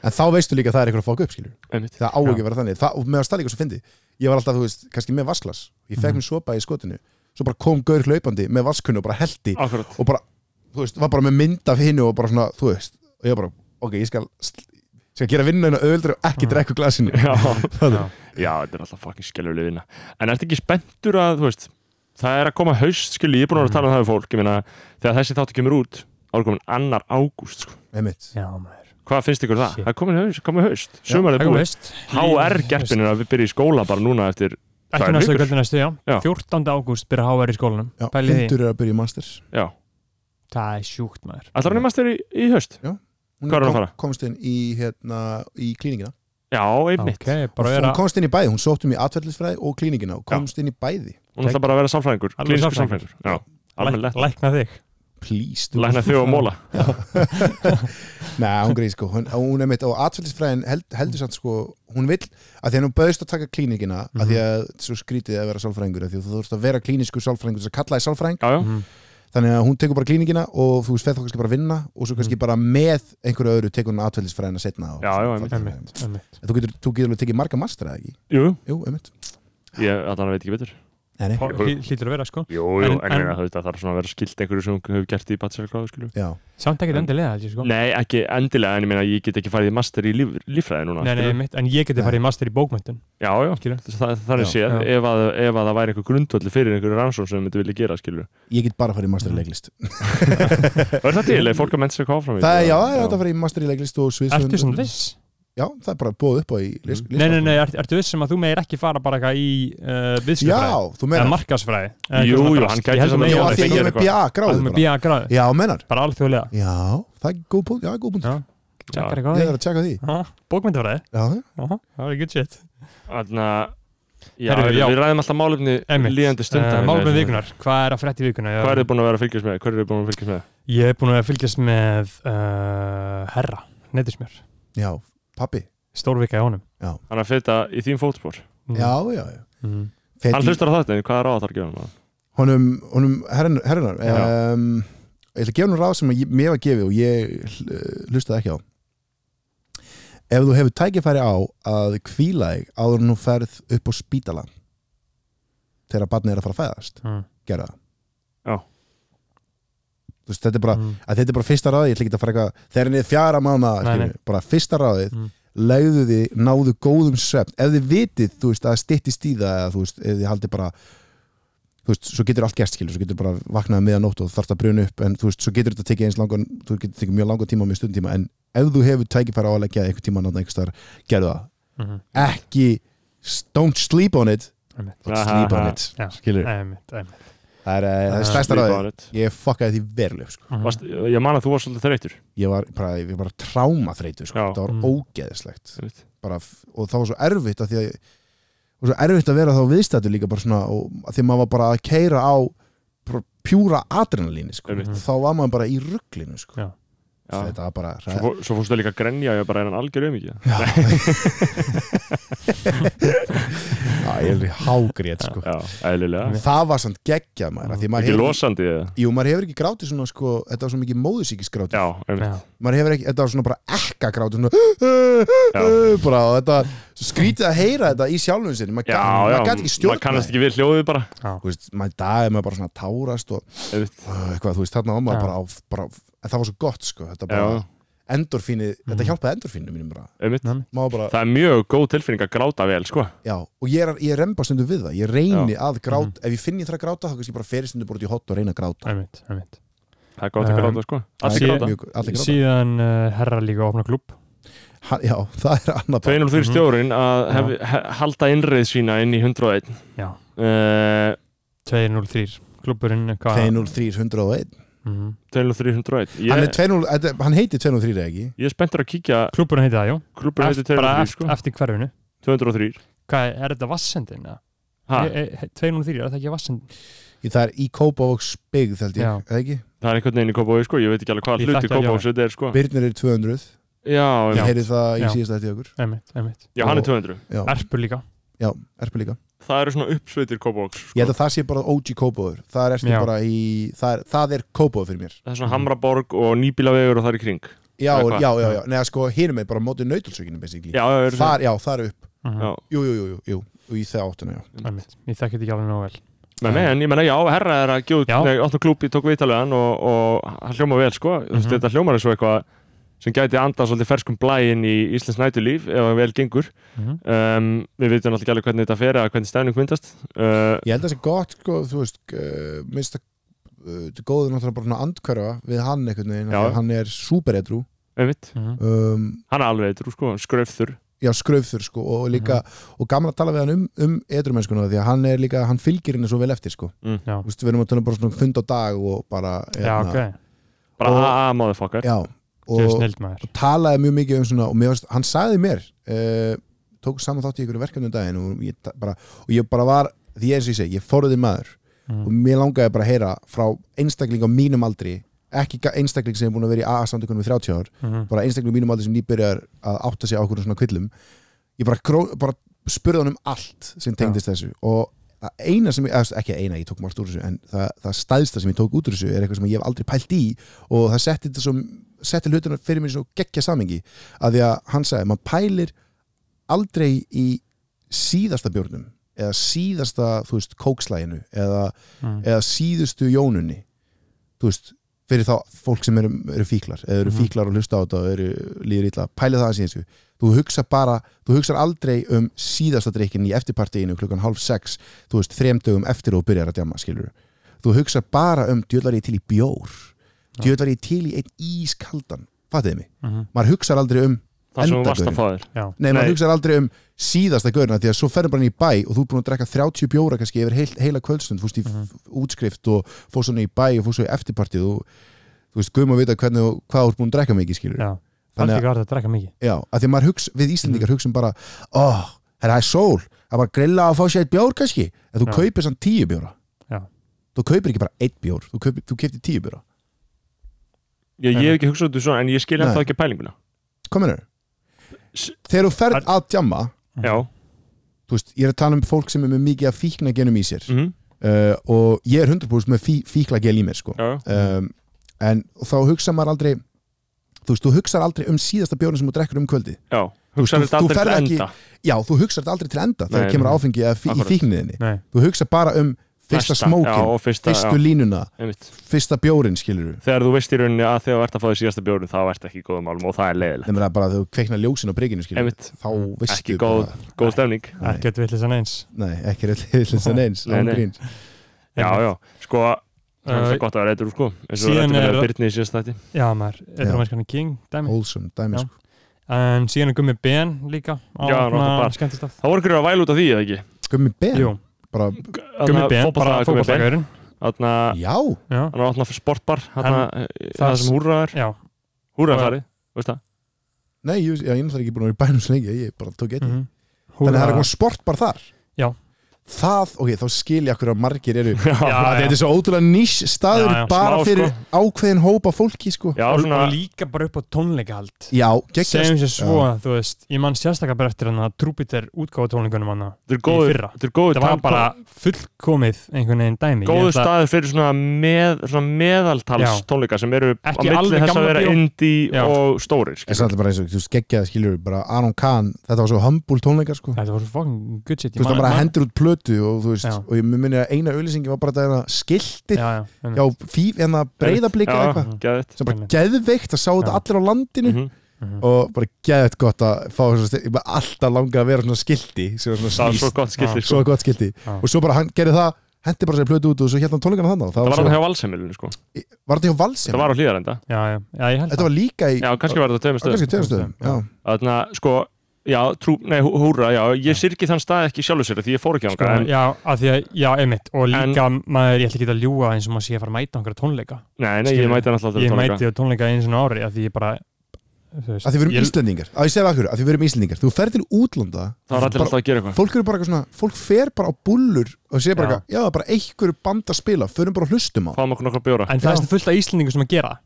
Speaker 5: en þá veistu líka að það er eitthvað að fóka upp skilur
Speaker 1: einmitt,
Speaker 5: það á ekki að vera þannig það, og meðan stað líka svo fyndi ég var alltaf, þú veist, kannski með vasklas ég
Speaker 2: Mhm.
Speaker 5: fekk mér sopa í skotinu svo bara kom gaur hlaupandi með vaskunni og bara heldi
Speaker 2: Ah.
Speaker 1: akkurat
Speaker 5: og bara, þú veist, var bara með mynd af hinu og bara svona, þú veist og ég bara, ok, ég skal skal gera vinnuna öðuldri og
Speaker 2: Ah.
Speaker 5: ekki drekka úr glasinu
Speaker 1: já,
Speaker 5: já,
Speaker 1: já, þetta er alltaf fucking skelluleg vinna en ertu ekki spenntur að, þú veist það er að koma haust, skilur, ég er búin að vera að tala um það við fólk, ég meina, þegar þessi þáttu kemur út þá er komin annar ágúst, sko.
Speaker 5: einmitt
Speaker 2: já, maður
Speaker 1: hvað finnst ykkur um það?
Speaker 2: Shit.
Speaker 1: það er komin haust, komin haust, sumar er
Speaker 2: Ekki
Speaker 1: búið
Speaker 2: veist.
Speaker 1: HR gerpin er að byrja í skóla bara núna eftir,
Speaker 2: ekki
Speaker 1: tvær
Speaker 2: næstu
Speaker 1: vikur.
Speaker 2: kvöldi næstu, já.
Speaker 1: Já.
Speaker 2: 14. ágúst byrja HR í skólanum
Speaker 5: já,
Speaker 2: Pælið í því.
Speaker 5: hundur er að byrja í master
Speaker 1: já,
Speaker 2: það er sjúkt maður
Speaker 1: allar hann er master í, í haust
Speaker 5: hún
Speaker 1: Hvað er hún að fara?
Speaker 5: komst inn í, hérna, í klíningina
Speaker 1: já, einmitt,
Speaker 2: ok, bara
Speaker 5: hún
Speaker 2: vera
Speaker 5: komst inn í bæði, hún sótt um í atverðlisfræði og klíningina og komst inn í bæði
Speaker 1: hún ætlar bara að vera sálfræðingur
Speaker 2: Alveg
Speaker 1: klíniskur
Speaker 2: sálfræðingur.
Speaker 1: sálfræðingur, já, alveg
Speaker 2: læk- lækna þig
Speaker 5: please, dude.
Speaker 1: Lækna þau að móla
Speaker 5: Nei, hún greið sko, hún, hún er mitt og atfældisfræðin held, heldur samt sko hún vill, að því að hún bauðst að taka klíningina að því að svo skrítið að vera sálfræðingur af því að þú þurft að vera klínisku sálfræðingur þess að kalla þið sálfræðing,
Speaker 1: Já, já,
Speaker 2: Mhm.
Speaker 5: þannig að hún tekur bara klíningina og þú veist, fer þá kannski bara að vinna og svo kannski bara með einhverju öðru tekur hún atfældisfræðina setna og,
Speaker 1: Já, já, einmitt.
Speaker 5: einmitt.
Speaker 2: Einmitt, einmitt.
Speaker 5: Þú getur, þú getur alveg tekið marga master eða ekki?
Speaker 1: jú,
Speaker 5: Jú, einmitt
Speaker 1: ég allan veit ekki betur
Speaker 5: Nei, nei,
Speaker 2: Hó- hlý- hlýtur að vera sko
Speaker 1: Jú,
Speaker 2: En-
Speaker 1: jú, en, en,
Speaker 2: en-
Speaker 1: en það þarf svona að vera skilt einhverju sem hefur gert í bachelorgráðu skilju
Speaker 5: já,
Speaker 2: samt ekki endilega held ég, sko.
Speaker 1: Nei, ekki endilega, en ég meina ég get ekki farið í master í líf, líffræði núna
Speaker 2: nei, nei,
Speaker 1: skilurðu.
Speaker 2: einmitt. en ég geti farið í master í bókmöntun
Speaker 1: Já, já,
Speaker 2: Skilurðu.
Speaker 1: þess- það, það er
Speaker 5: Já,
Speaker 1: séð
Speaker 2: já.
Speaker 1: ef að, ef að það væri einhver grundvöldu fyrir einhverju rannsókn sem þau myndi vilja gera skilju
Speaker 5: ég get bara að fara í master í leiklist
Speaker 1: Er það til, er fólk að menn sér hvað áfram í
Speaker 5: Það er,
Speaker 1: því?
Speaker 5: já, það er hægt að fara í master í leiklist og sviðsöfund
Speaker 2: ertu svona viss?
Speaker 5: Já, það er bara búið upp á í list,
Speaker 2: nei, nei, nei, ert- ertu viss sem að þú meir ekki fara bara eitthvað í uh, viðskiptfræði?
Speaker 5: Já, þú
Speaker 2: eða
Speaker 5: menar
Speaker 2: markasfræði
Speaker 1: Jú, jú, hann gæti samt
Speaker 5: Já,
Speaker 1: Já,
Speaker 5: af því að ég er
Speaker 1: fengið
Speaker 5: með BA gráðu
Speaker 2: gráður með BA gráður,
Speaker 5: Já, mennar
Speaker 2: bara alþjóðlega
Speaker 5: Já, það er góð punkt, já, góð punkt
Speaker 2: Já.
Speaker 1: Tjekkar
Speaker 2: tjekkar
Speaker 5: Ég
Speaker 2: eitthvað
Speaker 5: er að tjekka því
Speaker 2: á því bókmyndafræði,
Speaker 5: Já,
Speaker 2: það var good shit
Speaker 1: Þannig að Já,
Speaker 2: Heyrðu, já.
Speaker 1: við ræðum alltaf málefni líðandi stundar
Speaker 2: Eh, málum vikunar, hvað er að frétt í vikunar
Speaker 1: Hvað er þið búin að vera að fylgjast með? Hvað er þið búin að fylgjast með?
Speaker 2: Ég er búin að fylgjast með uh, Herra, netismjör
Speaker 5: já, pappi
Speaker 2: Stórvika í honum
Speaker 1: Hann er að feta í þín fótspor
Speaker 5: já, já, já
Speaker 2: mm.
Speaker 5: Feti,
Speaker 1: Hann hlustar á þetta, en hvað er ráð þar að gefa hann?
Speaker 5: honum, honum herrin, herrinar
Speaker 1: Já.
Speaker 5: um, ég ætla að gefa hann ráð sem ég, mér var gefið og ég hl- hlustaði ekki á ef þú hefur tækifæri á að kvíla þig áður en þú ferð upp á spítala þegar barnið er að fara að fæðast
Speaker 2: Mm.
Speaker 5: gera það
Speaker 1: Já.
Speaker 5: Þú veist, þetta er bara
Speaker 2: Mm.
Speaker 5: að þetta er bara fyrsta ráðið, ég ætla ekki að fara eitthvað þegar henni er fjara mána,
Speaker 2: Nei,
Speaker 5: skilur, bara fyrsta ráðið
Speaker 2: Mm.
Speaker 5: legðu þið, náðu góðum svefn ef þið vitið, þú veist, að styttist í það eða þú veist, ef þið haldið bara þú veist, svo getur allt gerst, skilur, svo getur bara vaknaði meðan nótt og þarft að bruna upp en þú veist, svo getur þetta tekið eins langan þú getur tekið mjög langan tíma og mjög stundtíma en ef þú hefur tækifæra á að leggja eitthvað tíma náttúrulega einhverstaðar, gerðu það
Speaker 2: Mhm.
Speaker 5: ekki, don't sleep on it
Speaker 2: Einmitt.
Speaker 5: don't sleep on
Speaker 1: Aha.
Speaker 5: it,
Speaker 2: Já.
Speaker 5: skilur
Speaker 2: mm. Einmitt, einmitt.
Speaker 5: það er, eh, það er
Speaker 2: Ah.
Speaker 5: stærsta ráðið,
Speaker 1: ráðið
Speaker 5: ég fuckaði því veruleg, sko
Speaker 2: Mhm.
Speaker 1: Vast, Ég man að þú var svolítið þreytur
Speaker 5: ég var bara, ég var bara trámaþreytur sko.
Speaker 1: Já.
Speaker 5: það var
Speaker 2: Mm.
Speaker 5: ógeðislegt
Speaker 1: Einmitt.
Speaker 5: bara, f- og það var svo erfitt að því að og svo erfitt að vera þá viðstættur líka bara svona, og að því að maður var bara að keira á bara pjúra adrenalíni sko.
Speaker 1: Einmitt.
Speaker 5: þá var maður bara í rugglinu sko.
Speaker 2: Já.
Speaker 5: Svo þetta var bara
Speaker 1: Svo, fó- svo fórstu líka að grenja og ég bara er hann algjör um ekki
Speaker 5: Já, ég er í hágrét sko.
Speaker 1: Já, eðlilega
Speaker 5: það var samt geggjað maður af því að maður
Speaker 1: Ekki
Speaker 5: hefur,
Speaker 1: losandi eða?
Speaker 5: jú, maður hefur ekki grátið svona sko, þetta var svo mikið móðusíkisgráti
Speaker 1: Já,
Speaker 2: Já.
Speaker 1: einmitt
Speaker 5: maður hefur ekki, þetta var svona bara ekka grát svona, bara, og þetta svo skrítið að heyra þetta í sjálfum sinni
Speaker 1: Já,
Speaker 5: maður gat-
Speaker 1: já,
Speaker 5: maður gæti ekki
Speaker 1: maður
Speaker 5: stjórna
Speaker 1: kannast ekki við hljóðið bara
Speaker 5: Þú veist, maður í dag er maður bara svona að tárast og
Speaker 1: einmitt.
Speaker 5: uh, eitthvað, þú veist, þarna var maður
Speaker 2: Já.
Speaker 5: bara, á, bara en það var svo gott, sko, þetta
Speaker 1: Já,
Speaker 5: bara endorfínið, þetta hjálpaði endorfínu mínum bara,
Speaker 1: einmitt
Speaker 2: Nei.
Speaker 5: maður bara,
Speaker 1: Það er mjög góð tilfinning að gráta vel, sko
Speaker 5: já, og ég, er, ég remba stundum við það, ég reyni að gráta, ef ég finn ég þarf að gráta, þá kannski bara ferist stundum bara út í hot og reyna að gráta,
Speaker 2: Einmitt, einmitt.
Speaker 1: Það er gott að
Speaker 2: Um,
Speaker 1: gráta, sko
Speaker 5: Það
Speaker 1: Allir
Speaker 5: er
Speaker 1: gráta
Speaker 5: mjög- allir gráta.
Speaker 2: Síðan uh, Herra líka opna klub
Speaker 5: Ha- já, það er annað bara,
Speaker 1: 203
Speaker 2: Mhm.
Speaker 1: stjórin að hef, he, halda innreið sína inn í 101
Speaker 2: Já.
Speaker 1: uh,
Speaker 2: 203 Klubburinn eh, hvað-
Speaker 5: 20301
Speaker 2: Mhm.
Speaker 1: 203 101
Speaker 5: hann, er
Speaker 1: Ég,
Speaker 5: 20, þetta- hann heitir 203 eða ekki
Speaker 1: ég er spenntur að kíkja
Speaker 2: Klúbburinn heiti það, jú
Speaker 1: klubur heiti
Speaker 2: Eft- bara
Speaker 1: 203,
Speaker 2: eft-
Speaker 1: sko
Speaker 2: eftir hverfinu
Speaker 1: 203
Speaker 2: Hvað er- er þetta vassendin? eða?
Speaker 1: ha,
Speaker 2: E- e- 203, er þetta ekki vassendin?
Speaker 5: Í- það er í Kópavogs byggð, held ég,
Speaker 2: Já.
Speaker 5: eða ekki
Speaker 1: Það er einhvern veginn í Kópavói, sko Ég veit ekki alveg hvað
Speaker 2: Ég
Speaker 1: hluti
Speaker 2: þekki alveg
Speaker 1: Kópavói þetta er, sko
Speaker 5: Byrnir er 200,
Speaker 1: Já,
Speaker 5: ég
Speaker 1: já,
Speaker 5: heyri það í
Speaker 2: Já.
Speaker 5: síðasta eftir okkur
Speaker 2: Einmitt, einmitt
Speaker 1: já, hann er 200
Speaker 5: já,
Speaker 2: Erpur líka
Speaker 5: já, erpa líka
Speaker 1: Það eru svona uppsveitir Kópavóks,
Speaker 5: Ég
Speaker 1: sko
Speaker 5: held að það sé bara OG Kópavur Það er eftir
Speaker 2: Já.
Speaker 5: bara í Það er, það er Kópavur fyrir mér
Speaker 1: Það er svona Hamraborg og Nýbílavegur og það er í kring
Speaker 5: Já,
Speaker 1: Eða hvað?
Speaker 5: já, já, já, neða sko hinum er bara á móti nautilsökinu basically
Speaker 1: Já, það eru
Speaker 5: Þar, já, það er upp
Speaker 2: Mhm.
Speaker 1: Já.
Speaker 5: Jú, jú, jú, jú, jú, og í það áttuna, já
Speaker 2: Einmitt. Ég þekki þetta ekki alveg nóg vel
Speaker 1: Nei, nei, en ég menna, já, herra er að gjóð,
Speaker 2: Já.
Speaker 1: nei, áttu klúpi, tók viðtalegan og, og hann hljóma vel, sko, þú veist,
Speaker 2: Mhm.
Speaker 1: þetta hljómar er svo eitthvað sem gæti andað svolítið ferskum blæin í Íslands nætulíf ef það vel gengur.
Speaker 2: Mhm.
Speaker 1: Um, við veitum náttúrulega ekki alveg hvernig þetta fer eða hvernig stæðning myndast. Uh,
Speaker 5: Ég held að það sé gott, sko, þú veist uh, minnst að uh, þetta er góður náttúrulega bara svona andkverfa við hann einhvern veginn
Speaker 1: Já.
Speaker 5: af því að Hann er súperedrú
Speaker 1: einmitt,
Speaker 2: Mhm.
Speaker 5: um,
Speaker 1: hann er alveg eitur, sko, skröfþur.
Speaker 5: Já, skröfþur, sko, og líka
Speaker 2: Mhm.
Speaker 5: og gaman að tala við hann um, um edrumennskuna því að hann er líka, hann fylgir henni svo vel eftir, sko
Speaker 2: Já.
Speaker 5: Þú veist, við erum að tala um bara svona fund á dag og bara
Speaker 2: Mm. Já,
Speaker 5: hérna,
Speaker 2: ok
Speaker 1: Bara
Speaker 5: Og-
Speaker 1: a-a, motherfucker.
Speaker 5: Já,
Speaker 2: Þau er
Speaker 5: og,
Speaker 2: snild maður
Speaker 5: talaði mjög mikið um svona og mér varst, hann sagði mér uh, tók saman þátt í einhverju verkefni um daginn og ég, ta- bara, og ég bara var því eins og ég segi, ég forðið maður
Speaker 2: Mhm.
Speaker 5: og mér langaði bara að heyra frá einstakling á mínum aldri ekki ga- einstakling sem er búin að vera í AA samtökunum í 30 ár,
Speaker 2: Mhm.
Speaker 5: bara einstakling á mínum aldri sem nýbyrjar að átta sig á okkur svona kvillum ég bara, gró, bara spurði hann um allt sem tengdist þessu og það eina sem, ég, eða, ekki eina, ég tók margt úr þessu en það, það stæðsta sem ég tók út úr þessu er eitthvað sem ég hef aldrei pælt í og það setti þetta svo setti hlutina fyrir mér í svo geggja samingi að því að hann sagði, maður pælir aldrei í síðasta bjórnum eða síðasta, þú veist, kókslæginu eða,
Speaker 2: Mm.
Speaker 5: eða síðustu jónunni þú veist, fyrir þá fólk sem eru, eru fíklar eða eru
Speaker 2: Mhm.
Speaker 5: fíklar og hlusta á þetta og eru líður illa pælið það að síðan þú hugsa bara, þú hugsar aldrei um síðasta drikkin í eftirpartíinu klukkan hálf sex, þú veist, þrem dögum eftir og byrjar að djama, skilur þú hugsar bara um, djöðlar ég til í bjór djöðlar ég til í einn ískaldan fattiði mig,
Speaker 2: Mhm.
Speaker 5: maður hugsar aldrei um
Speaker 1: Það sem hún varst að
Speaker 5: endagurinn.
Speaker 1: fá þér.
Speaker 2: Já.
Speaker 1: Nei.
Speaker 5: Nei, maður hugsar aldrei um síðasta gaurina því að svo ferður bara inn í bæ og þú er búin að drekka 30 bjóra kannski yfir heil, heila kvöldstund, fórst í mm útskrift og fórst svona í bæ og fórst svo í eftirpartið og þú veist, guðum að vita hvernig, þú- hvað þú er búin að drekka mikið skilur.
Speaker 2: Já. Það er
Speaker 5: Þannig
Speaker 2: ekki að drekka mikið
Speaker 5: Já, að því að maður hugsa, við
Speaker 1: Mhm.
Speaker 5: Íslandingar hugsum bara, oh, herra, það er sól, það er bara að grilla og fá sér eitt bjór kannski, en þú
Speaker 2: Já.
Speaker 5: kaupir samt 10 bjóra.
Speaker 2: Já.
Speaker 5: Þú kaupir ekki bara eitt bjór, þú, kaupir, þú keftir 10 bjóra.
Speaker 1: ég, ég hef ekki hugsað þetta svona en ég skil
Speaker 5: Nei.
Speaker 1: ennþá ekki pælinguna
Speaker 5: komin er
Speaker 1: S-
Speaker 5: þegar þú ferð að djamma
Speaker 1: já,
Speaker 5: þú veist, ég er að tala um fólk sem er með mikið af fíkna genum í sér
Speaker 1: mhm,
Speaker 5: uh, og ég er 100% með fí, fíkla gel í mér sko.
Speaker 1: já, já,
Speaker 5: um, en þá hugsa maður aldrei þú veist, þú hugsar aldrei um síðasta bjórn sem þú drekkur um kvöldi
Speaker 1: já hugsaði
Speaker 5: þú-
Speaker 1: þetta
Speaker 5: þú
Speaker 1: aldrei til
Speaker 5: ferð ekki-
Speaker 1: enda
Speaker 5: já, þú hugsar þetta aldrei til enda þegar
Speaker 1: Nei,
Speaker 5: það kemur
Speaker 1: nei.
Speaker 5: áfengi eða fí, í
Speaker 1: Akkurat.
Speaker 5: fíkniðinni
Speaker 2: Nei,
Speaker 5: þú hugsar bara um fyrsta
Speaker 1: Næsta, já,
Speaker 5: smókin
Speaker 1: og fyrsta,
Speaker 5: fyrstu
Speaker 1: já,
Speaker 5: línuna,
Speaker 1: einmitt.
Speaker 5: fyrsta bjórin skilur þú
Speaker 1: þegar þú veist í rauninni að þegar þú ert að fá því síðasta bjórun þá ert ekki í góðum málum og það er leiðilegt
Speaker 5: nefnir að bara þegar þú kveiknar ljósin á prikinu skilur
Speaker 1: Einmitt. Mm.
Speaker 5: þá veistu
Speaker 1: ekki góð,
Speaker 5: bara,
Speaker 1: góð stemning
Speaker 5: Nei.
Speaker 2: ekkert villis en eins
Speaker 5: nei, ekki reyðlis en eins
Speaker 1: Nei, nei.
Speaker 5: ángríns.
Speaker 1: já, já, sko það er
Speaker 2: Uh,
Speaker 1: alltaf gott að vera eitthvað sko eins og
Speaker 2: síðan
Speaker 1: þetta er
Speaker 2: er-
Speaker 1: Byrni í síðast þætti
Speaker 2: Já, maður,
Speaker 5: Já.
Speaker 2: eitthvað mennskan er king,
Speaker 1: Mm.
Speaker 2: dæmi
Speaker 5: wholesome dæmi
Speaker 2: Já.
Speaker 5: sko.
Speaker 2: En síðan er Gummi Ben líka á
Speaker 1: Já, hann var alltaf bara-
Speaker 2: skemmtistaf
Speaker 1: það voru ykkur að væla út af því, eða ekki?
Speaker 5: gummi ben,
Speaker 2: Jú,
Speaker 5: bara,
Speaker 2: Gummi Ben, bara
Speaker 1: bara Gummi Ben
Speaker 2: fótballagaurinn
Speaker 1: þarna,
Speaker 5: já
Speaker 2: Já,
Speaker 1: hann var alltaf sportbar þarna, eh,
Speaker 2: það-
Speaker 1: það sem húra er
Speaker 2: já,
Speaker 1: húra
Speaker 2: Já.
Speaker 1: farið, veist það?
Speaker 5: nei, ég, já, ég er náttúrulega ekki búin að vera í bænum svo lengi ég bara tók eitt
Speaker 2: mhm.
Speaker 5: þannig að það
Speaker 2: Húra-
Speaker 5: er eitthvað sport bara þar
Speaker 2: Já.
Speaker 5: það, ok, þá skil ég akkur að margir eru
Speaker 1: já,
Speaker 5: að þetta er svo ótrúlega nýs staður
Speaker 2: Já, já,
Speaker 5: bara
Speaker 1: smá, sko.
Speaker 5: fyrir ákveðin hópa fólki sko.
Speaker 1: já,
Speaker 2: og,
Speaker 1: svona
Speaker 2: og líka bara upp á tónleikahald
Speaker 5: já, geggjast
Speaker 2: segjum sér svo að þú veist ég mann sérstaklega bara eftir hann að Trúbiter útgáfa tónleikunum hann
Speaker 1: þetta er
Speaker 2: í
Speaker 1: góður-
Speaker 2: fyrra
Speaker 1: þetta er góður
Speaker 2: það var
Speaker 1: tap-
Speaker 2: bara fullkomið einhvern veginn dæmi Ég
Speaker 1: góður
Speaker 2: ætla-
Speaker 1: staður fyrir svona, með, svona meðaltals
Speaker 2: Já.
Speaker 1: tónleika sem eru á
Speaker 2: Ekki
Speaker 1: milli
Speaker 2: alveg
Speaker 1: þess að
Speaker 2: gamla
Speaker 1: vera
Speaker 2: bíó.
Speaker 1: indie
Speaker 2: Já.
Speaker 1: og stórir
Speaker 5: En
Speaker 1: skilur.
Speaker 5: samt bara eins og, þú veist, geggjað skilur við, bara Aron Kahn, þetta var svo humble tónleikar sko.
Speaker 2: þetta var svo fucking good shit
Speaker 5: Þú veist, hann bara hendur út plötu og þú veist,
Speaker 2: Já.
Speaker 5: og ég minni að eina auðlýsingi var bara þetta skiltið,
Speaker 2: já,
Speaker 5: já,
Speaker 2: já,
Speaker 5: já fíf, hérna breyðablika
Speaker 1: Já,
Speaker 5: eitthvað,
Speaker 1: geðveikt.
Speaker 5: sem bara
Speaker 2: einmitt.
Speaker 5: geðveikt að sá þetta
Speaker 2: Já.
Speaker 5: allir á landinu
Speaker 1: Mhm.
Speaker 2: Mhm.
Speaker 5: og bara geðveikt gott að fá þessu, stil- ég bara alltaf langa að vera svona skilti, sem var svona
Speaker 1: það var
Speaker 5: snýst
Speaker 1: svo gott skilti
Speaker 2: Já.
Speaker 1: sko.
Speaker 5: svo gott skilti
Speaker 2: Já.
Speaker 5: og svo bara hann gerði það hendi bara sér plötu út og svo hérna tónleikana þannig
Speaker 1: það
Speaker 5: það
Speaker 1: var
Speaker 5: var,
Speaker 1: hann
Speaker 5: var,
Speaker 1: hjá valsheimilinu sko.
Speaker 5: svo, var þetta hjá Valsinn?
Speaker 1: það var á hlýðarenda
Speaker 2: já, já, já, ég held
Speaker 5: þetta var líka í
Speaker 1: já, kannski var þetta á tveimur
Speaker 5: á kannski
Speaker 1: stöðum
Speaker 5: tveim stöðum já.
Speaker 1: þannig að sko já, trú, nei, hú- húra, já, ég syrki þann stað ekki sjálfur sér því ég fór ekki á
Speaker 2: Sko,
Speaker 1: hann
Speaker 2: já, að því að, já, einmitt og líka maður, ég ætla ekki að ljúga eins og maður sé að fara að mæta einhverja tónleika
Speaker 1: nei, nei, ég
Speaker 2: Skilur.
Speaker 1: mæti hann alltaf
Speaker 2: ég
Speaker 1: til tónleika.
Speaker 2: mæti á tónleika eins og ári að því ég bara þú veist,
Speaker 5: að því við erum
Speaker 2: ég-
Speaker 5: Íslendingar að ég segja akkur, að því við erum Íslendingar þú fer til útlanda
Speaker 1: það var allir
Speaker 5: bara-
Speaker 1: alltaf að gera eitthvað
Speaker 5: fólk eru bara eitthvað svona, fólk fer bara á bullur og sé bara
Speaker 2: Já.
Speaker 5: eitthvað, já, bara einhverju band að spila förum bara að hlustum á,
Speaker 1: fáum okkur nokkra bjóra
Speaker 2: en það
Speaker 5: Já.
Speaker 2: er fullt af Íslendingu sem að gera það.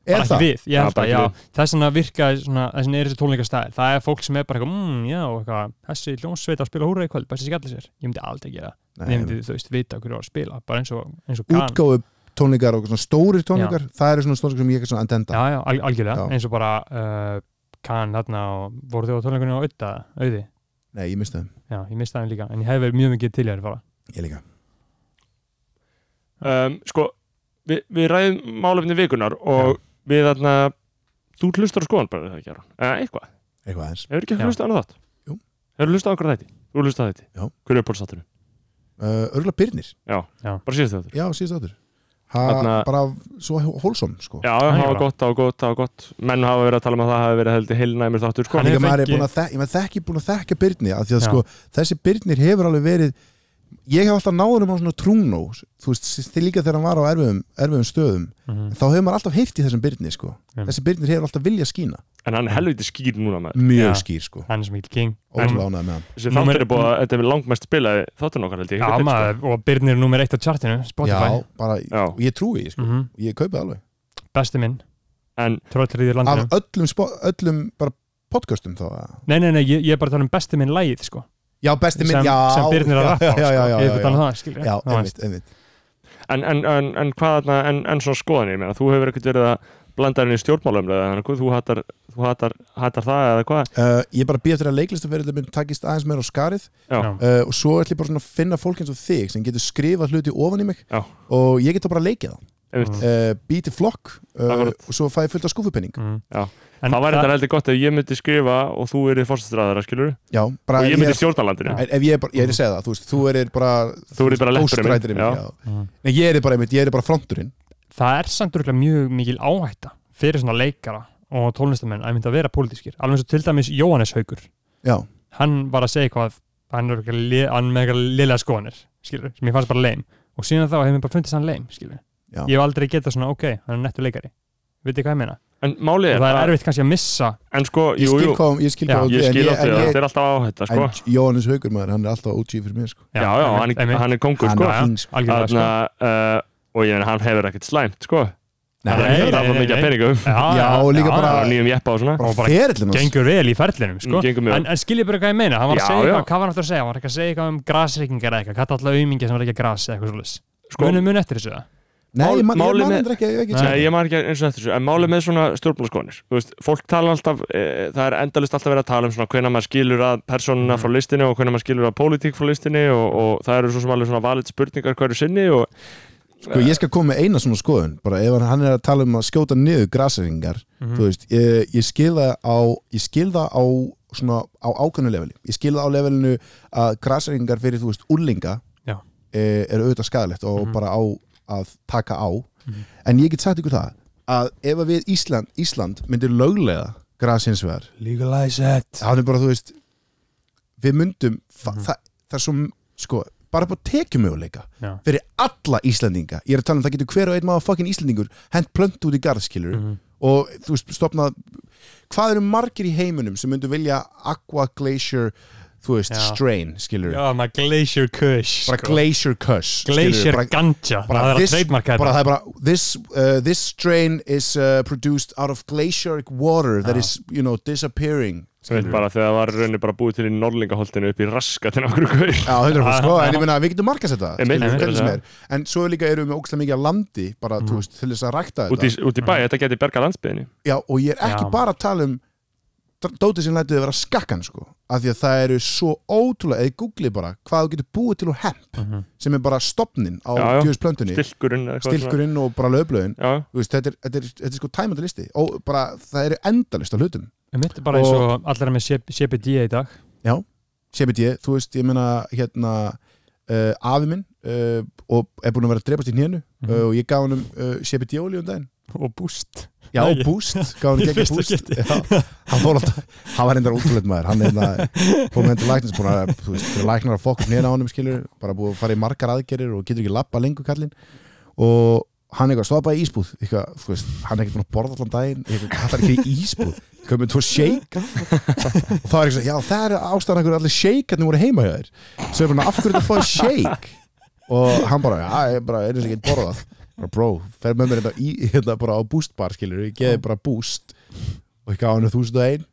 Speaker 5: er
Speaker 2: bara
Speaker 5: það?
Speaker 2: ekki við, ég
Speaker 1: Já,
Speaker 2: held
Speaker 1: bara
Speaker 2: að,
Speaker 1: ekki
Speaker 2: já
Speaker 1: við.
Speaker 2: það er svona að virka, svona, þessin er þessi tónleikastæðir það er fólk sem er bara eitthvað, mmm, já og eitthvað, þessi hljónsveit að spila húra í kvöld, bæst þessi allir sér ég myndi aldrei gera, það,
Speaker 5: Nei,
Speaker 2: ég myndi, þú veist, vita hverju var að spila, bara eins og, eins og kann
Speaker 5: útgáfu tónleikar og svona stórir tónleikar það eru svona tónleikar sem ég er svona
Speaker 2: já,
Speaker 5: andenda
Speaker 2: já, al algjörlega,
Speaker 5: Já.
Speaker 2: eins og bara uh, kann þarna og voru þau á tónleikunni á auða, auði,
Speaker 5: nei, ég misti það,
Speaker 2: já, ég misti það líka en ég hef verið mjög mikið til ég að fara
Speaker 5: ég líka
Speaker 1: um, sko, við, við ræðum málefni vikunar og við þarna þú hlustar á skoðan bara það ekki Aron. eða eitthvað,
Speaker 5: eitthvað aðeins
Speaker 1: hefur ekki
Speaker 2: Já.
Speaker 1: hlustað á annað þátt
Speaker 5: Jú.
Speaker 1: hefur hlustað á okkur þætti, þú hlustað á þætti
Speaker 5: Já.
Speaker 1: hverju er pólstátturinn,
Speaker 5: uh, örgulega Byrnir,
Speaker 1: bara síðast þáttur
Speaker 5: já, síðast áttur
Speaker 1: Þarna-
Speaker 5: bara svo hólsom, sko
Speaker 1: já, það
Speaker 2: já.
Speaker 1: var gott, það var gott, það var gott menn hafa verið að tala um að það hafi verið heldur heilnæmir þáttur sko.
Speaker 2: Hann
Speaker 5: líka
Speaker 2: hefur
Speaker 5: maður er
Speaker 2: fengið-
Speaker 5: búin að þekka, ég maður þekki búin að þekka Byrni að því
Speaker 2: Já.
Speaker 5: að sko, þessi Byrnir hefur alveg verið ég hef alltaf náðunum á svona trúnó þú veist, þið líka þegar hann var á erfiðum, erfiðum stöðum,
Speaker 2: Mhm.
Speaker 5: þá hefur maður alltaf heyrt í þessum Byrni, sko,
Speaker 2: Mm.
Speaker 5: þessi Byrnir hefur alltaf viljað skína,
Speaker 1: en hann er helviti skýr núna með
Speaker 2: Já.
Speaker 5: mjög skýr sko,
Speaker 2: hann er sem ekki king
Speaker 5: ótrúlega ánægð með hann
Speaker 1: þessi
Speaker 2: Númer-
Speaker 1: þáttur er búið að þetta er langmest spilaði þátturinn okkar held ég
Speaker 2: já,
Speaker 1: Ég veit ekki,
Speaker 2: maður, og Byrnir er nummer eitt á chartinu Spotify
Speaker 5: sko. já, bara,
Speaker 1: Já.
Speaker 5: og ég trúi því, sko,
Speaker 2: Mhm.
Speaker 5: ég kaupið alveg
Speaker 2: besti minn,
Speaker 1: En-
Speaker 2: tröllriðir landinu
Speaker 5: af öllum, spo- öllum bara podcastum þá, eða?
Speaker 2: Nei, nei, nei, ég, ég er bara að tala um besti minn lægið, sko
Speaker 5: já, besti minn,
Speaker 2: sem,
Speaker 5: já
Speaker 2: sem Birnir er að rappa á,
Speaker 5: já, já, já, já,
Speaker 2: sko Ég fyrir
Speaker 5: já,
Speaker 2: þannig
Speaker 5: já.
Speaker 2: það, skilur
Speaker 5: Já,
Speaker 2: Þú veist.
Speaker 5: einmitt, einmitt.
Speaker 1: En, en, en, en hvað þarna, en, en svona skoðanir, ég meina, þú hefur ekkert verið að blanda henni í stjórnmálumlega, þannig að þú hattar, þú hattar, hattar það eða hvað?
Speaker 5: Uh, ég bara býð eftir að leiklistaferðilega minn takist aðeins meira á skarið
Speaker 1: Já.
Speaker 2: Já.
Speaker 5: uh, og svo ætlum ég bara svona að finna fólk eins og þig sem getur skrifað hluti ofan í mig
Speaker 1: Já.
Speaker 5: og ég get þá bara að leikja það
Speaker 1: Einmitt.
Speaker 2: Mm.
Speaker 5: uh, býti flokk uh,
Speaker 1: Akkurat.
Speaker 5: og svo fæ ég fullt af skúfupenning
Speaker 2: Mm.
Speaker 1: Já.
Speaker 2: En
Speaker 1: það væri þetta heldur gott ef ég myndi skrifa og þú erið fórstastræðara, skilur
Speaker 5: Já, bara
Speaker 1: og ég
Speaker 5: ef
Speaker 1: myndi
Speaker 5: ég,
Speaker 1: stjórnalandinu.
Speaker 5: er, ef ég, er bara, ég er að segja það þú, veist, þú erir bara
Speaker 1: Þú erir bara leppurinn minn,
Speaker 5: ghostwriterinn
Speaker 1: já.
Speaker 5: minn, já.
Speaker 2: Mm.
Speaker 5: Nei, ég er bara, einmitt, ég er bara fronturinn
Speaker 2: Það er samt rúglega mjög mikil áhætta fyrir svona leikara og tólnistamenn að mynda að vera pólitískir Alveg eins og til dæmis Jóhannes Haugur
Speaker 5: já,
Speaker 2: Hann var að segja eitthvað hann er örugglega le- hann er með eitthvað liðlega skoðanir skilur, sem ég fannst bara leim og síðan þá hefur mér bara fundist hann leim skilur.
Speaker 5: Já.
Speaker 2: ég hef aldrei getað svona, ok, hann er nettu leikari Vitið hvað ég meina?
Speaker 1: En málið
Speaker 2: Og
Speaker 1: er,
Speaker 2: það er
Speaker 1: að-
Speaker 2: erfitt kannski að missa
Speaker 1: en sko,
Speaker 5: ég
Speaker 1: jú,
Speaker 5: skil
Speaker 1: jú,
Speaker 5: hvað ég skil
Speaker 2: Já,
Speaker 5: hvað
Speaker 1: ég
Speaker 5: en
Speaker 1: skil
Speaker 5: ég-
Speaker 1: átt
Speaker 5: en
Speaker 1: því að
Speaker 5: ég-
Speaker 1: þetta er alltaf áhætta, sko.
Speaker 5: en Jóhannes Haugur maður, hann er alltaf OG fyrir mér sko.
Speaker 1: Já, já, hann,
Speaker 2: einmitt, einmitt.
Speaker 1: sko. hann er kongur,
Speaker 5: Hann
Speaker 1: sko.
Speaker 5: er-
Speaker 2: algjörlega sko.
Speaker 1: Þarna, uh, og ég meina, hann hefur ekkert slæmt, sko. það er
Speaker 2: nei,
Speaker 1: ekki að tapa
Speaker 2: nei,
Speaker 1: mikið
Speaker 2: nei.
Speaker 1: að peningum
Speaker 5: Já, og líka bara-
Speaker 1: á nýjum jeppa og svona
Speaker 5: bara,
Speaker 2: bara
Speaker 5: bara ferillinum
Speaker 2: gengur vel í ferlinum sko.
Speaker 1: Mm, gengur mjög
Speaker 2: en, en skiljið bara hvað ég meina hann var að
Speaker 1: Já,
Speaker 2: segja
Speaker 1: já.
Speaker 2: eitthvað, hvað var hann aftur að segja hann var ekki að segja eitthvað um grasreikingar eða eitthvað hvað alltaf aumingi sem var ekki að gras eða eitthvað svolítið
Speaker 1: Sko-
Speaker 2: sko, munum mun eftir þessu eða?
Speaker 5: Nei,
Speaker 1: Mál-
Speaker 5: ég man- ég
Speaker 1: málið
Speaker 5: man
Speaker 1: með-
Speaker 5: endur ekki, ég ekki
Speaker 2: Nei,
Speaker 5: tjá
Speaker 1: Nei, ég maður ekki eins og eftir þessu, en málið með svona stjórnmálaskoðanir, þú veist, fólk tala alltaf, e, það er endalist alltaf verið að tala um svona hvenær maður skilur að personuna frá listinni og hvenær maður skilur að pólitík frá listinni og, og það eru svo sem alveg svona valið spurningar hverju sinni og
Speaker 5: Sko, ég skal koma með eina svona skoðun bara ef hann- hann er að tala um að skjóta niður grasæringar þú veist, ég, ég skil það á ég skil það á svona á ákveðnu leveli, ég skil það á levelinu að grasæringar fyrir, þú veist, úrlinga
Speaker 2: Já.
Speaker 5: eh, eru auðvitað skadalegt og
Speaker 2: Mhm.
Speaker 5: bara á að taka á en ég get sagt ykkur það að ef að við Ísland, Ísland myndir löglega gras hins vegar
Speaker 2: legalize it Mhm.
Speaker 5: það er bara, þú veist við myndum, þa það, það er svo sko, bara upp á tekjumöguleika
Speaker 2: Já.
Speaker 5: fyrir alla Íslandinga ég er að tala um það getur hver og einn maður fucking Íslandingur hent plönt út í garðskilur
Speaker 2: Mhm.
Speaker 5: og þú veist, stopna hvað eru margir í heiminum sem myndu vilja aqua glacier, þú veist,
Speaker 2: Já.
Speaker 5: strain skilur,
Speaker 2: já, maður glacier kush
Speaker 5: bara
Speaker 2: sko.
Speaker 5: glacier cuss skilurðu,
Speaker 2: glacier
Speaker 5: bara-
Speaker 2: ganja
Speaker 5: bara
Speaker 2: það er að
Speaker 5: this-
Speaker 2: trademarka
Speaker 5: bara
Speaker 2: þetta
Speaker 5: það er bara this, uh, this strain is uh, produced out of glacieric water that is, you know, disappearing
Speaker 1: sem veit bara þegar það var í rauninni bara búið til í Norlingaholtinu upp í raskatina okkur gaur.
Speaker 5: Já, 100% sko, en ég meina við getum markast þetta
Speaker 1: Einmitt,
Speaker 5: skilur,
Speaker 1: einmitt,
Speaker 5: hvernig sem
Speaker 1: einmitt.
Speaker 5: er. En svo líka erum við með ókslega mikið af landi bara, þú veist, til þess að rækta
Speaker 1: Út í,
Speaker 5: þetta
Speaker 1: út í bæ, þetta geti berga landsbyðinni.
Speaker 5: Já, og ég er ekki
Speaker 2: Já.
Speaker 5: bara að tala um dr- dótið sem lætið að vera skakkan sko, af því að það eru svo ótrúlega eða googlið bara hvað þú getur búið til og hemp, sem er bara stopnin á
Speaker 1: Já, já.
Speaker 5: djöðsplöntunni,
Speaker 1: Stilkurinn. eða eitthvað
Speaker 5: stilkurinn og bara löfblöðin
Speaker 1: svona. Já,
Speaker 5: Þú veist, þetta, er, þetta, er, þetta er sko tæmandi listi og bara það eru endalist á hlutum
Speaker 2: mitt er bara eins og allir er með CP- CPD í dag
Speaker 5: Já, CBD, þú veist, ég meina hérna uh, afi minn uh, og er búin að vera að drepast í hnénu uh, og ég gaf hann um uh, CBD olíu um daginn
Speaker 2: Mhm. og boost
Speaker 5: Já,
Speaker 2: Nei, ég-
Speaker 5: boost, gaf hann
Speaker 2: Í
Speaker 5: gegn
Speaker 2: fyrsta
Speaker 5: boost
Speaker 2: skipti.
Speaker 5: Já, hann fór alltaf, hann var reyndar útrúleitt maður hann er hérna, fór með hendur læknins búin að, þú veist, fyrir læknar að fokk hnénu á honum skilur, bara búið að fara í margar aðgerir og getur ekki lappa lengur kallinn og hann eitthvað stoppa í ísbúð eitthvað, þú veist, hann er ekki búin að borða allan daginn eitthvað, hann er ekki í ísbúð komið með tvo shake og það er eitthvað, já það er ástæðan einhverju allir shake hann voru heima hjá þér svo er bara, af hverju þetta fóði shake og hann bara, já, ég bara, einu sem get borðað bara, bro, fer með mér þetta í hérna bara á boost bar, skilur, ég geði bara boost og ég gaf hann þúsund og ein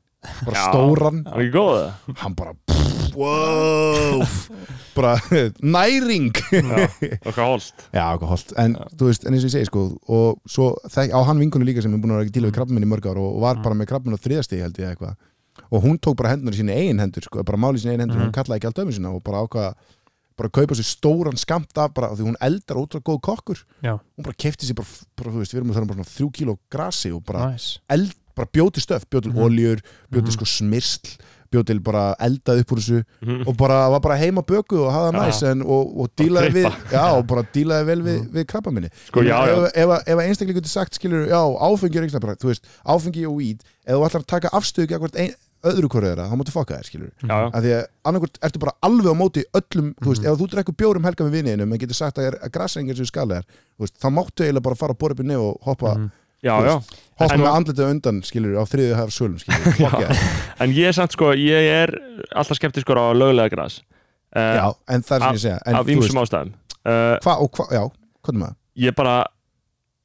Speaker 5: bara
Speaker 1: Já.
Speaker 5: stóran,
Speaker 1: hann er ekki góð það.
Speaker 5: hann bara pff, wow bara, næring
Speaker 1: Okkar holst.
Speaker 5: Já, okkur holdt, en þú veist, en eins og ég segi sko og svo þek, á hann vinkunni líka sem er búin að vera að díla við krabbminn í mörg ár og, og var bara með krabbminn á þriðastegi held ég eða eitthvað og hún tók bara hendunar í síni eigin hendur sko, bara máli í síni eigin hendur, hún kallaði ekki allt ömmu sína og bara ákvaða, bara kaupa sér stóran skammt af bara, af því hún eldar ótrúlega góð kokkur
Speaker 2: já,
Speaker 5: hún bara kefti sér bara, bara þú veist, við erum að tala um bara svona þrjú kíló grasi og bara
Speaker 2: nice
Speaker 5: eld, bara bjóti stöf, bjóti
Speaker 1: Mhm.
Speaker 5: mm. oljur bjóti sko smyrsl, bjóti bara eldað upp úr þessu
Speaker 1: Mhm.
Speaker 5: og bara var bara heima bökuð og hafa það næs en, og, og dílaði við, já, og bara dílaði vel við, við krabba minni.
Speaker 1: Sko, já, já.
Speaker 5: Ef, ef, ef einstaklega getur sagt, skilur, já, áfengi er ekki bara, þú veist, áfengi og weed, ef þú ætlar að taka afstöðu gegn hvert ein, öðru hverju þeirra, þá máttu fokka þér, skilur
Speaker 1: Já, já.
Speaker 5: af því að annarkvort ertu bara alveg á móti öllum, þú
Speaker 1: Mhm.
Speaker 5: veist, ef þú drekku bjórum helga með viniðinum en getur sagt að, að grasengar séu skalegar, þú veist, þá máttu eiginlega bara fara að bora upp í nef og hoppa
Speaker 1: Mhm. Já,
Speaker 5: Þú
Speaker 1: já.
Speaker 5: veist, hoppa
Speaker 1: En-
Speaker 5: með andlitið á undan, skilur, á þriðið hafur sölum, skilur, fokka þér.
Speaker 1: En ég er samt sko, ég er alltaf skeptiskur á löglega Eh, græs.
Speaker 5: Já, en það er sem ég segja, en
Speaker 1: Af
Speaker 5: þú
Speaker 1: ýmsum
Speaker 5: veist,
Speaker 1: ástæðum. Uh,
Speaker 5: hvað og hvað, já, hvað er maður?
Speaker 1: ég bara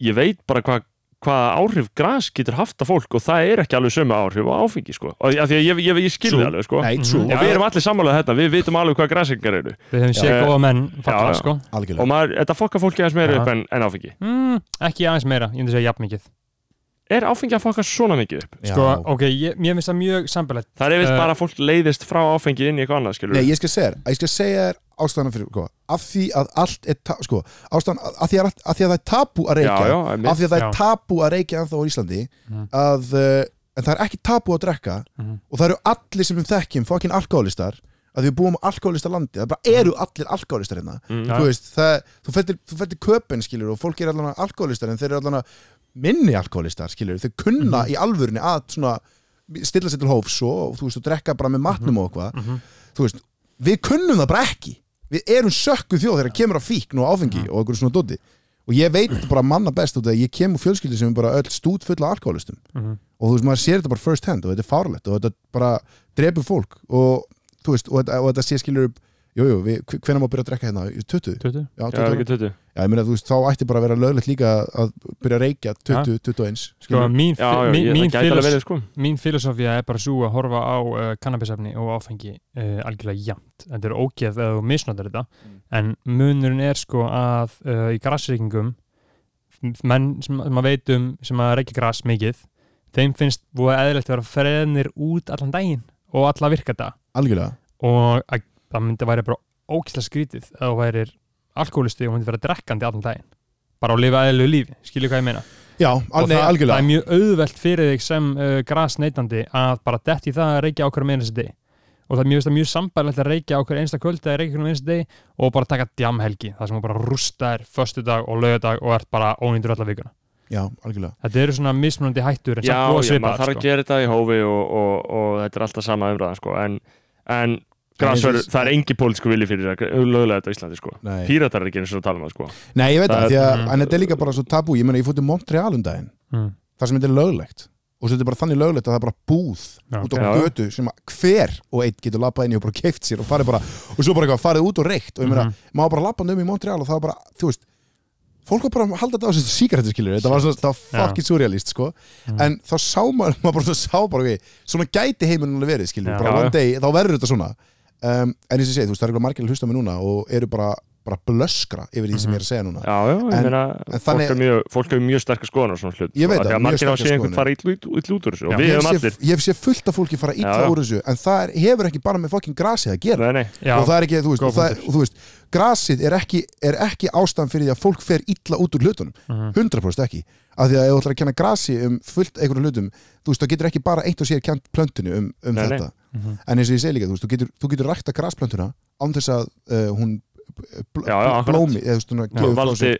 Speaker 1: ég veit bara hvað hvað áhrif gras getur haft á fólk og það er ekki alveg sömu áhrif á áfengi sko. og af því að ég, ég, ég skilði
Speaker 5: True.
Speaker 1: alveg sko.
Speaker 5: Nei, true,
Speaker 1: og við erum allir sammálað þetta, við vitum alveg hvað grasengar eru
Speaker 2: við hefum
Speaker 1: Já.
Speaker 2: séð góða menn
Speaker 1: Já,
Speaker 2: falla
Speaker 1: já.
Speaker 2: sko
Speaker 1: og
Speaker 5: algjörlega,
Speaker 1: maður, þetta fokkar fólki aðeins meira
Speaker 2: Já.
Speaker 1: upp en, en áfengi
Speaker 2: mm, ekki aðeins meira, ég myndi segja jafn mikið
Speaker 1: er áfengi að fokka svona mikið upp
Speaker 5: já.
Speaker 2: sko, ok, ég, mér finnst það mjög sambilegt
Speaker 1: það er
Speaker 2: Eh.
Speaker 1: eftir bara að fólk leiðist frá áfengi inn í eitthvað annað skilur
Speaker 5: Uh, Nei, ég skal segja þér, ég skal segja þér ástæðan fyrir, sko, af því að allt er, ta- sko, ástæðan, að- af því að, allt- af því að það er tabu að reykja,
Speaker 1: Já, já, einmitt.
Speaker 5: af því að það er
Speaker 2: Já.
Speaker 5: tabu að reykja ennþá á Íslandi, að, uh, en það er ekki tabu að drekka, og það eru allir sem við þekkjum, fokkin alkoholistar, að við búum á alkoholista landi, það bara eru allir alkoholistar hérna, þú veist, það, þú ferð til, þú ferð til köpen, skilur, og fólk er allan alkoholistar, en þeir eru allan minni alkoholistar, skilur, þau kunna í alvörni að svona, stilla sér til hófs og, þú veist, og drekka bara með matnum og eitthvað, þú veist, við kunnum það bara ekki við erum sökku þjóð þegar kemur að fíkn og áfengi og einhverjum svona dóti og ég veit bara manna best út af því að ég kemur fjölskyldi sem er bara öll stút fulla af alkoholistum
Speaker 2: Mhm.
Speaker 5: og þú veist, maður sér þetta bara first hand og þetta er fárlegt og þetta bara drepur fólk og þú veist, og þetta, og þetta sé skilur upp jú, jú, við, hvenær má byrja að drekka hérna? 20?
Speaker 2: 20?
Speaker 5: Já, 20
Speaker 1: Já,
Speaker 5: ára?
Speaker 1: ekki 20
Speaker 5: Já, ég meina, þú veist, þá ætti bara að vera löglegt líka að byrja að reykja 20, 21
Speaker 2: Sko,
Speaker 5: skilur.
Speaker 2: mín,
Speaker 1: Já, já,
Speaker 2: mín,
Speaker 1: ég-
Speaker 2: mín,
Speaker 1: það gæti alveg
Speaker 2: filos,
Speaker 1: verið sko
Speaker 2: mín filosofía er bara svo að horfa á uh, kannabisefni og áfengi uh, algjörlega jæmt. Þetta er ógeð eða þú misnotar þetta, en munurinn er sko að uh, í grassreikingum menn sem, sem að veitum sem að reykja grass mikið þeim finnst búið eðlilegt að vera freðnir út allan daginn og alla virkata
Speaker 5: Algjörlega,
Speaker 2: og að, það myndi að væri bara ógæslega skrítið að þú værir alkoholisti og myndi vera drekkandi allan daginn bara að lifa eðlilegu lífi, skilju hvað ég meina
Speaker 5: já, al,
Speaker 2: og
Speaker 5: nei,
Speaker 2: það, það
Speaker 5: algjörlega
Speaker 2: er mjög auðvelt fyrir þig sem uh, grasneitandi að bara detti í það að reykja okkur með einasta deg og það er mjög, það er mjög sambærilegt að reykja okkur einsta kvöld eða reykja okkur með einasta deg og bara taka djamhelgi, það sem þú bara rústar föstudag og lögadag og ert bara ónýndur alla vikuna.
Speaker 5: Já, algjörlega
Speaker 2: Þetta eru svona mismunandi hættur en
Speaker 1: Já,
Speaker 2: samt voða
Speaker 1: já, maður
Speaker 2: svipað
Speaker 1: þarf að
Speaker 2: sko.
Speaker 1: gera þetta í hófi og, og, og þetta er alltaf sama umræðan sko en, en grassör,
Speaker 5: eins og-
Speaker 1: það er engi pólitísku vilji fyrir það, lögulega þetta á Íslandi sko
Speaker 5: Nei.
Speaker 1: Píratar er ekki eins og að tala um það sko
Speaker 5: Nei, ég veit
Speaker 1: Það
Speaker 5: það,
Speaker 1: er-
Speaker 5: því að,
Speaker 2: Mm.
Speaker 5: en þetta er líka bara svo tabú Ég meina, ég fór til Montreal um daginn
Speaker 2: Mm.
Speaker 5: þar sem þetta er löglegt og svo þetta er bara þannig löglegt að það er bara búð
Speaker 2: Já,
Speaker 5: út á
Speaker 1: ok.
Speaker 5: götu sem að hver og einn getur labbað inn í og bara keift sér og farið bara og svo bara eitthvað farið út og reykt og ég meina, maður bara labbað um í Montreal og það var bara, þú veist fólk var bara að halda þetta á þessu síkaretu skilur þetta var svona, það var
Speaker 2: Já.
Speaker 5: fucking surrealist sko en þá sá maður, maður bara svona sá bara okay, svona gæti heiminn alveg verið skilur
Speaker 2: Já.
Speaker 5: bara
Speaker 1: Já,
Speaker 5: one day, þá verður þetta svona um, en eins og ég segi, þú veist, það er eitthvað margilega hlusta á mig núna og eru bara, bara blöskra yfir því sem ég er að segja núna
Speaker 1: Já, já, ég
Speaker 5: En-
Speaker 1: meina,
Speaker 5: en
Speaker 1: fólk
Speaker 5: þannig-
Speaker 1: hefur mjög, fólk hefur mjög sterkar skoðan og svona hlut
Speaker 5: Ég veit
Speaker 1: sko, af því
Speaker 5: það,
Speaker 1: að
Speaker 5: mjög
Speaker 1: margir hafa
Speaker 5: sterkar
Speaker 1: séð einhvern
Speaker 5: skoðanir.
Speaker 1: fara illa út út- illa út úr þessu og við
Speaker 5: ég hef
Speaker 1: hefum
Speaker 5: séð-
Speaker 1: allir
Speaker 5: ég hef séð fullt af fólki fara illa
Speaker 1: Já, já.
Speaker 5: úr þessu en það er, hefur ekki bara með fokkin grasið að
Speaker 1: Nei,
Speaker 5: gera
Speaker 1: nei,
Speaker 2: Já,
Speaker 5: og það er ekki, þú veist,
Speaker 2: góð
Speaker 5: og það, er- og þú veist grasið er ekki, er ekki ástæðan fyrir því að fólk fer illa út úr hlutunum
Speaker 1: Mhm.
Speaker 5: 100% ekki, af því að ef þú ætlar að kenna grasi um fullt einhverjum hlutum þú veist, þá getur ekki bara eitt og sér kent plöntinu um, um
Speaker 1: Nei, Mhm. nei.
Speaker 5: þetta, en eins og ég segi líka þú, veist, þú getur, þú getur rækta grasplöntuna án þess að uh, hún bl
Speaker 1: Já, já, akkurat.
Speaker 5: blómi, eða þú veist, hún
Speaker 1: og valdi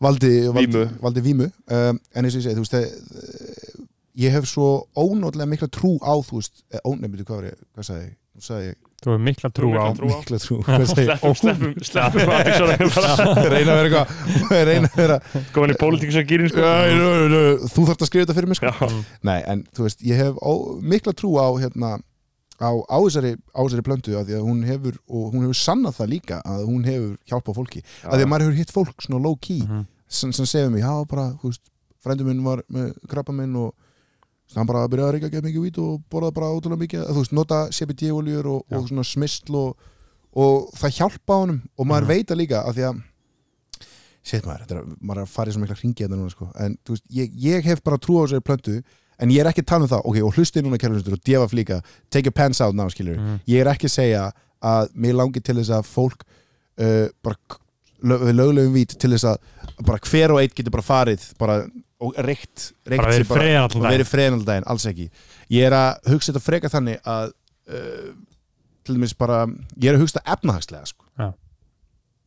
Speaker 5: valdi, valdi,
Speaker 1: Vímu.
Speaker 5: valdi vímu um, en eins og ég segi, þú veist það, eh, ég hef svo ónótlega mikla trú á þú veist, eh, ónefndu hvað var ég hvað sagði, ég? Nú sagði ég
Speaker 2: þú hefur mikla trú á
Speaker 1: Trú á.
Speaker 5: mikla trú, hvað sagði ég
Speaker 1: Sleppum, sleppum, sleppum aðeins bara
Speaker 5: reyna að vera eitthvað reyna að vera
Speaker 1: komin í pólitíks að gýrin sko
Speaker 5: Æ, nö, nö, nö, þú þarft að skrifa þetta fyrir mig sko.
Speaker 1: Já,
Speaker 5: Nei, en þú veist, ég hef á, mikla trú á hérna, á, á, þessari, á þessari plöntu af því að hún hefur, og hún hefur sannað það líka að hún hefur hjálpað fólki af því að maður hefur hitt fólk svona low key
Speaker 2: Mhm.
Speaker 5: sem, sem segir mér, já bara, þú veist frændum minn var með krabba minn og þú veist, hann bara byrjaði að reyka að gefa mikið vít og borða bara ótrúlega mikið, að, þú veist, nota CBD-oljur og, og svona smistl og, og það hjálpa honum og
Speaker 1: Mhm.
Speaker 5: maður veit það líka af því að Sétt maður, þetta er, að- maður er að fara í svo mikla hringi þetta núna sko, en þú veist, ég, ég hef bara trú á þessari plöntu, en ég er ekki að tala um það, ok, og hlustið núna kærlustur og djöfa flíka, take your pants out now, skilur,
Speaker 2: Mhm.
Speaker 5: ég er ekki að segja að mér langi til þess að fólk uh, bara k- lög, við löglegum vít til þess að bara hver og eitt getur bara farið bara og reykt, reykt
Speaker 2: Bara
Speaker 5: sig
Speaker 2: verið freðin allan
Speaker 5: og
Speaker 2: daginn.
Speaker 5: verið freðin allan daginn, alls ekki ég er að hugsa þetta freka þannig að uh, til dæmis bara ég er að hugsa þetta efnahagslega sko.
Speaker 2: Já.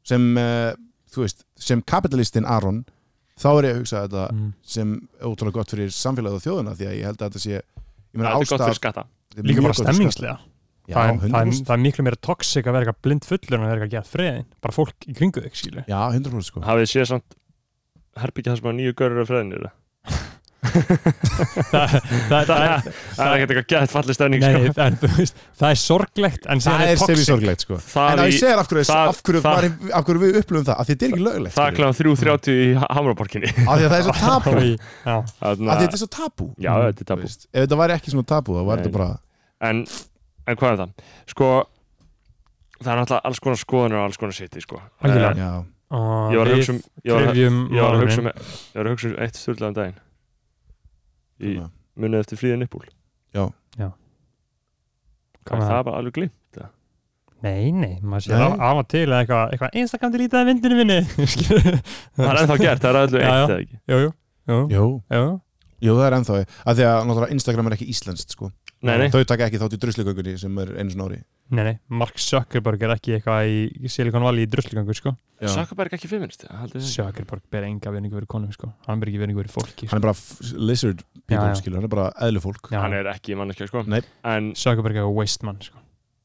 Speaker 5: sem uh, þú veist, sem kapitalistinn Aron þá er ég að hugsa þetta
Speaker 2: Mm.
Speaker 5: sem ótrúlega gott fyrir samfélagið og þjóðina því að ég held að þetta sé ég meina
Speaker 1: þetta er gott
Speaker 5: ástæða
Speaker 1: fyrir skatta
Speaker 5: þetta er
Speaker 2: líka
Speaker 5: mjög
Speaker 2: bara
Speaker 5: gott fyrir
Speaker 2: stemmingslega
Speaker 5: skatt.
Speaker 2: það
Speaker 5: já,
Speaker 2: er, það, er,
Speaker 5: 100%,
Speaker 2: það er miklu meira toxic að vera eitthvað blind fullur en að vera eitthvað gett freðin bara fólk í kringu þig, skilju
Speaker 5: já, 100% sko
Speaker 1: hafið þið séð samt herbyggja það sem að nýju görur af freðinir
Speaker 2: það, það, það,
Speaker 1: það
Speaker 2: er-
Speaker 1: er ekkert eitthvað gett fallið stefning
Speaker 2: nei,
Speaker 1: sko.
Speaker 2: nei, en, þú veist, það er sorglegt en síðan
Speaker 5: það er
Speaker 2: toxic.
Speaker 5: semisorglegt sko
Speaker 1: það,
Speaker 5: en að
Speaker 1: í-
Speaker 5: ég segir af hverju,
Speaker 1: það-
Speaker 5: af hverju,
Speaker 1: það-
Speaker 5: það, af hverju við upplöfum það af því þetta er ekki löglegt
Speaker 1: það er
Speaker 5: skilurðu.
Speaker 1: kláðan 3.30 í Hamraborkinni
Speaker 5: af því að það er svo tabú
Speaker 2: Í- Já,
Speaker 5: af því þetta er svo tabú
Speaker 1: já, þetta er
Speaker 5: Þú
Speaker 1: tabú
Speaker 5: veist, ef þetta væri ekki svona tabú þá
Speaker 1: Nei.
Speaker 5: væri þetta bara
Speaker 1: en, en hvað er það? Sko, það er náttúrulega alls konar skoðanir og alls konar seti sko.
Speaker 2: Algjörlega.
Speaker 5: já,
Speaker 2: og
Speaker 1: Ég var að
Speaker 2: við
Speaker 1: hugsa um- ég var að-
Speaker 2: kryfjum
Speaker 1: Eh, ég var að hugsa
Speaker 2: málin.
Speaker 1: um ég var að hugsa um eitt stjórnlega um daginn í
Speaker 5: svona.
Speaker 1: munið eftir flýðin uppúl
Speaker 2: Hvað
Speaker 1: það
Speaker 2: með
Speaker 1: er bara alveg glimt
Speaker 2: Nei, nei, maður sé
Speaker 5: Nei.
Speaker 2: af, af og til að eitthvað, eitthvað einstakandi lítið af vindinu minni Skilurðu?
Speaker 1: það er ennþá gert, það er allir
Speaker 2: Já,
Speaker 1: eitt
Speaker 2: já.
Speaker 1: eða ekki
Speaker 2: Jú, jú, jú,
Speaker 5: jú,
Speaker 2: jú.
Speaker 5: jú, það er ennþá af því að náttúrulega Instagram er ekki íslenskt sko
Speaker 1: nei, nei,
Speaker 5: þau taka ekki þátt í druslugöngunni sem er einu svona ári
Speaker 2: Nei, nei, Mark Zuckerberg er ekki eitthvað í Silicon Valley í druslugangu, sko
Speaker 5: Já.
Speaker 1: Sakkaberg ekki feminist haldið þið?
Speaker 2: Zuckerberg ber enga verningu verið konum, sko Hann ber ekki verningu verið fólki sko.
Speaker 5: hann er bara f- lizard people
Speaker 2: Já, já.
Speaker 5: skilur, hann er bara eðlufólk
Speaker 2: Já,
Speaker 1: hann er ekki manneskja sko
Speaker 5: Nei.
Speaker 1: en,
Speaker 2: Zuckerberg er eitthvað waste man, sko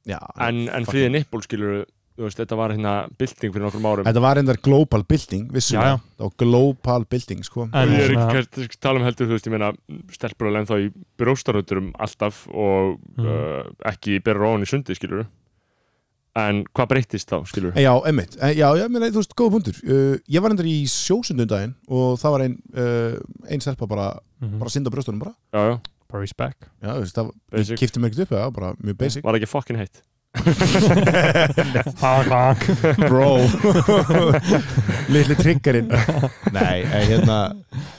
Speaker 5: Já,
Speaker 1: en, en
Speaker 5: fucking-
Speaker 1: flýðin uppúl skilur þú veist, þetta var hérna bylting fyrir nokkrum árum
Speaker 5: þetta var endar global building
Speaker 2: Já, já.
Speaker 5: vissulega, það var global building sko
Speaker 2: En-
Speaker 1: ég er
Speaker 2: svona-
Speaker 1: ekki kannski að tala um heldur þú veist, ég meina stelpur alveg ennþá í bróstaröndurum alltaf og
Speaker 2: Mm.
Speaker 1: uh, ekki berra róan í sundi skilur en hvað breyttist þá, skilur
Speaker 5: Eh, Já, emmitt, já, já, mér, þú veist, góða punktur uh, Ég var endur í sjósundum daginn og það var ein, uh, ein selpa bara,
Speaker 2: Mhm.
Speaker 5: bara að synda á brjóstunum bara
Speaker 1: já, já,
Speaker 2: Bara respect
Speaker 5: Já, þú veist, það
Speaker 1: basic,
Speaker 5: kipti mér ekkert upp, já, bara mjög basic
Speaker 1: var ekki fucking heitt
Speaker 2: Hag, hag
Speaker 5: Bro Lilli triggerinn Nei, eh, hérna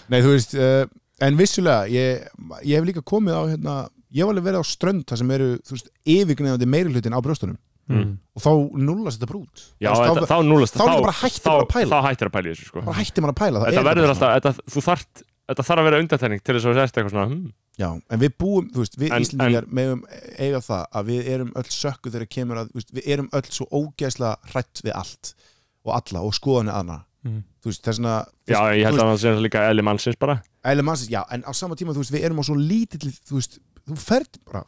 Speaker 5: Nei, þú veist, uh, en vissulega ég, ég hef líka komið á, hérna Ég hef alveg verið á strönd þar sem eru, þú veist, yfirgnefandi meiri hlutin á brjóstunum
Speaker 2: Mm.
Speaker 5: og þá nullast þetta brút
Speaker 1: já,
Speaker 5: Þú veist,
Speaker 1: þetta, þá núlast
Speaker 5: þá er bara hættir
Speaker 1: þá,
Speaker 5: maður að pæla.
Speaker 1: þá hættir að pæla í þessu sko.
Speaker 5: bara hætti maður að pæla það
Speaker 1: þetta
Speaker 5: er
Speaker 1: verður
Speaker 5: bara
Speaker 1: alltaf, þetta, þú þart þetta þarf að vera undartæning til þess að þú sérst eitthvað svona hm,
Speaker 5: Já, en við búum, þú veist, við
Speaker 1: En-
Speaker 5: Íslendingar megum eiga það að við erum öll sökku þegar kemur að, þú veist, við erum öll svo ógæsla hrætt við allt og alla og skoðanir aðna
Speaker 2: Mhm.
Speaker 5: þú veist, þess vegna
Speaker 1: já, ég held
Speaker 5: þú
Speaker 1: að það sé líka eðli mannsins bara
Speaker 5: eðli mannsins, já, en á sama tíma, þú veist, við erum á svo lítill, þú veist, þú ferð bara,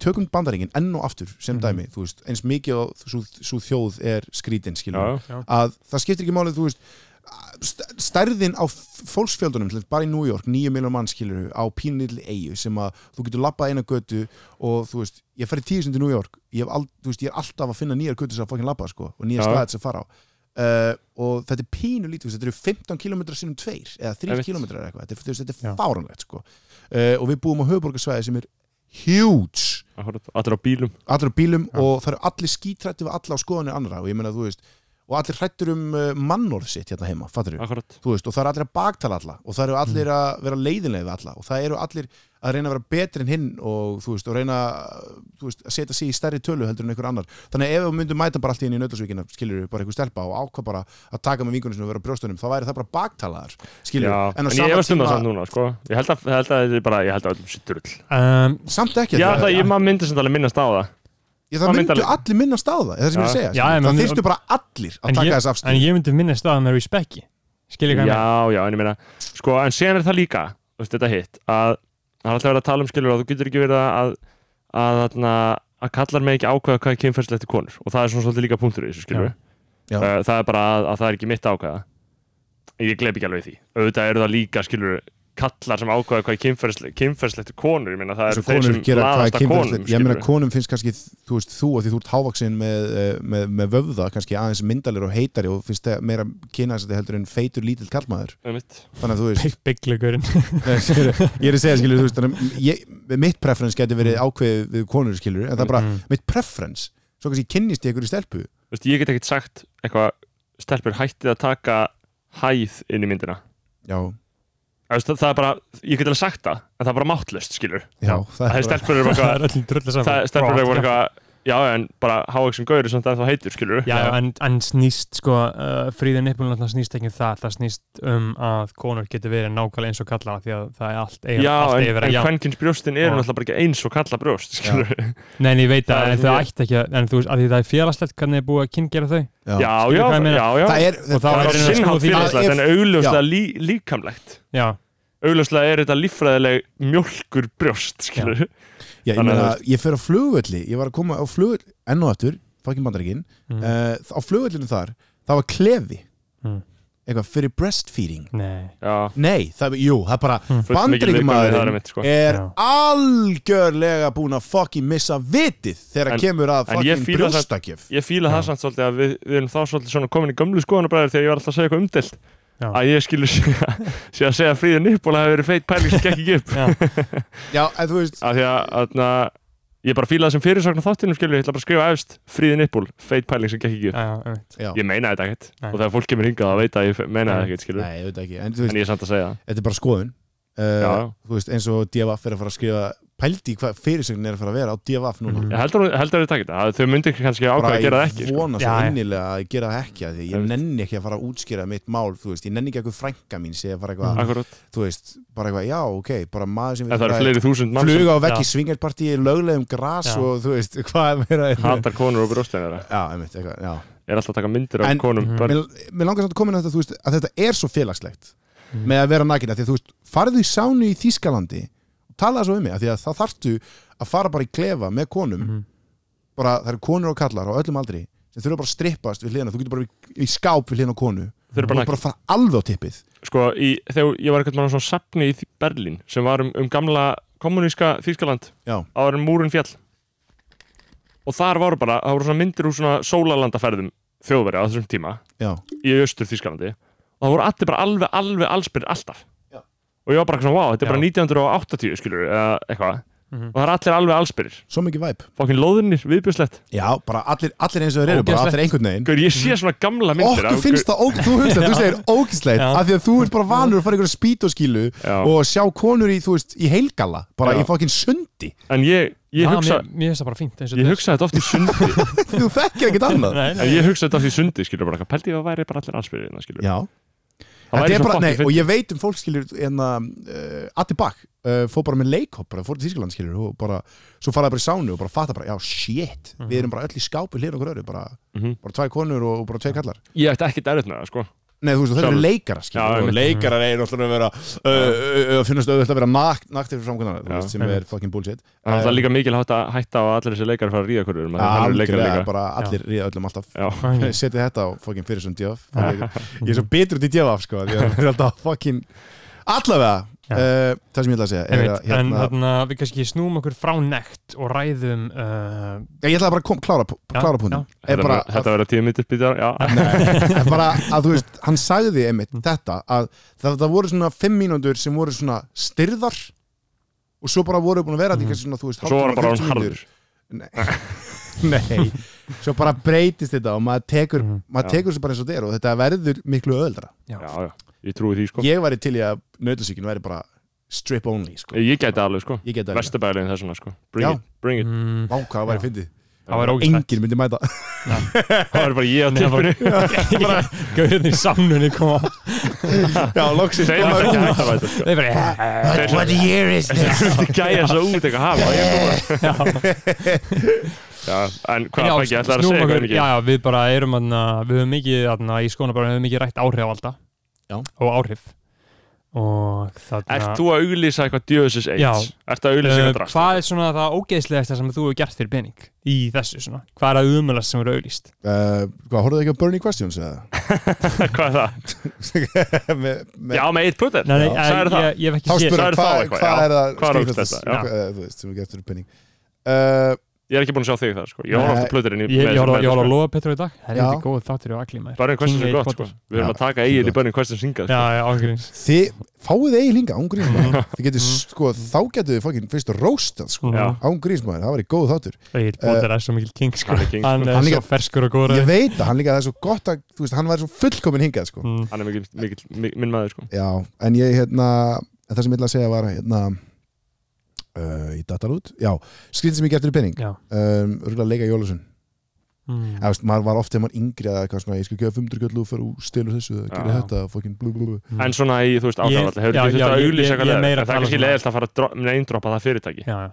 Speaker 5: tökum bandaringin enn og aftur sem
Speaker 2: Mhm.
Speaker 5: dæmi, þú veist, eins mikið og svo, svo þjóð er skrítin,
Speaker 1: já,
Speaker 5: skilur
Speaker 1: já,
Speaker 5: að það skiptir ekki málið, þú veist st- stærðin á f- fólksfjöldunum til dæmis bara í New York, 9 miljónum mann skilur á pínlítli eigu sem að þú getur labbað eina götu og þú veist ég fer í tíu sinni til New York, ég, hef ald, þú veist, ég er alltaf að finna nýjar götu sem að fokkin labba sko, og nýjar
Speaker 1: Já.
Speaker 5: staðið sem að fara á uh, og þetta er pínu lítið, þú veist, þetta eru 15 km sinum tveir eða 3
Speaker 1: Einmitt.
Speaker 5: km eða eitthvað, þetta, er- þú veist, þetta
Speaker 2: Já.
Speaker 5: er fáranlegt sko. uh, og við búum á höfuborgarsvæði sem er huge
Speaker 1: akkúrat. allir á bílum
Speaker 5: allir á bílum og það eru allir skítrætti við alla á skoðanir annara og ég meina þú veist og allir hrættur um uh, mannorð sitt hérna heima fattur
Speaker 1: akkurat, Mm.
Speaker 5: þú veist og það eru allir að baktala alla og það eru allir að vera leiðinlega við alla og það eru allir að reyna að vera betri en hinn og þú veist og reyna uh, þú veist, að setja sig í stærri tölu heldur en einhver annar þannig að ef við myndum mæta bara allt í henni í nautasvíkina skilur við bara einhver stelpa og ákvað bara að taka með vingunum sinni og vera á brjóstunum þá væri það bara baktalaðar skilur
Speaker 1: já,
Speaker 5: við
Speaker 1: en ég hefast um það samt núna sko. ég held að, held að þetta er bara, ég held að öllum sér drull
Speaker 2: um,
Speaker 5: samt ekki
Speaker 1: já,
Speaker 5: þetta-
Speaker 1: það, ég maður myndi sem það minnast á það
Speaker 5: Ég, það
Speaker 1: Það
Speaker 5: myndu
Speaker 1: myndi alveg-
Speaker 5: allir minnast á það, það er það sem ég er að segja
Speaker 2: Já,
Speaker 5: skilur.
Speaker 2: en-
Speaker 5: það
Speaker 2: en-
Speaker 5: þyrftu bara allir að
Speaker 2: en,
Speaker 5: taka
Speaker 2: ég,
Speaker 5: þess
Speaker 2: en
Speaker 5: afstöð
Speaker 2: ég myndi minna staðan með respecti Skilji hvað ég meina?
Speaker 1: já, já, en ég meina sko, en sen er það líka, þú veist, þetta hitt að það er alltaf verið að tala um skilur að þú getur ekki verið að að, að, að kallar mig ekki ákveða hvað er kynferðslegt til konur og það er svona svolítið líka punktur í þessu skilur
Speaker 5: Já. Já.
Speaker 1: Uh, það er bara að, að það er ekki mitt að ákveða ég gleyp ekki alveg því auðvitað eru það líka skilur kallar sem ákveða hvað er kynferðslegt, kynferðslegt til konur ég meina það eru
Speaker 5: Eins og
Speaker 1: þeir
Speaker 5: konur
Speaker 1: sem
Speaker 5: gera hvað
Speaker 1: laðast
Speaker 5: er
Speaker 1: að konum
Speaker 5: kynferðslega ég meina
Speaker 1: skilurðu.
Speaker 5: konum finnst kannski þú veist þú að því þú ert hávaksinn með, eh, með, með vöfða kannski aðeins myndalir og heitari og finnst það meira kynæsandi heldur en feitur lítill kallmaður
Speaker 1: Einmitt.
Speaker 5: þannig að þú veist
Speaker 2: Big- Bigglugurinn
Speaker 5: Nei, skilur, ég er að segja skilur þú veist þannig, að ég, mitt preference geti
Speaker 1: Mm.
Speaker 5: verið ákveðið við konur skilur en það er
Speaker 1: Mm-hmm.
Speaker 5: bara
Speaker 2: Mhm.
Speaker 5: mitt preference svo kannski kynnist ég ykkur í stelpu
Speaker 1: Þú veist, ég get ekkert sagt eitthvað stelpur hættið að taka hæð inn í myndina
Speaker 5: já,
Speaker 1: Þú veist, það, það er bara, ég get alveg sagt það en það er bara máttlust, skilur
Speaker 5: já,
Speaker 1: það er
Speaker 5: bara-
Speaker 1: stelpur eru bara
Speaker 2: Það
Speaker 1: eitthvað-
Speaker 2: er öllum drulla saman
Speaker 1: það er stelpur eru bara
Speaker 2: Bro,
Speaker 1: eitthvað já, en bara háaksum gauri sem það þá heitur, skilur
Speaker 2: Já, já, en, en snýst sko, uh, fríðin nippulun alltaf snýst ekki um það, það snýst um að konur getur verið nákvæmlega eins og kalla því að það er allt eiga,
Speaker 1: Já,
Speaker 2: allt
Speaker 1: en,
Speaker 2: eiga
Speaker 1: en
Speaker 2: verið já.
Speaker 1: kvenkins brjóstin eru
Speaker 2: Já.
Speaker 1: náttúrulega bara ekki eins og kalla brjóst, skilur
Speaker 2: Nei, en ég veit
Speaker 1: Það
Speaker 2: að,
Speaker 1: er
Speaker 2: en þau
Speaker 1: mjög-
Speaker 2: ætti ekki að, en þú veist, að því það er félagslegt hvernig er búið að kynngera þau
Speaker 5: já.
Speaker 1: Já,
Speaker 2: Skilur
Speaker 1: já,
Speaker 2: hvað ég meina?
Speaker 1: já, já
Speaker 5: það er,
Speaker 2: Og það
Speaker 1: það
Speaker 2: er
Speaker 1: er
Speaker 2: raunar
Speaker 1: sinnhátt
Speaker 2: sko því-
Speaker 1: félagslegt
Speaker 5: Það
Speaker 1: en augljóslega lí, líkamlegt
Speaker 2: Já,
Speaker 1: augljóslega er þetta líffræðileg mjólkur brjóst skilur
Speaker 5: Já, ég
Speaker 1: Þannig að
Speaker 5: meina,
Speaker 1: þú
Speaker 5: ég fer á flugvölli ég var að koma á flugvöll, enn og aftur fucking bandaríkin,
Speaker 2: Mhm.
Speaker 5: mm. á flugvöllinu þar það var klefi
Speaker 2: Mhm.
Speaker 1: Mm.
Speaker 5: eitthvað fyrir breastfeeding
Speaker 2: nei
Speaker 1: já,
Speaker 5: nei, það, jú, það er bara mm.
Speaker 1: Full mikil viðkvæmni þar
Speaker 5: bandaríkmaðurinn
Speaker 1: einmitt, sko.
Speaker 5: er
Speaker 2: Já.
Speaker 5: algjörlega búin að fucking missa vitið þegar
Speaker 1: En-
Speaker 5: kemur að
Speaker 1: en ég
Speaker 5: fucking
Speaker 1: fíla það-
Speaker 5: brjóstakjöf
Speaker 1: ég fíla það samt svolítið að við, við erum þá svolítið svona komin í gömlu skoðanabræður þegar ég var alltaf að segja eitthvað umdelt
Speaker 2: Já.
Speaker 1: að ég skilur sé sé að segja fríðin upp og það hefur verið feitt pæling sem gekk ekki upp
Speaker 2: Já,
Speaker 5: já, en þú veist,
Speaker 1: af því að atna, ég bara fíla það sem fyrirsakna þáttinum skilur, ég ætla bara að skrifa efst fríðin upp feitt pæling sem gekk ekki upp
Speaker 2: já, já, einmitt.
Speaker 5: já,
Speaker 1: ég meina þetta ekkert
Speaker 2: Nei.
Speaker 1: og þegar fólk kemur hingað að veita að ég fe- meina þetta
Speaker 2: Nei.
Speaker 1: ekkert skilur
Speaker 5: nei, ég veit ekki en þú
Speaker 1: en
Speaker 5: veist,
Speaker 1: ég er samt að segja það.
Speaker 5: þetta er bara skoðun uh,
Speaker 1: Já.
Speaker 5: þú veist, eins og DFF er að fara að skrifa pældi í hvað fyrirsögnin er að fara að vera á DFF núna
Speaker 2: Mhm.
Speaker 1: ég heldur að þau takit það þau myndir kannski ákvæða að gera það ekki
Speaker 5: Ég
Speaker 1: sko.
Speaker 2: Já,
Speaker 5: vona svo
Speaker 2: já.
Speaker 5: innilega að ég gera það ekki að því ég
Speaker 1: Einmitt.
Speaker 5: nenni ekki að fara að útskýra mitt mál þú veist, ég nenni ekki að eitthvað frænka mín segja bara eitthvað,
Speaker 1: Akkúrat.
Speaker 5: þú veist, bara eitthvað, já, ok bara maður sem
Speaker 1: Mm. en það eru
Speaker 5: hvað er-
Speaker 1: fleiri þúsund mann sem
Speaker 5: fluga á vekk
Speaker 2: Já.
Speaker 5: í svingarpartí löglegum gras
Speaker 2: Já.
Speaker 5: og þú veist, hvað er meira
Speaker 1: hatar konur og brjóstæðin þeirra
Speaker 5: Já, einmitt, eitthvað, já
Speaker 1: er alltaf að taka myndir af
Speaker 5: En-
Speaker 1: konum
Speaker 2: Mhm.
Speaker 1: bara-
Speaker 5: Mér, mér langar samt að koma inn á þetta, þú veist, að þetta er svo félagslegt
Speaker 1: Mm.
Speaker 5: með að vera nakina, því að þú veist, farðu í sánu í Þískalandi og talaðu svo um mig, af því að það þarftu að fara bara í klefa með konum
Speaker 2: Mhm.
Speaker 5: bara, það eru konur og kallar á öllum aldri sem þurfa bara að strippast við hliðina, þú getur bara í, í skáp við hliðina á konu
Speaker 1: Þau eru
Speaker 5: þú
Speaker 1: bara
Speaker 5: getur bara að fara alveg á tippið
Speaker 1: sko, í, þegar ég var einhvern veginn á svona safni í Þý- Berlín sem var um, um gamla kommuníska Þýskaland
Speaker 5: Já.
Speaker 1: áður en múrun fjall og þar voru bara, það voru svona myndir úr svona sólalandaferðum þjóðverja á þessum tíma
Speaker 5: já,
Speaker 1: í austur Þískalandi og það voru allir bara alveg, alveg allsbyrð alltaf
Speaker 5: Já.
Speaker 1: og ég var bara svona, wow, þetta er
Speaker 2: Já.
Speaker 1: bara 1980 skilur, eða eitthvað og það er allir alveg allsbyrðir,
Speaker 5: svo mikið væp
Speaker 1: fokkin loðinir, viðbjörslegt
Speaker 5: já, bara allir, allir eins og þeir eru, bara allir einhvern veginn
Speaker 1: Gaur, ég sé svona gamla myndir
Speaker 5: Mhm. okkur finnst það, óg, þú finnst það, þú segir ógislegt
Speaker 2: Já.
Speaker 5: af því að þú ert bara vanur að fara í einhverja spítoskílu
Speaker 1: Já.
Speaker 5: og sjá konur í, þú veist, í heilgalla bara
Speaker 1: Já.
Speaker 5: í fokkin sundi,
Speaker 1: en ég, ég hugsa
Speaker 2: mér, mér finnst það bara fínt eins og
Speaker 1: Ég
Speaker 2: þetta er.
Speaker 1: hugsaði þetta oft í sundi
Speaker 5: þú þekkir ekkert annað
Speaker 2: Nei,
Speaker 1: En ég hugsaði þetta oft í sundi, skilur bara Pældi ég að væri bara allir allsbyrðina, skilur
Speaker 5: já,
Speaker 1: Það
Speaker 5: Þetta
Speaker 1: væri
Speaker 5: er
Speaker 1: svo
Speaker 5: bara, nei,
Speaker 1: fokkin
Speaker 5: og
Speaker 1: fyndið
Speaker 5: ég veit um fólk skilur en að uh, Atti Bach uh, fór bara með leikhopp, bara fór til Þískaland skilur og bara, svo faraði bara í sánu og bara fatta bara, já, shit, við erum bara öll í skápi hlýðin okkur öðru, bara,
Speaker 1: Mhm.
Speaker 5: bara tvær konur og, og bara tveir kallar.
Speaker 1: Ég ætti ekkert erfitt með það, sko
Speaker 5: Nei, þú veist, þau eru
Speaker 1: Sjálfur.
Speaker 5: leikara skilur,
Speaker 1: Já,
Speaker 5: og
Speaker 1: einmitt.
Speaker 5: leikarar er náttúrulega að vera uh, uh, uh, finnast auðvitað að vera nakt, nakt eftir framkvæmdana, þú
Speaker 1: Já,
Speaker 5: veist, sem er
Speaker 2: einmitt.
Speaker 5: fucking bullshit.
Speaker 1: En það er líka mikil hætta, hætta á að allir þessi leikar fara að ríða hverjum Það er leikar
Speaker 5: Algjörlega,
Speaker 1: líka
Speaker 5: bara allir ríða öllum alltaf.
Speaker 1: Já,
Speaker 2: Ok.
Speaker 5: Setið þetta á fucking fyrir sem djöf. Ég er svo bitur út í djöf af, sko, því að það er alltaf fucking allavega.
Speaker 2: Já.
Speaker 5: Uh, það sem ég ætla að segja er
Speaker 2: Einmitt,
Speaker 5: að, hérna-
Speaker 2: en þarna við kannski snúum okkur frá nekt og ræðum uh,
Speaker 5: Já, ég ætlaði bara að kom, klára,
Speaker 2: Já,
Speaker 5: klára púnum er
Speaker 1: þetta
Speaker 5: bara,
Speaker 1: verður- þetta verður tíu mitt upp í dag Já,
Speaker 5: að, er bara að þú veist, hann sagði einmitt
Speaker 2: Mm.
Speaker 5: þetta að það, það voru svona fimm mínútur sem voru svona styrðar og svo bara voru búin
Speaker 2: Mm.
Speaker 5: að vera þetta í kannski svona, þú veist,
Speaker 1: svo var
Speaker 5: hálftíma,
Speaker 1: bara hann
Speaker 5: 40
Speaker 1: harður
Speaker 5: mínútur. Nei, svo bara breytist þetta og maður tekur,
Speaker 2: Mhm.
Speaker 5: maður
Speaker 1: Já.
Speaker 5: tekur sér bara eins og þetta er og þetta verður miklu öðra
Speaker 1: Já, já, ég trúi því, sko
Speaker 5: Ég væri til í að nautasíkin væri bara strip only, sko
Speaker 1: Ég gæti alveg, sko
Speaker 5: Ég geta það
Speaker 1: Vesturbæliðin þessuna, sko
Speaker 5: Já.
Speaker 1: Bring it, bring it
Speaker 2: mm,
Speaker 5: Vá, hvað það væri fyndið
Speaker 2: það var ógæst
Speaker 5: Enginn myndi mæta
Speaker 1: Það er bara ég á
Speaker 2: Nei, það var-
Speaker 1: tippinu
Speaker 2: gaurinn í samnunni koma
Speaker 5: Já, loksins
Speaker 1: Þeir eru ekki hægt að væta, sko
Speaker 2: þeir bara
Speaker 1: What, what year is this? Þetta gæja svo út eitthvað hafa ég koma Já, en hvað
Speaker 2: Já,
Speaker 1: að ekki ætlar að
Speaker 2: snúum
Speaker 1: segja
Speaker 2: okkur-
Speaker 1: hvað ekki
Speaker 2: já, já, við bara erum aðna, við höfum mikið aðna, í skóna bara, við höfum mikið rætt áhrif alltaf
Speaker 5: Já.
Speaker 2: og áhrif og þarna
Speaker 1: Ert þú að auglýsa eitthvað djöðsins
Speaker 2: Já.
Speaker 1: eitt? Ert að auglýsa
Speaker 2: Uh,
Speaker 1: eitthvað drast?
Speaker 2: hvað er svona það ógeðslegasta sem þú hefur gert fyrir pening í þessu svona? Hvað er að umöðlast sem eru auðlýst?
Speaker 5: Uh, Hvað, horfðu ekki á Bernie Questions eða?
Speaker 1: hvað er það?
Speaker 5: með, með,
Speaker 1: Já, með eitt putter
Speaker 2: Nei, nei,
Speaker 1: Já. Sagðirðu það?
Speaker 2: ég, ég, hef
Speaker 5: þá
Speaker 2: ekki séð
Speaker 1: spurði-
Speaker 5: spurðu,
Speaker 1: sagði þá eitthvað, já.
Speaker 5: hvað hvað er það
Speaker 1: Hvað er
Speaker 5: skrýtnasta
Speaker 1: ógeðslegasta, já.
Speaker 5: sem- hvað- þú veist, sem við getum fyrir penning uh,
Speaker 1: Ég er ekki búin að sjá þig það, sko Ég horf
Speaker 5: Nei.
Speaker 1: ofta plöturinn í
Speaker 2: Ég, ég horfði- ég horfði að lofa Petru í dag Það er
Speaker 5: Já.
Speaker 2: eitthvað góð þáttur á allir maður
Speaker 1: Börnin sko. Questions er
Speaker 2: King Eight
Speaker 1: gott, sko
Speaker 2: Potter.
Speaker 1: Við erum
Speaker 5: Já.
Speaker 1: að taka eigin í Börnin Questions hingað
Speaker 2: Já,
Speaker 1: sko.
Speaker 2: já, ágríns
Speaker 5: þið fáið eigin hinga án grísmaður
Speaker 1: Mhm.
Speaker 5: þið getur, sko, þá getur þið fokkin fyrst róstað, sko,
Speaker 1: Já.
Speaker 5: án grísmaður það var í góð þáttur
Speaker 2: Mm. Egil Potter er svo mikil king sko
Speaker 1: Hann er king, sko.
Speaker 2: Hann er
Speaker 5: Hann
Speaker 2: svo
Speaker 5: líka-
Speaker 2: ferskur og góður
Speaker 5: ég veit að hann líka það er svo gott að, þú veist, hann var svo fullkomin hingað, sko
Speaker 2: Mm.
Speaker 1: Hann er mikill, mikill, mikill, minn maður, sko
Speaker 5: já, en ég, hérna, en það sem ég ætla að segja var hérna uh, í datalút, já, skrýn sem ég getur penning
Speaker 2: Já.
Speaker 5: um, rúlega leika Jólusson
Speaker 2: Mm.
Speaker 5: Eða, þú veist, maður var oft þegar maður yngri eða eitthvað svona, ég skal gefa 500 göllu og fara úr stilur þessu, eða gera
Speaker 1: Já.
Speaker 5: þetta, fucking blú, blú, blú.
Speaker 1: En svona í, þú veist,
Speaker 2: Mm. Ég-
Speaker 1: áhrifalli Hefur
Speaker 2: já,
Speaker 1: ekki
Speaker 2: já,
Speaker 1: þetta að
Speaker 2: ég-
Speaker 1: auglýsa
Speaker 2: ég-
Speaker 1: eitthvað
Speaker 2: ég er
Speaker 1: leðilegt
Speaker 2: meira að
Speaker 1: Það er
Speaker 2: tala
Speaker 1: kannski
Speaker 2: svona.
Speaker 1: leðilegt að fara að dro- neindroppa það fyrirtæki
Speaker 2: Já, já.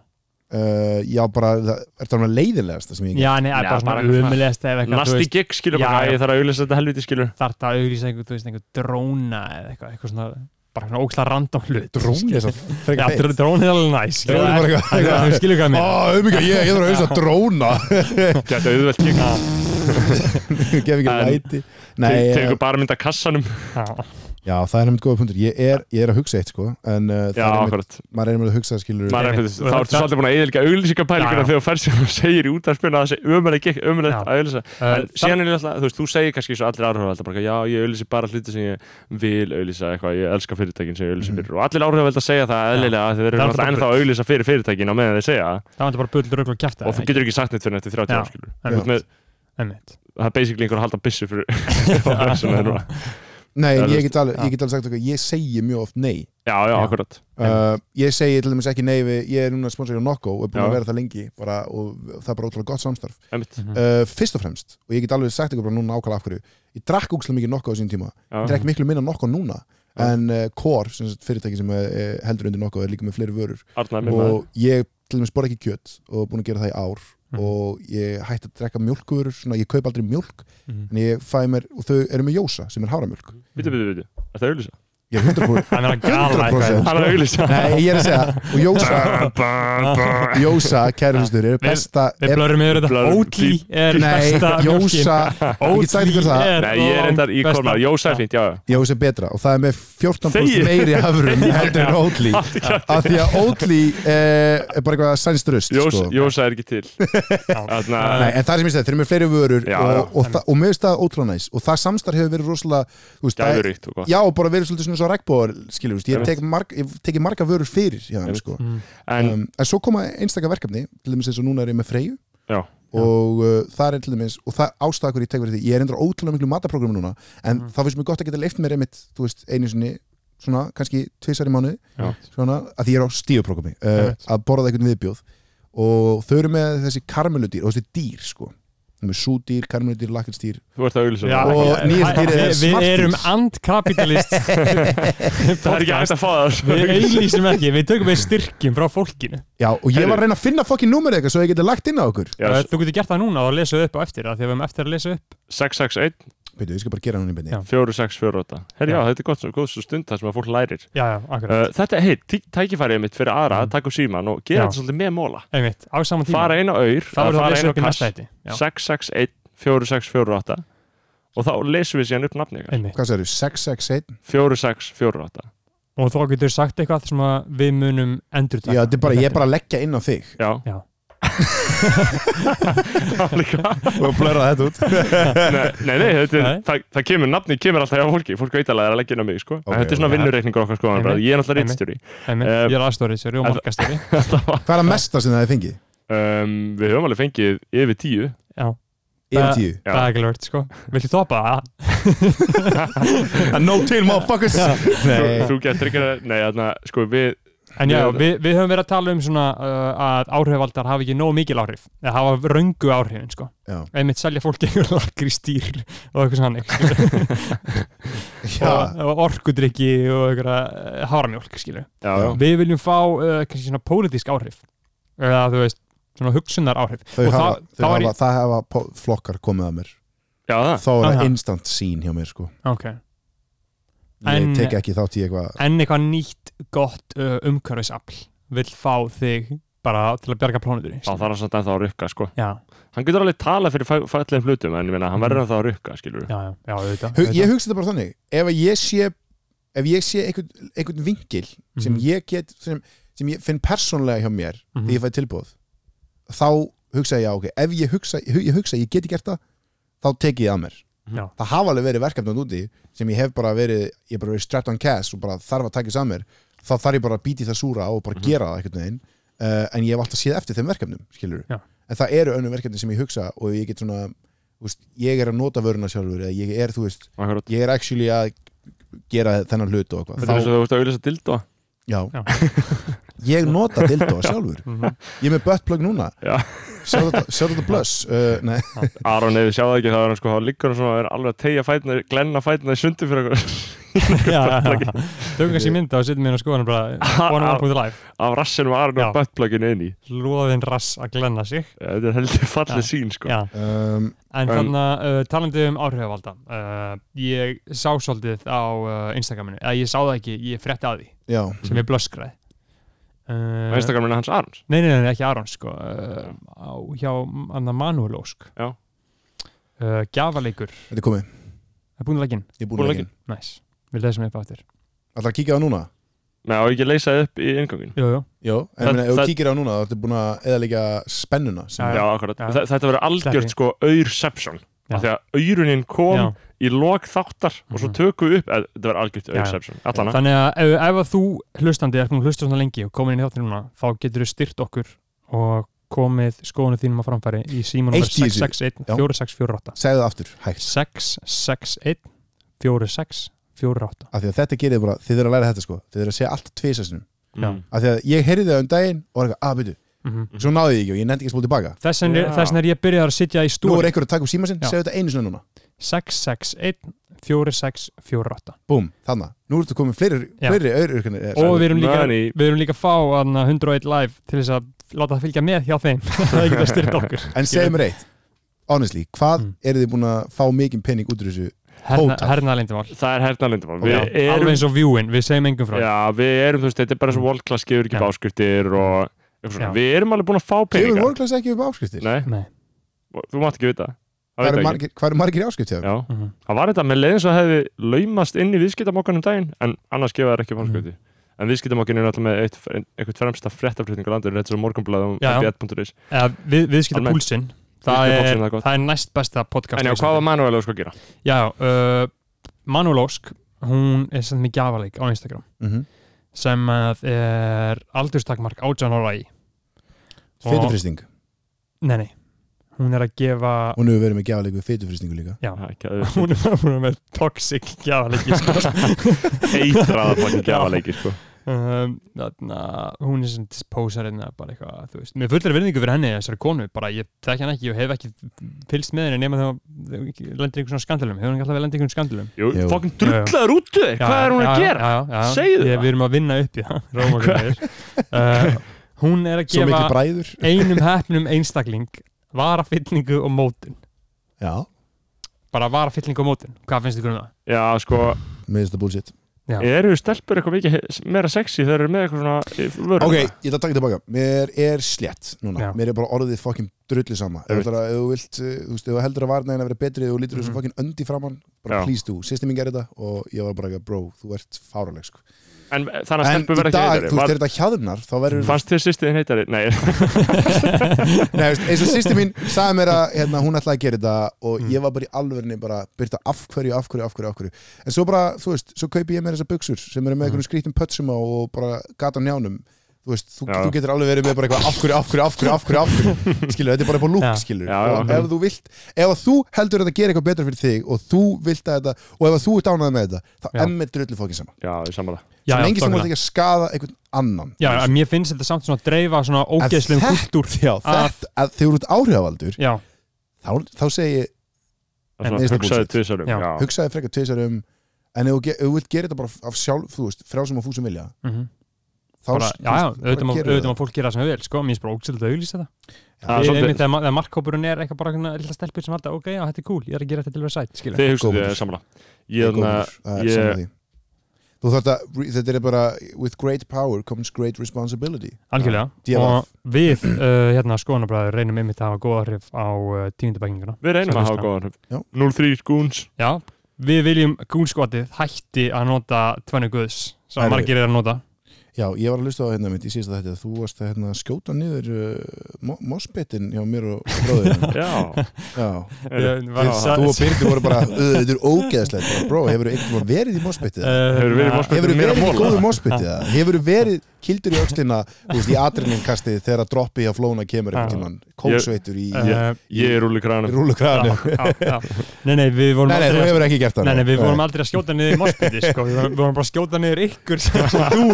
Speaker 5: uh, já bara, það er það með leiðinlegasta sem ég
Speaker 2: já, nei,
Speaker 1: Já,
Speaker 2: bara
Speaker 1: bara eitthvað
Speaker 2: svona
Speaker 1: svona-
Speaker 2: umulegast eða eitthvað þú
Speaker 1: Nasti
Speaker 2: veist,
Speaker 1: gig, skilur
Speaker 2: Já,
Speaker 1: bara
Speaker 2: já.
Speaker 1: Ég þarf að auglýsa þetta helviti, skilur
Speaker 2: þarf það að auglýsa einhver, þú veist, einhver dróna eða eitthvað, eitthvað svona, bara svona óksla random hlut
Speaker 5: dróni
Speaker 2: skilur.
Speaker 5: þess að freka
Speaker 2: Já,
Speaker 5: feitt
Speaker 2: dr- dróni er alveg næs
Speaker 5: Dróni er bara eitthvað-
Speaker 2: Þú skilur hvað mér
Speaker 5: Ó, auðvitað, ég, ég þarf að hausa dróna
Speaker 1: Gæti auðvelt gig
Speaker 5: Gef ekki
Speaker 1: En-
Speaker 5: læti Nei,
Speaker 1: Te-
Speaker 5: eh,
Speaker 1: Tekur bara mynda kassanum
Speaker 5: já, það er nefnt góða punktur Ég er, ég er að hugsa eitt, sko En uh, það
Speaker 1: Já,
Speaker 5: er einmitt,
Speaker 1: akkurat
Speaker 5: maður er einmitt að hugsa, skilur
Speaker 1: Maður er
Speaker 2: Einmitt.
Speaker 1: einhvern veginn- Þá ertu svolítið búin að eiginlega auglýsingapælinguna
Speaker 2: Já, já.
Speaker 1: þegar þú færst sem þú segir í útarspjörna að þessi ömulegt gikk, ömulegt
Speaker 2: Já. Uh,
Speaker 1: að auglýsa En
Speaker 2: Síðan
Speaker 1: síðan er ég alltaf, þú veist, þú segir kannski svo allir áhrifavaldar bara, eitthvað, já, ég auðlýsi bara hluti sem ég vil auðlýsa eitthvað, ég elska fyrirtækin sem ég auðlýsi fyrir og allir áhrifavaldar segja það eðlilega að þeir eru
Speaker 2: Mm. Það er
Speaker 1: alltaf
Speaker 2: bara
Speaker 1: ennþá að auðlýsa fyrir fyrirtækin á meðan þeir segja það
Speaker 2: Það var þetta bara bull rögl og kjæfta
Speaker 1: og þú getur ekki sagt neitt fyrir nætti 30
Speaker 2: Já.
Speaker 1: ára, skilur
Speaker 2: Já.
Speaker 1: Þú ert með-
Speaker 2: Einmitt.
Speaker 1: það er basically einhver að halda byssu fyrir sem er núna.
Speaker 5: Nei,
Speaker 1: Já,
Speaker 5: en
Speaker 1: þú
Speaker 5: ég get alveg,
Speaker 2: já.
Speaker 5: ég get alveg sagt okkur Ég segi mjög oft nei
Speaker 1: Já, já,
Speaker 2: Já.
Speaker 1: akkurat
Speaker 5: Uh, ég segi til dæmis ekki nei við, ég er núna sponsor á Nokko og er búin
Speaker 1: Já.
Speaker 5: að vera það lengi bara, og það er bara ótrúlega gott samstarf
Speaker 1: Einmitt.
Speaker 2: Mm.
Speaker 5: uh, fyrst og fremst, og ég get alveg sagt ykkur bara núna ákala af hverju, ég drakk úkslega mikið Nokko á sín tíma,
Speaker 1: Já.
Speaker 5: ég drakk miklu minna Nokko núna en uh, Core, sem sagt, fyrirtæki sem uh, heldur undir Nokko er líka með fleiri vörur
Speaker 1: Arnar, minn maður. Mhm.
Speaker 5: og ég til dæmis borða ekki kjöt og búin að gera það í ár og ég hætti að drekka mjólkuvörur svona, ég kaup aldrei mjólk
Speaker 2: Mhm.
Speaker 5: en ég fæ mér, og þau eru með Jósa sem er háramjólk
Speaker 1: Bíddu, bíddu, bíddu. Ertu að auglýsa? Sko-
Speaker 5: ég er 100%
Speaker 2: Hann er að gala eitthvað
Speaker 5: 100%.
Speaker 1: Hann er að auglýsa
Speaker 5: nei, ég er að segja, og Jósa Jósa, kæru hlustur, er besta
Speaker 2: Við
Speaker 5: er,
Speaker 2: blörum yfir þetta
Speaker 1: Blörum.
Speaker 2: Ótli er
Speaker 5: nei,
Speaker 2: besta
Speaker 5: Jósa ég get sagt ykkur það,
Speaker 1: Nei, ég er endar í konar Jósa er fínt, já, já
Speaker 5: Jósa er betra og það er með 14%
Speaker 1: Þegir.
Speaker 5: meiri afrum heldur en Ótli af því að Ótli eh, er bara eitthvað sænst rust
Speaker 1: Jós,
Speaker 5: sko.
Speaker 1: Jósa er ekki til Þarna,
Speaker 5: Nei, en það er sem ég segi, þeir eru með fleiri vörur
Speaker 1: Já,
Speaker 5: og,
Speaker 1: já.
Speaker 5: og, og, og með það ótrúlega næs og það samstarf hefur verið rosalega þú veist, það-
Speaker 1: Gæðuríkt og gott
Speaker 5: Já, og bara verið svolítið svona svo regnbóðar skilur, þú veist, ég
Speaker 1: Einmitt.
Speaker 5: tek marg, ég hef tekið marga vörur fyrir já,
Speaker 1: Einmitt.
Speaker 5: sko.
Speaker 1: En
Speaker 5: um, en svo koma einstaka verkefni til dæmis eins og núna er ég með Freyju
Speaker 1: Já.
Speaker 5: og uh, það er til dæmis og það ástakur ég tek verið því, ég er endur ótrúlega miklu mataprógrami núna,
Speaker 1: Mm.
Speaker 5: en það finnst mér gott að geta leift mér einmitt, þú veist, einu sinni svona, kannski tvisar í mánuði
Speaker 1: Já.
Speaker 5: svona, að því ég er á stíðuprógrami uh,
Speaker 2: Einmitt.
Speaker 5: að borða einhvern viðbjóð og þau eru með þessi karmeludýr og þessi dýr sko, þau eru með súdýr, karmeludýr, lakkistýr
Speaker 1: þú ert að auglýsa það.
Speaker 5: og nýjasta dýrið er
Speaker 2: Við
Speaker 5: Smarties.
Speaker 2: erum andkapitalist
Speaker 1: Það er ekki hægt að fá það sko.
Speaker 2: Við auðlýsum ekki, við tökum við styrkjum frá fólkinu
Speaker 5: Já, og ég var að reyna að finna fokkin númerið eitthvað svo ég geti lagt inn á okkur
Speaker 1: Já,
Speaker 2: Þú getur gert það núna og lesað upp á eftir af Því að við erum eftir að lesa upp
Speaker 1: 661
Speaker 5: Veitu, ég skal bara gera hann í beinni
Speaker 2: Já.
Speaker 1: 4648 Herri, já,
Speaker 2: Já.
Speaker 1: þetta er gott, svo- góð svo stund það sem að fólk lærir
Speaker 2: Já, já, akkurat
Speaker 1: uh, Þetta er, hei, tí- tækifærið mitt fyrir aðra
Speaker 2: Mm.
Speaker 1: að taka upp síman og gera
Speaker 2: Já.
Speaker 1: þetta svolítið með móla
Speaker 2: Eh, Einmitt, á saman tíma
Speaker 1: Fara inn á aur, að
Speaker 2: Það verður að
Speaker 1: fara
Speaker 2: lesa
Speaker 1: inn á
Speaker 2: upp í
Speaker 1: kass
Speaker 2: næsta hætti
Speaker 1: 661 4648 og þá lesum við síðan upp nafni ykkar.
Speaker 2: Einmitt
Speaker 5: Hvað sagður, 661?
Speaker 1: 4648
Speaker 2: Og þá getur sagt eitthvað sem að við munum endur
Speaker 5: Já, þetta er bara, ég er bara að leggja inn á þig
Speaker 1: Já,
Speaker 2: Já.
Speaker 1: Líka.
Speaker 5: og blörða þetta út
Speaker 1: nei, nei, nei, þetta er,
Speaker 2: Nei.
Speaker 1: það, það kemur, nafni kemur alltaf hjá fólki, fólk veit alveg að það er að leggja inn á mig, sko.
Speaker 5: Ok,
Speaker 1: en þetta er svona
Speaker 2: ok.
Speaker 1: vinnureikningur okkar, sko,
Speaker 2: Einmitt.
Speaker 1: bara, ég er náttúrulega
Speaker 2: Einmitt.
Speaker 1: rittstjóri.
Speaker 2: Einmitt,
Speaker 1: Eh,
Speaker 2: Ég er aðstórið, og
Speaker 1: en-
Speaker 2: markastjóri
Speaker 5: Hvað er að mesta sem það er fengið?
Speaker 1: um, við höfum alveg fengið yfir tíu.
Speaker 2: Já,
Speaker 5: Yfir
Speaker 2: Bara-
Speaker 5: tíu
Speaker 1: Já.
Speaker 2: það er ekki lört, sko Viltu topa það? uh,
Speaker 5: A no til, motherfuckers
Speaker 1: Þú,
Speaker 5: Nei,
Speaker 1: þú getur ekki að, nei, þarna, sko, við,
Speaker 2: En já,
Speaker 1: Ég-
Speaker 2: við, við höfum verið að tala um svona uh, að áhrifaldar hafa ekki nógu mikil áhrif eða hafa röngu áhrifin, sko
Speaker 5: já,
Speaker 2: einmitt selja fólki einhver lakri stýr og eitthvað sannig
Speaker 5: já.
Speaker 2: og, og orkudrykki og einhverja háramjólk, skilju
Speaker 1: já,
Speaker 5: Já.
Speaker 1: já.
Speaker 2: Við viljum fá uh, kannski svona pólitísk áhrif eða þú veist, svona hugsunar áhrif
Speaker 5: Þau
Speaker 2: Og
Speaker 5: hafa,
Speaker 2: þá-
Speaker 5: þau
Speaker 2: þá er
Speaker 5: hafa,
Speaker 2: ég-
Speaker 5: það hafa po- flokkar komið að mér
Speaker 1: já, það.
Speaker 5: Þá er það
Speaker 2: Aha.
Speaker 5: instant scene hjá mér sko
Speaker 2: Ok,
Speaker 5: Ég
Speaker 2: En-
Speaker 5: tek ekki þátt í eitthvað
Speaker 2: en eitthvað nýtt gott uh, umhverfisafl vill fá þig bara til að bjarga plánutur
Speaker 1: Þá þarf hann samt ennþá að rukka, sko.
Speaker 2: Já,
Speaker 1: Hann getur alveg talað fyrir fæ- fallegum hlutum, en ég meina, hann verður ennþá að rukka, skilur
Speaker 2: já, já, já, auðvitað
Speaker 5: Hu-
Speaker 2: auðvitað.
Speaker 5: Ég hugsa þetta bara þannig Ef að ég sé, ef ég sé einhvern, einhvern vingil sem
Speaker 2: Mhm.
Speaker 5: ég get sem, sem ég finn persónlega hjá mér
Speaker 2: Mhm.
Speaker 5: því ég fæ tilbúð þá hugsa ég já ok, ef ég hugsa hu- ég, hugsa, að ég geti gert það þá tek ég það að mér
Speaker 2: Já.
Speaker 5: það hafa alveg verið verkefnum úti sem ég hef bara verið, ég hef bara verið strapped on cash og bara þarf að taka þess að mér þá þarf ég bara að býti það súra og
Speaker 2: Mhm.
Speaker 5: bara gera það einhvern veginn uh, en ég hef alltaf séð eftir þeim verkefnum skilur
Speaker 2: Já.
Speaker 5: en það eru önnum verkefni sem ég hugsa og ég get svona, þú veist, ég er að nota vöruna sjálfur eða ég er, þú veist,
Speaker 1: Akkurat.
Speaker 5: ég er actually að gera þennan hlut og eitthvað
Speaker 1: Þetta er eins og þú veist að auðvitað dildó.
Speaker 5: Já.
Speaker 2: Já.
Speaker 5: Ég nota dildóa sjálfur.
Speaker 2: Mhm.
Speaker 5: Ég er með buttplug núna.
Speaker 1: Já.
Speaker 5: Sjá þetta- sjá þetta blöss. Uh, nei.
Speaker 1: Aron, ef þið sjáðu ekki, þá er hann sko, þá liggur hann svona, er alveg að tegja fætina, glenna fætina í sundu fyrir okkur
Speaker 2: já, já, já. Tökum kannski mynda og setjum hérna á skoðanum bara one on point live
Speaker 1: af rassinum Aron
Speaker 2: Já.
Speaker 1: og buttpluginu inn í.
Speaker 2: loðin rass að glenna sig
Speaker 1: Ja, Þetta er heldur fallið
Speaker 2: Já.
Speaker 1: sín, sko.
Speaker 2: já.
Speaker 5: Um,
Speaker 2: en
Speaker 1: En-
Speaker 2: þannig að uh, talandi um áhrifavalda uh, ég sá svolítið á uh, Instagraminu, eða ég sá það ekki ég frétti að því,
Speaker 5: já.
Speaker 2: sem ég blöskraði
Speaker 1: Á
Speaker 2: uh,
Speaker 1: Instagraminu hans Arons.
Speaker 2: nei, nei, nei, nei, ekki Arons sko, uh, á, hjá Anna Manuel Ósk
Speaker 1: Já.
Speaker 2: uh, Gjafalegur,
Speaker 5: Þetta er komið.
Speaker 2: það er búin að leggin
Speaker 5: Ég er búin
Speaker 1: Búin
Speaker 5: að
Speaker 1: að
Speaker 5: leggja.
Speaker 2: næs, við lesum upp aftur
Speaker 5: Ætlar að kíkja á það núna?
Speaker 1: Nei, á ekki að leysa þið upp í inngangin.
Speaker 2: jú, jú.
Speaker 5: Jó. En
Speaker 1: Það-
Speaker 5: minna, ef þú
Speaker 1: það-
Speaker 5: kíkir á það núna, þá ertu búin að eða líka spennuna. Sem,
Speaker 2: Já,
Speaker 1: Já, akkurat.
Speaker 2: Já.
Speaker 1: Þa- Þetta verður algjört
Speaker 2: Sleppi.
Speaker 1: sko auðurception.
Speaker 2: Já.
Speaker 1: Því að auðrunin kom
Speaker 2: Já.
Speaker 1: í lok þáttar og svo
Speaker 2: Mhm.
Speaker 1: tökum við upp, eða, þetta verður algjört
Speaker 2: Já.
Speaker 1: auðurception. Allana.
Speaker 2: Þannig að ef, ef að þú hlustandi er búin að hlusta svona lengi og komin inn í þáttir núna þá getur þú styrt okkur og komið skoðunum þínum að framfæri í símanum
Speaker 5: Eitt í þessu.
Speaker 2: 661
Speaker 5: Já.
Speaker 2: 4648
Speaker 5: Segðu það aftur, hægt.
Speaker 2: 661 4648
Speaker 5: Af því að þetta gerir þið bara, þið eru að læra þetta sko. Þið eru að segja allt tvisasinum.
Speaker 2: Já.
Speaker 1: Mm.
Speaker 5: Af því að ég heyrði það um daginn og var eitthvað, að byrju,
Speaker 2: mm
Speaker 1: Mhm.
Speaker 2: -hmm.
Speaker 5: svo náði ég ekki og ég nefndi ekki að spóla tilbaka.
Speaker 2: Þess vegna er-
Speaker 1: Já.
Speaker 2: þess vegna er ég byrjaði að sitja í
Speaker 5: Nú er
Speaker 2: stúri
Speaker 5: einhver að taka upp síma sinn,
Speaker 2: Já.
Speaker 5: segðu þetta einu sinni núna.
Speaker 2: 661 4648
Speaker 5: Búm, þarna. Nú ertu komið fleiri,
Speaker 2: Já.
Speaker 5: fleiri auðururkanir.
Speaker 2: og við erum líka,
Speaker 1: Money.
Speaker 2: við erum líka að fá hana, 101 live til þess að láta það fylgja með hjá þeim það getur að styrta okkur
Speaker 5: En segðu mér eitt Honestly, hvað
Speaker 2: Mm.
Speaker 5: eru þið búin að fá mikinn pening út úr þessu
Speaker 2: herna,
Speaker 5: Total.
Speaker 2: hernaðlindumál
Speaker 1: það er hernalindumál við
Speaker 2: alveg
Speaker 1: erum,
Speaker 2: eins og viewin, við segjum engum frá því.
Speaker 1: já, við erum þú veist, þetta er bara svo world class gefur
Speaker 2: Já.
Speaker 1: ekki báskriftir og eitthvað svona,
Speaker 2: Já.
Speaker 1: við erum alveg búin að fá
Speaker 5: Gefur
Speaker 1: peninga
Speaker 5: vorklass ekki upp áskriftir?
Speaker 1: nei,
Speaker 2: Nei.
Speaker 1: þú mátt ekki vita það veit
Speaker 5: Hvað eru
Speaker 1: það ekki
Speaker 5: margir, hvað eru margir í áskriftir?
Speaker 1: já,
Speaker 2: Mhm.
Speaker 1: það var þetta með leiðin sem hefði laumast inn í viðskiptamokkanum um daginn en annars gefa þær ekki
Speaker 2: Mhm.
Speaker 1: fórskjöti en viðskiptamokkin er alltaf með eitt, eitthvað fremsta fréttaflutninga landur þetta er svo um morgunblæðum
Speaker 2: Já, já.
Speaker 1: fb1.is
Speaker 2: Eða, við, viðskipta
Speaker 1: Almennt.
Speaker 2: púlsinn það
Speaker 1: Viðskiptapúlsinn,
Speaker 2: er,
Speaker 1: það er gott.
Speaker 2: það er næst besta podcast
Speaker 1: en já, hvað var Manuel að sko að gera?
Speaker 2: já, uh, Manuel Ósk hún er sendið mig gjafaleik á Instagram
Speaker 5: Mm -hmm.
Speaker 2: sem að er aldurstakmark átján ára í
Speaker 5: Fytufrýsting.
Speaker 2: nei, nei, hún er að gefa
Speaker 5: Hún hefur verið með gjafleik við fytufrýstingu líka.
Speaker 2: já,
Speaker 1: Það er ekki að
Speaker 2: hún er, hún er með toxic gjafaleiki sko.
Speaker 1: eitraða fucking gjafaleiki sko.
Speaker 2: um, þarna, hún er sem pósarinn bara eitthvað, þú veist, með fullari virðingu fyrir henni þessari konu, bara ég þekki hann ekki og hef ekki fylst með henni nema þegar hún lendir í einhvern svona skandalum, hefur hann alltaf lendir í einhvern skandalum
Speaker 1: Jú,
Speaker 5: Jú.
Speaker 1: fucking drullaður út þau
Speaker 2: Já,
Speaker 1: hvað er hún
Speaker 2: já,
Speaker 1: að gera?
Speaker 2: Já, já, já.
Speaker 1: Segðu
Speaker 2: Ég-
Speaker 1: það.
Speaker 2: Við erum að vinna upp í það Rómagröðir uh, Hún er að
Speaker 5: Svo mikið
Speaker 2: gefa
Speaker 5: bræður.
Speaker 2: einum hefnum einstakling varafyllingu og mótun
Speaker 5: Já,
Speaker 2: bara varafyllingu og mótun, hvað finnst ykkur um það?
Speaker 1: Já, sko,
Speaker 5: minnst það bullshit.
Speaker 1: eru stelpur eitthvað mikið he- meira sexy þegar þeir eru með eitthvað svona eh, vörur?
Speaker 5: Ok, ég ætla að taka tilbaka Mér er slétt núna
Speaker 2: Já.
Speaker 5: Mér er bara orðið fokkin drulli sama Ef
Speaker 1: Einmitt.
Speaker 5: þú ætlar að- ef þú vilt, uh, þú veist, ef þú heldur að varnaðin að vera betri Þú lítur þessu
Speaker 2: Mhm.
Speaker 5: fokkin öndi framann Bara
Speaker 1: Já.
Speaker 5: please do, sýsti mín gerir þetta Og ég var bara ekki, bro, þú ert fáraleg sko.
Speaker 1: En eh, þannig að
Speaker 5: En
Speaker 1: stelpur
Speaker 5: í
Speaker 1: verða ekki
Speaker 5: dag,
Speaker 1: heitari
Speaker 5: þú veist,
Speaker 1: Var-
Speaker 5: er þetta hjáðunar Þá verður,
Speaker 1: Fannst þér sýstiðin heitari? Nei,
Speaker 5: nei, veist, eins og sýsti mín Sagði mér að hérna, hún ætlaði að gera þetta
Speaker 2: Mm.
Speaker 5: Og ég var bara í alvörinni bara Byrta af hverju, af hverju, af hverju, af hverju En svo bara, þú veist, svo kaupi ég mér þessar buksur Sem eru með
Speaker 2: Mm.
Speaker 5: einhvern skrítum pötsum á Og bara gata á njánum Þú veist, þú,
Speaker 1: Já.
Speaker 5: þú getur alveg verið með bara eitthvað af hverju, af hverju, af hverju, af hverju, af hverju skilur, þetta er bara upp á lúk,
Speaker 2: Já.
Speaker 5: skilur
Speaker 1: Já, já.
Speaker 5: og ef þú vilt, ef þú heldur að þetta gerir eitthvað betra fyrir þig og þú vilt að þetta og ef þú ert ánægð með þetta, þá
Speaker 2: Já.
Speaker 5: emmi drullu fókin saman,
Speaker 1: já, ég samanlega
Speaker 2: Já,
Speaker 5: sem
Speaker 2: já,
Speaker 5: lengi sem þú
Speaker 2: þokkalega.
Speaker 5: vilt ekki að skada einhvern annan
Speaker 2: já, en mér finnst þetta samt svona að dreifa svona ógeðslegum
Speaker 5: þetta-
Speaker 2: kultúr
Speaker 5: já,
Speaker 2: Að-
Speaker 5: þetta, að þegar þú ert áhrifavaldur
Speaker 2: Já,
Speaker 5: þá, þá segi ég,
Speaker 1: Það
Speaker 2: En
Speaker 1: er
Speaker 5: minnsta
Speaker 1: svona hugsaði
Speaker 5: bullshit.
Speaker 1: tvisar um
Speaker 2: Já.
Speaker 1: já.
Speaker 5: hugsaði frekar tvisar um en ef þú, ge- ef þú vilt gera þetta bara af sjálf, þú veist, frá sem að fúsum vilja
Speaker 2: mm
Speaker 5: þá,
Speaker 2: bara, já, já, auðvitað má-
Speaker 5: gerir
Speaker 2: auðvitað
Speaker 5: það.
Speaker 2: má fólk gera það sem við vil sko, mér finnst bara ógeðslega að auglýsa þetta
Speaker 1: Það er
Speaker 2: Ég-
Speaker 1: svolítið-
Speaker 2: einmitt Þegar ma- þegar markkópurinn er eitthvað bara einhvern lilla stelpur sem halda, ok, já, þetta er cool, ég er að gera þetta til að vera sætt skilur.
Speaker 1: Þið hugsaði
Speaker 5: Góður.
Speaker 1: þið samanlega
Speaker 5: Ég er
Speaker 1: Ég hérna, þannig
Speaker 5: góður, það er
Speaker 1: ég-
Speaker 5: sammála því. þú þarft að, þetta er bara with great power comes great responsibility
Speaker 2: Algjörlega,
Speaker 5: Já,
Speaker 2: og við uh, hérna skoðanabræður reynum einmitt að hafa góð áhrif á uh, tíundabækinguna.
Speaker 1: Við reynum að hafa
Speaker 2: Samviskan.
Speaker 1: góðan
Speaker 5: Já.
Speaker 1: 0-3 goons
Speaker 2: Já, við viljum gúnskotið hætti að nota tvennu guðs sem
Speaker 5: Herri.
Speaker 2: margir er að nota.
Speaker 5: Já, ég var að hlusta á hérna mitt í síðasta þetta þú varst að hérna, skjóta niður uh, mossbetin hjá mér og bróðurinn
Speaker 1: Já,
Speaker 5: Já,
Speaker 1: Heyrðu,
Speaker 5: Þið-
Speaker 1: sa-
Speaker 5: þú og Byrdi voru bara "Ö, þetta er ógeðslegt, bara, bró, hefur þú einhvern veginn verið í mossbetið?
Speaker 1: hefur verið
Speaker 2: hérna,
Speaker 1: morspöldum
Speaker 5: Hefur
Speaker 1: mér
Speaker 5: verið
Speaker 1: að
Speaker 5: í
Speaker 1: móla
Speaker 5: góðu mossbetið? Hefur verið kildur í öxlina, þú veist, í adrenalinkastið þegar að droppið hjá flóna kemur
Speaker 2: Já.
Speaker 5: einhvern tímann, kóksveitur í
Speaker 2: eh,
Speaker 1: Ég- Ég er úli
Speaker 5: í
Speaker 1: kranum
Speaker 5: rúlukræðinu
Speaker 2: já, já, já. Nei, nei, við vorum
Speaker 5: Nei, nei, þú
Speaker 2: aldrei
Speaker 5: hefur ekki gert það
Speaker 2: Nei, nei, við vorum aldrei að skjóta niður í morsbytti sko. við, vorum- við vorum bara að skjóta niður ykkur sem þú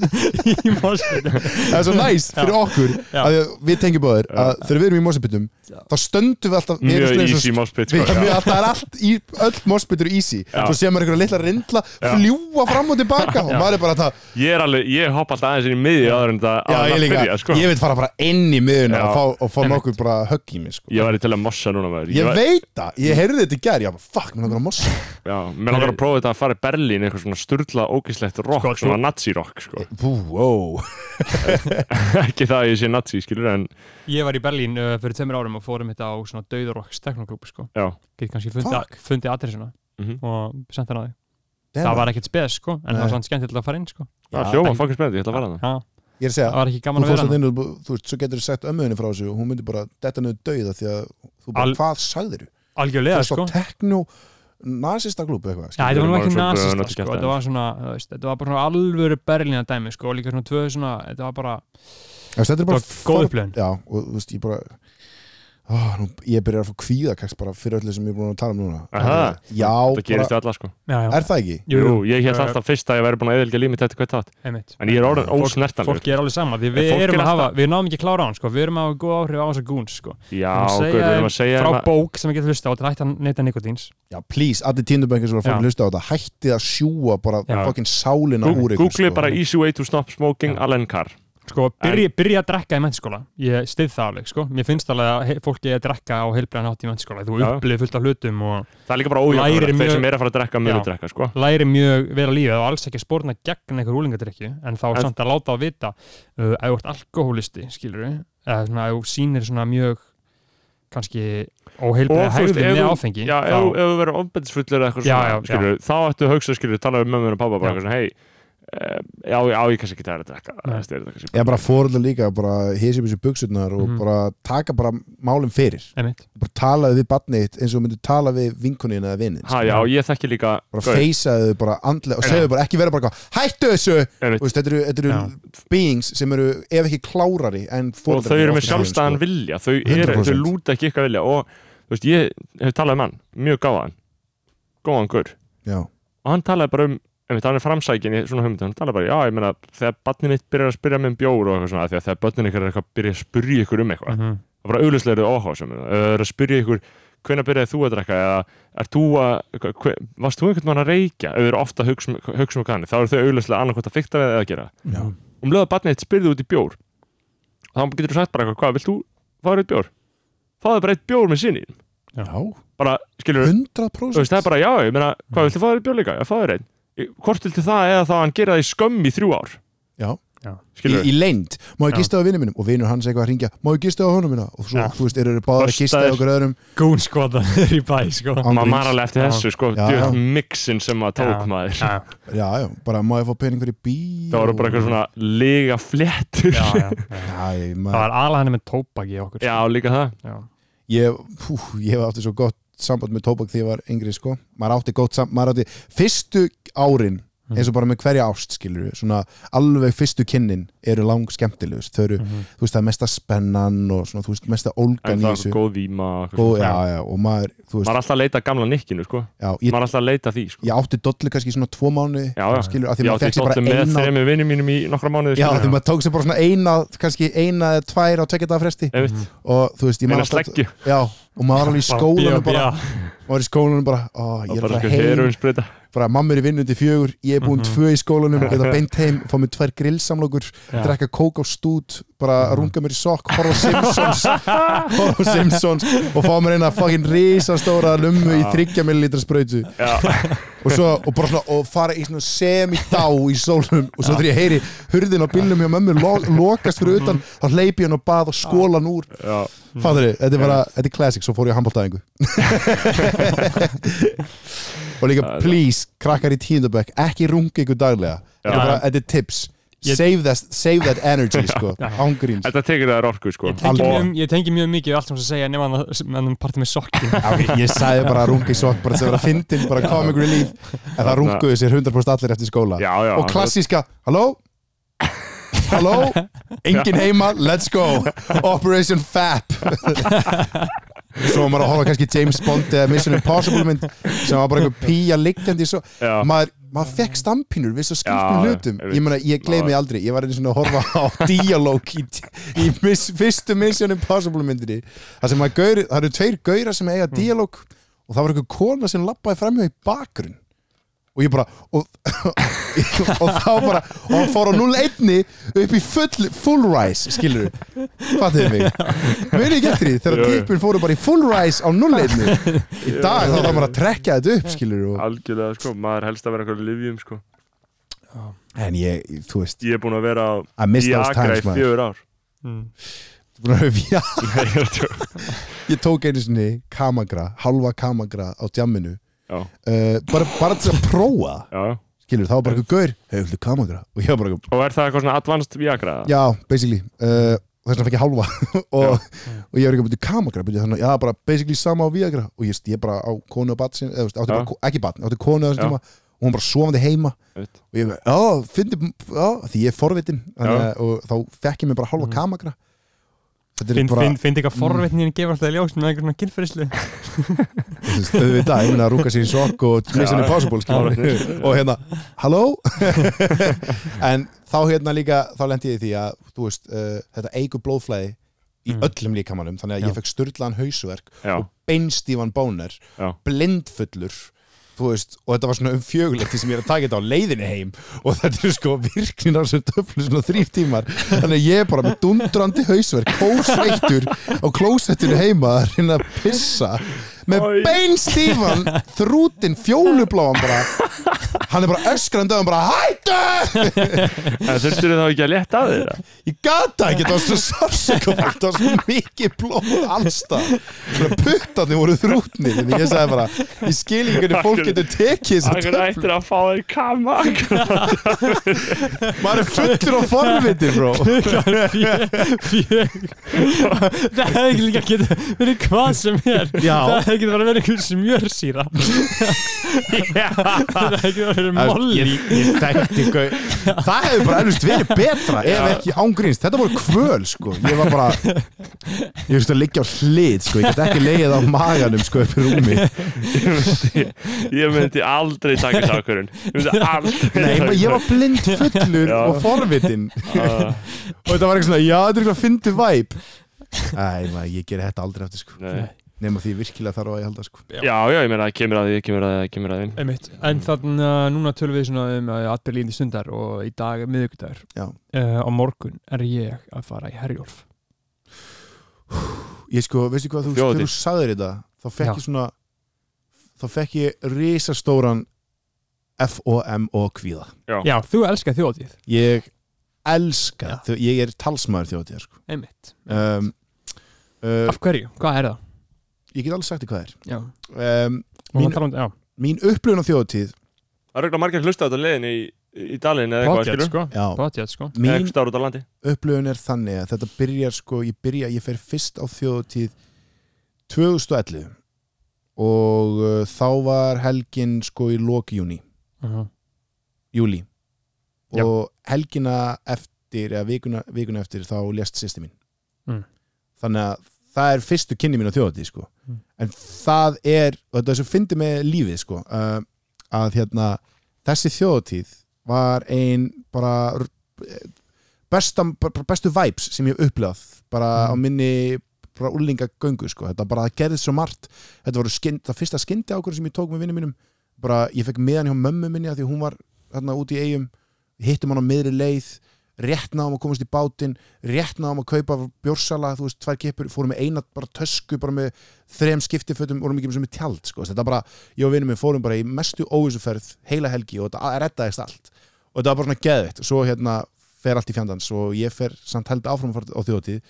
Speaker 2: á í morsbytti
Speaker 5: Það er svo næst fyrir okkur
Speaker 2: Já.
Speaker 5: að því að við tengjum báður að þegar við erum í morsibitum þá stöndum við alltaf við erum
Speaker 1: Mjög
Speaker 5: eins og-
Speaker 1: easy mospöld
Speaker 5: Við, mjög, að það er allt í, öll mossbytur easy
Speaker 1: Já.
Speaker 5: Svo séu maður einhverja litla rindla fljúa fram og tilbaka og maður er bara það
Speaker 1: Ég er alveg, ég hopp alltaf aðeins inn í miðju áður en það
Speaker 5: Já,
Speaker 1: áður en
Speaker 5: ég
Speaker 1: það
Speaker 5: líka,
Speaker 1: byrja, sko
Speaker 5: ég vil fara bara inn í miðuna
Speaker 1: Já.
Speaker 5: og fá, og fá
Speaker 2: Einmitt.
Speaker 5: nokkuð bara högg í mig sko.
Speaker 1: Ég væri til að mossa núna maður
Speaker 5: Ég
Speaker 1: væri-
Speaker 5: veit það, ég heyrði þetta í gær Ég bara, fuck, mér langar að mossa
Speaker 1: Já, mér langar að prófa þetta að fara í Berlín eitthvað svona sturla ógislegt rock,
Speaker 2: Sko,
Speaker 1: svona nazi-rock sko.
Speaker 5: Bú, wow
Speaker 1: ekki það að ég sé nazi, skilur en
Speaker 2: Ég var í Berlín uh, fyrir tveimur árum og fórum þetta á svona Dauðarokks teknoklúb sko.
Speaker 1: já,
Speaker 2: get kannski fundið, fundið adressuna
Speaker 1: Mhm.
Speaker 2: og sent hann á því
Speaker 5: Damn.
Speaker 2: það var ekkert spes sko, en það
Speaker 5: Nei.
Speaker 2: var svona skemmtilegt að fara inn sko.
Speaker 1: það
Speaker 5: Já.
Speaker 1: er hljóma fucking spennandi, ég ætla að fara það
Speaker 2: Já,
Speaker 5: Ég er að
Speaker 2: það
Speaker 5: segja,
Speaker 2: var ekki
Speaker 5: þú
Speaker 2: gaman að
Speaker 5: fórst
Speaker 2: vera
Speaker 5: þetta
Speaker 2: hann
Speaker 5: inn og þú- þú veist, svo getur þú sett ömmuðinni frá þessu og hún myndi bara detta niður dauða því að þú bara,
Speaker 2: Al-
Speaker 5: hvað sagðir þú?
Speaker 2: algjörlega
Speaker 5: Þú
Speaker 2: sko
Speaker 5: veist á tekno nasista glúbu eitthvað
Speaker 2: Já,
Speaker 5: skilur
Speaker 2: þetta var
Speaker 1: Við
Speaker 2: nú ekki
Speaker 1: erum orðin svo
Speaker 2: nazista
Speaker 1: bönuð
Speaker 2: sko,
Speaker 1: að
Speaker 2: þetta var svona, þú veist, þetta var bara svona alvöru berlina dæmi sko, og líka svona tvö svona, þetta var bara,
Speaker 5: Þú veist, Þetta er bara
Speaker 2: Bara góð upplifun.
Speaker 5: Já, og þú veist, ég bara ó, nú, Ég byrjar að fá kvíða kæks bara fyrir öllu sem ég er búin að tala um núna
Speaker 1: Aha.
Speaker 5: Já,
Speaker 1: það gerist
Speaker 5: bara,
Speaker 1: í alla sko
Speaker 2: já, já,
Speaker 5: er það ekki?
Speaker 1: Jú, ég held
Speaker 2: Eh,
Speaker 1: alltaf fyrst að ég væri búin að eðilgja límit eftir hvað þátt,
Speaker 2: einmitt.
Speaker 1: en ég er orðin
Speaker 2: Fólk-
Speaker 1: ósnertanleg
Speaker 2: Fólki er alveg sama, við,
Speaker 1: En fólk
Speaker 2: við erum
Speaker 1: er
Speaker 2: að hafa,
Speaker 1: alltaf-
Speaker 2: við náum ekki að klára á hann sko, við erum að hafa góð áhrif á þessa gúns sko.
Speaker 1: já,
Speaker 2: Við
Speaker 1: guð, við
Speaker 2: erum að segja
Speaker 1: erum að segja
Speaker 2: Frá
Speaker 1: hérna-
Speaker 2: bók sem við getum hlusta á, þetta hætti að neyta nikotíns.
Speaker 5: Já, please, allir tíndubækir sem var fólk
Speaker 2: Já.
Speaker 5: hlusta á þetta hættið að sjúa bara
Speaker 2: Já.
Speaker 5: fokkin sálina
Speaker 1: Gú-
Speaker 5: úr ykkur sko.
Speaker 1: Google bara easy way to stop smoking
Speaker 2: sko. Já.
Speaker 1: Allen Carr
Speaker 2: sko, byrja, byrja að drekka í mennskóla ég stið það alveg, sko, mér finnst alveg að he- fólki að drekka á heilbræðan hátt í mennskóla þú
Speaker 1: Já.
Speaker 2: upplifir fullt af hlutum og
Speaker 1: það er líka bara
Speaker 2: Lærir
Speaker 1: ójöfnur þeir
Speaker 2: mjög-
Speaker 1: sem er að fara að drekka mjög
Speaker 2: Já.
Speaker 1: að drekka sko.
Speaker 2: læri mjög vel að lífi og alls ekki að spórna gegn einhver úlingadrykju en þá
Speaker 1: En-
Speaker 2: er samt að láta að vita uh, ef þú ert alkohólisti, skilur við eða svona, ef þú sýnir svona mjög kannski óheilbræða
Speaker 1: Og þú veist,
Speaker 2: hegðum
Speaker 1: ef
Speaker 2: með
Speaker 1: þú-
Speaker 2: áfengi
Speaker 1: Já, ef ef þú verður ofbeldisfullur eða eitthvað
Speaker 2: Já,
Speaker 1: svona,
Speaker 2: já, já.
Speaker 1: skilur, þá ættu að hugsa, skilur, tala um mömmun og pappa bara
Speaker 2: Já.
Speaker 1: eitthvað svona, hei, eh, já, já, ég kannski ekki það er að drekka,
Speaker 2: Nei.
Speaker 1: það styrir þetta kannski
Speaker 5: Ég bara fórhaldur líka, bara hísið mjög buksurnar og
Speaker 2: Mhm.
Speaker 5: bara taka bara málum fyrir
Speaker 2: Einmitt.
Speaker 5: bara talaði við barnið þitt eins og þú myndir tala við vinkunin eða vinnin
Speaker 1: Ha, já, ég þekki líka
Speaker 5: bara
Speaker 1: gaur,
Speaker 5: feysaðu þau bara andlega og
Speaker 1: Já.
Speaker 5: segðu bara ekki vera bara eitthvað, hættu þessu
Speaker 1: einmitt.
Speaker 5: Þú veist, þetta eru, þetta eru beings sem eru ef ekki klárari en
Speaker 1: og
Speaker 5: fóreldrar
Speaker 1: þau eru
Speaker 5: oft
Speaker 1: með
Speaker 5: í heiminum,
Speaker 1: sjálfstæðan
Speaker 5: sko.
Speaker 1: vilja þau, er, þau
Speaker 5: 100%.
Speaker 1: lúta ekki eitthvað vilja og þú veist, ég hef talað um hann mjög gáðan, góðan gaur
Speaker 5: Já.
Speaker 1: og hann talaði bara um einmitt, hann er framsækin í svona hugmyndu, hann talaði bara já, ég meina, þegar barnið mitt byrjar að spyrja mig um bjór og eitthvað svona, af því að þegar barnið ykkur er eitthvað að byrja að spyrja ykkur um eitthvað,
Speaker 2: Mhm.
Speaker 1: það er bara auðvitað eru áhuga sem er að spyrja ykkur hvenær byrjaði þú að drekka eða er þú að, hver, varst þú einhvern mann að reykja ef þau eru ofta að hugsa, um- hugsa um kanni þá eru þau auðvitað annarkvæmt að fykta við eða að gera
Speaker 5: Já.
Speaker 1: um löða barnið eitt spyrði út í bjór þá getur þú sagt bara eitthvað, hvað, vilt þú fara eitt bjór? Fáðu bara eitt bjór með sinni
Speaker 5: Já,
Speaker 1: bara, skilur,
Speaker 5: 100%
Speaker 1: þú veist, það er bara já, ég meina,
Speaker 2: Mm.
Speaker 1: hvað viltu fá þér í bjór líka? Já, fá þér einn. Í- Hvort viltu það eða þá að hann gera það í skömm í þrjú ár?
Speaker 5: Já.
Speaker 2: Já.
Speaker 1: Skilur,
Speaker 5: í, í leynd, má
Speaker 2: Já.
Speaker 5: ég gista á vinnu mínum og vinnur hans eitthvað að ringja, má ég gista á honum mína og svo,
Speaker 2: Já.
Speaker 5: þú veist, eru þeir báðar að gista
Speaker 1: Börstaðir.
Speaker 5: okkur öðrum
Speaker 2: gún skotanir í bæ sko.
Speaker 5: án
Speaker 1: maður
Speaker 5: gríns.
Speaker 1: man alveg eftir
Speaker 2: Já.
Speaker 1: þessu, sko,
Speaker 5: Já,
Speaker 1: djöð
Speaker 5: já.
Speaker 1: mixin sem maður tók
Speaker 2: Já.
Speaker 1: maður.
Speaker 2: Já,
Speaker 5: já, já, bara má ég fá pening fyrir bí
Speaker 1: Það voru bara eitthvað svona lega fléttur.
Speaker 2: já, já, já.
Speaker 5: já, ég,
Speaker 2: það
Speaker 5: maður,
Speaker 2: var alveg henni með tóbak í okkur sko.
Speaker 1: Já, líka það.
Speaker 2: Já.
Speaker 5: ég, pú, ég hef átti svo gott samband með tóbak því ég var yngri sko maður átti gott samband, maður átti fyrstu árin eins og bara með hverja ást skilur við, svona alveg fyrstu kynnin eru lang skemmtilegust, þau eru þú veist það er mesta spennan og svona þú veist mesta
Speaker 1: En
Speaker 5: ólgan í
Speaker 1: það
Speaker 5: þessu
Speaker 1: var góð víma. og eitthvað
Speaker 5: Góð,
Speaker 1: svona.
Speaker 5: já, já, og maður, þú veist
Speaker 1: Maður er alltaf að leita að gamla nikkinu, sko.
Speaker 5: já, ég,
Speaker 1: Maður er alltaf að leita að því, sko.
Speaker 5: ég átti dollu kannski svona tvo mánu
Speaker 1: Já, já.
Speaker 5: skilur, af því
Speaker 1: Já,
Speaker 5: maður
Speaker 1: því
Speaker 5: fekk sér bara
Speaker 1: stóttum með
Speaker 5: eina
Speaker 1: þremi vinnum mínum í nokkra mánuði,
Speaker 5: já, af því
Speaker 1: sko.
Speaker 5: maður tók sér bara svona eina kannski eina eða tvær á tvekkjadaða fresti
Speaker 1: Einmitt.
Speaker 5: og þú veist, ég
Speaker 1: Eina
Speaker 5: man alltaf
Speaker 1: sleggju.
Speaker 5: já, og maður var alveg í skólanum bara maður var í skólanum bara, ó,
Speaker 1: Og
Speaker 5: ég er að
Speaker 1: bara,
Speaker 5: fara
Speaker 1: sko,
Speaker 5: heim
Speaker 1: heroinsprita.
Speaker 5: bara mamma er í vinnu til fjögur, ég er búinn
Speaker 2: Mhm.
Speaker 5: tvö í skólanum geta beint heim, fá mér tvær grillsamlokur
Speaker 2: Já. Mhm.
Speaker 5: drekka kók á stút, bara runga mér í sokk horfa á Simpsons horfa á Simpsons og fá mér eina fucking risastóra lummu í 30 millilitra sprautu
Speaker 1: Já.
Speaker 5: og svo, og bara svona, og fara í svona sem í dá í sólum og svo þegar ég heyri hurðin á bílnum hjá mömmu lo lokast fyrir utan, þá hleypi ég hann á bað og skólan úr,
Speaker 1: Já.
Speaker 5: fattur þið þetta er bara, þetta er classic, svo fór ég að handbóltaðingu og líka, please, krakkar í tíundabökk ekki runga ykkur daglega þetta er
Speaker 1: Já.
Speaker 5: bara, þetta er tips
Speaker 2: Ég-
Speaker 5: save that, save that energy, sko, ángríns
Speaker 1: Þetta tekur það orku, sko.
Speaker 2: Ég tengi,
Speaker 5: Alveg.
Speaker 2: mjög, ég tengi mjög mikið við allt sem það segja nema hann partið með sokkin
Speaker 5: Já, ég sagði bara að runga í sokk bara til að vera fyndin, bara comic relief en það runguðu sér 100% allir eftir skóla
Speaker 1: Já, já.
Speaker 5: og klassíska, halló halló, engin heima let's go, Operation Fap svo var maður að horfa kannski James Bond eða Mission Impossible mynd sem var bara einhver píja liggjandi svo,
Speaker 1: Já.
Speaker 5: maður, maður fekk stampínur við svo
Speaker 1: Já,
Speaker 5: skrýttum hlutum
Speaker 1: ég veit.
Speaker 5: ég, meina, ég gleymi aldrei, ég var einu svona að horfa á dialóg í, í miss, fyrstu Mission Impossible myndinni það sem maður gaur, það eru tveir gaurar sem
Speaker 1: Mm.
Speaker 5: eiga dialóg og það var einhver kona sem lappaði framhjá í bakgrunn og ég bara og, og þá bara og hann fór á 0-1 upp í full, full rise skilur við, fattuðu mig muni ekki eftir því,
Speaker 1: Jú,
Speaker 5: þegar
Speaker 1: jú.
Speaker 5: típun fóru bara í full rise á 0-1 í dag þá þarf maður að trekja þetta upp skilur við,
Speaker 1: Algjörlega, sko, maður helst að vera einhverju livjum, sko.
Speaker 5: og, en ég, þú veist
Speaker 1: Ég er búin að vera á
Speaker 5: I missed those
Speaker 1: Viagra
Speaker 5: times
Speaker 1: í
Speaker 5: maður
Speaker 1: fjögur ár.
Speaker 5: Búin að vera- Já,
Speaker 1: Nei, ég er að djóka.
Speaker 5: ég tók einu sinni kamagra, halva kamagra á djamminu
Speaker 1: Já,
Speaker 5: uh, bara, bara til að prófa
Speaker 1: já.
Speaker 5: skilur, þá var bara eitthvað gaur, hefur þú kamagra og ég var bara,
Speaker 1: Og er það eitthvað svona advanced Viagra?
Speaker 5: Já, basically uh, þess vegna fekk ég halva og, og ég var ekki að byrja kamagra byrja þannig, já, bara basically sama á viagra og ég stíð bara á konu og batn eða, þú veist,
Speaker 1: Já.
Speaker 5: átti bara, ko- ekki batn, átti konu á
Speaker 1: Já.
Speaker 5: þessum tíma og hún bara sofandi heima
Speaker 1: Einmitt.
Speaker 5: og ég bara, já, fyndi, já, því ég er forvitin
Speaker 1: Já.
Speaker 5: þannig,
Speaker 1: Mhm.
Speaker 5: að- og þá fekk ég mér bara halva kamagra þetta er
Speaker 2: Finn,
Speaker 5: bara, Mm.
Speaker 2: finn, finn eitthvað forvetnin gefur alltaf í ljós með einhvern kynfyrislu
Speaker 5: þú veist, auðvitað, ég meina að rúka sér í sokk og Mission Impossible skilur við. og hérna, halló en þá hérna líka þá lendi ég í því að, þú veist, uh, þetta eigur blóðflæði í öllum líkamannum þannig að
Speaker 2: Já.
Speaker 5: ég fekk styrlaðan hausverk
Speaker 1: Já.
Speaker 5: og beinstífan bóner
Speaker 1: Já.
Speaker 5: blindfullur þú veist, og þetta var svona um fjögulegt sem ég er að taka þetta á leiðinni heim og þetta er sko virknin á þessu töflu svona þrýr tímar, þannig að ég er bara með dundrandi hausverk, kósveittur á klósettinu heima að reyna að pissa með
Speaker 1: Oj.
Speaker 5: beinstífan þrútin fjólubláan bara hann er bara öskrandi og hann bara HÆTTU!
Speaker 1: En þurftur þá ekki að leta að þeirra?
Speaker 5: Ég gata ekki, það var svo sársökafullt það var svo mikið blóð allstað svona puttarnir voru þrútnir en ég sagði bara, ég skil ekki hvernig fólk getur tekið þess að
Speaker 1: Akkur ættir að fá þeir kama
Speaker 5: maður er fullur á forviti bro
Speaker 2: Fjö- Það hefði ekki líka getið verið hvað sem er
Speaker 5: Já.
Speaker 2: Það hefði getið bara verið einhver smjörsýra Það hefði getið verið molli
Speaker 5: ég, ég þekkti gau- það hefur bara ennust verið betra ef ekki ángríns, þetta voru kvöl sko. ég var bara ég veist að liggja á hlið, sko. ég get ekki leið á maganum sko, upp í rúmi
Speaker 1: Ég myndi aldrei taka þess ákvörun Ég myndi aldrei
Speaker 5: Nei,
Speaker 1: taka
Speaker 5: ég var blind fullur
Speaker 1: Já.
Speaker 5: og forvitin
Speaker 1: Ah,
Speaker 5: og þetta var eitthvað svona, já þetta er eitthvað fyndið væp Æ, maður, ég ger þetta aldrei aftur sko.
Speaker 1: nei.
Speaker 5: nema því ég virkilega þarf á að ég halda sko.
Speaker 1: Já, já, ég meina, kemur að því, kemur að því, kemur að því
Speaker 2: Einmitt. En þannig að núna tölum við svona um að atbyrði líndi stundar og í dag er miðvikudagur
Speaker 5: Já.
Speaker 2: uh, á morgun er ég að fara í Herjólf
Speaker 5: ég sko, veistu hvað, þú,
Speaker 1: Þjóðhátíð.
Speaker 5: þegar þú sagðir þetta þá fekk
Speaker 2: Já.
Speaker 5: ég svona þá fekk ég risastóran F-O-M-O kvíða
Speaker 2: Já, þú elskar þjóðið
Speaker 5: ég elska þau, ég er talsmaður þjóðatíðar sko.
Speaker 2: Einmitt
Speaker 5: um, uh,
Speaker 2: Af hverju? Hvað er það?
Speaker 5: ég get alveg sagt þér hvað
Speaker 2: Já,
Speaker 5: er um,
Speaker 2: Mín...
Speaker 5: Mín-
Speaker 2: um, já.
Speaker 5: mín upplifun á þjóðatíð
Speaker 1: Það eru ekki margir að hlusta á þetta leiðin í, í dalinn eða eitthvað,
Speaker 2: Project,
Speaker 1: skilur
Speaker 2: sko.
Speaker 5: já,
Speaker 2: Project sko
Speaker 1: Eða
Speaker 5: mín
Speaker 1: eitthvað stáður út á landi
Speaker 5: upplöfun er þannig að þetta byrjar sko, ég byrja, ég fer fyrst á þjóðtíð 2011 og uh, þá var helgin sko í lok júni,
Speaker 2: uh -huh.
Speaker 5: júli
Speaker 2: Já.
Speaker 5: og helgina eftir, eða vikuna, vikuna eftir þá lést sýsti mín
Speaker 2: Mm.
Speaker 5: þannig að það er fyrstu kynni mín á þjóðtíð sko,
Speaker 2: Mm.
Speaker 5: en það er og þetta er svo fyndi með lífið sko uh, að hérna þessi þjóðtíð var ein bara eh, besta, bara- bara bestu vibes sem ég hef upplifað bara
Speaker 2: Mm.
Speaker 5: á minni bara úlingagöngu sko, þetta bara það gerðist svo margt þetta voru skynd, það fyrsta skyndi ákvörðin sem ég tók með vinnum mínum, bara ég fekk meðan hjá mömmu minni að því hún var hérna út í eigum hittum hann á miðri leið rétt náðum að komast í bátinn rétt náðum að kaupa bjórsala þú veist, tvær kippur, fórum með eina bara tösku bara með þrem skiptifötum, vorum ekki með sem með tjald sko. þetta bara, ég og vinnum minn fórum bara í mestu óvísuferð heila helgi og þetta reddaðist allt og þetta var bara svona geðveikt svo hérna fer allt í fjandans og ég fer samt held áfram að fara á þjóðtíð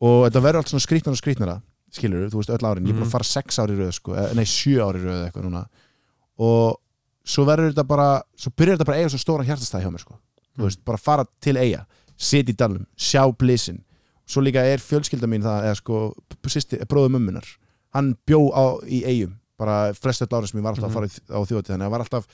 Speaker 5: og þetta verður allt svona skrýtnar og skrýtnara skilur þú veist öll árin, ég er búin
Speaker 2: Mhm.
Speaker 5: að fara sex ári röð sko, eh, nei sjö ári röð eitthvað núna og svo verður þetta bara svo byrjar þetta bara að eiga svo stóra hjartastæð hjá mér sko. Þú veist, bara fara til eiga sit í dalnum, sjá blísin svo líka er fjölskylda mín það eða sko, sýsti, bróðu mömmunar hann bjó á, í eigum bara flest öll ára sem ég var alltaf
Speaker 2: Mhm.
Speaker 5: að fara í, á þjóðtíð þannig að var alltaf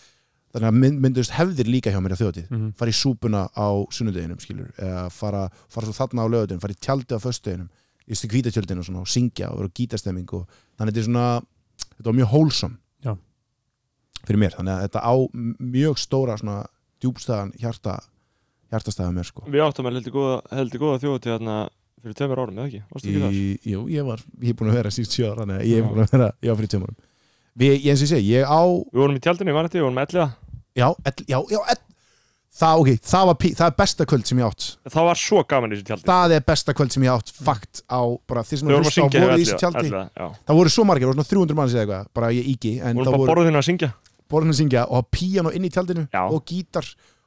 Speaker 5: þannig að mynd, myndust hefðir líka hjá mér á þjóðtíð
Speaker 2: Mhm.
Speaker 5: fara í súpuna á sunnudeginum skilur, eða fara, fara svo þarna á lögudeginum fara í tjaldi á föstudeginum í stu kvítatjöldinu og, svona, og syngja og vera á gítastemming og, þannig að þetta er svona þetta var mjög hólsam
Speaker 2: Já.
Speaker 5: fyrir mér, þannig að þetta á mjög stóra svona djúbstæðan hjarta hjartastæða mér sko
Speaker 1: Við áttum að heldur góða, heldur góða þjóti þarna fyrir tveimur árum, eða ekki? Varstu ekki þar?
Speaker 5: í, jú, ég var, ég er búin að vera síst sjö ára þannig að ég
Speaker 2: Já.
Speaker 5: er búin að vera, ég var fyrir tjómarum Við, ég eins og ég segi, ég á
Speaker 1: Við vorum í tjaldinu, ég man eftir, við vorum elliða
Speaker 5: já, ell, já, já, ell, það, ok, það var pí, það er besta kvöld sem ég átt
Speaker 1: Það var svo gaman í þessu tjaldi
Speaker 5: það er besta kvöld sem ég átt fakt á, bara þeir sem
Speaker 1: Við
Speaker 5: eru
Speaker 1: vorum
Speaker 5: að
Speaker 1: að
Speaker 5: hlusta á
Speaker 1: syngja hérna, hjá
Speaker 5: voru í þessu
Speaker 1: elliða,
Speaker 5: tjaldi
Speaker 1: elliða já.
Speaker 5: það voru svo margir, það voru svona 300 manns eða eitthvað bara ég íki, en
Speaker 1: Við vorum
Speaker 5: það
Speaker 1: bara
Speaker 5: voru
Speaker 1: borðinu hérna að syngja
Speaker 5: borðin að syngja og píano inn í tjaldinu
Speaker 1: Já.
Speaker 5: og gítar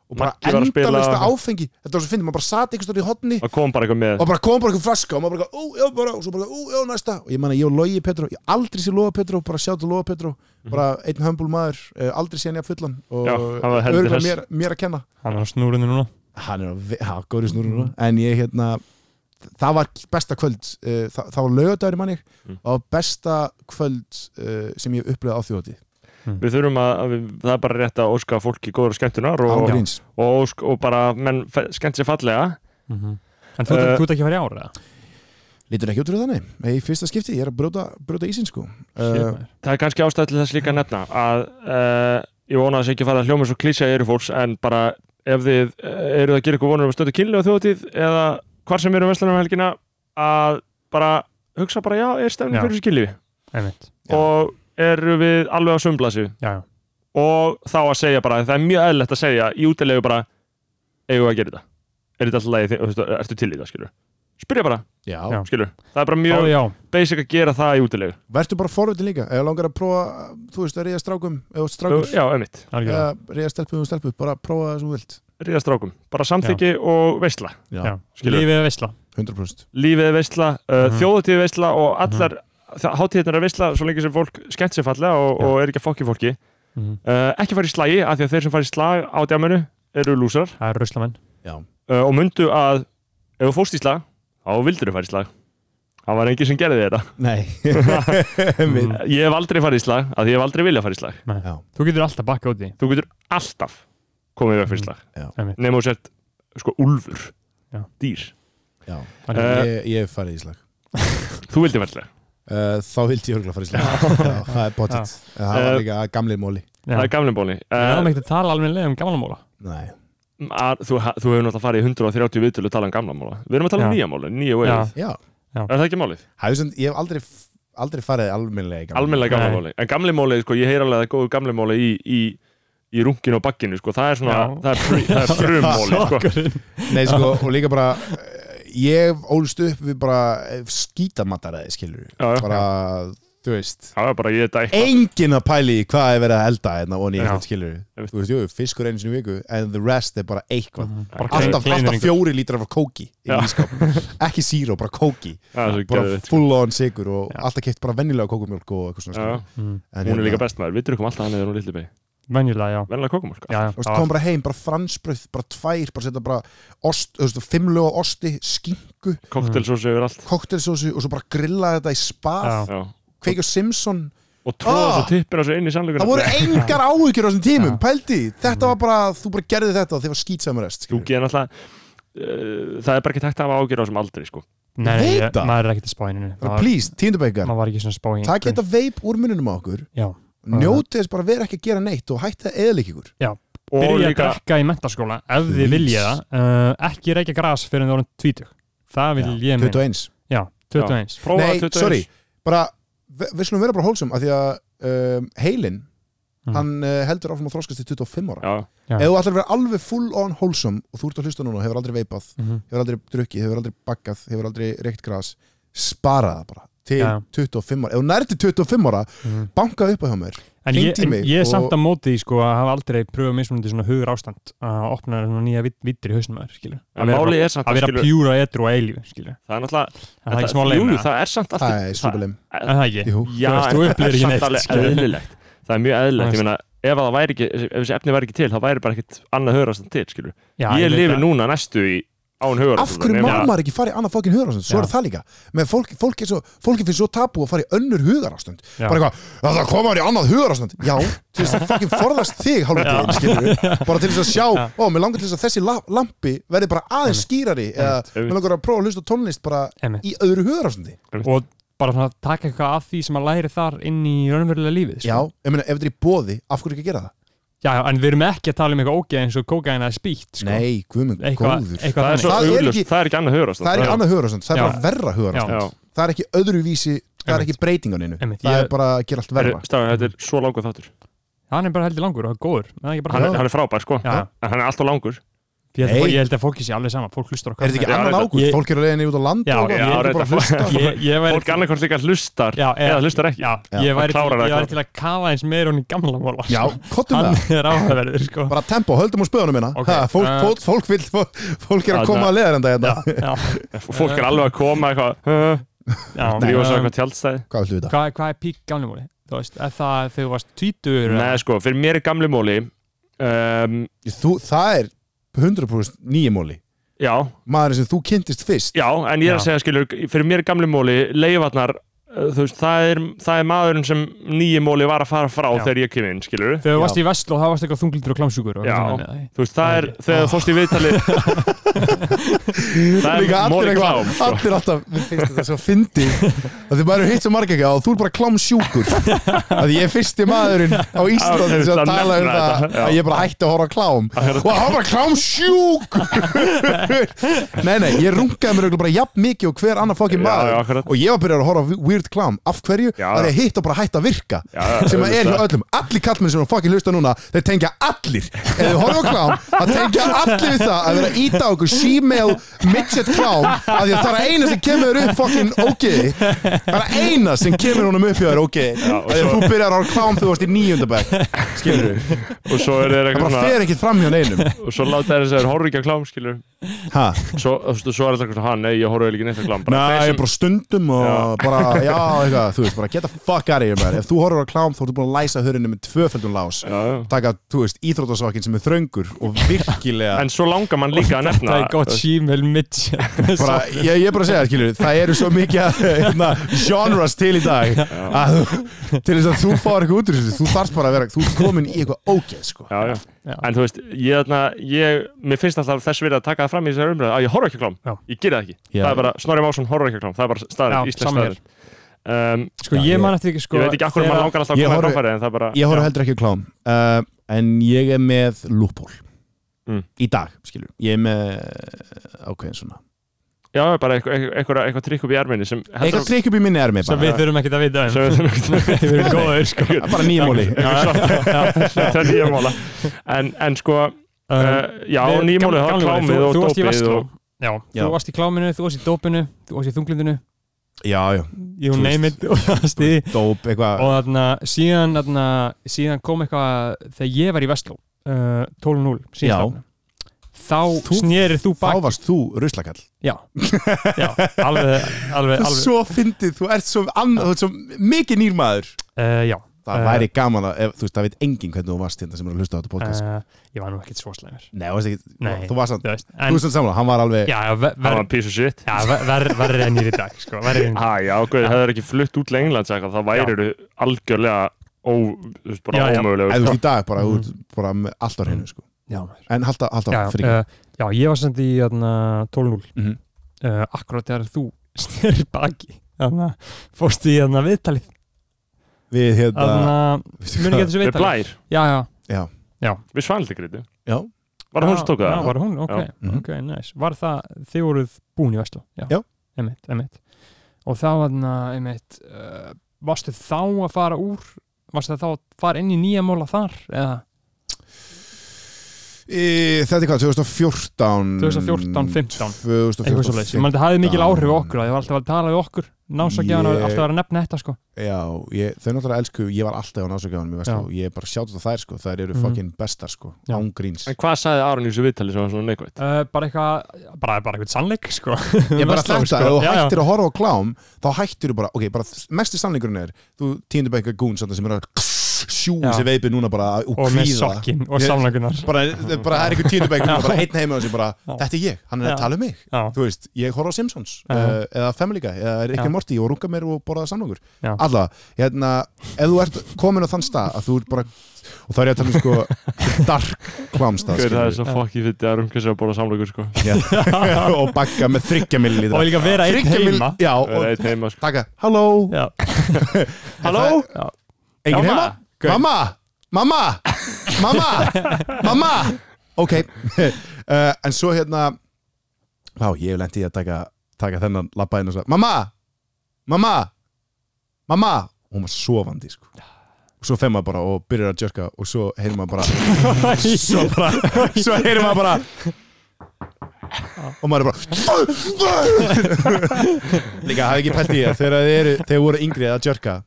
Speaker 5: og bara
Speaker 1: Maggi var að spila hérna.
Speaker 5: endalista
Speaker 1: og-
Speaker 5: áfengi þetta var svo fyndið, maður bara sat einhvers stóri í hotni
Speaker 1: Það kom bara eitthvað með
Speaker 5: og bara kom bara eitthvað flaska og maður bara, ú, já, bara, og svo bara, ú, já, næsta og ég man að ég og Logi Petró, ég aldrei sé Loga Petró bara sjá til Loga Petró, bara einn hömbul maður eh, aldrei sé hann ég að fullan og
Speaker 1: Mhm. Já, hann var heldur
Speaker 5: örugglega
Speaker 1: hress.
Speaker 5: mér, mér að kenna
Speaker 2: Hann er á snúrinu núna
Speaker 5: hann er á, ve- ha, góri snúru núna en ég, hérna, það var besta kvöld uh, það, það var lögadagur í manni
Speaker 1: Mm.
Speaker 5: og það var besta kvöld uh, sem ég upplöði á þjóti
Speaker 1: Við þurfum að, að við, það er bara rétt að óska fólki góður skemmtunar og,
Speaker 5: ángríns,
Speaker 1: og, ósk, og bara menn fe- skemmt sér fallega
Speaker 2: En þú, uh,
Speaker 1: Eh,
Speaker 2: þú ert ekki að fara í ára?
Speaker 5: lítur ekki út úr þannig í fyrsta skipti, ég er að brjóta, brjóta ísinn sko uh,
Speaker 2: Uh,
Speaker 1: Það er kannski ástæð til þess líka að nefna að uh, ég vona þess ekki að fara að hljóma svo klísja eru fólks en bara ef þið uh, eruð að gera ykkur vonur um að stönda kynlega þjóðatíð eða hvar sem eru veslanum helgina að bara hugsa bara já, er stefning
Speaker 2: Já.
Speaker 1: fyrir þessu kynlífi
Speaker 2: Einmitt
Speaker 5: Já.
Speaker 1: og eru við alveg á sumblasu
Speaker 2: já, já,
Speaker 1: og þá að segja bara, það er mjög eðlilegt að segja í útilegu bara, eigum við að gera þetta er þetta alltaf leið, þú veist, ertu til í það skilur spyrja bara,
Speaker 5: Já.
Speaker 2: Já.
Speaker 1: skilur það er bara
Speaker 2: já,
Speaker 1: mjög
Speaker 2: já.
Speaker 1: basic að gera það í útilegu
Speaker 5: Vertu bara forvitin líka, ef þú langar að prófa þú veist, að ríða strákum, eða strákur
Speaker 1: já, einmitt,
Speaker 2: algjörlega.
Speaker 5: eða ríða stelpu um stelpu, bara prófa það sem þú vilt
Speaker 1: ríða strákum bara samþyggi og veistla
Speaker 2: Já.
Speaker 1: skilur.
Speaker 2: lífið er veistla
Speaker 5: 100%
Speaker 1: lífið er veistla, uh,
Speaker 2: Mhm.
Speaker 1: þjóðutíð veistla og allar mm. hátíðnar er veistla svo lengi sem fólk skemmt sér fallega og,
Speaker 2: Já.
Speaker 1: og er ekki að fokki fólki uh, ekki fara í slagi, af því að þeir sem fara í slag á djáminu eru lúsar
Speaker 2: það er ruslamenn
Speaker 5: Já,
Speaker 1: uh, og myndu að ef þú fórst í slag, þá vildur þú fara í slag það var engin sem gerði þetta
Speaker 5: nei
Speaker 2: Mm.
Speaker 1: ég hef aldrei farið í slag, af því ég hef aldrei viljað fara í slag
Speaker 2: þú getur alltaf bakka út í
Speaker 1: þú getur alltaf komið í veg fyrir slag
Speaker 2: Einmitt.
Speaker 1: nema þú sért sko úlfur
Speaker 2: Já.
Speaker 1: dýr,
Speaker 5: Já,
Speaker 2: Þannig,
Speaker 1: Eh.
Speaker 5: ég, ég hef farið í slag
Speaker 1: þú vildi fara í slag
Speaker 5: uh, Þá vildi ég örgulega fara í slag Já, það er pottitt Það
Speaker 1: Eh,
Speaker 5: var líka gamli móli
Speaker 2: já.
Speaker 1: það er gamleinbóni
Speaker 2: við
Speaker 1: uh,
Speaker 2: erum ekkert að tala almennilega um gammalmóla
Speaker 5: Nei,
Speaker 1: að, þú, ha- þú hefur náttúrulega farið í 130 viðtölu að tala um gamla mála við erum að tala um
Speaker 2: Já.
Speaker 1: nýja mála, nýja veið
Speaker 5: já
Speaker 1: er það ekki málið?
Speaker 5: Hæðu sem, ég hef aldrei, aldrei farið almennlega í gamli
Speaker 1: almennilega gamla
Speaker 2: Nei.
Speaker 1: máli en gamli máli, sko, ég heyr alveg að það er góðu gamli máli í, í, í rungin og bakkinu sko. það er svona,
Speaker 2: Já.
Speaker 1: það er, fri, það er frummáli sko.
Speaker 5: Nei, sko, og líka bara eh, Ég ólst upp við bara skítamattaræði, skilur
Speaker 1: Já, já.
Speaker 5: Bara, þú veist
Speaker 1: það er bara ég þetta eitthvað
Speaker 5: Engin að pæli í hvað er verið að elda hérna og
Speaker 1: Já.
Speaker 5: nýja þetta skilur
Speaker 1: Einmitt. Mhm.
Speaker 5: Þú veist, jú, fiskur einu sinni í viku en the rest er bara eitthvað
Speaker 2: bara klein-
Speaker 5: Alltaf,
Speaker 2: kleinur
Speaker 5: alltaf
Speaker 2: einhver.
Speaker 5: fjóri lítrar af kóki inn
Speaker 1: Já.
Speaker 5: í skáp Ekki síró, bara kóki
Speaker 1: Það er svo
Speaker 5: Bara
Speaker 1: geðveikt, sko.
Speaker 5: full on sigur og
Speaker 2: Já.
Speaker 5: alltaf keitt bara vennilega kókumjólk og eitthvað svona
Speaker 1: Já.
Speaker 5: skilur.
Speaker 2: Mm.
Speaker 5: En
Speaker 1: sko. hún er
Speaker 5: hérna-
Speaker 1: líka best maður, við drukum alltaf hann eða hún lilli beig
Speaker 2: venjulega, já,
Speaker 1: venlega kókumál
Speaker 2: já, já.
Speaker 5: Þú veist,
Speaker 2: það
Speaker 5: kom
Speaker 2: var-
Speaker 5: bara heim, bara fransbröð, bara tvær, bara setja bara ost, þú veist, fimmlu og osti, skingu,
Speaker 1: koktelsósi yfir allt
Speaker 5: koktelsósu og svo bara grilla þetta í spað,
Speaker 2: Já.
Speaker 1: já.
Speaker 5: kveikja á Simpson.
Speaker 1: og tróða
Speaker 5: Ah!
Speaker 1: svo tippin á svo inn í sannleikuna
Speaker 5: Það voru engar áhyggjur á þessum tímum,
Speaker 2: Já.
Speaker 5: pældi, í. þetta var bara, þú bara gerði þetta og þið var skýtsamur
Speaker 1: Mm.
Speaker 5: rest.
Speaker 1: þú
Speaker 5: skilur.
Speaker 1: geðan alltaf uh, það er bara ekki takt að hafa ágjur á þessum aldrei sko.
Speaker 2: Nei, nei,
Speaker 5: Veit
Speaker 2: ég-
Speaker 5: það.
Speaker 2: maður er ekkert að spá einu
Speaker 5: Bara please, tíndabækjar,
Speaker 2: maður var ekki svona að spá í
Speaker 5: takk
Speaker 2: einhverju.
Speaker 5: þetta veip úr mununum á okkur,
Speaker 2: já,
Speaker 5: njótið þess bara að vera ekki að gera neitt og hætta að eðlík ykkur.
Speaker 1: og
Speaker 2: byrja
Speaker 1: líka
Speaker 2: að drekka í mentaskóla ef þið
Speaker 5: Please.
Speaker 2: vilja það uh, ekki reykja gras fyrir en það vorum 20 það vil ég meina
Speaker 5: 21.
Speaker 2: já, 21
Speaker 1: Já. Prófa
Speaker 5: Nei,
Speaker 1: 21.
Speaker 5: sorry, bara, vi- við slum vera bara hólsum, af því að um, heilin,
Speaker 2: Mhm.
Speaker 5: hann uh, heldur áfram að þroskast til 25 ára.
Speaker 1: já,
Speaker 2: Já.
Speaker 5: Ef þú ætlar að vera alveg full on wholesome og þú ert að hlusta núna og hefur aldrei veipað,
Speaker 2: Mhm.
Speaker 5: hefur aldrei drukkið, hefur aldrei bakkað, hefur aldrei reykt gras, spara það bara til
Speaker 2: Já.
Speaker 5: 25 ára. Ef þú nærti 25 ára,
Speaker 2: Mhm.
Speaker 5: bankað upp á hjá mér.
Speaker 2: en ég,
Speaker 5: hringdu í
Speaker 2: en
Speaker 5: mig
Speaker 2: ég er
Speaker 5: og-
Speaker 2: samt að móti því sko að hafa aldrei pröfað mismunandi svona hugur ástand að opna svona nýja vittir í hausnum maður skilur
Speaker 1: En
Speaker 2: að
Speaker 1: málið
Speaker 2: vera,
Speaker 1: er samt
Speaker 2: að
Speaker 1: að
Speaker 2: vera
Speaker 1: skilur-
Speaker 2: pjúra etru og eilífi skilur
Speaker 1: það er náttúrulega
Speaker 2: en það er ekki smá
Speaker 1: jú,
Speaker 2: leina
Speaker 1: jú, það er samt alltaf
Speaker 5: Það er súbelum.
Speaker 2: en það ekki
Speaker 5: Jú.
Speaker 1: Já,
Speaker 2: veist,
Speaker 1: en
Speaker 2: þú
Speaker 1: það
Speaker 2: upplifir
Speaker 1: er
Speaker 2: ekki
Speaker 1: samt
Speaker 2: neitt,
Speaker 1: alveg
Speaker 2: skilur.
Speaker 1: eðlilegt það er mjög eðlilegt,
Speaker 2: Þú
Speaker 1: ég meina ef, að það væri ekki, ef þessi efni væri ekki til þá væri bara ekkit annað höfðarastan til skilur.
Speaker 2: Já,
Speaker 1: ég
Speaker 2: veit
Speaker 1: lifi
Speaker 2: að-
Speaker 1: núna næstu í án sko.
Speaker 5: Af
Speaker 1: höfðarastan
Speaker 5: hverju má maður ekki fara í annað fokkin hugarástönd?
Speaker 2: Já.
Speaker 5: Svo er það líka. Men fólk, fólk, er svo, fólk finnst svo tabu að fara í önnur hugarástönd.
Speaker 2: Já.
Speaker 5: Bara eitthvað, "Já, það koma maður í annað hugarástönd. Já, til þess að fokkin forðast þig hálfveitin, skilur við. Bara til þess að sjá, ó, mér langar til þess að þessi la lampi verði bara aðeins skýrari eða mér langar að prófa að hlusta á tónlist bara
Speaker 2: Einmitt.
Speaker 5: í öðru hugarástöndi.
Speaker 2: og bara svona taka eitthvað af því sem að læri þar inn í raunverulega lífið
Speaker 5: Já,
Speaker 2: sko.
Speaker 5: ég meina, ef þetta er í bóði, af hverju ekki að gera það?
Speaker 2: já, já, en við erum ekki að tala um eitthvað ógeð eins og kókaina eða spýtt sko.
Speaker 5: Nei, guðmund,
Speaker 2: eitthvað,
Speaker 5: góður
Speaker 2: eitthvað
Speaker 1: það er
Speaker 2: þannig.
Speaker 1: svo
Speaker 5: Það er
Speaker 1: augljóst,
Speaker 5: ekki-
Speaker 1: það er ekki annað sko. höfðarastan
Speaker 5: Það er ekki annað hugarástönd, það er
Speaker 2: Já.
Speaker 5: bara verra hugarástönd
Speaker 1: Já.
Speaker 5: Það er ekki öðruvísi, það er
Speaker 2: Einmitt.
Speaker 5: ekki breytinganinu
Speaker 2: Einmitt,
Speaker 5: Það
Speaker 2: ég-
Speaker 5: er bara að gera allt verra
Speaker 1: Stafi, þetta er svo langur þáttur
Speaker 2: hann er bara heldur langur og góður hann er,
Speaker 1: hann
Speaker 2: bara,
Speaker 1: er, hann er frábær sko,
Speaker 2: Já.
Speaker 1: en hann er alltaf langur
Speaker 2: ég, held að,
Speaker 5: Nei.
Speaker 2: fólk- ég held að fólki sé alveg sama fólk hlustar á
Speaker 5: Er þetta ekki
Speaker 1: Já,
Speaker 5: annan
Speaker 1: reyndar.
Speaker 5: ágúst?
Speaker 2: Ég-
Speaker 5: Fólk eru leiðinni út á land
Speaker 2: Já, já,
Speaker 5: og eitthvað, ég er bara að
Speaker 1: reyndar.
Speaker 5: hlusta
Speaker 2: ég, ég væri,
Speaker 1: fólk annarkvort líka hlustar
Speaker 2: já,
Speaker 1: eða hlustar ekki
Speaker 2: já,
Speaker 5: Já.
Speaker 2: ég væri,
Speaker 1: Það klárar
Speaker 2: til, ég
Speaker 1: það.
Speaker 2: væri til að kafa eins meira hún í gamla móla
Speaker 5: Já, kottum
Speaker 2: hann
Speaker 5: það
Speaker 2: er áhugaverður sko.
Speaker 5: Bara tempo, höldum úr spöðunum minna
Speaker 2: Ok.
Speaker 5: ha, fólk,
Speaker 2: Uh,
Speaker 5: fólk, fólk, vill, fólk, fólk er
Speaker 1: Já,
Speaker 5: að koma
Speaker 1: það-
Speaker 5: að leiðar enda
Speaker 2: já,
Speaker 5: hérna
Speaker 2: já,
Speaker 1: fólk er alveg að koma eitthvað "Huh?"
Speaker 2: já.
Speaker 1: drífa svo
Speaker 2: Um,
Speaker 1: eitthvað tjaldstæði
Speaker 5: Hvað viltu þetta?
Speaker 2: hvað, hvað er pík gamla móli þú veist, er það þegar þú varst tvítur
Speaker 1: Nei sko, fyrir mér er gamli móli um,
Speaker 5: Þú, það er 100% nýja móli
Speaker 1: já,
Speaker 5: Maðurinn sem þú kynntist fyrst
Speaker 1: já, en ég er
Speaker 2: Já.
Speaker 1: að segja skilur fyrir mér er gamli móli, leifarnar þú veist, það er, það er maðurinn sem nýji móli var að fara frá
Speaker 2: Já.
Speaker 1: þegar ég kem inn skilur
Speaker 2: þegar þú varst í Vestló þá varst eitthvað þunglindur og klámsjúkur
Speaker 1: Já.
Speaker 2: og eitthvað þannig, eða?
Speaker 1: þú veist, það er, þegar þú fórst í viðtali Það er
Speaker 5: Líka allir
Speaker 1: more
Speaker 5: eitthvað,
Speaker 1: klám, sko.
Speaker 5: allir alltaf Mér finnst þetta svo fyndi að þið bara eru hitt svo margir ekki og þú er bara klámsjúkur að ég er fyrsti maðurinn á Íslandi
Speaker 1: Já,
Speaker 5: sem
Speaker 1: það
Speaker 5: að tala um
Speaker 1: nefna
Speaker 5: það
Speaker 1: þetta, já.
Speaker 5: að ég bara hætti að horfa á klám og hann bara klámsjúkur Nei, nei, ég rungaði mér örugglega bara jafn mikið og hver annar fokkin
Speaker 1: Já, já,
Speaker 5: maður
Speaker 1: akkurat.
Speaker 5: og ég var byrjar að horfa á weird klám af hverju?
Speaker 1: Já.
Speaker 5: Það er hitt og bara hætti að virka
Speaker 1: Já, já,
Speaker 5: sem að er hjá
Speaker 1: auðvitað.
Speaker 5: öllum allir kallmenn sem eru að fucking hlusta núna þeir tengja allir ef þið horfum á klám það tengja allir við það að vera að íta á okkur Gmail midget klám af því að það er að eina sem kemur þér upp fucking ógeði það er að eina sem kemur honum upp hjá þér ógeði
Speaker 1: Já, og
Speaker 5: að því að þú byrjar á klám þegar þú varst í nýjöndabæk skilur við það
Speaker 1: og svo er þeir eitthvað
Speaker 5: bara
Speaker 1: svona
Speaker 5: fer ekkert fram hjá neinum
Speaker 1: og svo láta þeir þess að þeir horfa ekki að klám skilur
Speaker 5: ha.
Speaker 1: svo, þú veist, og svo er alltaf eitthvað svona, ha, nei, ég horfa ekki neitt að klám bara,
Speaker 5: Nei,
Speaker 1: þeir
Speaker 5: sem...
Speaker 1: sem,
Speaker 5: bara stundum og bara, já, eitthvað, þú veist, bara get the fuck out of here, man. Ef þú horfur á klám, þá ertu búin að læsa hörinu með tvöföldun lás.
Speaker 1: já, já.
Speaker 5: Taka, þú veist, íþrótasokkin sem er þröngur og virkilega
Speaker 1: en svo langar mann líka að nefna
Speaker 2: Það er gott Gmail mitt
Speaker 5: bara, ég, ég er bara að segja, skilur, það eru svo mikið að, hérna, genres til í dag að, þú- til þess að þú fáir eitthvað út úr þessu, þú þarfst bara að vera þú ert komin í eitthvað ógeð, sko
Speaker 1: já, já.
Speaker 2: Já.
Speaker 1: en þú veist, ég, þarna, ég mér finnst alltaf þess verið að taka það fram í þessari umræðu að ég horfa ekki að klám,
Speaker 2: Já.
Speaker 1: ég geri það ekki
Speaker 5: Já.
Speaker 1: það er bara, Snorri Másson horfa ekki að klám, það er bara
Speaker 2: Já,
Speaker 1: staðin, íslensk
Speaker 2: sama hér.
Speaker 1: staðin um,
Speaker 2: Sko
Speaker 5: Já,
Speaker 2: ég
Speaker 5: ég-
Speaker 2: man eftir ekki sko
Speaker 1: ég veit ekki akkur maður
Speaker 2: þegar-
Speaker 1: langar alltaf að
Speaker 5: Ég
Speaker 1: koma
Speaker 5: horfi-
Speaker 1: horf, framfæri en það er bara,
Speaker 5: ég horf heldur ekki á klám uh, en ég er með loophole
Speaker 1: Mm.
Speaker 5: í dag, skilur, ég er með uh, ákveðin svona,
Speaker 1: já, bara eitthvað eitthvað, eitthvað, eitthvað trikk upp í erminni sem heldur
Speaker 5: eitthvað trikk upp í minni ermi
Speaker 2: Sem
Speaker 5: bara,
Speaker 2: við þurfum ekkert að vita um
Speaker 1: sem
Speaker 2: Við erum góður sko
Speaker 5: Það er bara nýjumóli
Speaker 1: þetta er nýja mála en, en sko, uh, já,
Speaker 2: Um, Við-
Speaker 1: nýmólið það er
Speaker 2: gamli- gamli
Speaker 1: klámið
Speaker 2: þú-
Speaker 1: og
Speaker 2: þú varst í
Speaker 1: dópið
Speaker 2: Vestló.
Speaker 1: og
Speaker 2: Já,
Speaker 5: Já.
Speaker 2: þú varst í kláminu, þú varst í dópinu Þú varst í þunglindinu,
Speaker 5: já, já,
Speaker 2: you
Speaker 5: Þú
Speaker 2: name
Speaker 5: veist.
Speaker 2: it og það varst í því.
Speaker 5: dóp, eitthvað
Speaker 2: Og þarna, síðan, þarna, síðan kom eitthvað Þegar ég var í Vestló uh, 12.0
Speaker 5: Já.
Speaker 2: síðast þarna. Þá
Speaker 5: Þú-
Speaker 2: snerið þú
Speaker 5: þá
Speaker 2: bak
Speaker 5: varst þú ruslakall
Speaker 2: Já, já, alveg, alveg, alveg
Speaker 5: svo fyndið, þú ert svo, anna, þú ert svo mikið nýrmaður
Speaker 2: uh, Já,
Speaker 5: það
Speaker 2: Eh.
Speaker 5: væri gaman að, ef, þú veist, það veit enginn hvernig þú varst hérna sem er að hlusta á þetta podcast
Speaker 2: uh, ég var nú ekkert svo slæmur
Speaker 5: Nei, þú varst ekki,
Speaker 2: Nei.
Speaker 5: þú varst hann
Speaker 2: Þú veist,
Speaker 5: Þú
Speaker 2: en,
Speaker 5: veist hann samla, hann var alveg
Speaker 2: já, já, ver,
Speaker 1: það var
Speaker 2: ver,
Speaker 1: að písa sitt
Speaker 2: já, ver, ver, verri en ég er í dag sko, verri en,
Speaker 1: Hæ, já, guð, það er ekki flutt út lenglands eitthvað, það
Speaker 2: Já.
Speaker 1: væri algjörlega ó, þú veist, bara
Speaker 2: Já, já.
Speaker 1: ómögulega
Speaker 5: Eða þú veist í dag bara, mm. bara með allt á hreinu sko.
Speaker 2: já, maður.
Speaker 5: En halda, halda
Speaker 2: já,
Speaker 5: fyrir
Speaker 2: uh, já, ég var samt í þarna, 12.0
Speaker 5: Mhm.
Speaker 2: uh, akkurat þegar þú sneri baki þarna, fórstu í þarna viðtalið
Speaker 5: Við hérna
Speaker 2: þarna, muni ekki þessu
Speaker 1: Við
Speaker 2: viðtalið
Speaker 1: blær,
Speaker 2: já, já,
Speaker 1: við svaldigriðu
Speaker 5: Já,
Speaker 1: Var það hún sem tók
Speaker 2: já,
Speaker 1: það?
Speaker 2: var hún, ok,
Speaker 1: Já.
Speaker 5: Mhm.
Speaker 2: ok, nice var það, þið voruð búin í Vestló já,
Speaker 5: Já.
Speaker 2: Einmitt, einmitt. og þá þarna, einmitt uh, varstu þá að fara úr varstu þá að fara inn í nýja móla þar eða,
Speaker 5: e, þetta er hvað, 2014
Speaker 1: Mm,
Speaker 2: 2014, 15. eitthvað
Speaker 5: 2014,
Speaker 2: svolítið, ég man þetta hafði mikil áhrif á
Speaker 5: 15.
Speaker 2: okkur, það var alltaf að tala við okkur násakjafan
Speaker 5: Ah. Ég-
Speaker 2: og alltaf að vera að nefna þetta sko
Speaker 5: Já, ég, þau náttúrulega elsku, ég var alltaf á násugjáðanum í Vestló, ég er bara sjátt á þær sko, þær eru
Speaker 2: Mhm.
Speaker 5: fucking bestar sko,
Speaker 2: Já.
Speaker 5: án gríns
Speaker 1: En hvað sagði Aron í þessu viðtali sem var svona neikvægt?
Speaker 2: uh, bara eitthvað, bara, bara eitthvað sannleik sko
Speaker 5: Ég bara þetta, ef
Speaker 2: Já,
Speaker 5: þú
Speaker 2: já.
Speaker 5: hættir að horfa á klám þá hættir þú bara, ok, bara mesti sannleikurinn er, þú týndur bara eitthvað gún sem er að sjúi
Speaker 2: Já.
Speaker 5: sér veipi núna bara og
Speaker 2: og með
Speaker 5: kvíða
Speaker 2: sokkin og
Speaker 5: Ég-
Speaker 2: samlangunar
Speaker 5: bara, bara það er einhver týndur bara bara einn heima og sér bara,
Speaker 2: Já.
Speaker 5: þetta er ég, hann er
Speaker 2: Já.
Speaker 5: að tala um mig
Speaker 2: já,
Speaker 5: þú veist, ég horfa á Simpsons
Speaker 2: Já.
Speaker 5: uh, eða Family Guy, eða Rick
Speaker 2: Já.
Speaker 5: and Morty og runga mér og borðaða samlokur
Speaker 2: Já.
Speaker 5: alla, hérna, ef þú ert komin á þann stað að þú ert bara, og þá er ég að tala um sko dark klámstað
Speaker 1: Hver það er
Speaker 5: skilurðu.
Speaker 1: svo fokki fytti að runga sér að borða samlokur sko
Speaker 5: Já. hérna, og bakka með þryggja millilítra
Speaker 2: og líka vera einn
Speaker 5: Þriggja mill-
Speaker 2: heima
Speaker 5: já,
Speaker 1: Það er
Speaker 5: og
Speaker 1: eitt heima sko
Speaker 5: taka, halló
Speaker 2: já,
Speaker 1: Halló?
Speaker 5: Engin
Speaker 1: Mamma?
Speaker 5: heima? Mamma! Mamma! Mamma! Mamma! Ok, uh, en svo hérna Já, ég hef lent í að taka, taka þennan labba inn og svo Mamma! Mamma! Mamma! Og hún var sofandi, sko Og svo fer maður bara og byrjar að jörka og svo heyrir maður bara Svo bara Svo heyrir maður bara Og maður er bara Líka, hafi ekki pælt í það Þegar þeir, eru, þeir voru yngri að jörka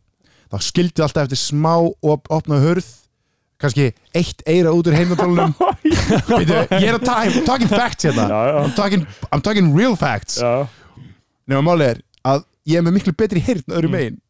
Speaker 5: þá skildi alltaf eftir smá op opna hörð kannski eitt eira út úr heimdalunum ég er að ta I'm talking facts
Speaker 1: Oh, Já,
Speaker 5: hérna
Speaker 1: já,
Speaker 5: I'm talking, I'm talking real facts
Speaker 1: já
Speaker 5: nema málið er að ég er með miklu betri heyrn öðrum megin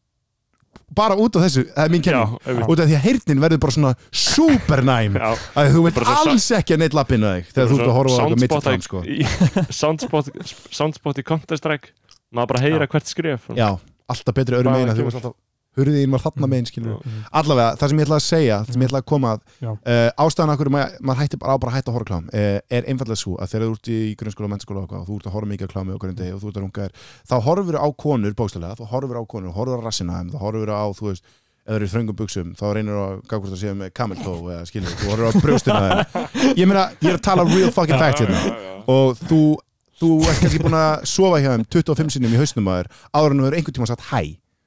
Speaker 5: bara út af þessu, það er mín
Speaker 1: Mm. Já,
Speaker 5: kenning
Speaker 1: einmitt.
Speaker 5: út af því að heyrnin verður bara svona supernæm
Speaker 1: Já.
Speaker 5: að þú veit
Speaker 1: Bara svo sa-
Speaker 5: alls ekki að neitt lappinu þig þegar þú ert að horfa á eitthvað mitt í fram sko.
Speaker 1: í- Soundspot Soundspot í Counter Strike maður bara heyra hvert skref
Speaker 5: já, alltaf betri öðrum
Speaker 1: Bara
Speaker 5: megin að
Speaker 1: ekki
Speaker 5: þú varst alltaf hurðin var þarna megin skilur allavega, það sem ég ætla að segja, það sem ég ætla að koma að
Speaker 2: Já.
Speaker 5: uh, ástæðan af hverju maður, maður hætti bara á bara að hætta að horfa á klám uh, er einfallega svo að þegar þú ert í grunnskóla og mennskóla og, eitthvað og þú ert að horfa mikið á klámi og hverjum degi og þú ert að runga þér, þá horfur á konur bókstælega, þú horfur á konur, horfur á rassina þeim, þú horfur á, þú veist, eða eru í þröngum buksum, þá reynir að gagvort að séu með kameltó eða skilur, þú horfur á brjóstina þeim ég meina, ég er að tala real fucking fact hérna og þú, þú ert kannski búin að sofa hjá þeim 25 sinnum í hausnum maður áður en þú hefur einhvern tíma sagt hæ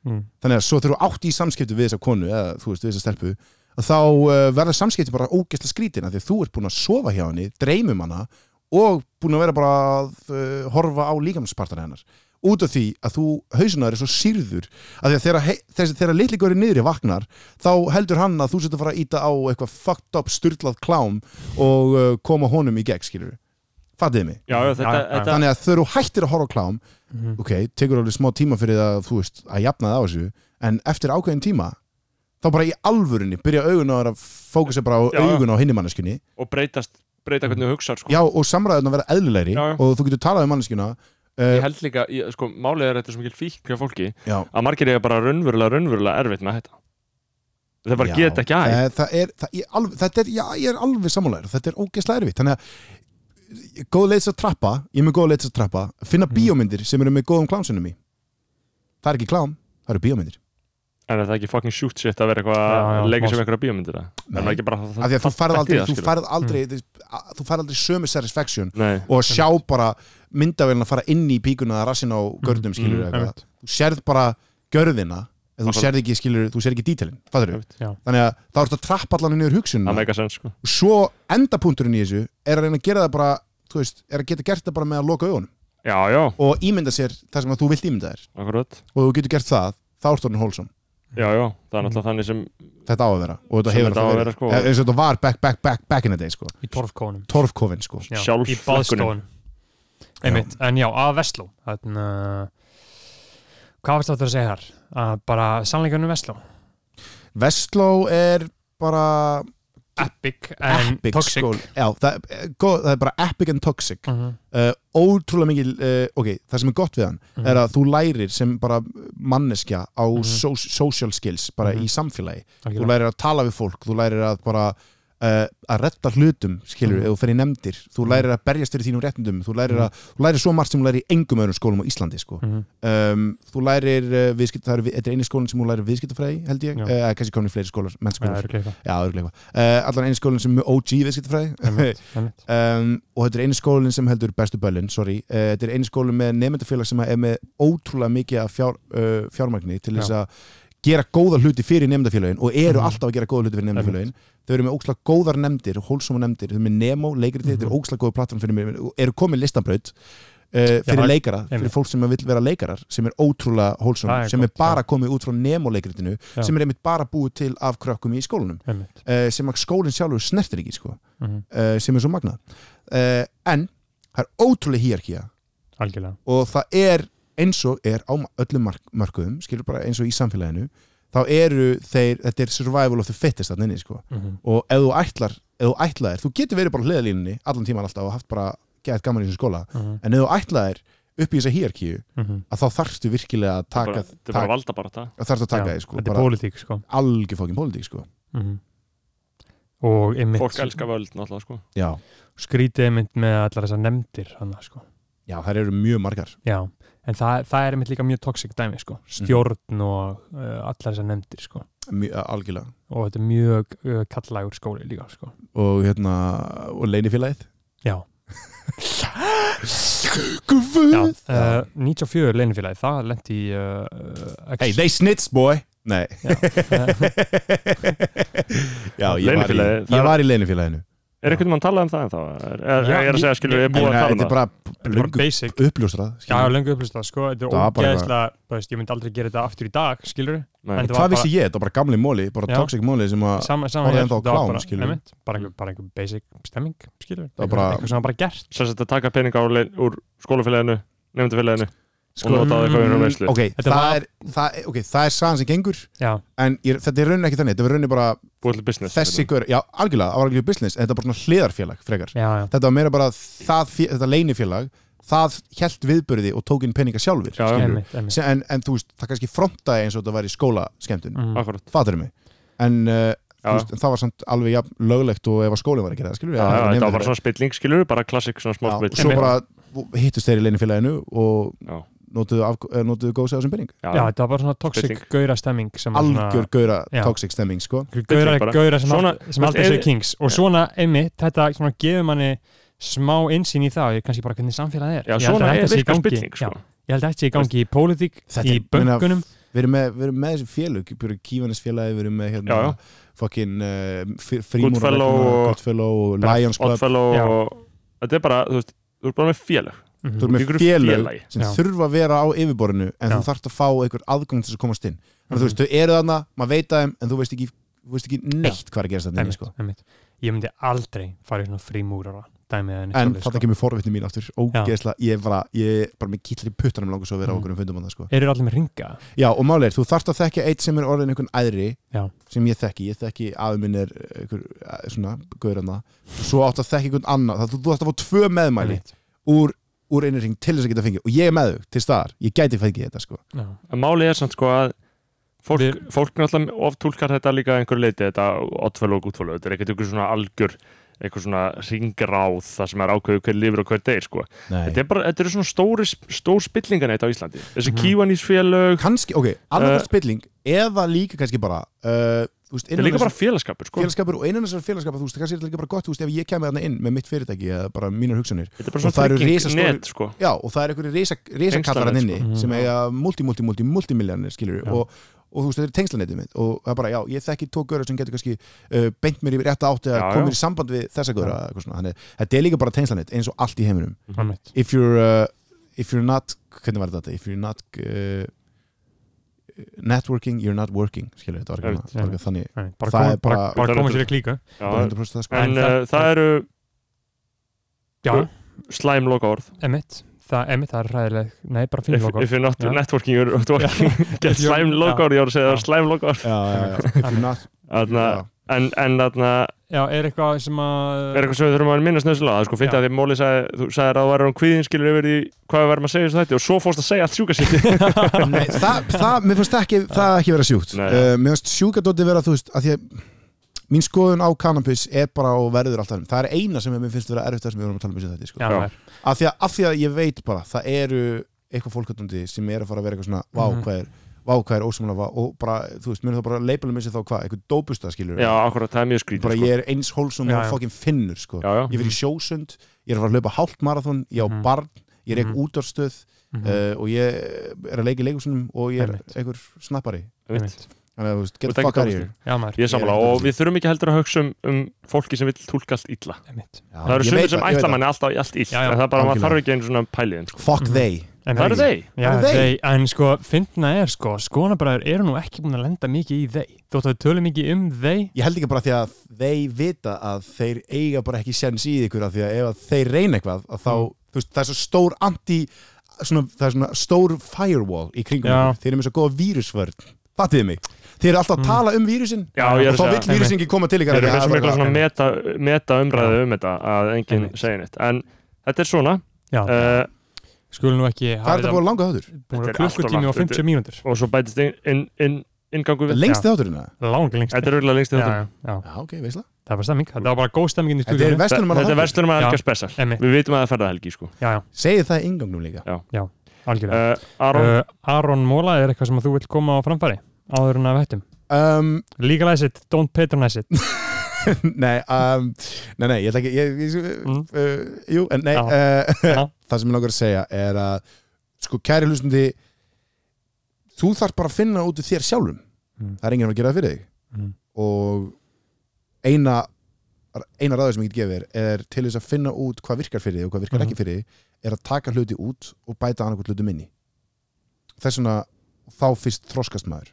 Speaker 2: Mm.
Speaker 5: þannig að svo þegar þú átt í samskipti við þessa konu eða þú veist við þessa stelpu að þá uh, verða samskipti bara ógæsla skrítina því að þú ert búin að sofa hjá henni, dreymum hana og búin að vera bara að uh, horfa á líkamspartana hennar út af því að þú hausunar er svo sýrður að því að þegar, hei- þessi- þegar litli góri niðri vaknar þá heldur hann að þú setur að fara að íta á eitthvað fucked up styrlað klám og uh, koma honum í gegn skilur fattiði mig
Speaker 1: já, já, þetta,
Speaker 2: Já, já.
Speaker 1: þetta
Speaker 5: þannig að þegar þú hættir að horfa á klám
Speaker 1: Mhm.
Speaker 5: ok, tekur alveg smá tíma fyrir það þú veist, að jafna það á þessu en eftir ákveðin tíma þá bara í alvörunni byrja augun á þér að fókusa bara á
Speaker 1: Já, já.
Speaker 5: augun á hinni manneskunni
Speaker 1: og breytast, breyta hvernig þú hugsar sko.
Speaker 5: já, og samræðan að vera eðlilegri
Speaker 1: Já, já.
Speaker 5: og þú getur talað um manneskuna
Speaker 1: ég
Speaker 5: uh,
Speaker 1: held líka, ég, sko, málið er að þetta er svo mikil fíkn hjá fólki,
Speaker 5: já,
Speaker 1: að margir eiga bara raunverulega, raunverulega erfitt með þetta þeir bara
Speaker 5: Já.
Speaker 1: geta ekki aðeins
Speaker 5: Eh, það er, það, ég, alveg, þetta er, já, ég er alveg sammálaður þetta er ógeðslega erfitt þannig að góð leiðs að trappa, ég er með góð leiðs að trappa
Speaker 1: Mhm.
Speaker 5: finna bíómyndir sem eru með góðum klámsunum í það er ekki klám, það eru bíómyndir
Speaker 1: en er það ekki fucking shoot shit að vera eitthvað
Speaker 2: Já, já,
Speaker 1: að leika sem
Speaker 2: má-
Speaker 1: einhverja bíómyndir það
Speaker 5: Nei.
Speaker 1: er maður ekki bara það,
Speaker 5: af því að þú færð aldrei, þú
Speaker 1: færð
Speaker 5: færð aldrei, mm. þú færð aldrei sömu satisfaction
Speaker 1: Nei,
Speaker 5: og að sjá bara myndavélina fara inn í píkuna eða rassin á görnum skilur
Speaker 1: Mm,
Speaker 5: mm, eitthvað, þú sérð bara görðina en þú
Speaker 1: Það-
Speaker 5: sérð ekki skilur, þú sérð ekki dítalin fattur
Speaker 1: Einmitt.
Speaker 2: Já.
Speaker 5: þannig að þá ertu að trappa allan niður
Speaker 1: það
Speaker 5: hugsunum
Speaker 1: meika sens sko
Speaker 5: og svo endapunkturinn í þessu er að reyna að gera það bara þú veist, er að geta gert það bara með að loka augunum
Speaker 1: Já, já,
Speaker 5: og ímynda sér það sem að þú vilt ímynda þér
Speaker 1: akkurat
Speaker 5: og þú getur gert það, þá ertu orðin hólsum
Speaker 1: Já, já, það er náttúrulega þannig sem
Speaker 5: þetta á að vera og þetta
Speaker 1: Sem
Speaker 5: hefur
Speaker 1: þetta á að vera, sko.
Speaker 5: verið. eins og þetta var back, back, back, back in the day sko.
Speaker 2: í torfkónum
Speaker 5: torfkofin sko.
Speaker 2: Já,
Speaker 1: Sjálf-
Speaker 2: í baðstofunum einmitt, en já, að Vestló þannig hvað varst þetta að segja þar? Að bara sannleikunum Vestló,
Speaker 5: Vestló er bara
Speaker 2: epic en
Speaker 5: epic sko.
Speaker 2: toxic
Speaker 5: skóli. Já, það, er- góð, það er bara epic and toxic
Speaker 2: Mhm.
Speaker 5: uh, ótrúlega mikil uh, ok, það sem er gott við hann er að þú lærir sem bara manneskja á mm social skills bara
Speaker 2: Mhm.
Speaker 5: í samfélagi
Speaker 2: Algjörlega.
Speaker 5: þú lærir að tala við fólk, þú lærir að bara uh, að retta hlutum, skilur, ef þú fer í nefndir þú lærir að berjast fyrir þínum réttindum þú lærir, að, þú lærir svo margt sem þú lærir í engum öðrum skólum á Íslandi, sko
Speaker 2: Mhm.
Speaker 5: um, þú lærir uh, viðskipt, það er, þetta er eini skólinn sem þú lærir viðskiptafræði, held ég, eh,
Speaker 2: Já.
Speaker 5: eða kannski komin í fleiri skólar,
Speaker 2: Já,
Speaker 5: mennskólar
Speaker 2: örugglega eitthvað.
Speaker 5: Já, örgulega eitthvað. Uh, allan einu skólinn sem er með OG viðskiptafræði
Speaker 2: Einmitt, einmitt.
Speaker 5: um, og þetta er einu skólinn sem heldur bestu böllin, sorry. Uh, þetta er einu skólinn með nefndafélag sem er með ótrúlega mikið af fjár, uh, fjármagni til þess
Speaker 2: Já.
Speaker 5: að gera góða hluti fyrir nefndafélagin og eru
Speaker 2: Mhm.
Speaker 5: alltaf að gera góða hluti fyrir nefndafélagin þau eru með ókslega góðar nefndir, hólsóma nefndir þau eru með Nemo, leikritið, þetta er
Speaker 2: Mhm.
Speaker 5: ókslega góða plattform fyrir mér og eru komið listanbraut uh, fyrir
Speaker 2: það-
Speaker 5: leikara, fyrir
Speaker 2: einmitt.
Speaker 5: fólk sem vill vera leikarar sem er ótrúlega hólsum,
Speaker 2: Það er
Speaker 5: sem er
Speaker 2: gott,
Speaker 5: bara komið út frá Nemo leikritinu,
Speaker 2: Já.
Speaker 5: sem er einmitt bara búið til af krökkum í skólanum
Speaker 2: Einmitt.
Speaker 5: uh, sem að skólinn sjálfur snertir ekki sko,
Speaker 2: Mhm.
Speaker 5: uh, sem er svo magnað uh, en það er ótrúlega hýjarkía
Speaker 2: algjörlega
Speaker 5: og það er eins og er á öllum mark markuðum, skilur bara eins og í samfélaginu þá eru þeir, þetta er survival of the fittest þarna inni sko
Speaker 2: Mhm.
Speaker 5: og ef þú ætlar, ef þú ætlaðir, þú getur verið bara á hliðalínunni allan tíman alltaf og haft bara gett gaman í þessu skóla,
Speaker 2: Mhm.
Speaker 5: en ef þú ætlaðir upp í þessa hýjarkíu,
Speaker 2: Mhm.
Speaker 5: að þá þarfstu virkilega að taka,
Speaker 1: bara, Þetta er bara
Speaker 5: taka,
Speaker 1: valda bara það
Speaker 5: þarfstu að taka
Speaker 2: Já,
Speaker 5: þið sko,
Speaker 2: þetta er
Speaker 5: bara
Speaker 2: pólitík sko
Speaker 5: algjör fókin pólitík sko
Speaker 2: Mhm. og einmitt
Speaker 1: Fólk elskar völd náttúrulega sko
Speaker 5: já,
Speaker 2: skrítið einmitt með allar þessar nefndir hana, sko.
Speaker 5: já, þær eru mjög margar
Speaker 2: já, en það, það er einmitt líka mjög toxic dæmi sko.
Speaker 5: Mhm.
Speaker 2: stjórn og uh, allar þessar nefndir sko.
Speaker 5: mjög, algjörlega
Speaker 2: og þetta er mjög uh, kallagur skóli líka sko.
Speaker 5: og hérna, og leinifélagið
Speaker 2: já,
Speaker 5: Guð
Speaker 2: já. Uh, 94 leinifélagi, það lendi í uh, uh,
Speaker 5: Hey,
Speaker 2: ex-
Speaker 5: they snitch boy Nei
Speaker 2: Já.
Speaker 5: Já, ég var í,
Speaker 1: Leynifélagið, það
Speaker 5: ég
Speaker 1: er-
Speaker 5: var í leinifélaginu
Speaker 1: Er einhvern mann talað um það en þá? Er, er,
Speaker 2: Já,
Speaker 1: er að segja
Speaker 2: ég-
Speaker 1: skilur,
Speaker 2: ég-
Speaker 1: er búið að
Speaker 5: uh, Þetta
Speaker 1: tala um
Speaker 5: er
Speaker 1: það?
Speaker 5: bara
Speaker 2: bara
Speaker 5: löngu
Speaker 2: basic
Speaker 5: uppljóstrað
Speaker 2: Já,
Speaker 5: skilur.
Speaker 2: lengu upplýsta, sko, þetta er
Speaker 5: Það var bara
Speaker 2: ógeðslega, þú veist, ég myndi aldrei gera þetta aftur í dag, skilur
Speaker 1: Nei.
Speaker 2: en þetta var
Speaker 5: Hvað
Speaker 2: bara-
Speaker 5: vissi ég? Þetta var bara gamli móli, bara
Speaker 2: Já.
Speaker 5: toxic móli sem að
Speaker 2: sama, sama
Speaker 5: Bara
Speaker 2: hér,
Speaker 5: ennþá
Speaker 2: það var
Speaker 5: klám,
Speaker 2: bara,
Speaker 5: skilurðu.
Speaker 2: einmitt, bara, einhver, bara einhver basic stemming skilur,
Speaker 5: Það var
Speaker 2: einhver,
Speaker 5: bara-
Speaker 2: einhver sem var bara gert
Speaker 1: Sess að taka peninga úr, lein- úr skólafélaginu nefndafélaginu og nota það
Speaker 2: mm,
Speaker 1: eitthvað í raunverslu
Speaker 5: Sko, Ok,
Speaker 2: Þetta
Speaker 5: það
Speaker 2: var-
Speaker 5: er, það, okay, það er sagan sem gengur
Speaker 2: já,
Speaker 5: En ég, þetta er raunin ekki þannig, þetta er raunin bara
Speaker 1: Búið til business
Speaker 5: Þessi gaur, já, algjörlega, það var algjörlega business en Þetta er bara svona hliðarfélag, frekar
Speaker 2: já, já,
Speaker 5: Þetta var meira bara það, fé- þetta leinifélag það held viðburði og tók inn peninga sjálfur
Speaker 1: Já, já.
Speaker 5: skilurðu.
Speaker 2: Einmitt, einmitt.
Speaker 5: Se- en, en þú veist, það kannski frontaði eins og þetta var í skólaskemmtun mm.
Speaker 2: Mm.
Speaker 1: akkurat
Speaker 5: fattur mig en uh,
Speaker 1: Já.
Speaker 5: veist, það var samt alveg jafn löglegt og ef að skólinn var að gera það skilur
Speaker 1: Já, já, þetta var bara svona spilling, skilur bara klassik, svona smá
Speaker 5: og
Speaker 1: spilling
Speaker 5: svo bara hittust þeir í leinifélaginu og
Speaker 1: Já.
Speaker 5: notuðu, af- eh, notuðu góðs eða sem pening
Speaker 2: Já, þetta var bara svona toxic
Speaker 1: Spilling.
Speaker 2: gauðra stemming sem var svona-
Speaker 5: algjör gaura
Speaker 2: Já.
Speaker 5: toxic stemming sko
Speaker 1: Spilling
Speaker 2: gauðra,
Speaker 1: bara.
Speaker 2: gauðra sem,
Speaker 1: Svona-
Speaker 2: svona, sem
Speaker 1: veist,
Speaker 2: aldrei
Speaker 1: ef-
Speaker 2: séu kings og svona einmitt, þetta svona gefur manni smá einsýn í það, ég kannski bara hvernig samfélagið er
Speaker 1: Já,
Speaker 2: Ég held
Speaker 1: svona
Speaker 2: að þetta sé í
Speaker 1: virkar
Speaker 2: gangi-
Speaker 1: spilling, sko
Speaker 2: já, ég held að þetta sé í gangi í pólitík,
Speaker 5: Þetta
Speaker 2: í
Speaker 5: er- meina-
Speaker 2: böngunum
Speaker 5: við erum með, við erum með þessi félög við erum kífanisfélagi, við erum með hérna,
Speaker 1: Já, já.
Speaker 5: fucking uh,
Speaker 1: Goodfellow og-
Speaker 5: Goodfellow og Lions Club
Speaker 1: Oddfellow
Speaker 2: Já.
Speaker 1: og þetta er bara, þú veist, þú ert bara með félag
Speaker 2: Mhm.
Speaker 5: þú erum með
Speaker 1: Byggur upp
Speaker 5: félög
Speaker 1: félagi.
Speaker 5: sem
Speaker 2: Já.
Speaker 5: þurfa að vera á yfirborðinu en
Speaker 2: Já. Mhm.
Speaker 5: þú þarft að fá einhver aðgang til þess að komast inn þannig að þú veist, þau eru þarna, maður veit að þeim en þú veist ekki, þú veist ekki neitt hvað er að gerast þarna inni,
Speaker 2: einmitt,
Speaker 5: sko.
Speaker 2: einmitt. ég myndi aldrei fara í svona frímúrara dæmið en
Speaker 5: en þetta kemur forvitni mín aftur ógeðslega, ég er bara, ég er bara með kýtlir í puttanum langar svo að vera á
Speaker 2: Mhm.
Speaker 5: okkur um fundum á það sko.
Speaker 2: eru allir með ringa
Speaker 5: já, og málið er, þú þarft að þekka eitt sem er orðin einhvern æðri
Speaker 2: Já.
Speaker 5: sem ég þekki, ég þekki afi minn er eh, einhver, eh, svona, gaurana svo átt að þekka einhvern annan, það, þú, þú átt að fá tvö meðmæli
Speaker 2: Einmitt.
Speaker 5: úr, úr einhvern ring til þess að geta fengið og ég er með þau til staðar, ég gæti fengið þetta sko.
Speaker 2: Já.
Speaker 1: En málið er samt sko að fólk,
Speaker 2: Við-
Speaker 1: fólk náttúrulega oftúlkar þetta líka að einhverju leiti, þetta oddfælu og gúttfælu, þetta er ekkert einhver svona algjör eitthvað svona ringráð það sem er ákveðu hver lifir og hver deyr sko. þetta, er bara, þetta eru svona stóri, stór spillinganeitt á Íslandi þessi mm.
Speaker 2: Mhm.
Speaker 1: kívanísfélög,
Speaker 5: kannski, ok, annar
Speaker 1: Eh.
Speaker 5: uh, spilling eða líka kannski bara uh, þú veist,
Speaker 1: þetta er
Speaker 5: innan
Speaker 1: líka bara
Speaker 5: þessar
Speaker 1: félagskapur sko.
Speaker 5: félagskapur og innan þessar félagskapar, þú veist, kannski er þetta líka bara gott, þú veist, ef ég kemur þarna inn með mitt fyrirtæki eða bara mínar hugsanir,
Speaker 1: þetta er bara
Speaker 5: og það
Speaker 1: svona
Speaker 5: eru
Speaker 1: trygging
Speaker 5: risastórir-
Speaker 1: net sko.
Speaker 5: já, og það er einhverju risa, risakallar hann
Speaker 1: Tengslanet,
Speaker 5: inni
Speaker 2: sko.
Speaker 5: sem
Speaker 1: Mhm.
Speaker 5: eiga multi, multi, multi, multimiljanir skilur
Speaker 2: Já.
Speaker 5: og, og þú veist, þetta er tengslanetið mitt og það er bara, já, ég þekki tók göra sem getur kannski uh, beint mér yfir rétta átt eða
Speaker 1: Já,
Speaker 5: komið
Speaker 1: já.
Speaker 5: í samband við þessa göra, eitthvað svona, þannig, þetta er líka bara tengslanet eins og allt í heiminum
Speaker 2: einmitt.
Speaker 5: if you're uh, if you're not hvernig var þetta if you're not uh, networking you're not working skilur þetta var ekki
Speaker 1: Einmitt,
Speaker 5: annað- var ekki þannig
Speaker 2: Einmitt. bara
Speaker 5: Það
Speaker 2: koma-
Speaker 5: er bara-
Speaker 2: bara- bara koma sér í klíku
Speaker 1: Já,
Speaker 5: bara 100% það sko
Speaker 1: en
Speaker 2: En
Speaker 1: uh,
Speaker 2: það-
Speaker 1: það eru
Speaker 2: já,
Speaker 1: Þú- slæm loka orð
Speaker 2: emitt það, emitt, það er ræðileg, nei, bara fín
Speaker 1: if,
Speaker 2: logo
Speaker 1: if you're not
Speaker 2: Já.
Speaker 1: networking you're not working Get
Speaker 2: If you're-
Speaker 1: slæm loka orð, ég voru að segja það er
Speaker 2: Já.
Speaker 1: slæm loka orð
Speaker 5: já, já, já, if you're not já.
Speaker 1: en, en þarna
Speaker 2: já, er eitthvað sem að
Speaker 1: er eitthvað sem við þurfum að minnast nöðslega það er sko fint
Speaker 2: Já.
Speaker 1: að því Móli sagði, þú sagðir að þú væri um kvíðin skilur yfir í hvað við verðum að segja þessu þætti og svo fórst að segja allt sjúka sitt
Speaker 5: Nei, það, það, mér finnst ekki, það ekki vera sjúkt
Speaker 1: Nei.
Speaker 5: uh, Mér finnst sjúkadóti vera, þú veist að því að mín skoðun á kannabis er bara og verður alltaf Það er eina sem mér finnst vera erfitt það sem við vorum að tala um í þessu þetta sko.
Speaker 2: já,
Speaker 1: Já.
Speaker 2: það er-
Speaker 5: af því, að, af því að ég veit bara það eru eitthvað fólkvöldandi sem er að fara að vera eitthvað svona vá
Speaker 2: Mhm.
Speaker 5: hvað er, vá hvað er ósamlega og bara, þú veist, mér er það bara leipalum eins og þá hvað, eitthvað dópusta skilur
Speaker 1: já, akkurat, það er mjög skrítið
Speaker 5: bara
Speaker 1: sko.
Speaker 5: ég er eins
Speaker 2: Já,
Speaker 5: hólsum og
Speaker 2: já.
Speaker 5: fokkin finnur sko.
Speaker 1: já, Mhm. já.
Speaker 5: ég fyrir sjósund, ég er að fara að hlaupa hálft marathon, ég á
Speaker 2: Mhm.
Speaker 5: barn, ég
Speaker 2: Mhm.
Speaker 5: er eitthvað útarstöð
Speaker 2: Mhm.
Speaker 5: uh, og ég er að leika í leikusunum og ég er
Speaker 2: Einmitt.
Speaker 5: einhver snappari
Speaker 1: Einmitt.
Speaker 2: Einmitt.
Speaker 5: Þannig að, þú veist,
Speaker 1: Þú
Speaker 5: get
Speaker 1: ert
Speaker 5: the
Speaker 1: ekki
Speaker 5: fuck out of
Speaker 1: dópusti.
Speaker 5: here
Speaker 2: já, maður,
Speaker 1: ég er sammála
Speaker 5: Ég er
Speaker 1: og við þurfum ekki heldur að hugsa um, um fólki sem vil tólka allt illa
Speaker 2: emitt
Speaker 5: Já,
Speaker 1: það eru
Speaker 5: ég
Speaker 1: sumir
Speaker 5: veit
Speaker 1: sem
Speaker 5: það, ég
Speaker 1: ætla
Speaker 5: veit
Speaker 1: manni alltaf í allt illt
Speaker 2: Já, já,
Speaker 1: en það er bara, maður
Speaker 5: algjörlega.
Speaker 1: þarf ekki einu svona pæliðin
Speaker 5: það.
Speaker 1: sko.
Speaker 5: Fuck
Speaker 2: Mhm.
Speaker 5: they
Speaker 1: það eru þeir,
Speaker 2: Já,
Speaker 5: Það eru
Speaker 2: þeir, en sko, fyndna er sko, skonabræður eru nú ekki búin að lenda mikið í þeir. Þótt að við tölum mikið um þeir,
Speaker 5: Ég held ekki bara því að þeir vita að þeir eiga bara ekki sens í ykkur af því að ef að þeir reyna eitthvað að þá,
Speaker 1: Mm.
Speaker 5: þú veist, það er svo stór anti svona, það er svona stór firewall í kringum
Speaker 2: Já.
Speaker 5: ykkur, þeir eru með svo góða vírusvörn fattiði mig, þeir eru alltaf að tala um vírusin
Speaker 1: Mm. Já, ég er
Speaker 5: og þá
Speaker 1: að segja.
Speaker 5: vill vírusin ekki koma til
Speaker 1: þeir
Speaker 5: ykkar
Speaker 1: eru
Speaker 5: af
Speaker 1: með
Speaker 5: því að
Speaker 1: svo
Speaker 5: það er
Speaker 1: mikla
Speaker 5: bara-
Speaker 1: svona meta, meta umræðu um þetta að enginn
Speaker 2: Einmitt.
Speaker 1: segja neitt en þetta er svona
Speaker 2: já,
Speaker 1: uh,
Speaker 2: skulum nú ekki
Speaker 5: Hvað er þetta
Speaker 2: þetta
Speaker 5: búið langa þáttur?
Speaker 2: búin að
Speaker 1: Þetta er allt of
Speaker 2: klukkutími
Speaker 1: langt,
Speaker 2: og 50 mínútur.
Speaker 1: og svo bætist inn, inn, inn, inngangu við
Speaker 5: Lengst þátturinn það?
Speaker 2: Lang lengst.
Speaker 1: þetta er örgulega lengst í
Speaker 2: já,
Speaker 1: þetta
Speaker 2: já, já,
Speaker 5: Já, ok, veist það
Speaker 2: það var stemming, það var bara góð stemming inn í
Speaker 5: Þetta er
Speaker 2: stúdíunum.
Speaker 5: vestunum
Speaker 1: þetta er verslunum að helga
Speaker 2: Já.
Speaker 1: spesal
Speaker 2: Einmitt.
Speaker 1: við vitum að það ferða helgi sko.
Speaker 2: Já, já,
Speaker 5: Segið það í ingangnum líka
Speaker 2: algjörlega.
Speaker 1: uh, Aron,
Speaker 2: Uh, Aron Móla er eitthvað sem að þú vilt koma á framfæri áður en að vettum.
Speaker 5: um,
Speaker 2: Legalize it, don't patronize it.
Speaker 5: nei, um, nei, nei, ég ætla ekki ég, ég,
Speaker 2: Mm.
Speaker 5: uh, Jú, en nei
Speaker 2: Já.
Speaker 5: uh,
Speaker 2: Já.
Speaker 5: Það sem ég langar að segja er að sko, kæri hlustundi þú þarf bara að finna út úr þér sjálfum
Speaker 2: Mm.
Speaker 5: það er enginn að gera það fyrir þig
Speaker 2: Mm.
Speaker 5: og eina eina ráður sem ég get gefið er, er til þess að finna út hvað virkar fyrir þig og hvað virkar
Speaker 2: Mhm.
Speaker 5: ekki fyrir þig er að taka hluti út og bæta annarkot hlutum inni þess vegna þá fyrst þroskast maður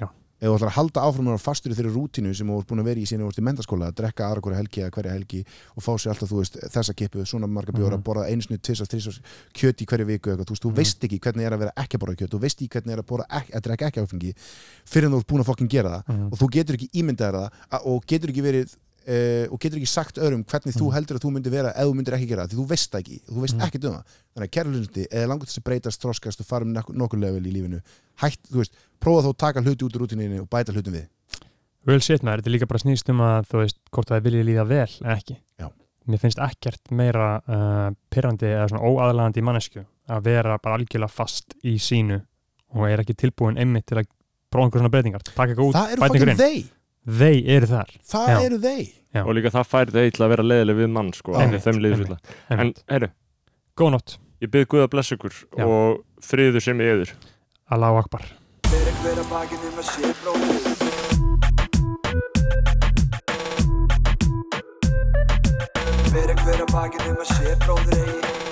Speaker 2: Já.
Speaker 5: ef þú ætlar að halda áfram að vera fastur í þeirri rútínu sem þú ert búin að vera í síðan þú ert í mentaskóla að drekka aðra hverja helgi eða hverja helgi og fá sér alltaf, þú veist, þessa kippu svona marga bjóra,
Speaker 2: Mhm.
Speaker 5: borða einu snið, tvisar, þrísar kjöt í hverju viku eitthvað, þú veist, þú
Speaker 2: Mhm.
Speaker 5: veist ekki hvernig er að vera ekki að borða kjöt þú veist ekki hvernig er að, borða ekki, að drekka ekki áfengi fyrir en þú ert búin að fokkin gera það
Speaker 2: Mhm.
Speaker 5: og þú getur ekki ímyndað þér það að- og getur ekki verið uh, og getur ekki sagt öðrum hvernig
Speaker 2: Mhm.
Speaker 5: þú heldur að þú myndir vera ef þú myndir ekki gera það, því þú veist það ekki, þú veist
Speaker 2: Mm.
Speaker 5: ekki um það þannig að kærlundi, eða langur þess að breytast þroskast og fara um nokkur, nokkur level í lífinu hætt, þú veist, prófa þá að taka hluti út úr rútininu og bæta hlutum við
Speaker 2: Real shit maður, þetta er líka bara snýst um að þú veist hvort það viljið líða vel en ekki
Speaker 5: Já.
Speaker 2: Mér finnst ekkert meira uh, pyrrandi eða svona óaðlandi mannesku að vera bara algjörlega fast í sínu og er ekki tilbúin einmitt til að prófa einhver svona breytingar taka eitthvað út,
Speaker 5: það eru
Speaker 2: bæta einhver
Speaker 5: fucking
Speaker 2: inn,
Speaker 5: þeir,
Speaker 2: þeir eru þar
Speaker 5: það
Speaker 2: Já.
Speaker 5: eru þeir
Speaker 2: Já.
Speaker 1: og líka það færi þau til að vera leiðileg við mann sko,
Speaker 5: Já.
Speaker 1: en þeim leiðis
Speaker 2: Einmitt,
Speaker 1: illa en herru,
Speaker 2: Góð nótt,
Speaker 1: ég byrð Guð að blessa ykkur
Speaker 2: Já.
Speaker 1: og friður sem ég yfir
Speaker 2: alá akbar
Speaker 3: Fyrir hver að bakinu með sér blóð Fyrir hver að bakinu með sér blóður eigi